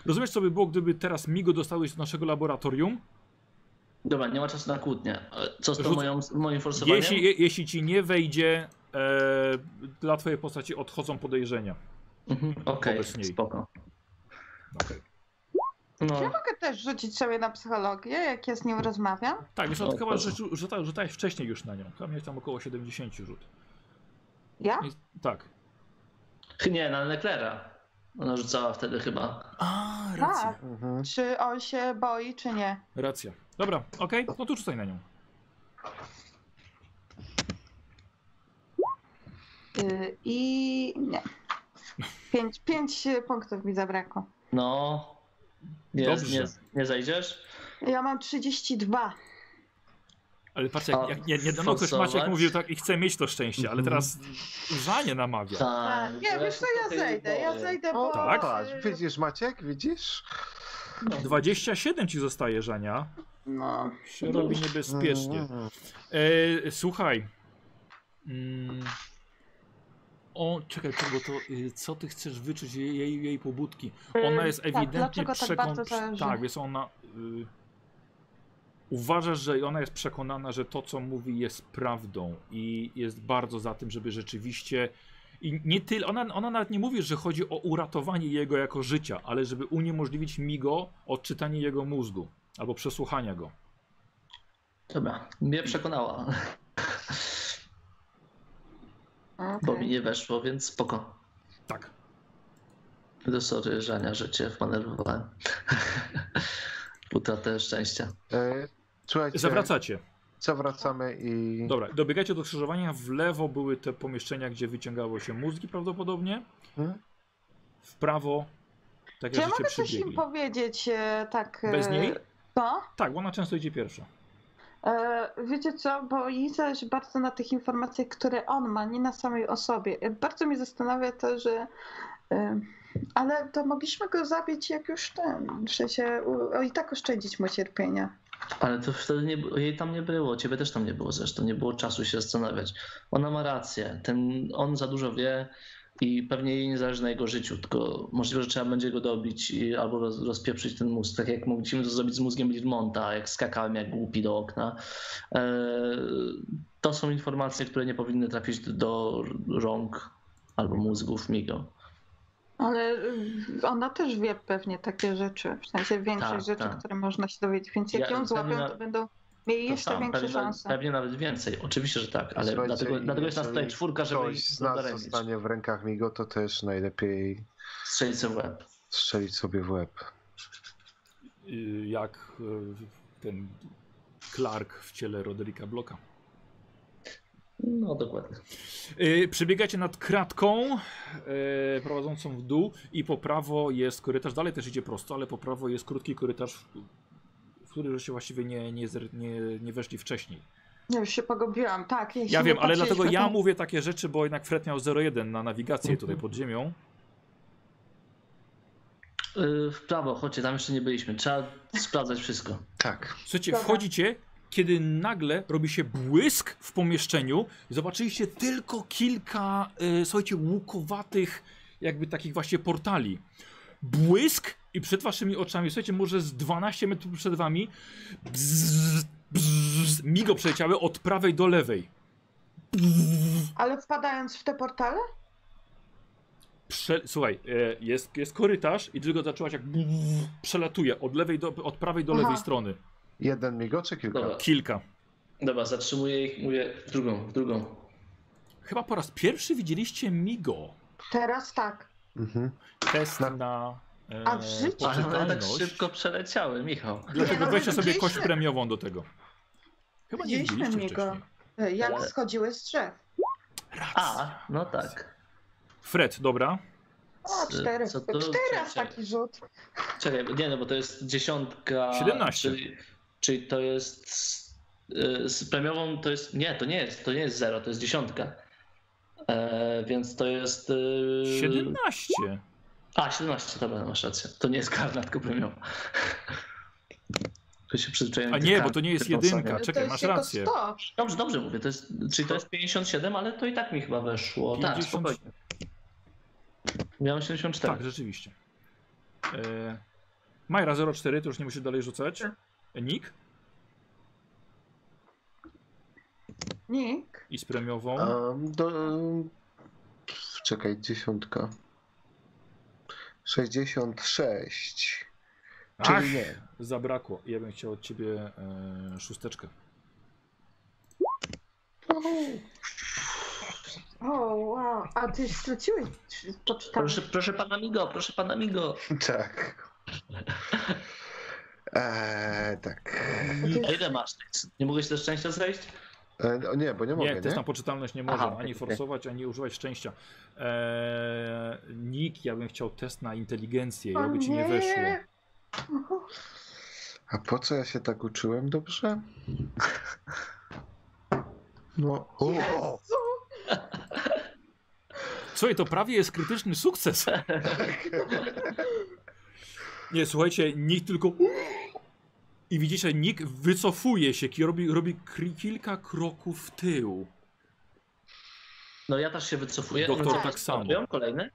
Rozumiesz, co by było, gdyby teraz Migo dostały się do naszego laboratorium?
Dobra, nie ma czasu na kłótnię. E, Co z tą
Rzuc-
moją, moim forsowaniem?
Jeśli, je, jeśli ci nie wejdzie, e, dla twojej postaci odchodzą podejrzenia.
Mhm, Okej,
Wobec niej.
spoko.
Okej.
Ja
No,
mogę też rzucić sobie na psychologię, jak ja z nią rozmawiam.
Tak, więc to
O,
chyba
proszę.
rzuta- rzuta- rzutałeś wcześniej już na nią. Tam miałeś tam około 70 rzut.
Ja?
Więc- Tak.
nie, na Leclera. Ona rzucała wtedy chyba.
A,
racja.
Tak.
Mhm.
Czy on się boi, czy nie?
Racja. Dobra, okej, no to rzucaj na nią.
Yy, Y, I nie. Pięć, pięć punktów mi zabrakło.
No. Nie,
Dobrze.
nie, nie zajdziesz?
Ja mam 32.
Ale patrz, jak,
A,
jak, nie, niedawno ktoś
forsować?
Maciek mówił tak i chce mieć to szczęście, ale teraz żanie namawia.
Tak.
Nie, wiesz co, ja zejdę, ja zejdę, bo... y,
tak?
Patrz, widzisz Maciek, widzisz?
27 ci zostaje żania.
No,
Się robi
Mhm.
niebezpiecznie.
Mm.
E, słuchaj. Mm. O, czekaj, to, bo to y, co ty chcesz wyczuć jej, jej, jej pobudki? Ona jest ewidentnie
dlaczego tak
przekonana.
bardzo zależy?
Tak, jest ona. Y, uważasz, że ona jest przekonana, że to, co mówi, jest prawdą i jest bardzo za tym, żeby rzeczywiście. I nie tyle. Ona, ona nawet nie mówi, że chodzi o uratowanie jego jako życia, ale żeby uniemożliwić Migo odczytanie jego mózgu albo przesłuchania go.
Dobra, mnie przekonała. Bo mi
okej.
nie weszło, więc spoko.
Tak.
Do sorry, Żania, że cię wpanerwowałem. Utratę szczęścia.
E, Słuchajcie,
Zawracacie.
zawracamy i...
Dobra, dobiegacie do krzyżowania. W lewo były te pomieszczenia, gdzie wyciągało się mózgi prawdopodobnie.
Mhm.
W prawo, tak
Czy ja
jak żeście
mogę coś im
przybiegli.
powiedzieć e, tak... e,
Bez niej?
Co?
Tak, bo ona często idzie pierwsza.
E, Wiecie co, bo jej zależy bardzo na tych informacjach, które on ma, nie na samej osobie. E, Bardzo mnie zastanawia to, że. e, Ale to mogliśmy go zabić jak już ten. W sensie, u- o, i tak oszczędzić mu cierpienia.
Ale to wtedy nie, jej tam nie było, ciebie też tam nie było zresztą, nie było czasu się zastanawiać. Ona ma rację, ten, on za dużo wie i pewnie jej nie zależy na jego życiu, tylko możliwe, że trzeba będzie go dobić i, albo roz, rozpieprzyć ten mózg, tak jak mogliśmy to zrobić z mózgiem Lirmonta, jak skakałem jak głupi do okna. Eee, to są informacje, które nie powinny trafić do, do rąk albo mózgów Migo.
Ale e, ona też wie pewnie takie rzeczy, w sensie większych
Tak,
rzeczy,
tak.
które można się dowiedzieć. Więc jak
Ja-
ją złapią,
pewnie-
to będą mieli
To
jeszcze
sam,
większe
pewnie,
szanse.
Pewnie nawet więcej, oczywiście, że tak, ale
Słuchajcie,
dlatego, dlatego jest nas tutaj
jeżeli
czwórka, żeby
Ktoś
ich
z nas
zadaremnić.
zostanie w rękach Migo, to też najlepiej
strzelić sobie w łeb.
strzelić sobie w łeb.
Y, Jak y, ten Clark w ciele Roderika Bloka.
No dokładnie.
Y, Przebiegacie nad kratką y, prowadzącą w dół i po prawo jest korytarz. Dalej też idzie prosto, ale po prawo jest krótki korytarz, w- w który już się właściwie nie, nie, zer- nie, nie weszli wcześniej.
Ja już się pogubiłam, tak. jej się
Ja
nie
wiem, ale dlatego
patrzyliśmy,
ja
tak.
mówię takie rzeczy, bo jednak Fred miał 0,1 na nawigację tutaj
Mhm.
pod ziemią.
Y, W prawo, chodźcie, tam jeszcze nie byliśmy. Trzeba sprawdzać wszystko.
Tak.
Słuchajcie,
Dobra.
wchodzicie, kiedy nagle robi się błysk w pomieszczeniu. Zobaczyliście tylko kilka, e, słuchajcie, łukowatych, jakby takich właśnie portali. Błysk i przed waszymi oczami, słuchajcie, może z 12 metrów przed wami, bzz, bzz, migo przeleciały od prawej do lewej.
Ale wpadając w te portale?
Prze słuchaj, e, jest, jest korytarz i tylko zaczęłaś jak przelatuje od lewej do, od prawej do
Aha.
lewej strony.
Jeden Migo czy kilka?
Dobra,
Kilka.
dobra zatrzymuję ich, mówię w drugą, w drugą.
Chyba po raz pierwszy widzieliście migo.
Teraz tak.
Mhm.
test na,
Na-
e,
A w życiu?
Ale one tak
poczytalność.
szybko przeleciały, Michał.
Dlatego
Nie, no,
weźcie sobie
widzieliśmy.
kość premiową do tego. Chyba nie
Widzieliśmy
widzieliście
niego.
wcześniej.
E, Jak
Ale-
schodziły z drzew.
A, no tak.
Fred, dobra.
O, cztery.
e, Co to-
cztery aż
czekaj.
taki rzut.
Czekaj, nie no, bo to jest dziesiątka.
17.
Czyli, czyli to jest. y, Z premiową to jest. Nie, to nie jest, to nie jest zero, to jest dziesiątka. E, więc to jest. y,
17.
A, 17, dobra, masz rację. To nie jest karna, tylko premiowa. Tu się przyzwyczaiłem.
A
do
nie,
kar-
bo to nie jest
tylko są-
jedynka.
To
Czekaj,
jest
masz
jego
rację.
100.
Dobrze, dobrze mówię, to jest, czyli to jest 57, ale to i tak mi chyba weszło. Tak,
50.
spokojnie. Miałem 74.
Tak, rzeczywiście. E, Majra 04, to już nie musisz dalej rzucać.
Tak.
E, Nick
Nick.
i z premiową.
Um, do, um, czekaj, dziesiątka. 66. Czyli
Ach,
nie.
zabrakło. Ja bym chciał od ciebie e, szósteczkę.
O, wow. A ty straciłeś poczytanie.
Proszę, proszę pana Migo, proszę pana Migo.
Tak. Eee, tak.
A ile masz? Nie mogłeś ze szczęścia zejść?
E, o nie, bo nie mogę,
Nie,
nie?
test na poczytalność nie może
Aha,
ani
okej.
forsować, ani używać szczęścia. Eee, Nick, ja bym chciał test na inteligencję,
O
jakby ci nie
nie.
weszło.
A po co ja się tak uczyłem dobrze? No, o,
Słuchaj, to prawie jest krytyczny sukces. Nie, słuchajcie, Nick tylko... I widzicie, Nick wycofuje się, ki- robi, robi kri- kilka kroków w tył.
No ja też się wycofuję.
Doktor
Wycofuję.
tak samo.
no Robią Kolejny?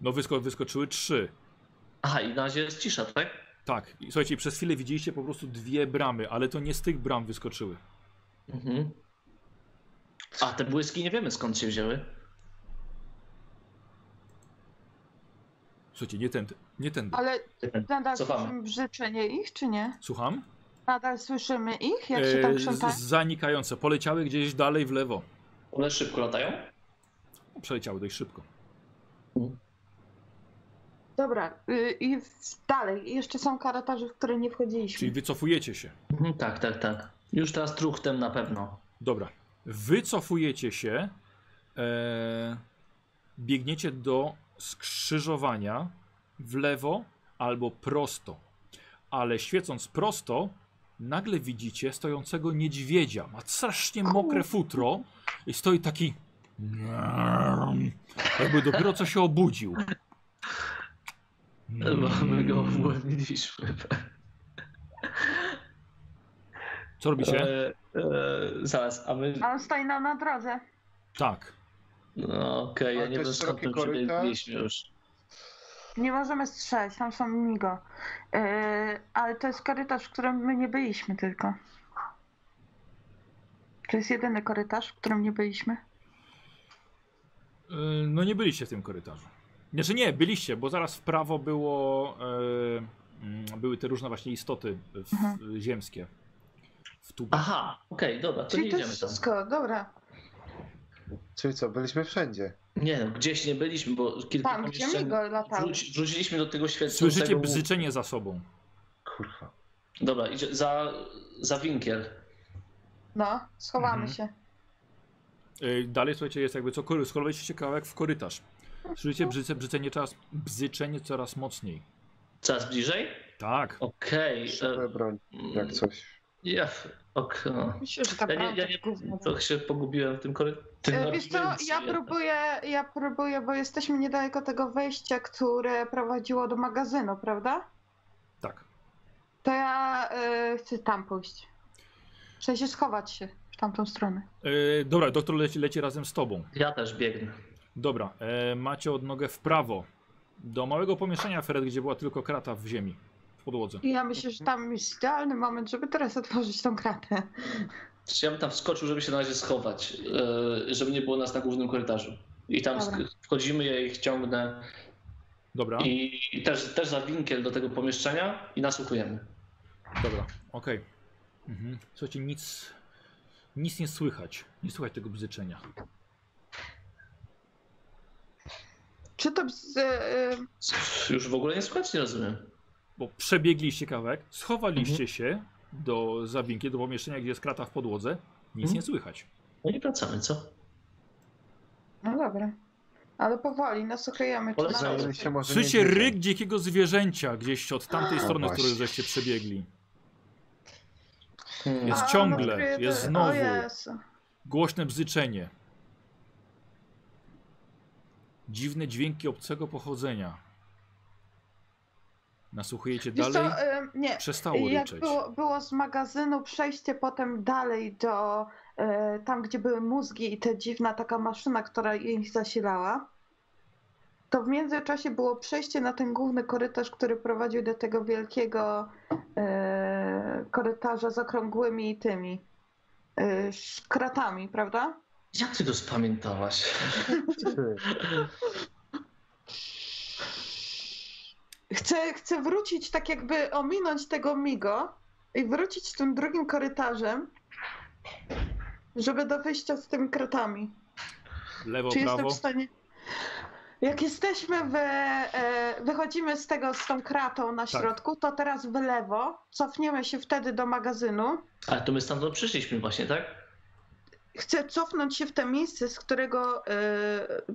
No wysko, wyskoczyły trzy.
Aha, i na razie jest cisza, tak?
Tak, i słuchajcie, przez chwilę widzieliście po prostu dwie bramy, ale to nie z tych bram wyskoczyły.
Mhm. A te błyski nie wiemy skąd się wzięły.
Słuchajcie, nie tędy, nie tędy.
Ale nadal
Cofamy.
słyszymy brzyczenie ich, czy nie?
Słucham?
Nadal słyszymy ich, jak się tam
Eee,
krzątają?
z- zanikające, poleciały gdzieś dalej w lewo.
One szybko latają?
Przeleciały dość szybko.
Dobra, y, i w- dalej. Jeszcze są korytarze, w które nie wchodziliśmy.
Czyli wycofujecie się.
Mhm, tak, tak, tak. Już teraz truchtem na pewno.
Dobra. Wycofujecie się. E, biegniecie do skrzyżowania w lewo albo prosto. Ale świecąc prosto, nagle widzicie stojącego niedźwiedzia. Ma strasznie mokre futro i stoi taki. Jakby dopiero co się obudził. Mm.
Bo my go uwolniliśmy.
Co robicie?
E, e, zaraz, a my.
A on stoi nam na drodze.
Tak.
No, Okej, ja
Ale
nie
to
wiem
jest
skąd
szeroki
my
korytarz.
przybiegliśmy już.
Nie możemy strzelać, tam są migo. Yy, ale to jest korytarz, w którym my nie byliśmy tylko. To jest jedyny korytarz, w którym nie byliśmy.
Y, No nie byliście w tym korytarzu. Znaczy nie, byliście, bo zaraz w prawo było, e, mm, były te różne właśnie istoty w,
Mhm.
ziemskie. W tubie.
Aha, okej, dobra, to
Czyli
nie
to
idziemy
jest
tam.
wszystko, dobra.
Czyli co, byliśmy wszędzie.
Nie no, gdzieś nie byliśmy, bo kilka
Tam, gdzie migo latały.
wróci, wróciliśmy do tego świecącego...
Słyszycie
łuku.
bzyczenie za sobą.
Kurwa.
Dobra, idzie za, za winkiel.
No, schowamy
Mhm.
się.
E, Dalej słuchajcie, jest jakby co korytarz. Skolowaliście się kawałek w korytarz. Słyszycie brzyce, brzycenie, coraz, bzyczenie coraz mocniej.
Coraz bliżej?
Tak.
Okej.
Szybę
e,
broń, jak coś.
Ja, ok, no.
Myślę, że
Ja
ta prawda
nie, ja nie, trochę się pogubiłem w tym korytarzu.
E, Wiesz co, ja próbuję, ja próbuję, bo jesteśmy niedaleko tego wejścia, które prowadziło do magazynu, prawda?
Tak.
To ja y, chcę tam pójść. W sensie schować się w tamtą stronę.
E, Dobra, doktor leci, leci razem z tobą.
Ja też biegnę.
Dobra, e, macie odnogę w prawo. Do małego pomieszczenia, Fred, gdzie była tylko krata w ziemi. W podłodze.
I ja myślę, że tam jest idealny moment, żeby teraz otworzyć tą kratę.
Znaczy, ja bym tam wskoczył, żeby się na razie schować, e, żeby nie było nas na głównym korytarzu. I tam
Dobra.
sk- wchodzimy, ja ich ciągnę
Dobra.
i, i też, też za winkiel do tego pomieszczenia i nasłuchujemy.
Dobra, okej. Mhm. Słuchajcie, nic, nic nie słychać. Nie słychać tego bzyczenia.
Czy to z, y,
Już w ogóle nie słychać, nie rozumiem.
Bo przebiegliście kawałek, schowaliście
Mhm.
się do zawinki, do pomieszczenia, gdzie jest krata w podłodze. Nic
Mhm.
nie słychać.
No i wracamy, co?
No dobra. Ale powoli, nasłuchujemy. Czy
Polecam,
mamy-
że
Się może
Słyszycie
nie
ryk dzikiego zwierzęcia gdzieś od tamtej
A,
strony, z
właśnie.
której żeście przebiegli.
Hmm.
Jest
A,
ciągle,
odkryte.
jest znowu.
O Jezu.
Głośne bzyczenie. Dziwne dźwięki obcego pochodzenia. Nasłuchujecie
Wiesz
dalej?
co, y, nie.
Przestało
Jak
ryczeć.
było, było z magazynu przejście potem dalej do y, tam, gdzie były mózgi i ta dziwna taka maszyna, która ich zasilała, to w międzyczasie było przejście na ten główny korytarz, który prowadził do tego wielkiego y, korytarza z okrągłymi tymi y, kratami, prawda?
Jak ty to spamiętałaś?
dzieje.
Chcę, chcę wrócić, tak jakby ominąć tego migo i wrócić tym drugim korytarzem, żeby do wyjścia z tymi kratami.
Lewo,
Czy
prawo?
jestem w stanie. Jak jesteśmy, w, e, wychodzimy z tego, z tą kratą na środku, to teraz w lewo, cofniemy się wtedy do magazynu.
Ale to my stamtąd przyszliśmy właśnie, tak?
Chcę cofnąć się w to miejsce, z którego e,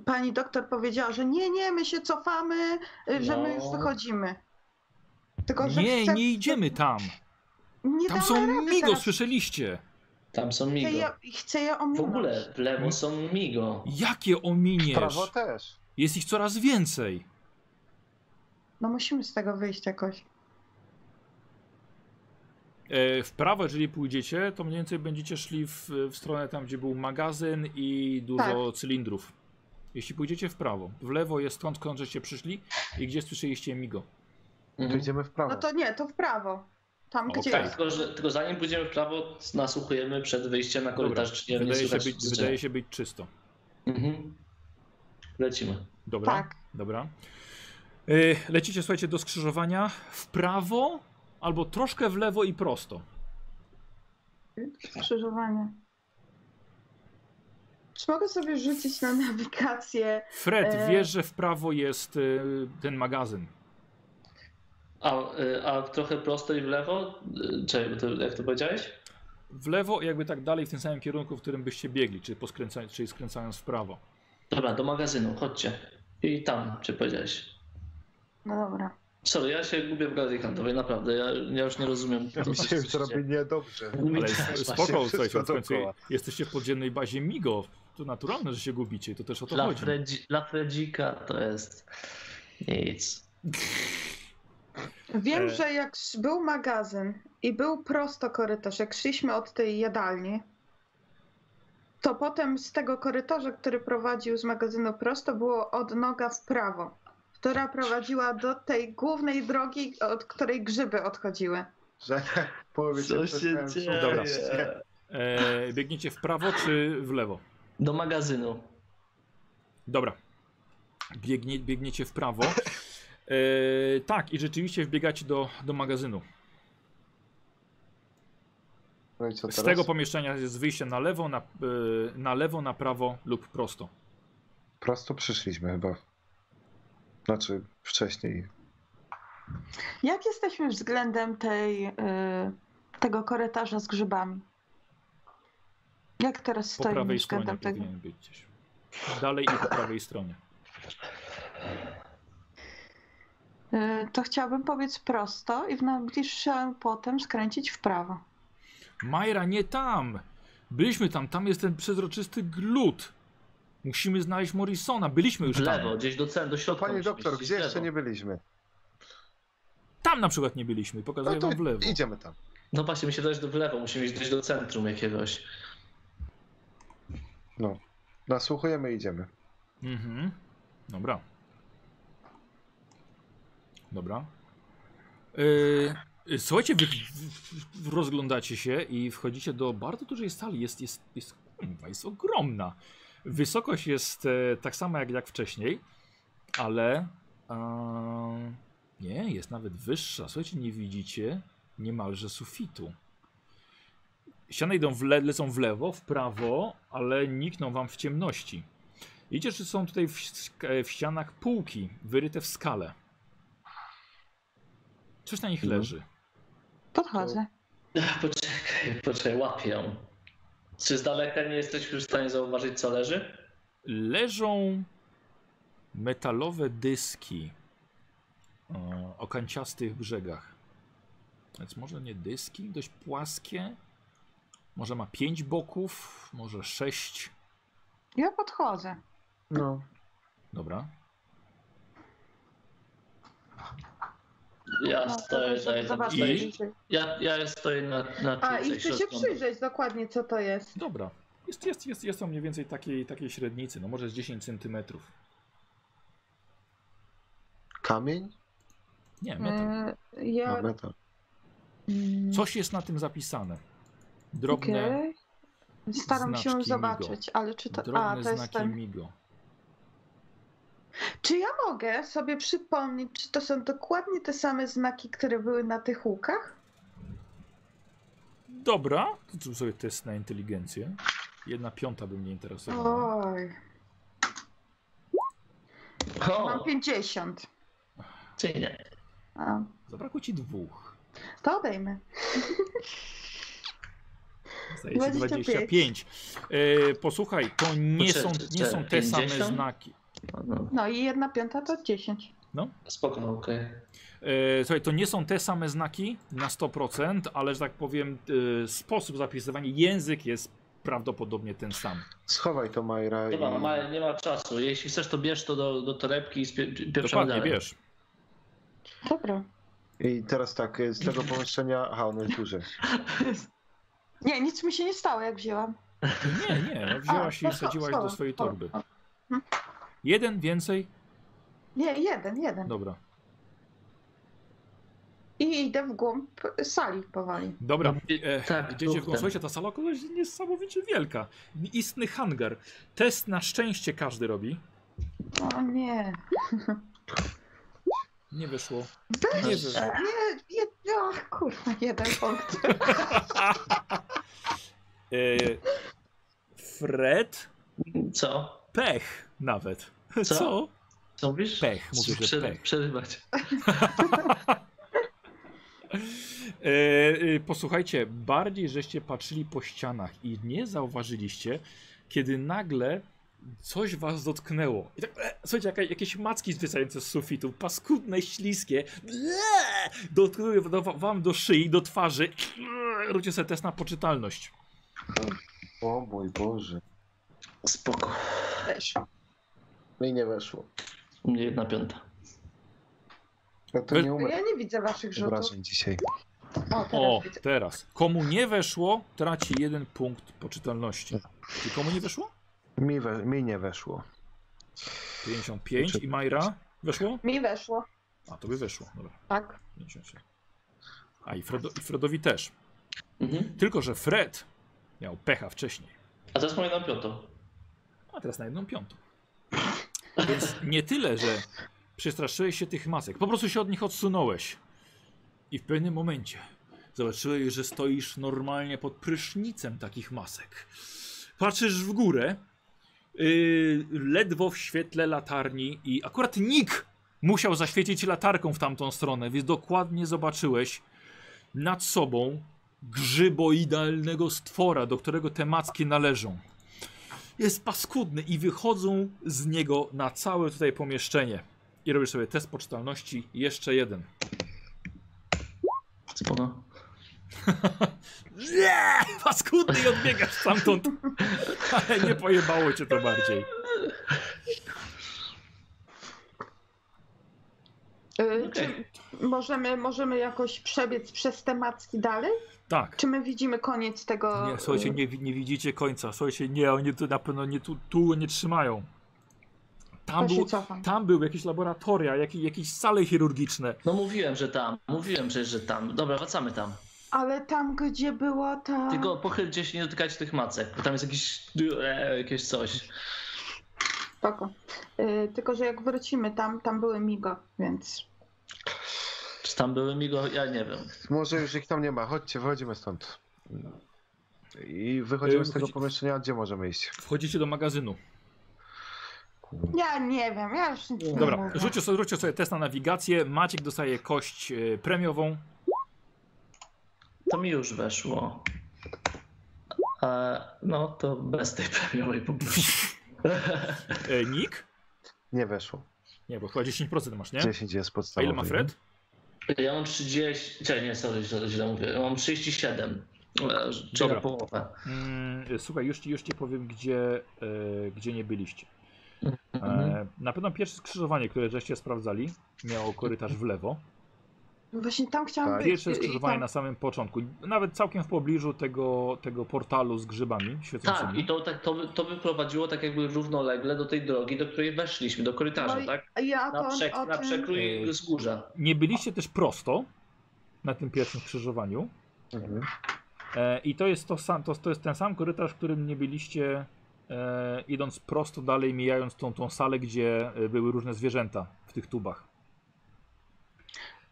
pani doktor powiedziała, że nie, nie, my się cofamy, e, że my już
No.
wychodzimy. Tylko, że
Nie,
chcę-
nie idziemy tam.
nie
Tam
damy
są
rady
migo,
teraz.
słyszeliście.
Tam są
Chcę
migo.
je, chcę je ominąć.
W ogóle w lewo są migo.
Jakie
W
ominiesz?
prawo też.
Jest ich coraz więcej.
No musimy z tego wyjść jakoś. No
E, w prawo, jeżeli pójdziecie, to mniej więcej będziecie szli w, w stronę tam, gdzie był magazyn i dużo
Tak.
cylindrów. Jeśli pójdziecie w prawo, w lewo jest stąd, skąd żeście przyszli i gdzie słyszeliście migo.
To
Mhm.
idziemy w prawo.
No to nie, to w prawo. Tam
Okej.
gdzie
Tak,
jest.
tylko, że, tylko zanim pójdziemy w prawo, nasłuchujemy przed wyjściem na korytarz, czy nie, nie
Wydaje się,
słychać
być,
nic.
wydaje się być czysto.
Mhm. Lecimy.
Dobra.
Tak.
Dobra. Y, Lecicie, słuchajcie, do skrzyżowania w prawo albo troszkę w lewo i prosto.
Skrzyżowanie. Czy mogę sobie rzucić na nawigację?
Fred,
E.
wiesz, że w prawo jest y, ten magazyn.
A, y, a trochę prosto i w lewo? Y, Czekaj, bo to, jak to powiedziałeś?
W lewo, jakby tak dalej, w tym samym kierunku, w którym byście biegli, czyli, poskręcając, czyli skręcając w prawo.
Dobra, do magazynu, chodźcie. I tam, czy powiedziałeś.
No dobra.
Sorry, ja się gubię w galerii handlowej, naprawdę. Ja, ja już nie rozumiem.
Ja mi się już
co
robi
dzieje.
niedobrze.
Mi
Ale
też właśnie.
spoko, słuchajcie,
wszystko
w końcu
dookoła.
jesteście w podziemnej bazie Migo. To naturalne, że się gubicie, to też o to
Dla,
chodzi.
Fredzi, dla Fredzika to jest nic.
Wiem,
E.
że jak sz- był magazyn i był prosto korytarz, jak szliśmy od tej jadalni, to potem z tego korytarza, który prowadził z magazynu prosto, było odnoga w prawo, która prowadziła do tej głównej drogi, od której grzyby odchodziły.
Że w połowie
Co się
przestałem
dzieje?
słuchać. Dobra.
E, biegniecie w prawo czy w lewo?
Do magazynu.
Dobra. Biegnie, biegniecie w prawo. E, tak, i rzeczywiście wbiegacie do, do magazynu.
No i co
Z
teraz?
tego pomieszczenia jest wyjście na lewo, na, e, na lewo, na prawo lub prosto.
Prosto przyszliśmy chyba. Znaczy wcześniej.
Jak jesteśmy względem tej, y, tego korytarza z grzybami? Jak teraz
Po
stoimy
prawej
względem
stronie
tego?
powinien być gdzieś. Dalej i po prawej stronie.
Y, to chciałabym powiedz prosto i w najbliższym potem skręcić w prawo.
Majra, nie tam! Byliśmy tam, tam jest ten przezroczysty glut. Musimy znaleźć Morrisona, byliśmy już
W lewo,
tam.
gdzieś do cen, do środka.
Panie
musimy
doktor,
iść,
gdzie
w lewo.
jeszcze nie byliśmy?
Tam na przykład nie byliśmy, pokazuję
No to
wam w lewo.
idziemy tam.
No właśnie, my się dojść do w lewo, musimy iść gdzieś do centrum jakiegoś.
Nasłuchujemy i idziemy.
Mhm. Dobra. Dobra. Yy, yy, słuchajcie, wy, w- w- rozglądacie się i wchodzicie do bardzo dużej sali. Jest, jest, jest, kurwa, jest ogromna. Wysokość jest e, tak sama jak, jak wcześniej, ale e, nie, jest nawet wyższa. Słuchajcie, nie widzicie niemalże sufitu. Ściany idą w le, lecą w lewo, w prawo, ale nikną wam w ciemności. Widzicie, że są tutaj w, sk- e, w ścianach półki wyryte w skale. Coś na nich
Mhm.
leży.
Podchodzę.
Ach, Poczekaj, poczekaj, łapię ją. Czy z daleka nie jesteś już w stanie zauważyć, co leży?
Leżą metalowe dyski e, o o kanciastych brzegach. Więc może nie dyski, dość płaskie. Może ma pięć boków, może sześć.
Ja podchodzę.
No.
Dobra.
Ja
No,
stoję
żeby
tutaj.
zobaczyć
I-
bliżej.
Ja, ja stoję na, na
A
czujce
i chcę się
środką.
przyjrzeć dokładnie, co to jest.
Dobra. Jest, jest, jest, jest to mniej więcej takiej, takiej średnicy, no może z 10 centymetrów.
Kamień?
Nie, metal.
Y, ja...
No, metal.
Mm,
No Coś jest na tym zapisane. Drobne,
okej. Staram
znaczki
się
migo.
zobaczyć, ale czy to...
drobne
A, to jest
znaki
ten...
migo.
Czy ja mogę sobie przypomnieć, czy to są dokładnie te same znaki, które były na tych łukach?
Dobra, to zrób sobie test na inteligencję. Tak. Jedna piąta by mnie interesowała.
Oj.
O,
Mam 50.
czyli nie.
A,
Zabrakło ci dwóch.
to odejmę.
Zdaje się
25.
25. E, posłuchaj, to nie
Czy-
są,
czy-
nie
czy
są te same
50?
znaki.
No,
No i jedna piąta to 10.
Spoko.
okej.
E, słuchaj, to nie są te same znaki na 100%, ale że tak powiem, e, sposób zapisywania, język jest prawdopodobnie ten sam.
Schowaj to no, Majra i...
Dobra, no, ma, nie ma czasu. Jeśli chcesz, to bierz to do, do torebki i spie- pieprzamy
Dokładnie,
dalej.
wiesz.
Dobra.
I teraz tak, z tego pomieszczenia... Aha, ono jest duże.
Nie, nic mi się nie stało, jak wzięłam.
Nie, nie, no wzięłaś
A,
i
no,
wsadziłaś
schowam,
do swojej
schowam.
torby. Jeden więcej?
Nie, jeden, jeden.
Dobra.
I idę w głąb sali powoli.
Dobra,
No,
e,
tak,
idziecie w
duchtem.
głos. Słuchajcie, ta sala kogoś jest niesamowicie wielka. Istny hangar. Test na szczęście każdy robi.
O nie.
Nie wyszło.
Weź,
Nie
nie,
wyszło.
nie, ach kurwa, jeden punkt.
E, Fred?
Co?
Pech nawet. Co?
Co mówisz?
Pech, mówię, że
Przery-
pech.
Przerywać.
E, e, posłuchajcie, bardziej żeście patrzyli po ścianach i nie zauważyliście, kiedy nagle coś was dotknęło. I tak, e, słuchajcie, jaka, jakieś macki zwisające z sufitu, paskudne, śliskie, eee, dotknęły do, wam do szyi, do twarzy. Eee, Róbcie sobie test na poczytalność.
O mój Boże.
Spoko.
Też.
No i nie weszło.
U mnie jedna piąta.
Ja No to
Wy-
nie umiem
Ja nie widzę waszych rzutów.
wrażeń dzisiaj.
O, teraz
O,
widzę.
teraz. Komu nie weszło, traci jeden punkt poczytalności. I komu nie weszło?
Mi, we, mi nie weszło.
55 i Majra? Weszło?
Mi weszło.
A, to by weszło, dobra.
Tak.
57. A i, Fredo, i Fredowi też.
Mhm.
Tylko, że Fred miał pecha wcześniej,
A teraz moja jedną piątą.
a teraz na jedną piątą. Więc nie tyle, że przestraszyłeś się tych masek, po prostu się od nich odsunąłeś. I w pewnym momencie zobaczyłeś, że stoisz normalnie pod prysznicem takich masek. Patrzysz w górę, yy, ledwo w świetle latarni i akurat Nick musiał zaświecić latarką w tamtą stronę, więc dokładnie zobaczyłeś nad sobą grzyboidalnego stwora, do którego te macki należą. Jest paskudny i wychodzą z niego na całe tutaj pomieszczenie. I robisz sobie test poczytalności, jeszcze jeden.
Spoko.
Nie! Paskudny i odbiegasz stamtąd. Ale nie pojebało cię to bardziej.
Y,
Okej.
Czy możemy, możemy jakoś przebiec przez te macki dalej?
Tak.
Czy my widzimy koniec tego...
Nie, słuchajcie, nie, wi- nie widzicie końca. Słuchajcie, nie, oni tu na pewno nie, tu, tu nie trzymają. Tam,
To się
był,
cofam.
tam były jakieś laboratoria, jak, jakieś sale chirurgiczne.
No mówiłem, że tam. Mówiłem przecież, że tam. Dobra, wracamy tam.
Ale tam, gdzie była ta...
Tylko pochylcie się, nie dotykajcie tych macek, bo tam jest jakiś... E, jakieś coś.
Spoko. Y, tylko, że jak wrócimy tam, tam były migo, więc...
Czy tam były migo? Ja nie wiem.
Może już ich tam nie ma. Chodźcie, wychodzimy stąd. I wychodzimy z tego
Wychodzi-
pomieszczenia, gdzie możemy iść?
Wchodzicie do magazynu.
Ja nie wiem, ja już nic nie
Dobra,
mówię.
rzućcie sobie, rzućcie sobie test na nawigację. Maciek dostaje kość e, premiową.
To mi już weszło. E, no to bez tej premiowej publicznej.
E, Nick?
Nie weszło.
Nie, bo chyba 10% masz, nie?
10 jest
A
podstawowy.
ile ma Fred?
Ja mam 30. Czekaj, nie, sorry, źle, źle mówię. Ja mam 37. e, Czyli
Dobra.
na połowę.
Mm, słuchaj, już ci, już ci powiem, gdzie, e, gdzie nie byliście.
Mhm.
E, na pewno pierwsze skrzyżowanie, które żeście sprawdzali, miało korytarz w lewo.
No Właśnie tam chciałam
Tak.
być. Y,
Pierwsze
i- i
skrzyżowanie
tam-
na samym początku, nawet całkiem w pobliżu tego, tego portalu z grzybami
Tak, i
świecącymi.
to, tak, to, to wyprowadziło tak jakby równolegle do tej drogi, do której weszliśmy, do korytarza,
No i-
tak?
A Ja to
Na, przek
o
na
tym...
przekrój
Yy.
wzgórza.
Nie byliście też prosto na tym pierwszym skrzyżowaniu.
Mhm.
E, I to jest, to, sam, to, to jest ten sam korytarz, w którym nie byliście, e, idąc prosto dalej, mijając tą, tą salę, gdzie e, były różne zwierzęta w tych tubach.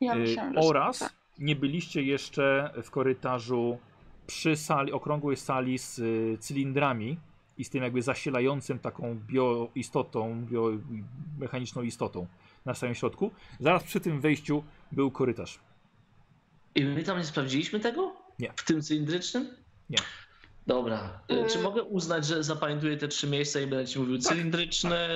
Ja
Y,
myślałam, że- tak.
oraz nie byliście jeszcze w korytarzu przy sali, okrągłej sali z y, e, cylindrami i z tym jakby zasilającym taką bioistotą, biomechaniczną istotą na samym środku. Zaraz przy tym wejściu był korytarz.
I my tam nie sprawdziliśmy tego?
Nie.
W tym cylindrycznym?
Nie.
Dobra. E,
Y-
Czy mogę uznać, że zapamiętuję te trzy miejsca i będę ci mówił cylindryczne,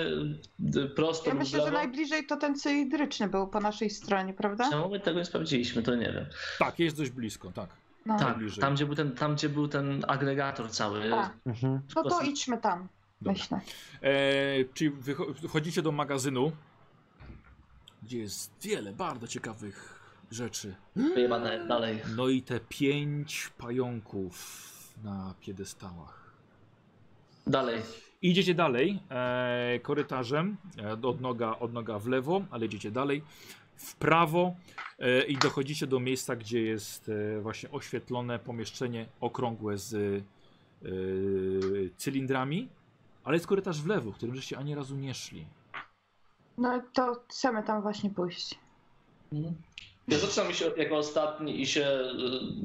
d- prosto
Tak. Ja
lub
myślę, że
brawo?
najbliżej to ten cylindryczny był po naszej stronie, prawda?
Czemu my tego nie sprawdziliśmy, to nie wiem.
Tak, jest dość blisko, tak.
No.
Tak,
Najbliżej.
tam gdzie, był ten, tam gdzie był ten agregator cały.
Tak.
Mhm.
No to idźmy tam,
Dobra.
myślę.
E, czyli wycho- wchodzicie do magazynu, gdzie jest wiele bardzo ciekawych rzeczy.
Wyjebane dalej.
No i te pięć pająków na piedestałach.
Dalej.
Idziecie dalej e, korytarzem, e, od, noga, od noga w lewo, ale idziecie dalej w prawo e, i dochodzicie do miejsca, gdzie jest e, właśnie oświetlone pomieszczenie okrągłe z e, cylindrami, ale jest korytarz w lewo, w którym żeście ani razu nie szli.
No to chcemy tam właśnie pójść.
Mhm. Ja zaczynam się jako ostatni i się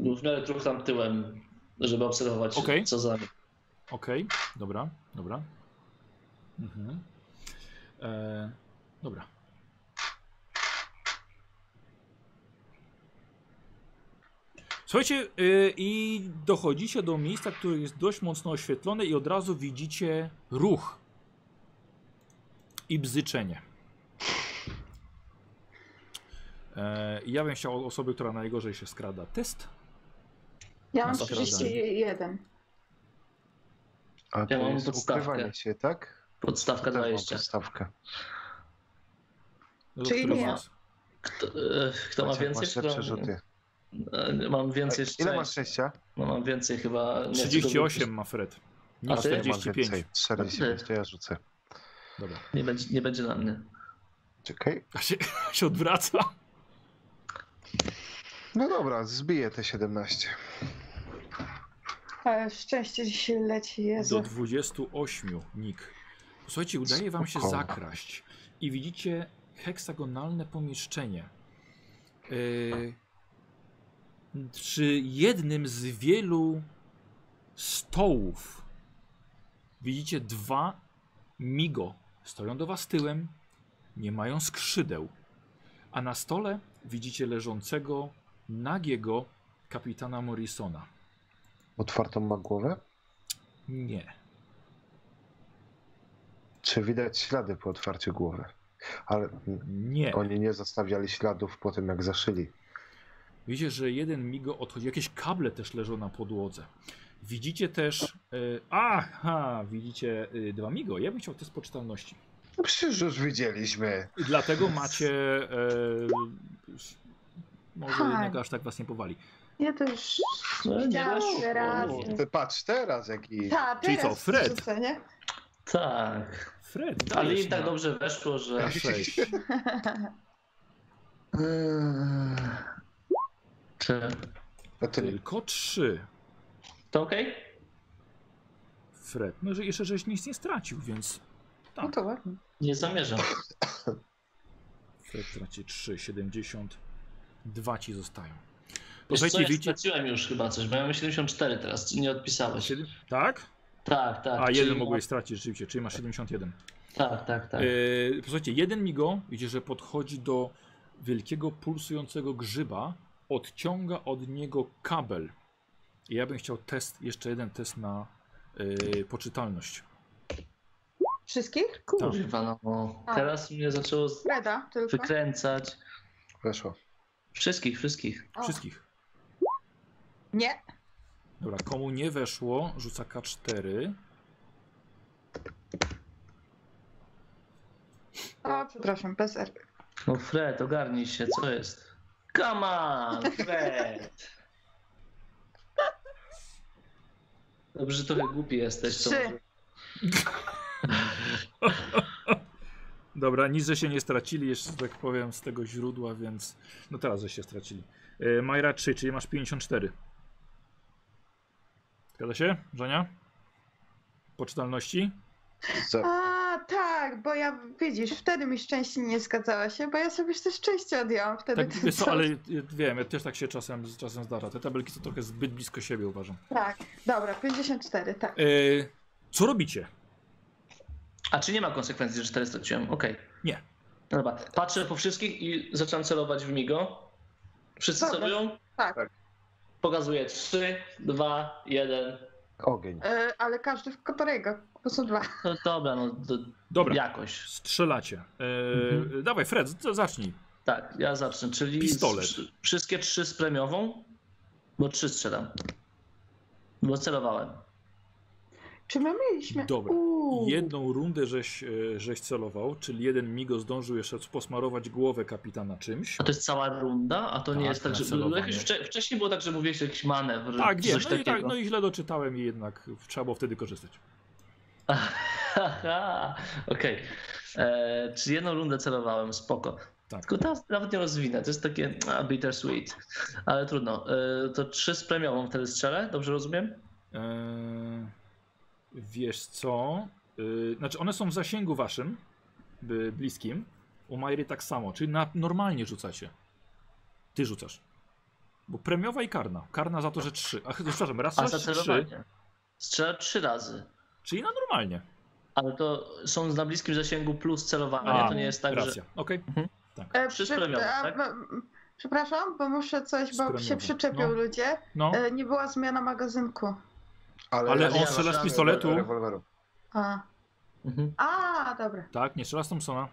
y, w miarę truchtam tyłem, żeby obserwować
Okej.
co za...
Okej, dobra, dobra. Mhm. E, dobra. Słuchajcie, y, i dochodzicie do miejsca, które jest dość mocno oświetlone i od razu widzicie ruch i bzyczenie. E, ja bym chciał osoby, która najgorzej się skrada. Test.
Ja mam
No to prawda.
31.
A to
Ja mam
jest
podstawkę.
ukrywanie się, tak?
Podstawka
Też mam
20.
podstawkę.
Czyli
Który
nie.
was?
Kto, e, kto ma
Maciek,
więcej?
Masz lepsze rzuty.
E, Mam więcej
Ile
szczęścia.
masz szczęścia?
No, mam więcej chyba... nie chcę go
38 ma Fred. Nie
A ty?
Ja mam
45.
więcej. 45, to ja rzucę.
Dobra.
wypuścić. Nie będzie, nie będzie na mnie.
Czekaj.
A się, się odwraca.
No dobra, zbiję te 17.
Ale E, szczęście dziś leci,
Do
Jezu.
28 nik. Słuchajcie, udaje wam się
Spoko.
zakraść i widzicie heksagonalne pomieszczenie. Yy, przy jednym z wielu stołów widzicie dwa migo. Stoją do was tyłem, nie mają skrzydeł. A na stole widzicie leżącego, nagiego kapitana Morrisona.
Otwartą ma głowę?
Nie.
Czy widać ślady po otwarciu głowy? Ale mm,
Nie.
oni nie zostawiali śladów po tym, jak zaszyli.
Widzicie, że jeden migo odchodzi. Jakieś kable też leżą na podłodze. Widzicie też. Y, aha, widzicie y, dwa migo. Ja bym chciał test poczytalności.
No przecież już widzieliśmy.
I Dlatego macie. Y, s- może
Ha.
jednak aż tak was nie powali.
Ja to już
No, nie
widziałam
weszło.
wyraźnie.
Ty patrz teraz, jaki...
Ta,
Czyli
teraz
co, Fred?
wrzucę, nie?
Tak.
Fred,
Ale
dajesz no.
im tak
na
dobrze weszło, że...
Sześć.
Eee,
Czy...
No to nie...
Tylko trzy.
To okej?
Fred. No, że jeszcze żeś nic nie stracił, więc.
No to ładnie.
Nie zamierzam.
Fred traci 3, 72 ci zostają.
Wiesz co,
Posłuchajcie,
ja
widzicie.
straciłem już chyba coś, bo ja mam 74 teraz, czy nie odpisałeś.
Siedem- Tak?
Tak, tak.
A,
czyli
jeden
ma-
mogłeś stracić rzeczywiście, czyli masz 71.
Tak, tak, tak.
E, posłuchajcie, jeden migo widzicie, że podchodzi do wielkiego pulsującego grzyba, odciąga od niego kabel. I ja bym chciał test, jeszcze jeden test na e, poczytalność.
Wszystkich?
Kurwa, no.
A.
Teraz mnie zaczęło z-
Freda tylko.
wykręcać.
Weszło.
Wszystkich, wszystkich.
O,
Wszystkich.
Nie.
Dobra, komu nie weszło, rzuca K4.
O, przepraszam, bez R.
No Fred, ogarnij się, co jest? Come on, Fred! Dobrze, że trochę głupi jesteś. To
Trzy.
może...
Dobra, nic, że się nie stracili, jeszcze że tak powiem, z tego źródła, więc. No teraz, że się stracili. E, Majra 3, czyli masz 54. Zgadza się, Żonia? Poczytalności?
Za...
A, tak, bo ja, widzisz, wtedy mi szczęście nie zgadzała się, bo ja sobie też szczęście odjęłam wtedy.
Tak,
ten
wiesz co,
czas.
ale y, wiem, ja też tak się czasem, czasem zdarza. Te tabelki są trochę zbyt blisko siebie, uważam.
Tak, dobra, 54, tak.
Yy, Co robicie?
A czy nie ma konsekwencji, że 4 straciłem? Okej. No
Nie.
Dobra, patrzę po wszystkich i zaczęłam celować w Migo. Wszyscy
Dobra.
celują?
Tak.
Tak.
Pokazuję 3, 2, 1.
Ogień.
E, ale każdy w Kotorego, bo są dwa.
No dobra, no to
Dobra,
jakoś.
strzelacie. Eee,
Mhm.
Dawaj, Fred, z- zacznij.
Tak, ja zacznę. Czyli
Pistolet.
z- wszy- wszystkie trzy z premiową? Bo trzy strzelam. Bo celowałem.
Czy my mieliśmy...
Dobra.
Uuu.
Jedną rundę żeś, e, żeś celował, czyli jeden migo zdążył jeszcze posmarować głowę kapitana czymś.
A to jest cała runda, a to
Tak,
nie jest tak, że.
celowanie.
Jakoś wcze, wcześniej było tak, że mówiłeś jakiś manewr.
Tak, wiem,
coś
no i,
takiego.
tak, no i źle doczytałem i jednak trzeba było wtedy korzystać.
Aha, okej. E, Czyli jedną rundę celowałem, spoko.
Tak.
Tylko teraz nawet nie rozwinę, to jest takie a, bittersweet. Ale trudno. E, to trzy z premiową wtedy strzelę, dobrze rozumiem?
Eee, wiesz co? Eee, znaczy one są w zasięgu waszym, by, bliskim. U Majry tak samo, czyli na, normalnie rzucacie. Ty rzucasz. Bo premiowa i karna. Karna za to, że trzy. Ach, przepraszam, raz,
A
raz, trzy.
zacelowanie. Strzelę trzy razy.
Czyli na normalnie.
Ale to są na bliskim zasięgu plus celowanie.
A,
to nie jest tak, że.
Racja, okej.
E,
Wszyscy premiowe,
a,
tak?
m- Przepraszam, bo muszę coś, bo
Premiowe.
się przyczepią
No.
ludzie.
No,
E, nie była zmiana magazynku.
Ale
on strzela z
pistoletu.
Rewolweru.
A,
Mhm.
a dobra.
tak, nie strzela z Thompsona.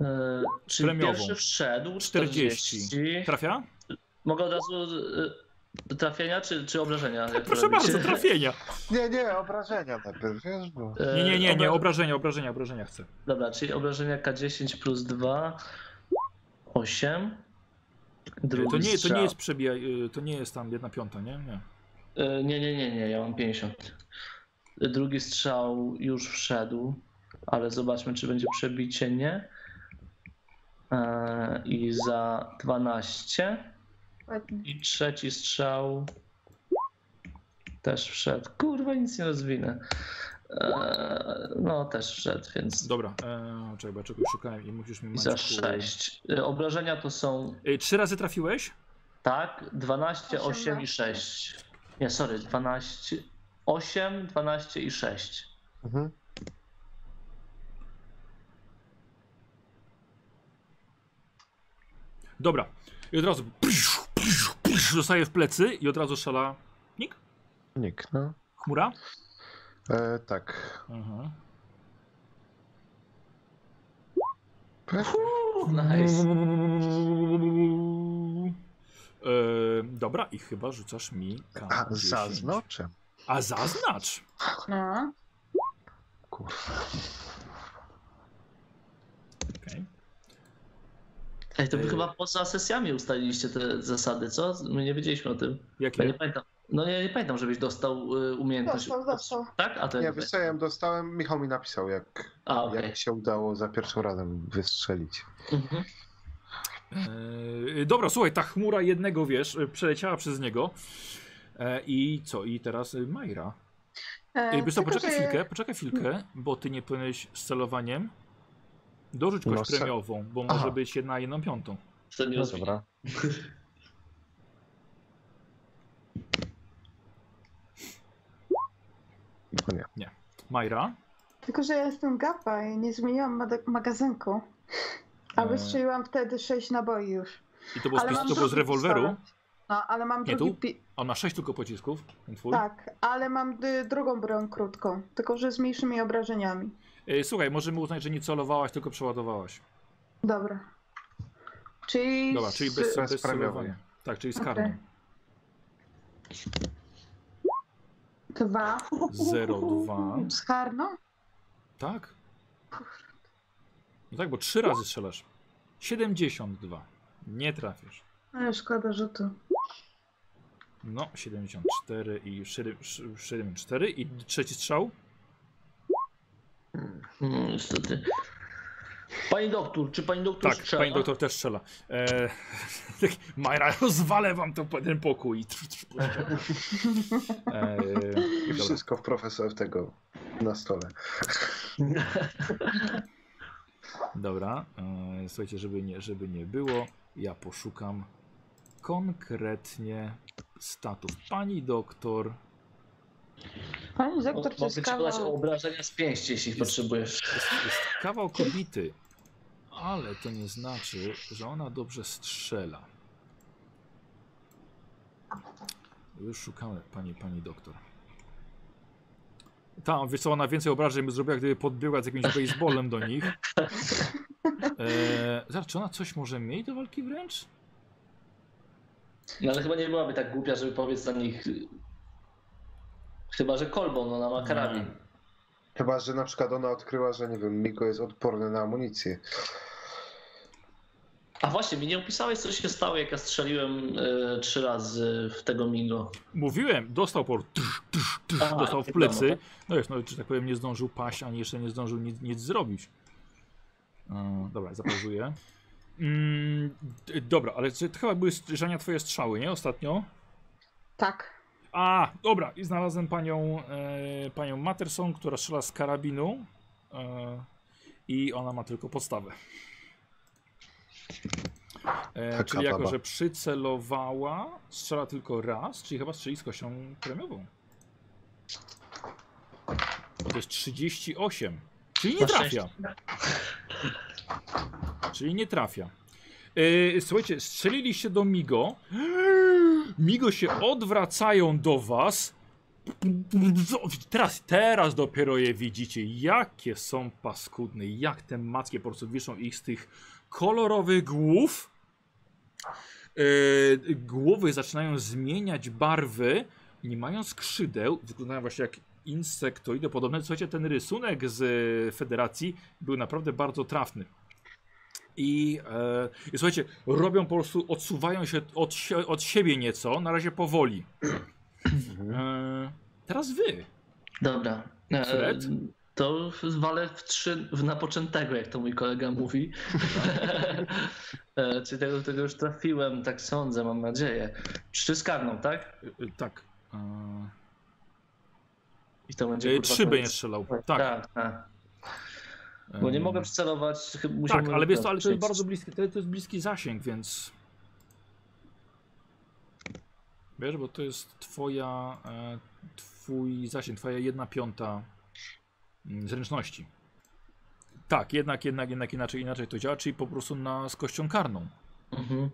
E, czyli
Premiową.
pierwszy wszedł
40.
40.
Trafia?
Mogę od razu e, trafienia czy, czy obrażenia? jak to
Proszę
robicie?
bardzo, trafienia.
Nie, nie, obrażenia najpierw, wiesz, bo...
E,
Nie, nie, nie, nie,
obra-
obrażenia, obrażenia, obrażenia chcę.
Dobra, czyli obrażenia K10 plus 2, 8. Drugi
To nie, to nie
strzał.
jest przebijaj, y, to nie jest tam jedna piąta, nie? Nie.
E, Nie, nie, nie, nie, ja mam 50. E, Drugi strzał już wszedł, ale zobaczmy, czy będzie przebicie, nie. E, I za 12.
Ładnie.
I trzeci strzał też wszedł. Kurwa, nic nie rozwinę. E, No, też wszedł, więc.
Dobra, e, czekaj, bo ja czegoś szukałem i musisz mi
I
mać.
za 6. Obrażenia to są
Trzy razy trafiłeś?
Tak, 12, 8 i 6. Nie, sorry, 12, 8, 12 i 6.
Mhm.
Dobra. I od razu prysz, prysz, prysz, dostaje w plecy i od razu szala
Nikt, no.
chmura.
E, tak.
Aha.
Uuu,
Mhm.
nice.
E, dobra, i chyba rzucasz mi
A,
K10.
zaznaczę.
A zaznacz.
No.
Kurwa.
Okej.
Ej, to wy
Ej.
chyba poza sesjami ustaliliście te zasady, co? My nie wiedzieliśmy o tym. Ja nie
Jakie?
pamiętam. No ja nie pamiętam, żebyś dostał y, umiejętność.
No,
Dostał, dostał.
Tak? A to
Nie,
jak
wiesz co, ja ją dostałem, Michał mi napisał, jak,
A, okej.
jak się udało za pierwszym razem wystrzelić.
Mhm.
E, dobra, słuchaj, ta chmura jednego, wiesz, e, przeleciała przez niego. E, I co? I teraz e, Majra.
E,
Ej, Bysto,
tylko,
poczekaj
że-
chwilkę, poczekaj chwilkę, bo ty nie płynęłeś z celowaniem. Dorzuć kość
No, se-
premiową, bo
Aha.
może być jedna jedną piątą.
To nie
No
rozumiem.
dobra. O No nie.
Majra.
Tylko, że ja jestem gapa i nie zmieniłam made- magazynku. A
e,
wystrzeliłam wtedy sześć naboi już.
I to było,
Ale
z,
mam
pis- to było z
drugi
rewolweru.
pistolet. No, ale mam
Nie,
drugi...
tu?
Pi-
On ma sześć tylko pocisków. ten Twój.
tak, ale mam y, drugą broń krótką. Tylko, że z mniejszymi obrażeniami.
E, Słuchaj, możemy uznać, że nie celowałaś, tylko przeładowałaś.
Dobra. Czyli...
Dobra, czyli bez,
Bez
bez
premiowej.
celowania. Tak, czyli z
Okej.
karną.
Dwa.
Zero, dwa.
Z karną?
Tak? No tak, bo trzy razy strzelasz. 72. Nie trafisz.
Ale szkoda, że tu.
No, 74 i 7, 74 i trzeci strzał.
Mm, niestety. Pani doktor, czy pani doktor
Tak,
strzela?
pani doktor też strzela. E, tak, Majra, rozwalę wam to, ten pokój. Trz, trz, puszczę. e,
I
dobra.
wszystko w profesor tego na stole.
dobra. E, słuchajcie, żeby nie, żeby nie było, ja poszukam konkretnie statów. Pani doktor
Pani
Mo-
doktor, to
Mogę
jest
ci podać
kawał...
obrażenia z pięści, jeśli potrzebujesz.
Jest, jest kawał kobity, ale to nie znaczy, że ona dobrze strzela. Już szukamy, pani, pani doktor. Tam, wiesz co, ona więcej obrażeń by zrobiła, gdyby podbiegła z jakimś baseballem do nich. Eee, zaraz, czy ona coś może mieć do walki wręcz?
No ale chyba nie byłaby tak głupia, żeby powiedzieć na nich. y, Chyba, że kolbą, no na ma karabin.
Chyba, że na przykład ona odkryła, że nie wiem, Miko jest odporny na amunicję.
A właśnie, mi nie opisałeś, co się stało, jak ja strzeliłem y, trzy razy w tego Mingo.
Mówiłem, dostał por. Trz, trz, trz,
Aha,
dostał w
wiadomo,
plecy.
tak.
No wiesz, no, że tak powiem, nie zdążył paść, ani jeszcze nie zdążył nic, nic zrobić. Mm, dobra, zapauzuję. Mm, d- dobra, ale czy to chyba były żania twoje strzały, nie? Ostatnio?
Tak.
A, dobra, i znalazłem panią, e, panią Matterson, która strzela z karabinu. E, I ona ma tylko podstawę. E,
Taka
czyli jako,
baba.
że przycelowała, strzela tylko raz, czyli chyba strzeli z kością premiową. Bo to jest 38. Czyli nie
Na
trafia. Czyli nie trafia. E, słuchajcie, strzeliliście do Migo. Migo się odwracają do was. Teraz, teraz dopiero je widzicie. Jakie są paskudne, jak te mackie po prostu wiszą ich z tych kolorowych głów. Yy, głowy zaczynają zmieniać barwy, nie mają skrzydeł, wyglądają właśnie jak insektoidy podobne. Słuchajcie, ten rysunek z y, Federacji był naprawdę bardzo trafny. I, e, I słuchajcie, robią po prostu, odsuwają się od, sie- od siebie nieco, na razie powoli. E, teraz wy.
Dobra. E,
Fred?
To walę w trzy w napoczętego, jak to mój kolega mówi. E, Czyli tego, tego już trafiłem, tak sądzę, mam nadzieję. Trzy z karną, tak?
E, e, tak. E,
I to będzie.
e,
kurwa,
trzy
koniec.
będzie strzelał. Tak.
tak. tak. Bo nie
E,
mogę przycelować, chyba
Tak,
musiałbym-
ale wiesz co, ale to jest
przejść.
bardzo bliski, to to jest bliski zasięg, więc... Wiesz, bo to jest twoja, e, twój zasięg, twoja jedna piąta mm, zręczności. Tak, jednak, jednak, jednak inaczej, inaczej to działa, czyli po prostu na, z kością karną.
Mhm.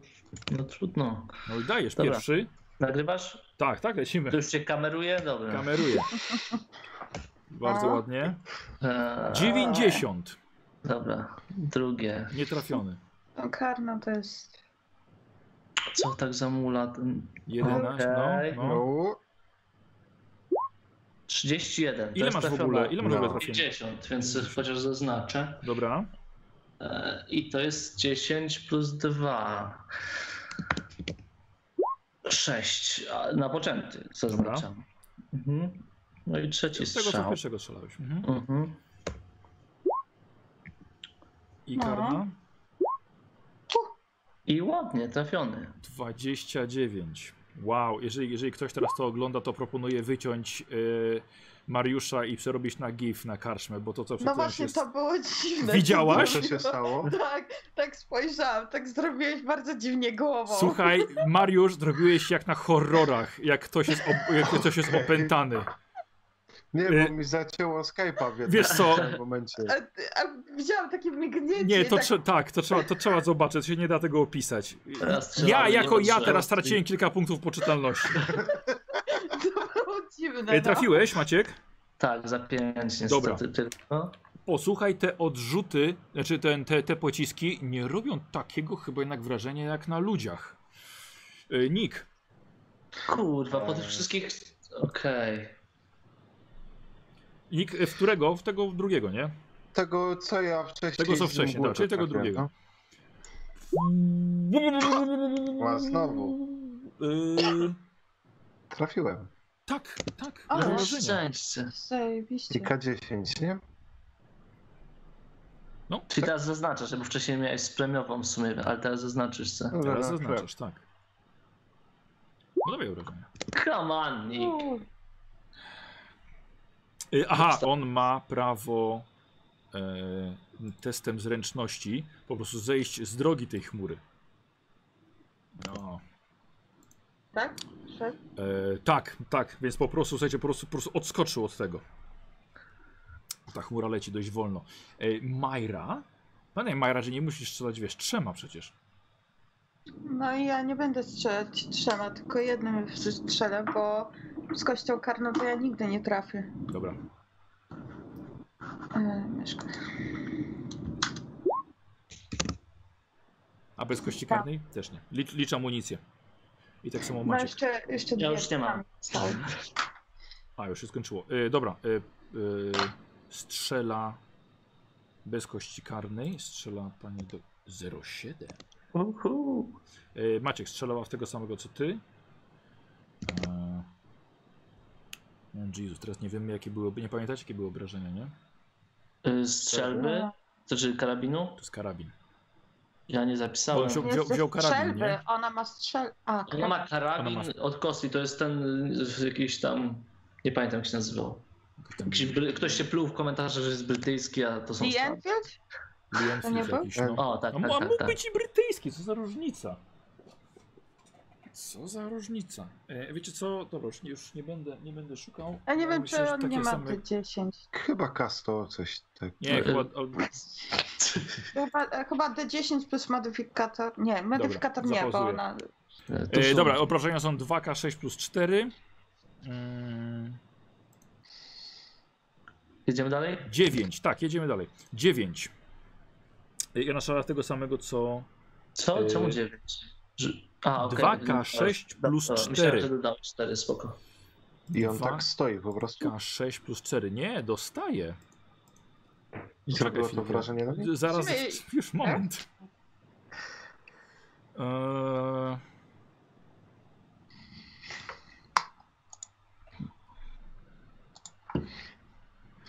No trudno.
No i dajesz
Dobra.
pierwszy.
Nagrywasz?
Tak, tak, lecimy.
To już się kameruje? Dobra.
Kameruję. Bardzo
A?
ładnie.
Eee,
90.
Dobra, drugie.
Nietrafiony.
No, karno to jest...
Co tak za mula? Ten-
11.
Okej.
No, no.
31. to
Ile
jest
masz w
trafiona.
ogóle? Ile masz w ogóle
No.
trafienia?
50, więc chociaż zaznaczę.
Dobra.
Eee, I to jest 10 plus 2. 6. Na poczęty zaznaczam. Mhm. No i trzeci
Z tego co
strzał.
pierwszego strzelałeś. Mhm.
Mhm.
I
No.
karna?
I ładnie trafiony.
29. Wow, jeżeli, jeżeli ktoś teraz to ogląda, to proponuję wyciąć y, Mariusza i przerobić na GIF na karczmę, bo to co
No
przeczytałeś
właśnie,
jest...
to było dziwne.
Widziałaś?
No, Co się stało?
Tak, tak spojrzałam, tak zrobiłeś bardzo dziwnie głową.
Słuchaj, Mariusz, zrobiłeś jak na horrorach, jak ktoś jest, op- jak ktoś jest opętany.
Nie,
Y-
bo mi zacięło Skype'a w jednym
Wiesz co,
momencie.
A, a widziałam takie mgnięcie.
Nie, to,
tak,
trze- tak, to, trzeba, to trzeba zobaczyć, to się nie da tego opisać.
Teraz
Ja
strzelamy, nie
jako ja
potrzeba.
teraz straciłem kilka punktów poczytalności.
to było dziwne. no.
E, Trafiłeś, Maciek?
Tak, za 5 niestety
Dobra.
tylko.
Posłuchaj, te odrzuty, znaczy ten, te, te pociski nie robią takiego chyba jednak wrażenia jak na ludziach. E, Nick,
Kurwa, po tych wszystkich. Okej.
Nick, e, w którego? W tego drugiego, nie?
Tego, co ja wcześniej...
Tego, co
z
wcześniej,
Mgłą
tak, czyli tego
trafiłem,
drugiego.
A no. znowu.
E,
no. Trafiłem.
tak, tak.
Ale
na
Na
wrażenia.
No szczęście.
Zajebiście.
I K10, nie?
Czyli teraz zaznaczasz, bo wcześniej miałeś z premiową w sumie, ale teraz zaznaczysz co.
No,
Teraz
no,
zaznaczasz, tak. No dawaj wrażenia.
Come on, Nick.
U,
Y, Aha, on ma prawo e, testem zręczności po prostu zejść z drogi tej chmury. No.
tak? Szedł?
E, tak, tak, więc po prostu, słuchajcie, po prostu, po prostu odskoczył od tego. Ta chmura leci dość wolno. E, Majra? No nie, Majra, że nie musisz strzelać, wiesz, trzema przecież.
No i ja nie będę strzelać trzema, tylko jednym strzelę, bo z kością karną to ja nigdy nie trafię.
Dobra.
E, Mieszka.
A bez kości karnej? Też nie. Licz, licz amunicję. I tak samo
No
Maciek.
jeszcze, jeszcze
Ja
dwie
już nie mam.
zostały.
A, już się skończyło. E, dobra. E, e, strzela bez kości karnej. Strzela pani do 07.
Uhu.
E, Maciek strzelała w tego samego co ty. E, no Jezus, teraz nie wiemy jakie były, nie pamiętacie jakie były obrażenia, nie?
Y, Strzelby? To czy karabinu?
To jest karabin.
Ja nie zapisałem.
On się-
Jest
Wziął- wziął
ze
karabin,
strzelby,
nie?
Ona ma strzel... A,
Ona ma karabin
Ona
od Kosli, to jest ten y, jakiś tam, nie pamiętam jak się nazywał.
Jakoś tam
Jakiś, bry- ktoś się pluł w komentarzach, że jest brytyjski, a to są
The
Stany.
Enfield?
Lienfield
To nie był?
jakiś, no.
O, tak,
A, m- a
tak,
mógł
tak. tak.
być i brytyjski, co za różnica. Co za różnica. E, wiecie co, dobra, już nie, już nie, będę, nie będę szukał.
Ja nie
ale
wiem,
myślę,
czy
że
on
takie
nie ma
same-
te 10.
Chyba Kasto, coś tak.
Nie,
Y-
chyba, o,
Chyba, e, chyba D10 plus modyfikator. Nie, modyfikator nie, bo
zapauzuję.
ona.
To
E,
są-
dobra, obrażenia są 2K6 plus 4. Mm,
Jedziemy dalej?
9, tak, jedziemy dalej. 9. I ona szala tego samego co.
Co?
Y,
Czemu 9? A, okej.
2K6 plus
Dobra,
4.
Myślałem, że dodał 4, spoko.
I on
Dwa.
tak stoi po prostu.
K6 plus 4. Nie, dostaje.
I
Poczekaj
zrobiło to
chwilkę.
wrażenie na mnie.
Zaraz,
Musimy-
już moment. Eee...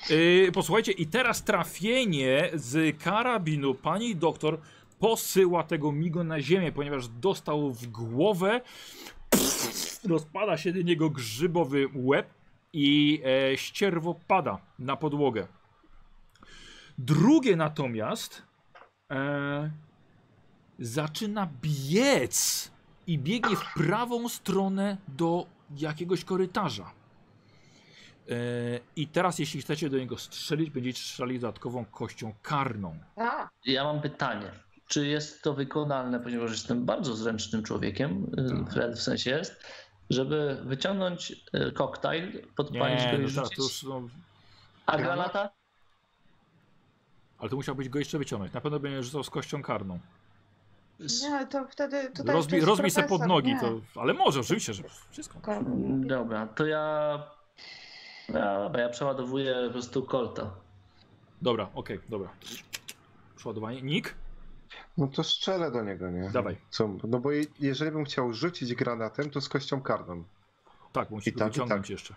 Yy, posłuchajcie, i teraz trafienie z karabinu pani doktor posyła tego migo na ziemię, ponieważ dostał w głowę. Rozpada się do niego grzybowy łeb i e, ścierwo pada na podłogę. Drugie natomiast e, zaczyna biec i biegnie w prawą stronę do jakiegoś korytarza. E, I teraz, jeśli chcecie do niego strzelić, będziecie strzelić dodatkową kością karną.
A,
Ja mam pytanie. Czy jest to wykonalne, ponieważ jestem bardzo zręcznym człowiekiem, y,
Tak.
Fred w sensie jest, żeby wyciągnąć y, koktajl, podpalić go i
tak,
teraz
rzucić,
to już, no,
a granata?
ale to musiałbyś go jeszcze wyciągnąć. Na pewno będzie rzucał z kością karną.
S-
nie, to wtedy. Tutaj to
Rozbij,
jest
rozbij se pod
profesor,
nogi,
nie.
to, ale może, oczywiście, że wszystko.
Dobra, to ja... Ja, ja przeładowuję po prostu kolta.
Dobra, okej, dobra. Przeładowanie. Nik?
No to strzelę do niego, nie?
Dawaj.
Co? No bo je- jeżeli bym chciał rzucić granatem, to z kością karną.
Tak, bo musisz
I tak,
go
i
wyciągnąć
tak.
jeszcze.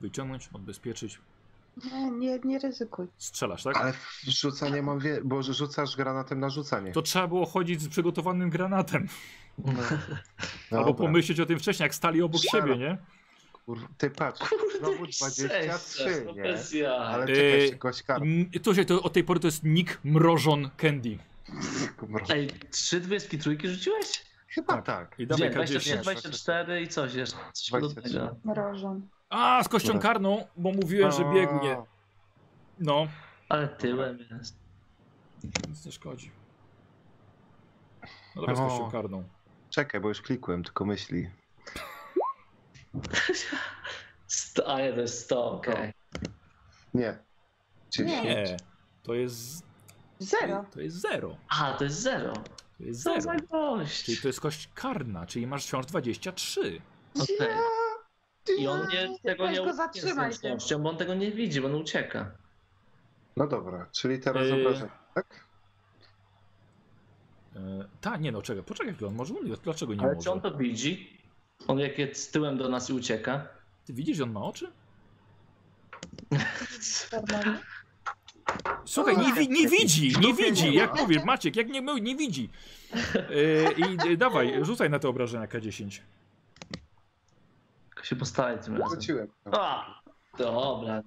Wyciągnąć, odbezpieczyć.
Nie, nie, nie ryzykuj.
Strzelasz, tak?
Ale w- rzucanie mam, wie... bo rzucasz granatem na rzucanie.
To trzeba było chodzić z przygotowanym granatem.
No
Albo
dobra.
pomyśleć o tym wcześniej, jak stali obok
Strzelam.
siebie, nie?
Kur- Ty patrz, znowu 23,
no
nie?
bez jaj.
Ale
Yy,
czekaj, jeszcze kość karną.
Mm, To, się, to od tej pory to jest Nick Mrożon Candy.
Ej, trzy dwieski trójki rzuciłeś?
Chyba tak.
I
Gdzie?
dawaj K10.
23, 24 i coś jeszcze. Coś
23.
podobnego.
Mrożon.
A, z kością
Dobra.
karną, bo mówiłem, że biegnie. No,
Ale tyłem jest.
nic nie szkodzi. No dobra, z
No.
kością karną.
Czekaj, bo już klikłem, tylko myśli.
Sto, a nie, to jest
No.
100, okej.
Nie.
Nie, to jest,
Zero.
to jest zero.
A, to jest 0.
To jest
Co za
zero. Czyli
gość?
to jest kość karna, czyli masz wciąż 23.
Okej.
Ja-
I on nie, tego
Weź
nie
go zatrzymaj
z zręcznością, bo on tego nie widzi, bo on ucieka.
No dobra, czyli teraz
Yy.
obrażenie, tak?
E, tak, nie no, czekaj, poczekaj chwilę, on może unikać, dlaczego nie
Ale czy
może?
on to widzi? On jak jest z tyłem do nas i ucieka?
Ty widzisz, że on ma oczy?
Normalnie.
No
Słuchaj, nie, wi-
tak.
nie widzi, nie widzi, jak mówisz, Maciek, jak nie mył, nie widzi. E, I e, dawaj, rzucaj na te obrażenia K10.
Tylko się postaraj tym razem.
Wróciłem.
A, dobra.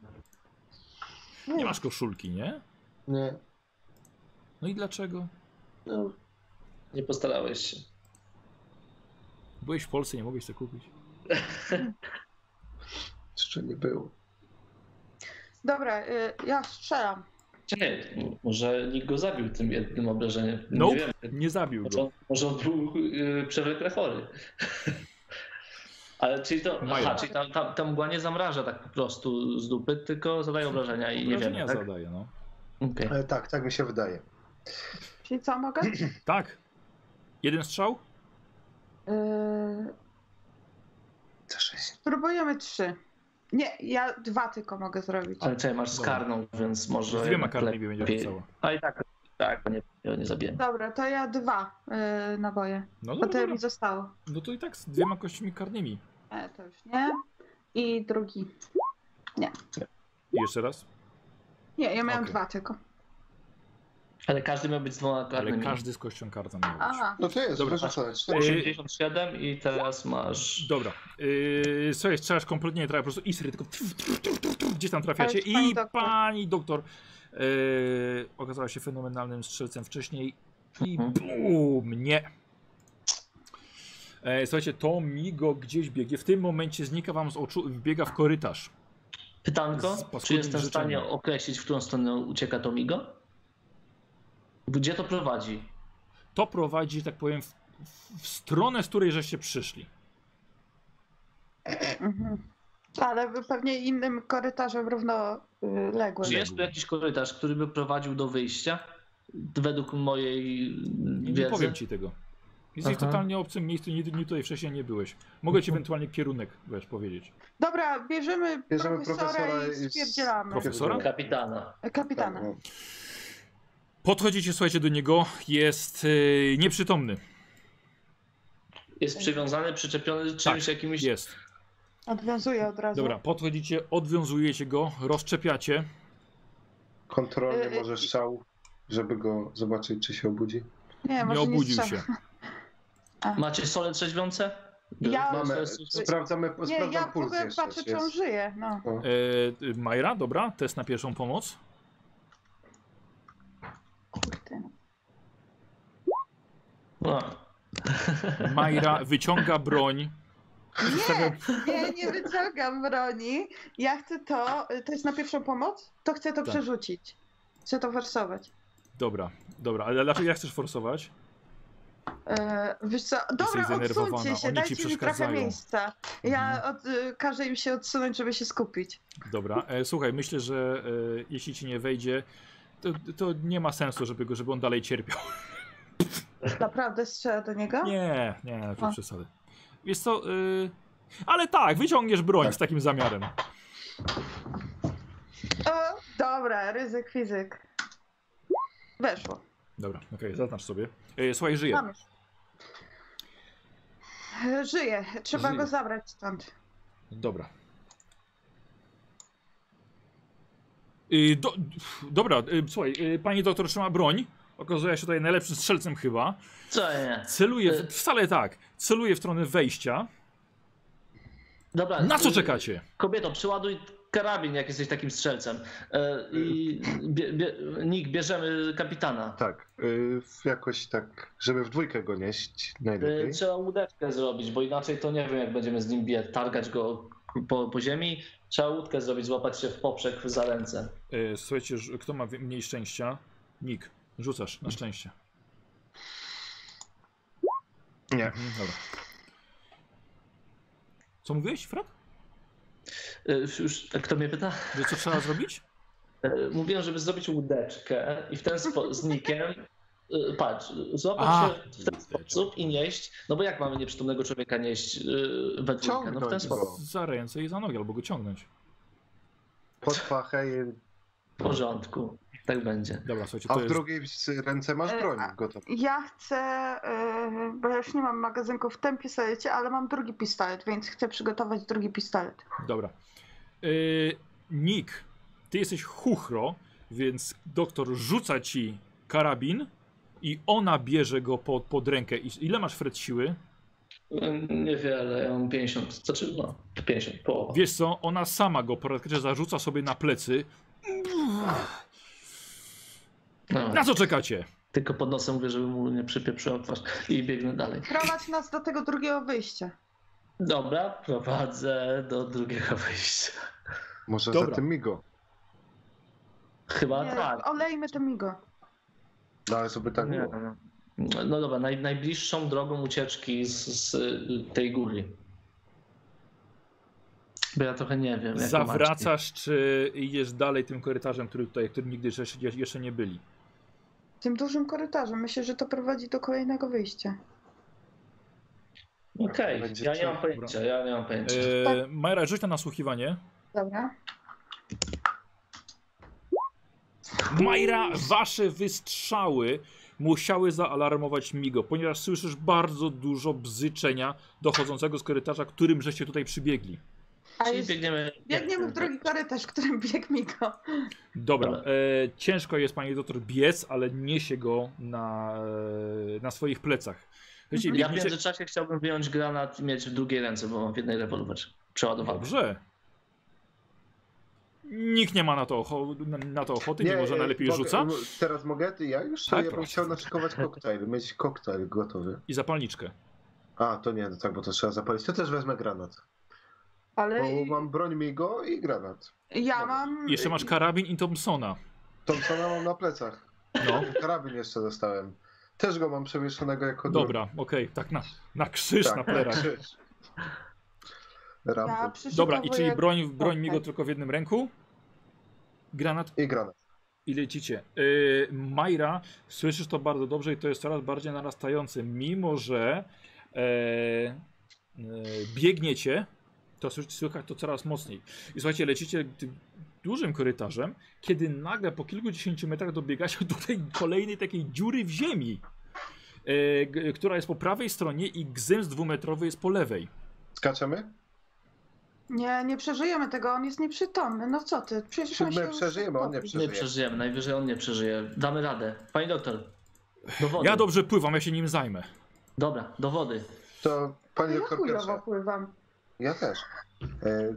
Nie masz koszulki, nie?
Nie.
No i dlaczego?
No, nie postarałeś się.
Byłeś w Polsce, nie mogłeś sobie kupić.
Jeszcze nie było.
Dobra, y, ja strzelam.
Nie, może nikt go zabił tym jednym obrażeniem.
Nope.
Nie wiem.
Nie zabił
Może
go.
on, może on był yy, przewlekle chory. Ale czyli to.
Mają.
Aha, czyli ta, ta, ta mgła nie zamraża tak po prostu z dupy, tylko zadaje obrażenia i nie
Wrażenia
wiemy. Tak?
zadaje, no.
Okej.
E, tak, tak mi się wydaje.
Czyli co mogę?
Tak. Jeden strzał?
Y,
Za sześć.
Spróbujemy trzy. Nie, ja dwa tylko mogę zrobić.
Ale czekaj, masz z
Dobra.
karną, więc może.
Z dwiema
jednak
kartami będzie
lepiej.
rzucała.
A i tak, tak, nie, nie zabijemy.
Dobra, to ja dwa y, naboje,
No
bo
dobra.
tyle mi zostało.
No to i tak z dwiema kośćmi karnymi.
E, to już nie. I drugi.
I jeszcze raz.
Nie, ja miałam
Okej.
dwa tylko.
Ale każdy miał być z dwoma
Ale
karnymi.
każdy z kością kartą miał być.
Aha,
No to jest, tak?
Dobra,
proszę sobie, cztery.
87 i teraz masz.
Dobra. Yy, słuchaj, strzelasz kompletnie nie trafia, po prostu isry, tylko tf, tf, tf, tf, tf, gdzieś tam trafiacie.
Ale pani
I
doktor.
pani doktor yy, okazała się fenomenalnym strzelcem wcześniej i
Mhm.
bum, nie. E, słuchajcie, to migo gdzieś biegnie. W tym momencie znika wam z oczu, biega w korytarz.
Pytanko,
Z paskudnym
czy jestem w stanie
życzeniem.
określić, w którą stronę ucieka Tomigo? Gdzie to prowadzi?
To prowadzi, że tak powiem, w, w stronę, z której żeście przyszli.
mhm. Ale wy pewnie innym korytarzem y, równoległym.
Czy jest tu jakiś korytarz, który by prowadził do wyjścia? Według mojej
Nie, nie
wiedzy.
powiem ci tego. Jesteś w
Aha. Mhm.
totalnie obcym miejscu, nigdy nigdy tutaj wcześniej nie byłeś. Mogę ci ewentualnie kierunek wiesz, powiedzieć.
Dobra, bierzemy,
Bierzemy
profesora,
profesora
i
i-
spierdzielamy.
Profesor- Profesora?
Kapitana.
Tak,
Kapitana.
no.
Podchodzicie, słuchajcie, do niego. Jest yy, nieprzytomny.
Jest przywiązany, przyczepiony czymś jakimś.
Tak, Jest.
Odwiązuję od razu.
Dobra, podchodzicie, odwiązujecie go, rozczepiacie.
Kontrolny
Y, y,
może strzał, żeby go zobaczyć, czy się obudzi.
Nie,
Nie
może nie,
obudził
strzelam.
się.
Macie sole trzeźwiące?
Ja-
Mamy...
Mamy, sprawdzamy,
Nie,
sprawdzam
ja w
puls
ogóle
jeszcze.
patrzę,
czy
czy on
jest.
żyje. No.
No.
E, y, Majra, dobra, test na pierwszą pomoc.
No.
Majra wyciąga broń.
Nie, nie, nie wyciągam broni. Ja chcę to, to jest na pierwszą pomoc, to chcę to
Tak.
przerzucić. Chcę to wersować.
Dobra, dobra, ale dlaczego ja chcesz forsować?
E, wiesz co, dobra,
zdenerwowana,
odsuńcie się,
oni ci
dajcie mi trochę
przeszkadzają. Mhm.
miejsca. Ja od, y, każę im się odsunąć, żeby się skupić.
Dobra, e, słuchaj, myślę, że e, jeśli ci nie wejdzie, to, to nie ma sensu, żeby, go, żeby on dalej cierpiał.
Naprawdę strzela do niego?
Nie, nie, to
O.
przesady. Wiesz co, y, ale tak, wyciągniesz broń z takim zamiarem.
O, dobra, ryzyk fizyk. Weszło.
Dobra, okej, zaznacz sobie. E, słuchaj, żyje.
Mam już. E, Żyje, trzeba
Żyje.
go zabrać stąd.
Dobra. Y, do, pff, dobra, y, słuchaj, y, pani doktor trzyma broń. Okazuje się tutaj najlepszym strzelcem chyba.
Co nie?
Celuje, w,
Y.
wcale tak, celuje w stronę wejścia.
Dobra.
Na co
y,
czekacie?
Kobieto, przyładuj karabin, jak jesteś takim strzelcem. E, I bie, bie, Nick, bierzemy kapitana.
Tak, y, w- jakoś tak, żeby w dwójkę go nieść
E,
Y,
najlepiej.
Trzeba łódeczkę zrobić, bo inaczej to nie wiem, jak będziemy z nim bijać, targać go po, po ziemi. Trzeba łódkę zrobić, złapać się w poprzek za ręce.
Y, słuchajcie, ż- kto ma wi- mniej szczęścia? Nick, rzucasz na szczęście.
Nie,
Mhm, dobra. Co mówiłeś, Fred?
E, Już kto mnie pyta?
Że co trzeba zrobić?
E, Mówiłem, żeby zrobić łódeczkę i w ten sposób z Nickiem. e, Patrz, złapać
A,
się w ten sposób i nieść. No bo jak mamy nieprzytomnego człowieka nieść e, we dwójkę? No w ten
Ciągnąć
sposób.
go
Za ręce i za nogi, albo go ciągnąć.
pod pachę, i-
W porządku. Tak będzie.
Dobra, słuchajcie,
a
to
w
jest...
drugiej s- ręce masz
E,
broń
a-
gotowa.
Ja chcę,
e,
y, bo ja już nie mam magazynku w tym pistolecie, ale mam drugi pistolet, więc chcę przygotować drugi pistolet.
Dobra. Yy, Nick, ty jesteś chuchro, więc doktor rzuca ci karabin i ona bierze go pod, pod rękę. I- Ile masz Fred siły?
E, Niewiele, ja mam 50, znaczy no 50, połowa.
Wiesz co, ona sama go praktycznie zarzuca sobie na plecy.
No.
Na co czekacie?
Tylko pod nosem mówię, żeby mu nie przypieprzyła twarz i biegnę dalej.
Prowadź nas do tego drugiego wyjścia.
Dobra, prowadzę do drugiego wyjścia.
Może
Dobra.
za tym migo.
Chyba
Nie,
tak.
Olejmy to migo.
No ale żeby tak
Nie,
było.
no. no dobra, naj, najbliższą drogą ucieczki z, z y, tej góry. Bo ja trochę nie wiem. jaką macie.
Zawracasz, czy idziesz dalej tym korytarzem, który tutaj, którym nigdy jeszcze, jeszcze nie byli?
Tym dużym korytarzem. Myślę, że to prowadzi do kolejnego wyjście.
Okej,
Będzie
ja nie mam
trzeba,
pojęcia, ja nie mam pojęcia.
E, Majra, rzuć na nasłuchiwanie.
Dobra.
Majra, wasze wystrzały musiały zaalarmować Migo, ponieważ słyszysz bardzo dużo bzyczenia dochodzącego z korytarza, którym żeście tutaj przybiegli.
A
Czyli
jest,
biegniemy...
biegniemy w drugi korytarz, którym bieg migo.
Dobra,
Dobra.
e, ciężko jest pani doktor biec, ale niesie go na, e, na swoich plecach. Wiecie,
Ja w
biegniecie-
międzyczasie chciałbym wyjąć granat i mieć w drugiej ręce, bo mam w jednej rewolwer przeładowany.
Dobrze. Nikt nie ma na to, ocho- na, na to ochoty, nie, może
e,
najlepiej
mogę-
rzuca.
m- Teraz mogę? Ty, Ja już?
Tak,
ja bym
proszę.
chciał naszykować koktajl, mieć koktajl gotowy.
I zapalniczkę.
A, to nie, no tak, bo to trzeba zapalić. To też wezmę granat.
No
Ale
No, Bo mam broń Migo i granat.
ja mam...
Jeszcze masz karabin i Thompsona.
Thompsona mam na plecach.
No.
Karabin jeszcze dostałem. Też go mam przewieszonego jako
Dobra, okej, tak na, na krzyż,
drugi.
na
Tak,
plerach.
krzyż.
Ja
Tak.
Rambo.
Dobra, i czyli
przygotowuję-
broń, broń mi go
Okej.
tylko w jednym ręku. Granat
I granat.
i lecicie. Yy, Majra, słyszysz to bardzo dobrze i to jest coraz bardziej narastające. Mimo, że e, e, biegniecie, to słyszy- słychać to coraz mocniej. I słuchajcie, lecicie tym dużym korytarzem, kiedy nagle po kilkudziesięciu metrach dobiegacie do tej kolejnej takiej dziury w ziemi, e, g- która jest po prawej stronie i gzyms dwumetrowy jest po lewej.
Skaczemy?
Nie, nie przeżyjemy tego, on jest nieprzytomny. No co ty, przecież
Czy
on się...
my przeżyjemy? On nie
Nie
przeżyje.
przeżyjemy, najwyżej on nie przeżyje. Damy radę. Pani doktor, do wody.
Ja dobrze pływam, ja się nim zajmę.
Dobra, do wody.
To
No
pani
Ja
doktor
chujowo
pierwsza.
pływam.
Ja też. E,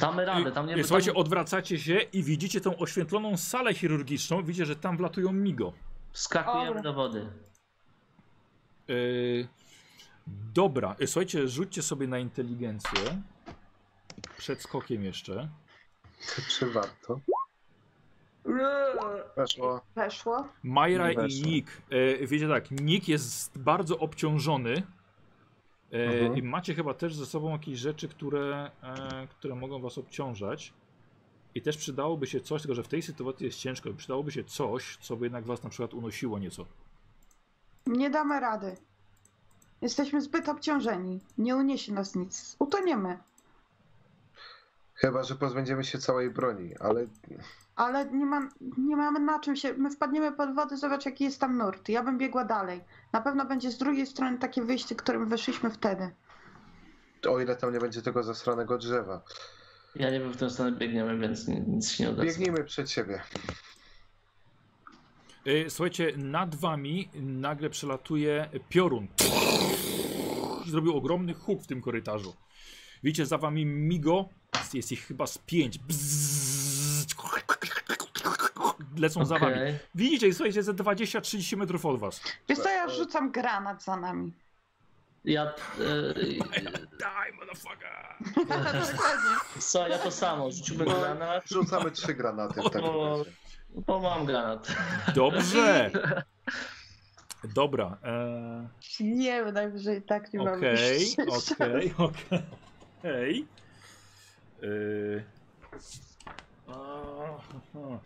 Damy radę, tam nie
I,
tam-
Y, słuchajcie, odwracacie się i widzicie tą oświetloną salę chirurgiczną. Widzicie, że tam wlatują migo.
Skakujemy
Dobra.
do wody.
Yy, dobra, Yy, słuchajcie, rzućcie sobie na inteligencję. Przed skokiem jeszcze.
czy warto?
Eee,
Weszło.
Weszło.
Majra i
Weszło.
Nick. Yy, wiecie tak, Nick jest bardzo obciążony. Yy,
Mhm.
I macie chyba też ze sobą jakieś rzeczy, które, e, które mogą was obciążać. I też przydałoby się coś, tylko że w tej sytuacji jest ciężko. Przydałoby się coś, co by jednak was na przykład unosiło nieco.
Nie damy rady. Jesteśmy zbyt obciążeni. Nie uniesie nas nic. Utoniemy.
Chyba, że pozbędziemy się całej broni, ale
Ale nie, ma, nie mamy na czym się. My wpadniemy pod wodę, zobacz jaki jest tam nurt. Ja bym biegła dalej. Na pewno będzie z drugiej strony takie wyjście, którym weszliśmy wtedy.
o ile tam nie będzie tego zasranego drzewa.
Ja nie wiem, w tę stronę biegniemy, więc ni- nic się nie uda.
Biegnijmy przed siebie.
E, Słuchajcie, nad wami nagle przelatuje piorun. Zrobił ogromny huk w tym korytarzu. Widzicie, za wami migo, jest ich chyba z pięć. Bzzz. Lecą za
Okej.
wami. Widzicie, ich, słuchajcie, ze 20-30 metrów od was.
Wiesz co,
Tak,
ja rzucam granat za nami.
Ja,
Daj, motherfucker!
Dokładnie.
e, co, ja to samo, rzuciłbym
No.
granat,
Rzucamy trzy granaty w takim
O.
razie.
bo mam granat.
Dobrze! Dobra. E,
nie wiem, najwyżej tak nie mamy.
Okej,
szczęścia.
okej, okej. Yy. O, ho, ho.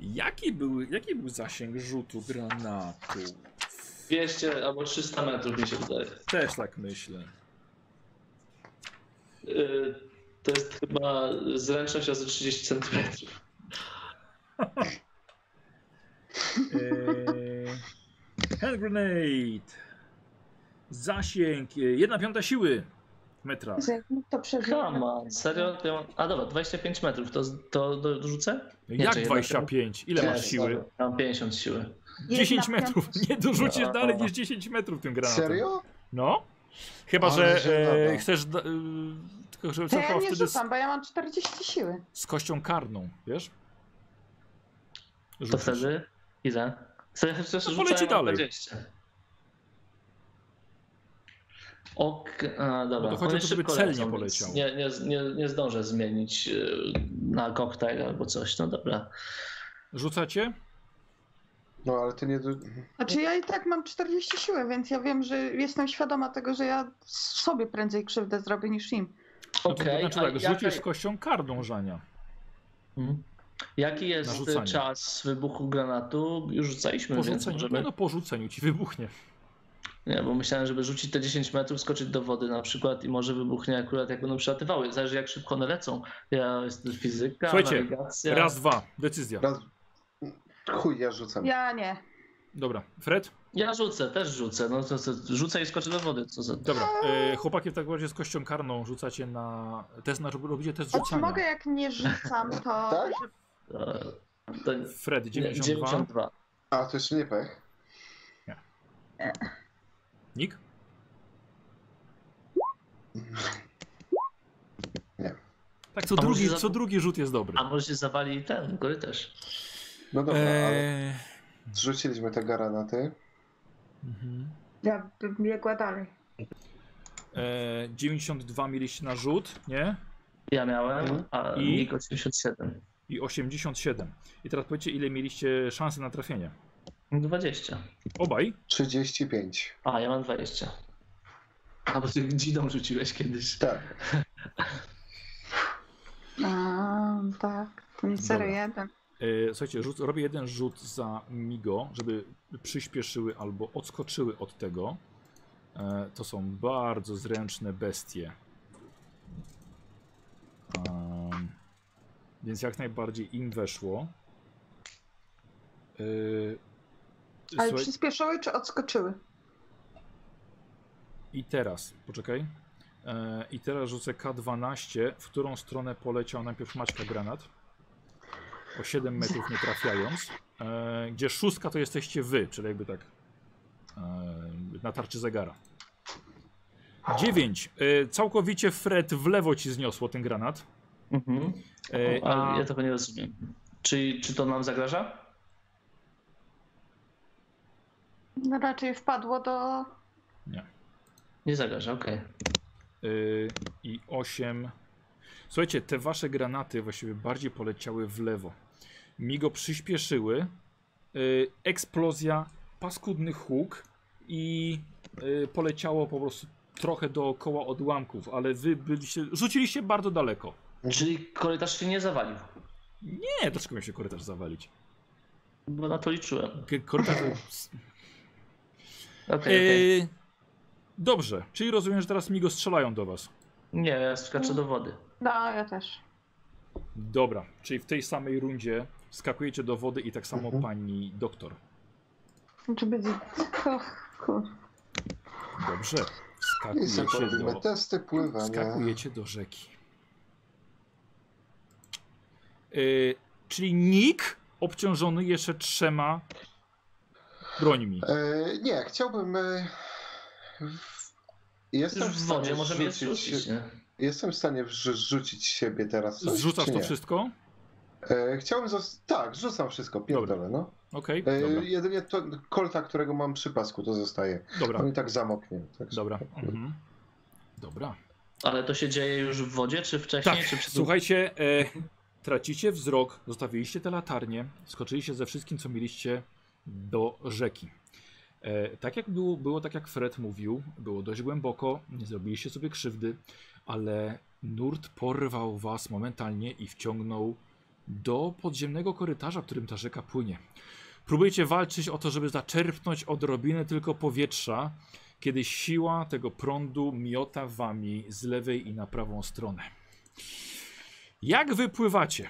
Jaki był, jaki był zasięg rzutu granatu?
200 albo 300 metrów mi się wydaje.
Też tak myślę.
E, to jest chyba zręczność razy 30 centymetrów.
Yy. Hand grenade. Zasięg. yy, Jedna piąta siły metra.
Jak my To przeżyjemy.
Kama, serio? To ja mam- A dobra, 25 metrów, to, to dorzucę?
Jak
czy jedna
25? Ile masz
Nie,
siły?
dobra, Mam 50 siły.
Jedna
10 metrów.
piąta-
Nie dorzucisz
No.
dalej niż 10 metrów tym granatem.
Serio?
No? Chyba,
Ale
że
żenada.
e, chcesz. da- E, tylko, że
To ja
chyba
nie
wtedy z,
rzucam, bo ja mam 40 siły.
z kością karną, wiesz?
To
Rzucisz.
wtedy ile? Przecież
No,
no,
poleci
rzucałem
dalej.
dalej. 20. Ok, a, dobra.
No to chodzi o
One
to, żeby
szybko
celnie
lecą, więc
poleciał.
Nie, nie, nie, nie zdążę zmienić y, na koktajl albo coś. No dobra.
Rzucacie?
No ale ty nie. do-
Znaczy ja i tak mam 40 siły, więc ja wiem, że jestem świadoma tego, że ja sobie prędzej krzywdę zrobię niż im.
No to
Okej,
znaczy
a
tak, rzucisz
jaka-
kością kardą żania.
Mhm. Jaki jest
Narzucanie.
y, czas wybuchu granatu? Już rzucaliśmy,
Po
więc
rzuceniu,
możemy...
no po rzuceniu ci wybuchnie.
Nie, bo myślałem, żeby rzucić te 10 metrów, skoczyć do wody na przykład i może wybuchnie akurat jak będą przelatywały. Zależy jak szybko one lecą. Ja jestem fizyka,
Słuchajcie,
nawigacja.
Raz, dwa, decyzja.
Raz... Chuj, ja rzucam.
Ja nie.
Dobra, Fred?
Ja rzucę, też rzucę. No to, to rzucę i skoczę do wody. Co za...
Dobra, e, chłopaki w takim razie z kością karną rzucacie na... Test, na robicie test
A czy
rzucania.
Znaczy, mogę jak nie rzucam, to...
Tak?
E, To... nie-
Fred, 92.
92.
A to jeszcze nie pech.
Nick?
Nie.
Tak, co
A może
drugi,
za-
co drugi rzut jest dobry.
A może się zawali ten korytarz.
No dobra, ale
Eee,
zrzuciliśmy te granaty.
mhm.
Ja bym biegła dalej.
Eee, 92 mieliście na rzut, nie?
Ja miałem, a
Mhm. I?
I? Niko 87.
I 87. I teraz powiedzcie, ile mieliście szansy na trafienie.
20.
Obaj?
35.
A, ja mam 20. A bo ty dzidą rzuciłeś kiedyś.
Tak.
A, tak. To nie
Dobra.
0,1.
Eee, słuchajcie, rzut, robię jeden rzut za Migo, żeby przyspieszyły albo odskoczyły od tego. Eee, to są bardzo zręczne bestie. Ehm, więc jak najbardziej im weszło. Eee,
Ale
słuchaj-
przyspieszyły czy odskoczyły?
I teraz, poczekaj. E, I teraz rzucę K12, w którą stronę poleciał najpierw Maćka granat. O 7 metrów nie trafiając. E, gdzie szóstka to jesteście wy, czyli jakby tak e, na tarczy zegara. 9. E, całkowicie Fred w lewo ci zniosło ten granat.
Mhm.
E,
O, ale
a,
ja tego nie rozumiem. Czy, czy to nam zagraża?
No raczej wpadło do...
Nie zagraża, okej.
e, I 8. Słuchajcie, te wasze granaty właściwie bardziej poleciały w lewo. Migo przyspieszyły. y, eksplozja, paskudny huk i y, poleciało po prostu trochę dookoła odłamków, ale wy byliście, rzuciliście bardzo daleko.
Czyli korytarz się nie zawalił,
Nie, troszkę miał się korytarz zawalić.
bo na to liczyłem.
K- Korytarz...
Okej, okej.
Y, Dobrze, czyli rozumiem, że teraz Migo strzelają do was.
Nie, ja skaczę do wody.
No, ja też.
Dobra, czyli w tej samej rundzie skakujecie do wody i tak samo
Mhm.
pani doktor.
Znaczy będzie... Och, kur...
Dobrze, Tak,
I sobie
skakujecie
porobimy
do...
testy pływania.
Skakujecie do rzeki. Yy, czyli Nick obciążony jeszcze trzema brońmi.
E, nie, chciałbym. E, w- jestem
Już w wodzie, możemy je rzucić, nie?
Jestem w stanie wrzu- rzucić siebie teraz. Coś,
Zrzucasz
czy
to
nie?
wszystko?
E, chciałbym. Zos- tak, rzucam wszystko, pierdolę, no.
Okej,
E,
dobra.
jedynie to kolta, którego mam przy pasku, to zostaje.
Dobra,
On i tak zamoknie. Także.
dobra. Mhm. Dobra.
Ale to się dzieje już w wodzie, czy wcześniej,
Tak,
czy przed...
Słuchajcie, e, tracicie wzrok, zostawiliście te latarnie, skoczyliście ze wszystkim, co mieliście do rzeki. E, tak jak było, było, tak jak Fred mówił, było dość głęboko, nie zrobiliście sobie krzywdy, ale nurt porwał was momentalnie i wciągnął do podziemnego korytarza, którym ta rzeka płynie. Próbujecie walczyć o to, żeby zaczerpnąć odrobinę tylko powietrza, kiedy siła tego prądu miota wami z lewej i na prawą stronę. Jak wypływacie?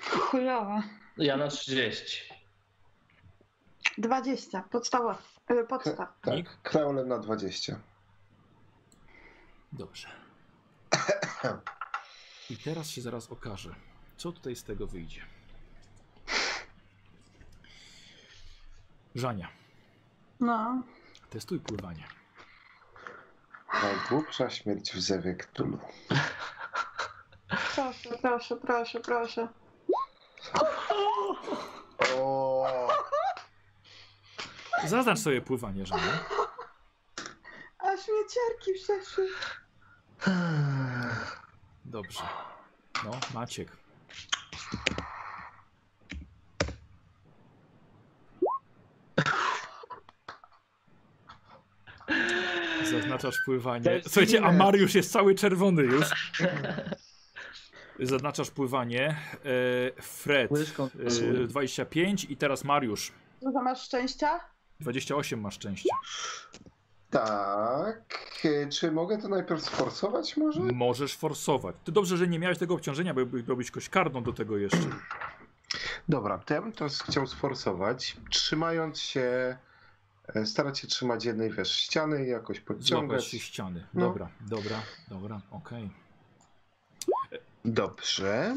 Chujowa.
Ja na 30.
20. Podstawa. y, Podstaw.
Tak, kraulem na 20.
Dobrze. I teraz się zaraz okaże, co tutaj z tego wyjdzie. Żania,
No.
testuj pływanie.
Najgłupsza śmierć w zewie Cthulhu.
Proszę, proszę, proszę, proszę.
O,
Zaznacz sobie pływanie, że nie.
A śmieciarki przeszły.
Dobrze. No, Maciek. Zaznaczasz pływanie. Słuchajcie, a Mariusz jest cały czerwony już. Zaznaczasz pływanie. E, Fred
Łyżką.
e, 25 i teraz Mariusz.
Dużo masz szczęścia?
28 masz szczęście.
Tak. e, Czy mogę to najpierw sforsować może?
Możesz forsować. Ty dobrze, że nie miałeś tego obciążenia, bo by robić kość karną do tego jeszcze.
Dobra, to ja bym teraz chciał sforsować, trzymając się, e, starać się trzymać jednej wiesz, ściany i jakoś
Złapać się
podciągać.
ściany.
No.
Dobra, dobra, dobra, okej.
Dobrze.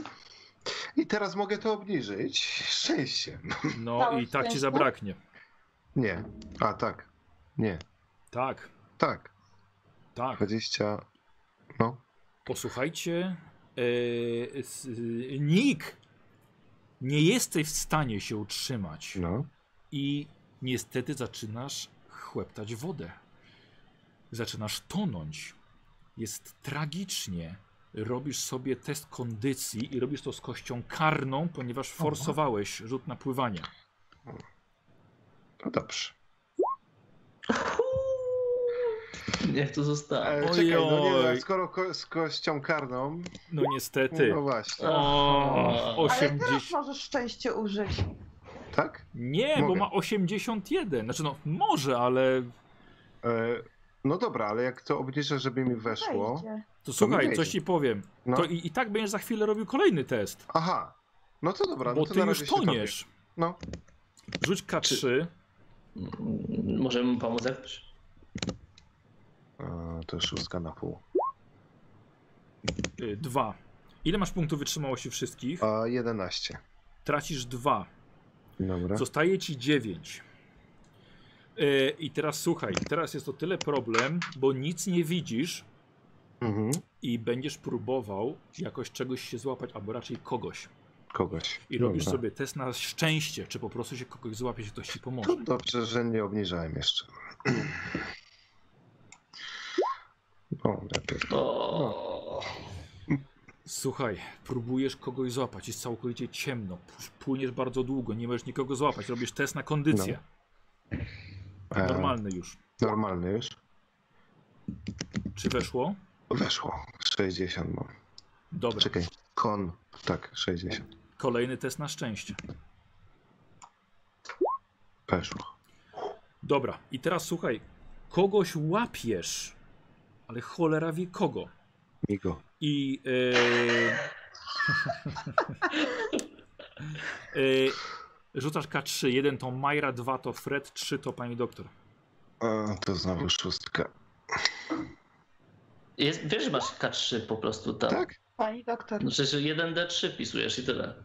I teraz mogę to obniżyć. Szczęściem.
No
Całe
i tak ci
szczęście?
zabraknie.
Nie. A tak. Nie.
Tak,
Tak.
tak.
20. No.
Posłuchajcie. Yy, s- yy, Nick, nie jesteś w stanie się utrzymać
No.
i niestety zaczynasz chłeptać wodę. Zaczynasz tonąć. Jest tragicznie. Robisz sobie test kondycji i robisz to z kością karną, ponieważ forsowałeś rzut na pływanie.
No dobrze.
Niech to zostanie.
E,
Ojoj.
czekaj, no nie, no, skoro ko z kością karną.
No niestety.
No właśnie.
O,
Ale teraz
80.
możesz szczęście użyć.
Tak?
Nie, bo
Mogę.
ma 81. Znaczy no może, ale
E, no dobra, ale jak to obniżę, żeby mi weszło.
Wejdzie.
to
mi
słuchaj,
wejdzie.
coś ci powiem.
No.
To i, i tak będziesz za chwilę robił kolejny test.
Aha. No to dobra,
Bo
no to
ty
na razie
już
się topię.
toniesz.
No.
Rzuć K3.
Mm, Możemy mu pomóc jakoś?
E, to szóstka na pół.
y, Dwa. Ile masz punktów wytrzymałości wszystkich?
A 11.
Tracisz dwa.
Dobra.
Zostaje ci dziewięć. Y, I teraz słuchaj, teraz jest to tyle problem, bo nic nie widzisz
Mhm.
i będziesz próbował jakoś czegoś się złapać, albo raczej kogoś.
Kogoś.
I robisz
Dobra.
sobie test na szczęście, czy po prostu się kogoś złapie, się ktoś ci pomoże.
To dobrze, że nie obniżałem jeszcze. O, lepiej.
O,
No. Słuchaj, próbujesz kogoś złapać, jest całkowicie ciemno, p- płyniesz bardzo długo, nie możesz nikogo złapać, robisz test na kondycję.
E,
Normalny już.
Normalny już.
Czy weszło?
Weszło. 60 mam.
Dobra.
Czekaj. Kon. Tak, 60.
Kolejny test na szczęście.
Weszło.
Dobra, i teraz słuchaj, kogoś łapiesz, ale cholera wie kogo.
Migo.
I. Yy... yy, rzucasz K3. Jeden to Majra, dwa to Fred, trzy to pani doktor.
A, to znowu szóstka.
jest, wiesz, że masz K3 po prostu tam.
Tak?
Pani doktor.
No przecież 1D3 pisujesz i tyle.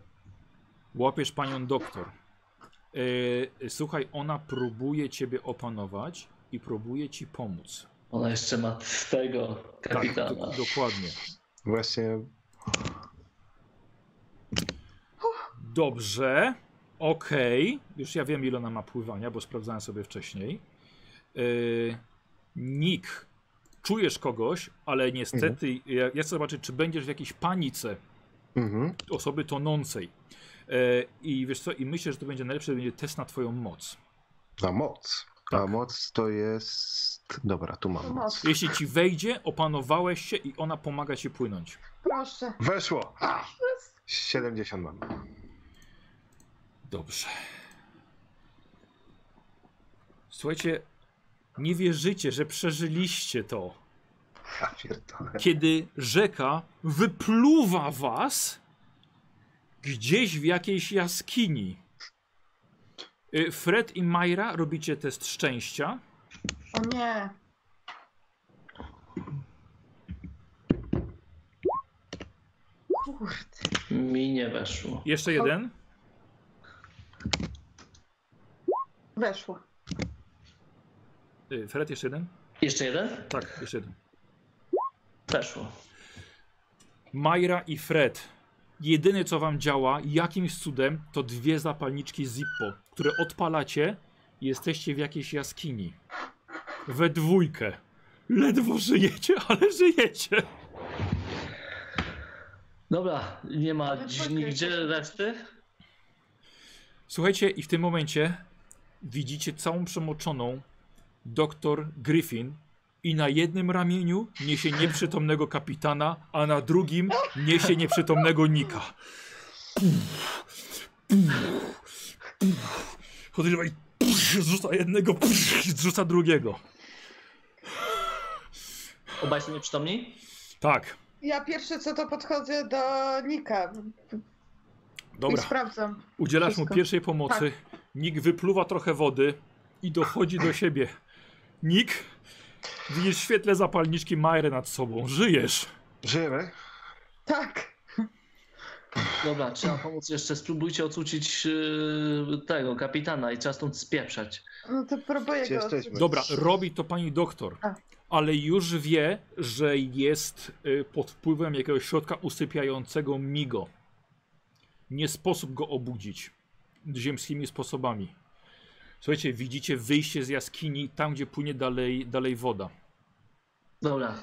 Łapiesz panią doktor. Yy, słuchaj, ona próbuje ciebie opanować i próbuje ci pomóc.
Ona jeszcze ma tego
Tak, do,
kapitana.
dokładnie.
Właśnie.
Dobrze. Okej. Już ja wiem, ile ona ma pływania, bo sprawdzałem sobie wcześniej. Yy, Nick, czujesz kogoś, ale niestety ja, ja chcę zobaczyć, czy będziesz w jakiejś panice
Mhm.
osoby tonącej. Yy, I wiesz co, i myślę, że to będzie najlepszy, będzie test na twoją moc.
Na moc.
Tak.
A moc to jest. Dobra, tu mam moc.
Jeśli ci wejdzie, opanowałeś się i ona pomaga ci płynąć.
Proszę.
Weszło! A! 70 mam.
Dobrze. Słuchajcie, nie wierzycie, że przeżyliście to.
Ja pierdolę.
kiedy rzeka wypluwa was gdzieś w jakiejś jaskini. Y, Fred i Majra robicie test szczęścia.
O nie. Kurde.
Mi nie weszło.
Jeszcze
Tak.
jeden.
Weszło.
Y, Fred, jeszcze jeden?
Jeszcze jeden?
Tak, jeszcze jeden.
Weszło.
Majra i Fred. Jedyne co wam działa jakimś cudem to dwie zapalniczki Zippo, które odpalacie Jesteście w jakiejś jaskini. We dwójkę. Ledwo żyjecie, ale żyjecie.
Dobra, nie ma
Ale
dzi-
poczekaj,
nigdzie
poczekaj.
reszty?
Słuchajcie, i w tym momencie widzicie całą przemoczoną doktor Griffin i na jednym ramieniu niesie nieprzytomnego kapitana, a na drugim niesie nieprzytomnego Nika. Chodzi i zrzuca jednego, zrzuca drugiego.
Obaj są nieprzytomni?
Tak,
Ja pierwsze co to podchodzę do Nika i
dobra.
sprawdzam.
Udzielasz
Wszystko. Tak.
mu pierwszej pomocy. Nick wypluwa trochę wody i dochodzi do siebie. Nick, widzisz w świetle zapalniczki Majrę nad sobą. Żyjesz.
Żyjemy?
Tak.
Dobra, trzeba pomóc jeszcze. Spróbujcie ocucić yy, tego kapitana i trzeba stąd spieprzać.
No to próbuję
Gdzie
go.
jesteśmy?
No
odsunąć.
Dobra, robi to pani doktor,
A.
ale już wie, że jest y, pod wpływem jakiegoś środka usypiającego migo. Nie sposób go obudzić ziemskimi sposobami. Słuchajcie, widzicie wyjście z jaskini, tam gdzie płynie dalej, dalej woda.
Dobra,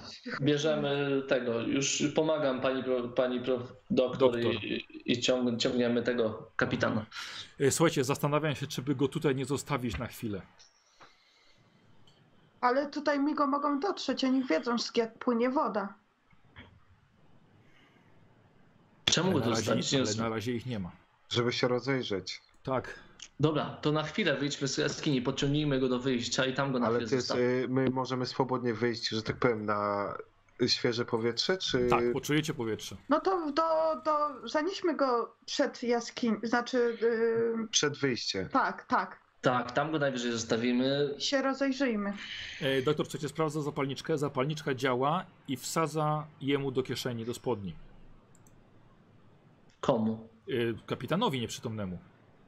bierzemy tego. Już pomagam pani, pro, pani prof, doktor,
Doktor.
i, i ciąg, ciągniemy tego kapitana.
Y, Słuchajcie, zastanawiam się, czy by go tutaj nie zostawić na chwilę.
Ale tutaj migo mogą dotrzeć, oni wiedzą wszystkie, jak płynie woda.
Czemu go
Ale
tu
na,
zostawić?
razie,
Nie
ale na
rozumiem.
razie ich nie ma.
Żeby się rozejrzeć.
Tak.
Dobra, to na chwilę wyjdźmy z jaskini, podciągnijmy go do wyjścia i tam go na
Ale
chwilę
to jest,
zostawmy.
y, my możemy swobodnie wyjść, że tak powiem, na świeże powietrze, czy...
Tak, poczujecie powietrze.
No to do, do, zanieśmy go przed jaskinią, znaczy yy,
Przed wyjściem.
tak, tak,
Tak, tam go najwyżej zostawimy.
się rozejrzyjmy.
E, doktor przecież sprawdza zapalniczkę. Zapalniczka działa i wsadza jemu do kieszeni, do spodni.
Komu?
E, kapitanowi nieprzytomnemu.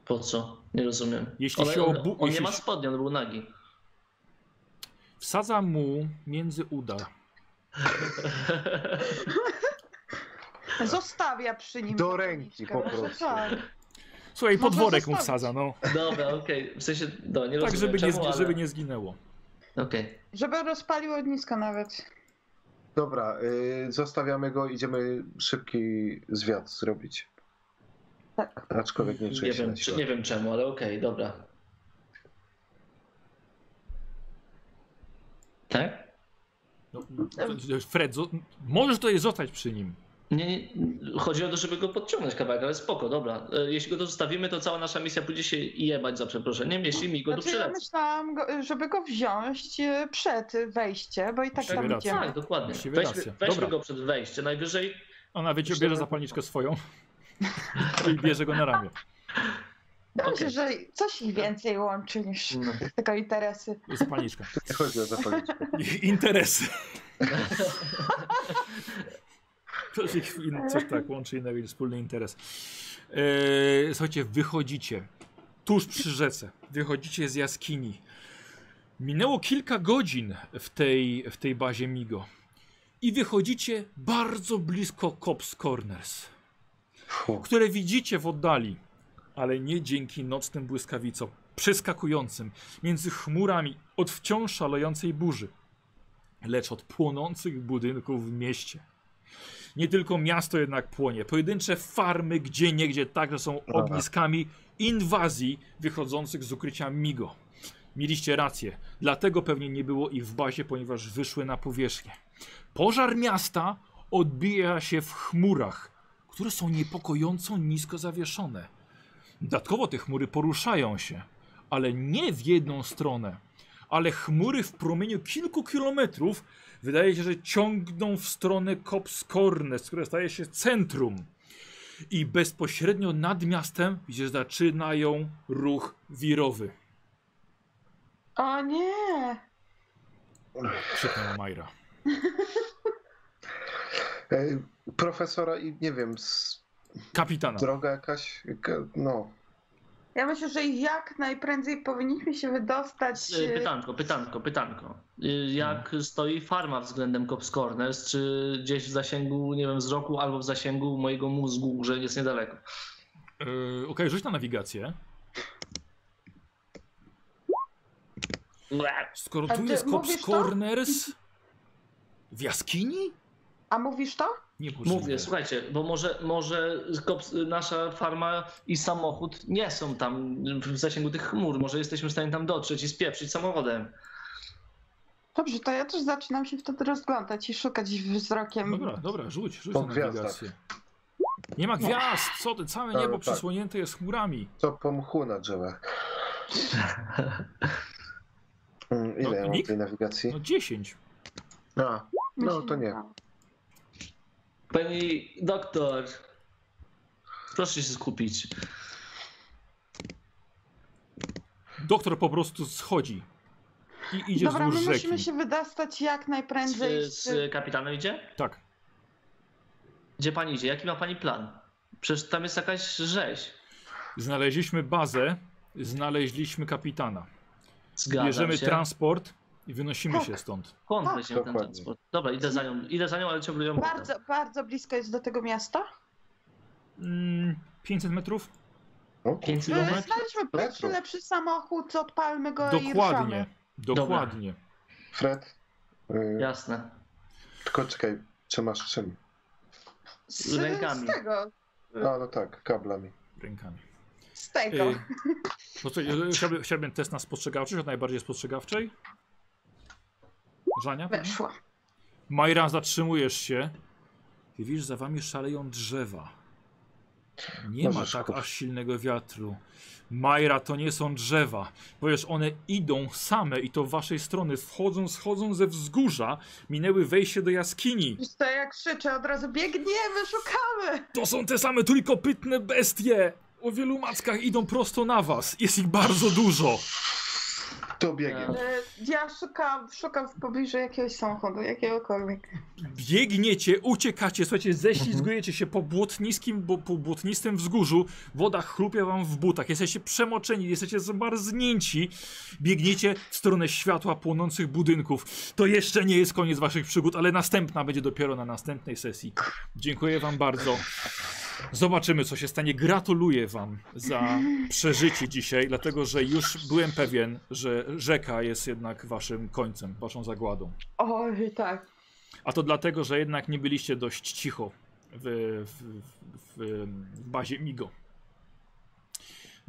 Po co? Nie rozumiem.
Jeśli
Ale
się
on-
obu-
On nie
jeśli
ma
się-
spodni, on był nagi.
Wsadza mu między uda.
Zostawia przy nim.
Do ręki po
zapalniczkę.
prostu.
Tak.
Słuchaj,
Można
pod worek mu
zostawić.
wsadza, no.
Dobra, okej. W sensie, no, nie rozumiem
Tak, żeby nie,
czemu,
zgi-
ale...
żeby nie zginęło.
Okej.
Żeby rozpalił ognisko nawet.
Dobra, y, zostawiamy go, idziemy szybki zwiat zrobić.
Tak.
Aczkolwiek nie czuję
Nie
się
wiem,
na
czy,
siłach.
nie wiem czemu, ale okej, dobra. Tak?
No,
Mm.
Fred, zo- możesz tutaj zostać przy nim.
Nie, nie, chodzi o to, żeby go podciągnąć kawałek, ale spoko, dobra. E, Jeśli go zostawimy, to cała nasza misja pójdzie się jebać za przeproszeniem, jeśli mi go tu
Znaczy ja
przylecą.
myślałam, go, żeby go wziąć e, przed wejście, bo i tak
Przed
tam
wejściem.
idziemy.
Tak, dokładnie.
Właściwie
Weźmy,
racja.
weźmy
Dobra.
go przed wejściem, najwyżej
Ona wiecie,
Myślę,
bierze
że-
zapalniczkę swoją i bierze go na ramię.
Ja myślę,
Okej.
że coś ich więcej łączy niż
no,
tylko interesy.
Zapalniczka.
Nie chodzi o zapalniczkę.
I- Interesy. Coś, ich, in- coś tak łączy innego, niż wspólny interes. Eee, słuchajcie, wychodzicie tuż przy rzece. Wychodzicie z jaskini. Minęło kilka godzin w tej, w tej bazie Migo. I wychodzicie bardzo blisko Cops Corners,
Fu.
które widzicie w oddali, ale nie dzięki nocnym błyskawicom, przeskakującym między chmurami od wciąż szalejącej burzy lecz od płonących budynków w mieście. Nie tylko miasto jednak płonie. Pojedyncze farmy gdzie niegdzie także są
Aha.
ogniskami inwazji wychodzących z ukrycia Migo. Mieliście rację, dlatego pewnie nie było ich w bazie, ponieważ wyszły na powierzchnię. Pożar miasta odbija się w chmurach, które są niepokojąco nisko zawieszone. Dodatkowo te chmury poruszają się, ale nie w jedną stronę, ale chmury w promieniu kilku kilometrów wydaje się, że ciągną w stronę Cops Corners, które staje się centrum. I bezpośrednio nad miastem, gdzie zaczynają ruch wirowy.
O nie!
Krzyknęła Majra.
Ej, Y, Profesora i nie wiem, s-
Kapitana.
droga jakaś, jaka- no.
Ja myślę, że jak najprędzej powinniśmy się wydostać.
E,
e,
Pytanko, pytanko, pytanko. E, Jak stoi farma względem Cops Corners? Czy gdzieś w zasięgu, nie wiem, wzroku albo w zasięgu mojego mózgu, że jest niedaleko?
e, Yy, Okej, rzuć na nawigację. Skoro
A
tu
ty
jest Cops
mówisz to?
Corners w jaskini?
A mówisz to?
Niemożliwe.
Mówię, słuchajcie, bo może, może kops- nasza farma i samochód nie są tam w zasięgu tych chmur. Może jesteśmy w stanie tam dotrzeć i spieprzyć samochodem.
Dobrze, to ja też zaczynam się wtedy rozglądać i szukać wzrokiem.
Dobra, dobra, rzuć, rzuć
Po
na nawigację. Nie ma gwiazd, co ty, całe
Ale
niebo
tak.
przysłonięte jest chmurami.
To po mchu na drzewach. Mm, Ile
No,
ja mam
nikt?
tej nawigacji?
No 10.
A,
Mi się
no to nie.
udało.
Pani doktor, proszę się skupić.
Doktor po prostu schodzi i idzie
Dobra, my
wzdłuż
musimy
rzeki.
się wydostać jak najprędzej.
Y, Z,
Z,
z kapitanem idzie?
Tak.
Gdzie pani idzie? Jaki ma pani plan? Przecież tam jest jakaś rzeź.
Znaleźliśmy bazę, znaleźliśmy kapitana.
Zgadzam
Bierzemy
się.
transport i wynosimy
Tak.
się stąd.
Skąd
Tak,
weźmiemy ten
dokładnie.
transport? Dobra, idę za nią, idę za nią ale ciągle ją
bardzo, bardzo blisko jest do tego miasta.
Mm, 500 metrów?
No,
5
My
kilometrów?
Znajdźmy pierwszy
Metru.
lepszy samochód, odpalmy go i
Dokładnie.
ruszamy.
Dokładnie.
Fred, y,
Jasne.
tylko czekaj, czy masz czym?
Z,
Rękami.
z tego,
A, no tak, kablami.
Rękami.
z tego.
Y, no co, y, chciałbym, chciałbym test na spostrzegawczość, od najbardziej spostrzegawczej. Żania?
Weszła.
Majra, zatrzymujesz się. Ty widzisz, za wami szaleją drzewa. Nie ma
Możesz
tak
kupić.
aż silnego wiatru. Majra, to nie są drzewa. Powiesz, one idą same i to w waszej strony. Wchodzą, schodzą ze wzgórza. Minęły wejście do jaskini.
Wiesz co, jak krzyczę od razu, biegniemy, szukamy.
To są te same trójkopytne bestie. O wielu mackach idą prosto na was. Jest ich bardzo dużo.
To biegiem.
Y, Ja szukam, szukam w pobliżu jakiegoś samochodu, jakiegokolwiek.
biegniecie, uciekacie, słuchajcie, ześlizgujecie się po błotniskim, bo, po błotnistym wzgórzu, woda chrupie wam w butach, jesteście przemoczeni, jesteście zmarznięci, biegniecie w stronę światła płonących budynków. To jeszcze nie jest koniec waszych przygód, ale następna będzie dopiero na następnej sesji. Dziękuję wam bardzo. Zobaczymy, co się stanie. Gratuluję wam za przeżycie dzisiaj, dlatego że już byłem pewien, że rzeka jest jednak waszym końcem, waszą zagładą.
Oj, tak.
A to dlatego, że jednak nie byliście dość cicho w, w, w, w bazie Migo.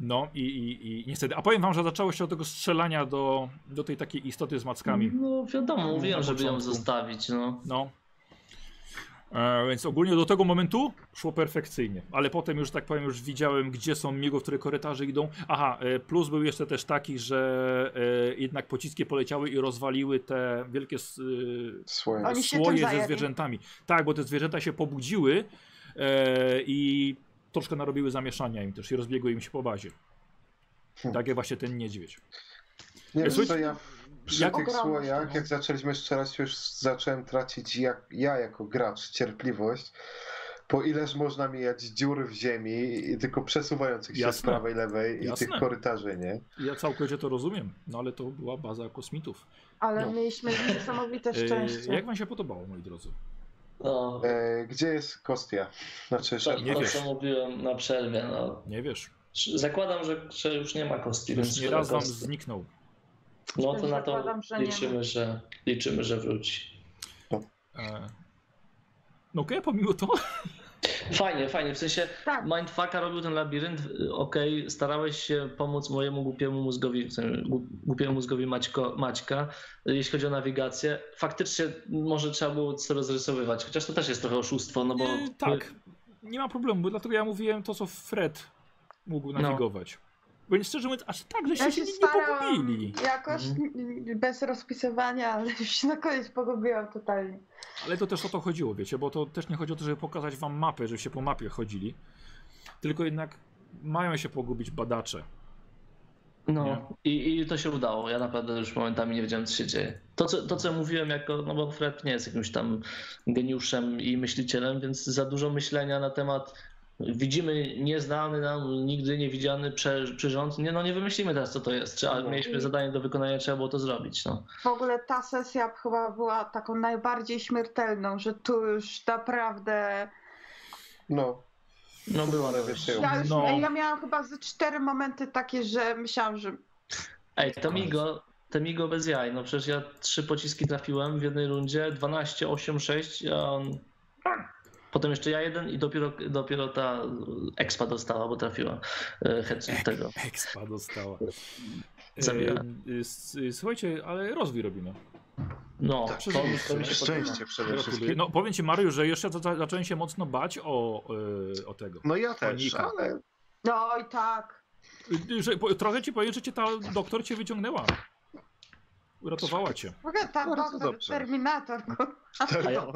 No i, i, i niestety. A powiem wam, że zaczęło się od tego strzelania do, do tej takiej istoty z mackami.
No wiadomo, mówiłem,
Na
żeby ją
początku.
zostawić, no.
No. E, więc ogólnie do tego momentu szło perfekcyjnie, ale potem już, że tak powiem, już widziałem, gdzie są migo, w które korytarze idą. Aha, e, plus był jeszcze też taki, że e, jednak pociski poleciały i rozwaliły te wielkie s- e,
Słoje.
Oni się tym
słoje ze
zajęli.
zwierzętami. Tak, bo te zwierzęta się pobudziły e, i troszkę narobiły zamieszania im też i rozbiegły im się po bazie.
Hmm.
Tak jak właśnie ten niedźwiedź.
Nie wiem,
Słuchajcie,
co ja przy
jak-
tych
Ogromne
słojach,
szkoda.
jak zaczęliśmy strzelać, już zacząłem tracić jak, ja jako gracz cierpliwość. Po ileż można mijać dziur w ziemi, i tylko przesuwających się z
Jasne.
prawej, lewej
Jasne.
i tych korytarzy, nie?
Ja całkowicie to rozumiem, no ale to była baza kosmitów.
Ale
No.
mieliśmy niesamowite szczęście.
E, jak wam się podobało, moi drodzy?
no.
E, gdzie jest Kostia? Znaczy,
To,
szef,
Tak, nie
to
wiesz.
co mówiłem na przerwie, no.
Nie wiesz.
Zakładam, że, że już nie ma kosti, więc
Już nie
szkoda
raz wam
kosti.
zniknął.
No to
Też
na to
zakładam, że nie ma.
liczymy, że liczymy, że wróci.
E, no okej, pomimo to.
Fajnie, fajnie. W sensie
Tak.
Mindfucka robił ten labirynt. y, Okej, starałeś się pomóc mojemu głupiemu mózgowi, w sensie gu- głupiemu mózgowi Maćko, Maćka, y, jeśli chodzi o nawigację. Faktycznie może trzeba było co rozrysowywać, chociaż to też jest trochę oszustwo, no bo
E, tak, nie ma problemu, bo dlatego ja mówiłem to, co Fred mógł
No.
nawigować. Bo nie szczerze mówiąc, aż tak, żeście
Ja
się,
się
nie, nie Mhm.
starałam
pogubili.
jakoś n- bez rozpisywania, ale już się na koniec pogubiłam totalnie.
Ale to też o to chodziło, wiecie, bo to też nie chodzi o to, żeby pokazać wam mapę, żebyście po mapie chodzili. Tylko jednak mają się pogubić badacze. Nie.
No i, i to się udało. Ja naprawdę już momentami nie wiedziałem, co się dzieje. To co, to, co mówiłem, jako, no bo Fred nie jest jakimś tam geniuszem i myślicielem, więc za dużo myślenia na temat widzimy nieznany nam, nigdy nie widziany prze- przyrząd. Nie, no nie wymyślimy teraz, co to jest. Trzeba,
No.
Mieliśmy zadanie do wykonania, trzeba było to zrobić. No.
W ogóle ta sesja chyba była taką najbardziej śmiertelną, że tu już naprawdę...
no,
No było.
ale wiecie,
Ja, już,
No.
ja miałam chyba ze cztery momenty takie, że myślałam, że
Ej, to Migo, Temigo bez jaj. No przecież ja trzy pociski trafiłem w jednej rundzie, 12, 8, 6, a on...
Tak.
Potem jeszcze ja jeden i dopiero, dopiero ta expa dostała, bo trafiła e, headshot tego.
Ekspa dostała.
Zabiera.
E, s- s- Słuchajcie, ale rozwój robimy.
No,
Tak,
to, mi- to mi się
Szczęście przede wszystkim.
No powiem ci Mariusz, że jeszcze za- za- zacząłem się mocno bać o, e, o tego.
No ja też,
Panika.
ale
No i tak.
Y, Że, po, trochę ci powiem, że cię ta doktor cię wyciągnęła. Uratowała cię.
W ogóle ta
Bardzo
doktor,
dobrze.
Terminator.
A ja,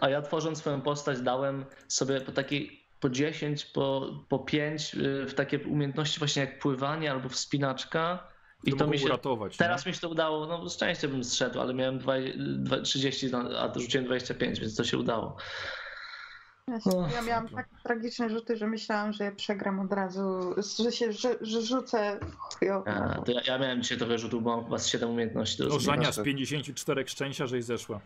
a ja tworząc swoją postać dałem sobie po taki po 10, po, po 5 y, w takie umiejętności właśnie jak pływanie albo wspinaczka i to
mogą
mi się
uratować.
Teraz mi się to udało, no z szczęście bym zszedł, ale miałem dwa, dwa, 30, na- a rzuciłem 25, więc to się udało.
Ja miałam tak tragiczne rzuty, że myślałam, że je przegram od razu, że się że, że rzucę. Chujo.
A, to ja, ja miałem dzisiaj trochę rzutów, bo mam chyba z 7 umiejętności. do
No,
rozbicia.
Żania z 54 szczęścia, żeś zeszła.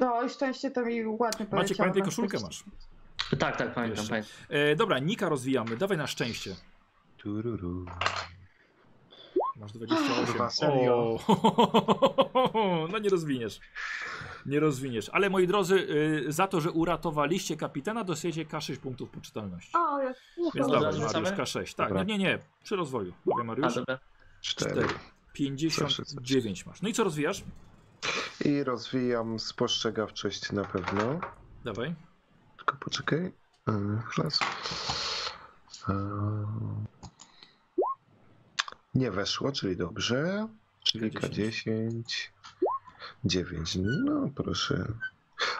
No i szczęście to mi ładnie powiedziało.
Maciek, pamiętaj, koszulkę masz.
tak, tak, pamiętam,
Jeszcze.
pamiętam.
E, dobra, Nika rozwijamy. Dawaj na szczęście.
Tururu.
Masz 28.
Kurwa, serio?
O, no nie rozwiniesz. Nie rozwiniesz. Ale moi drodzy, y, za to, że uratowaliście kapitana, dostajecie K6 punktów poczytalności.
O, ja...
Więc
Dobra,
dawaj,
rzucamy?
Mariusz, K6. Tak,
Dobra.
nie, nie, nie. Przy rozwoju. Dawaj,
A,
Mariusz.
dobra.
Cztery.
59 masz. No i co rozwijasz?
I rozwijam spostrzegawczość na pewno.
Dawaj.
Tylko poczekaj. Yy, Raz. Yy. Nie weszło, czyli dobrze. Czyli K10. 9. No proszę.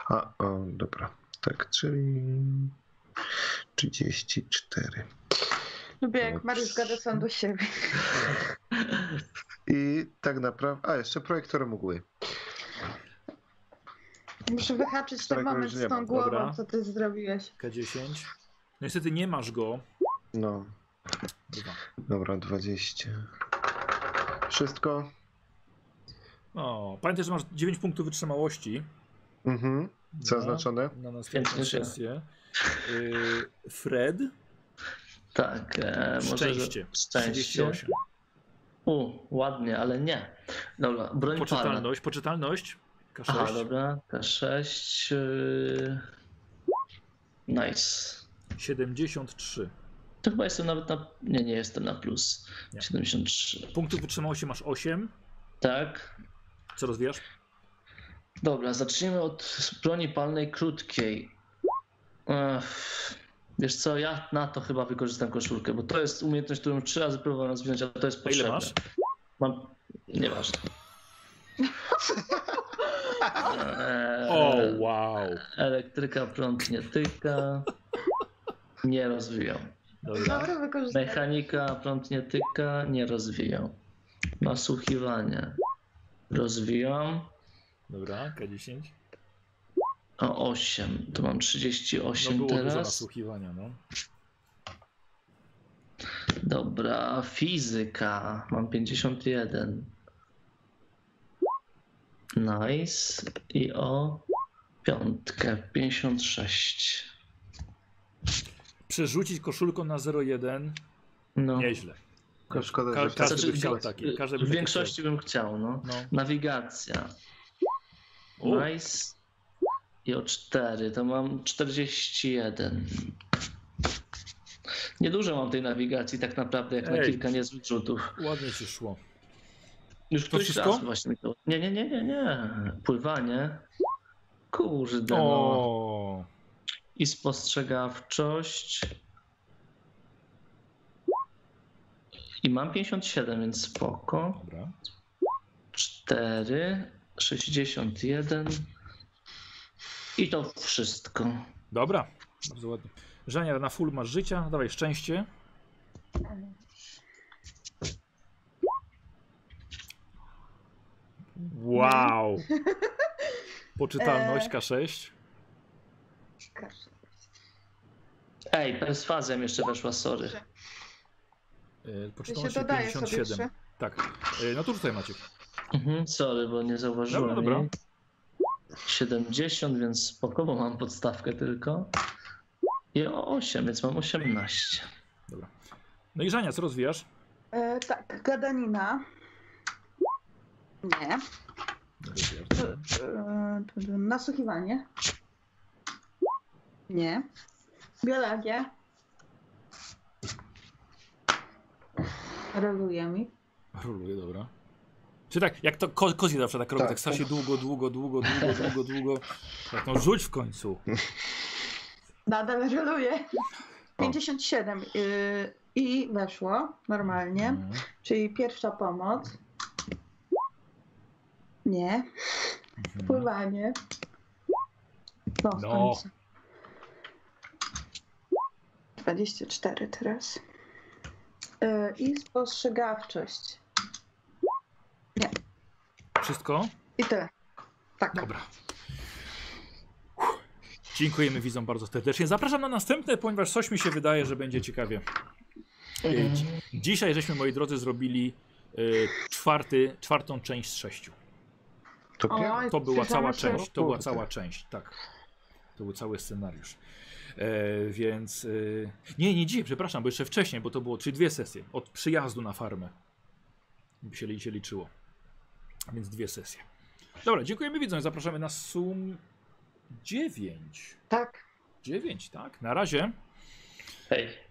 A, o, dobra. Tak, czyli 34.
Lubię jak Mariusz gada sam do siebie.
I tak naprawdę. A, jeszcze projektor mgły.
Muszę wyhaczyć ten
Którego
moment
już nie
z tą
ma,
głową,
dobra.
co ty zrobiłeś.
K10. No niestety nie masz go.
No,
Dwa.
dobra, 20. Wszystko.
O, pamiętaj, że masz 9 punktów wytrzymałości. No.
Mhm. Zaznaczone.
Na, na następną
Pięknie się.
sesję. Y, Fred,
Tak, e, może. że-
szczęście.
Szczęście.
38.
U, ładnie, ale nie. Dobra, broń palna.
Poczytalność, poczytalność. K6.
Aha, dobra, K6. Yy... Nice.
73.
To chyba jestem nawet na. Nie, nie jestem na plus.
Nie.
73.
Punktów wytrzymałości masz 8.
Tak.
Co rozwijasz?
Dobra, zacznijmy od broni palnej krótkiej. Ech, wiesz co, ja na to chyba wykorzystam koszulkę, bo to jest umiejętność, którą trzy razy próbowałem rozwinąć, ale to jest
A ile
potrzebne.
masz?
Mam... Nieważne. Eee,
O, wow.
Elektryka, prąd nie tyka. Nie rozwijał.
Dobra.
Dobra, wykorzystałem.
Mechanika, prąd nie tyka, nie rozwijał. Nasłuchiwanie. Rozwijam.
Dobra, No, K10.
O 8. To mam
No
38
było dużo
teraz.
nasłuchiwania, no.
Dobra, fizyka. Mam 51. Nice. I o piątkę. 56.
Przerzucić koszulką na 01.
No.
Nieźle.
Tylko Szkoda,
Ka-
że
każdy
wszyscy
by
Znaczy,
chciał tak.
chcieli.
taki. Każdy by
w
taki
większości bym chciał, no.
chciał. No.
Nawigacja.
U.
Nice. I o 4 to mam 41. Niedużo mam tej nawigacji, tak naprawdę, jak na
Ej.
kilka niezłych rzutów.
No, Ładnie ci szło.
Już któryś
wszystko?
raz właśnie. mi to- Nie, nie, nie, nie, nie. Pływanie. Kurde. No.
O,
I spostrzegawczość. I mam 57, więc spoko.
dobra.
4, 61 i to wszystko.
Dobra, bardzo ładnie. Żania, na full masz życia, dawaj szczęście. Wow!
E,
Poczytalność K6.
Ej, perswazja mi jeszcze weszła, sorry.
E,
Ja się
Poczytalność
dodaję sobie jeszcze.
57. Tak. E, No to rzucaj Maciek.
Mhm, sorry, bo nie zauważyłem.
Dobra, dobra.
jej. 70, więc spoko, bo mam podstawkę tylko. I o 8, więc mam 18.
No i Żania, co rozwijasz?
E, tak, gadanina.
Nie. E, Nasłuchiwanie. Nie. Biologia. Roluje mi.
Ruluje, dobra. Czy tak, jak to ko kozi zawsze tak robi, tak,
Tak,
tak strasznie długo, długo, długo, długo, długo, długo. Tak, no rzuć w końcu.
Nadal roluje. 57 y, i weszło normalnie.
Mhm.
Czyli pierwsza pomoc. Nie.
mhm.
Pływanie. No, w
No.
końcu. 24 teraz. Y, I spostrzegawczość.
Wszystko?
I tyle. Tak.
Dobra. Uff. Dziękujemy widzom bardzo serdecznie. Zapraszam na następne, ponieważ coś mi się wydaje, że będzie ciekawie. E,
Mhm.
dzi- Dzisiaj żeśmy, moi drodzy, zrobili e, czwarty, czwartą część z sześciu.
To pięknie.
Oj,
To była
słyszałam,
cała
że-
część, to była
Kurde.
cała część, tak. To był cały scenariusz. E, więc. E, nie, nie dzisiaj, przepraszam, bo jeszcze wcześniej, bo to było czyli dwie sesje. Od przyjazdu na farmę. By się, li- się liczyło. Więc dwie sesje. Dobra, dziękujemy widzom. Zapraszamy na sum 9.
Tak.
9, tak? Na razie.
Hej.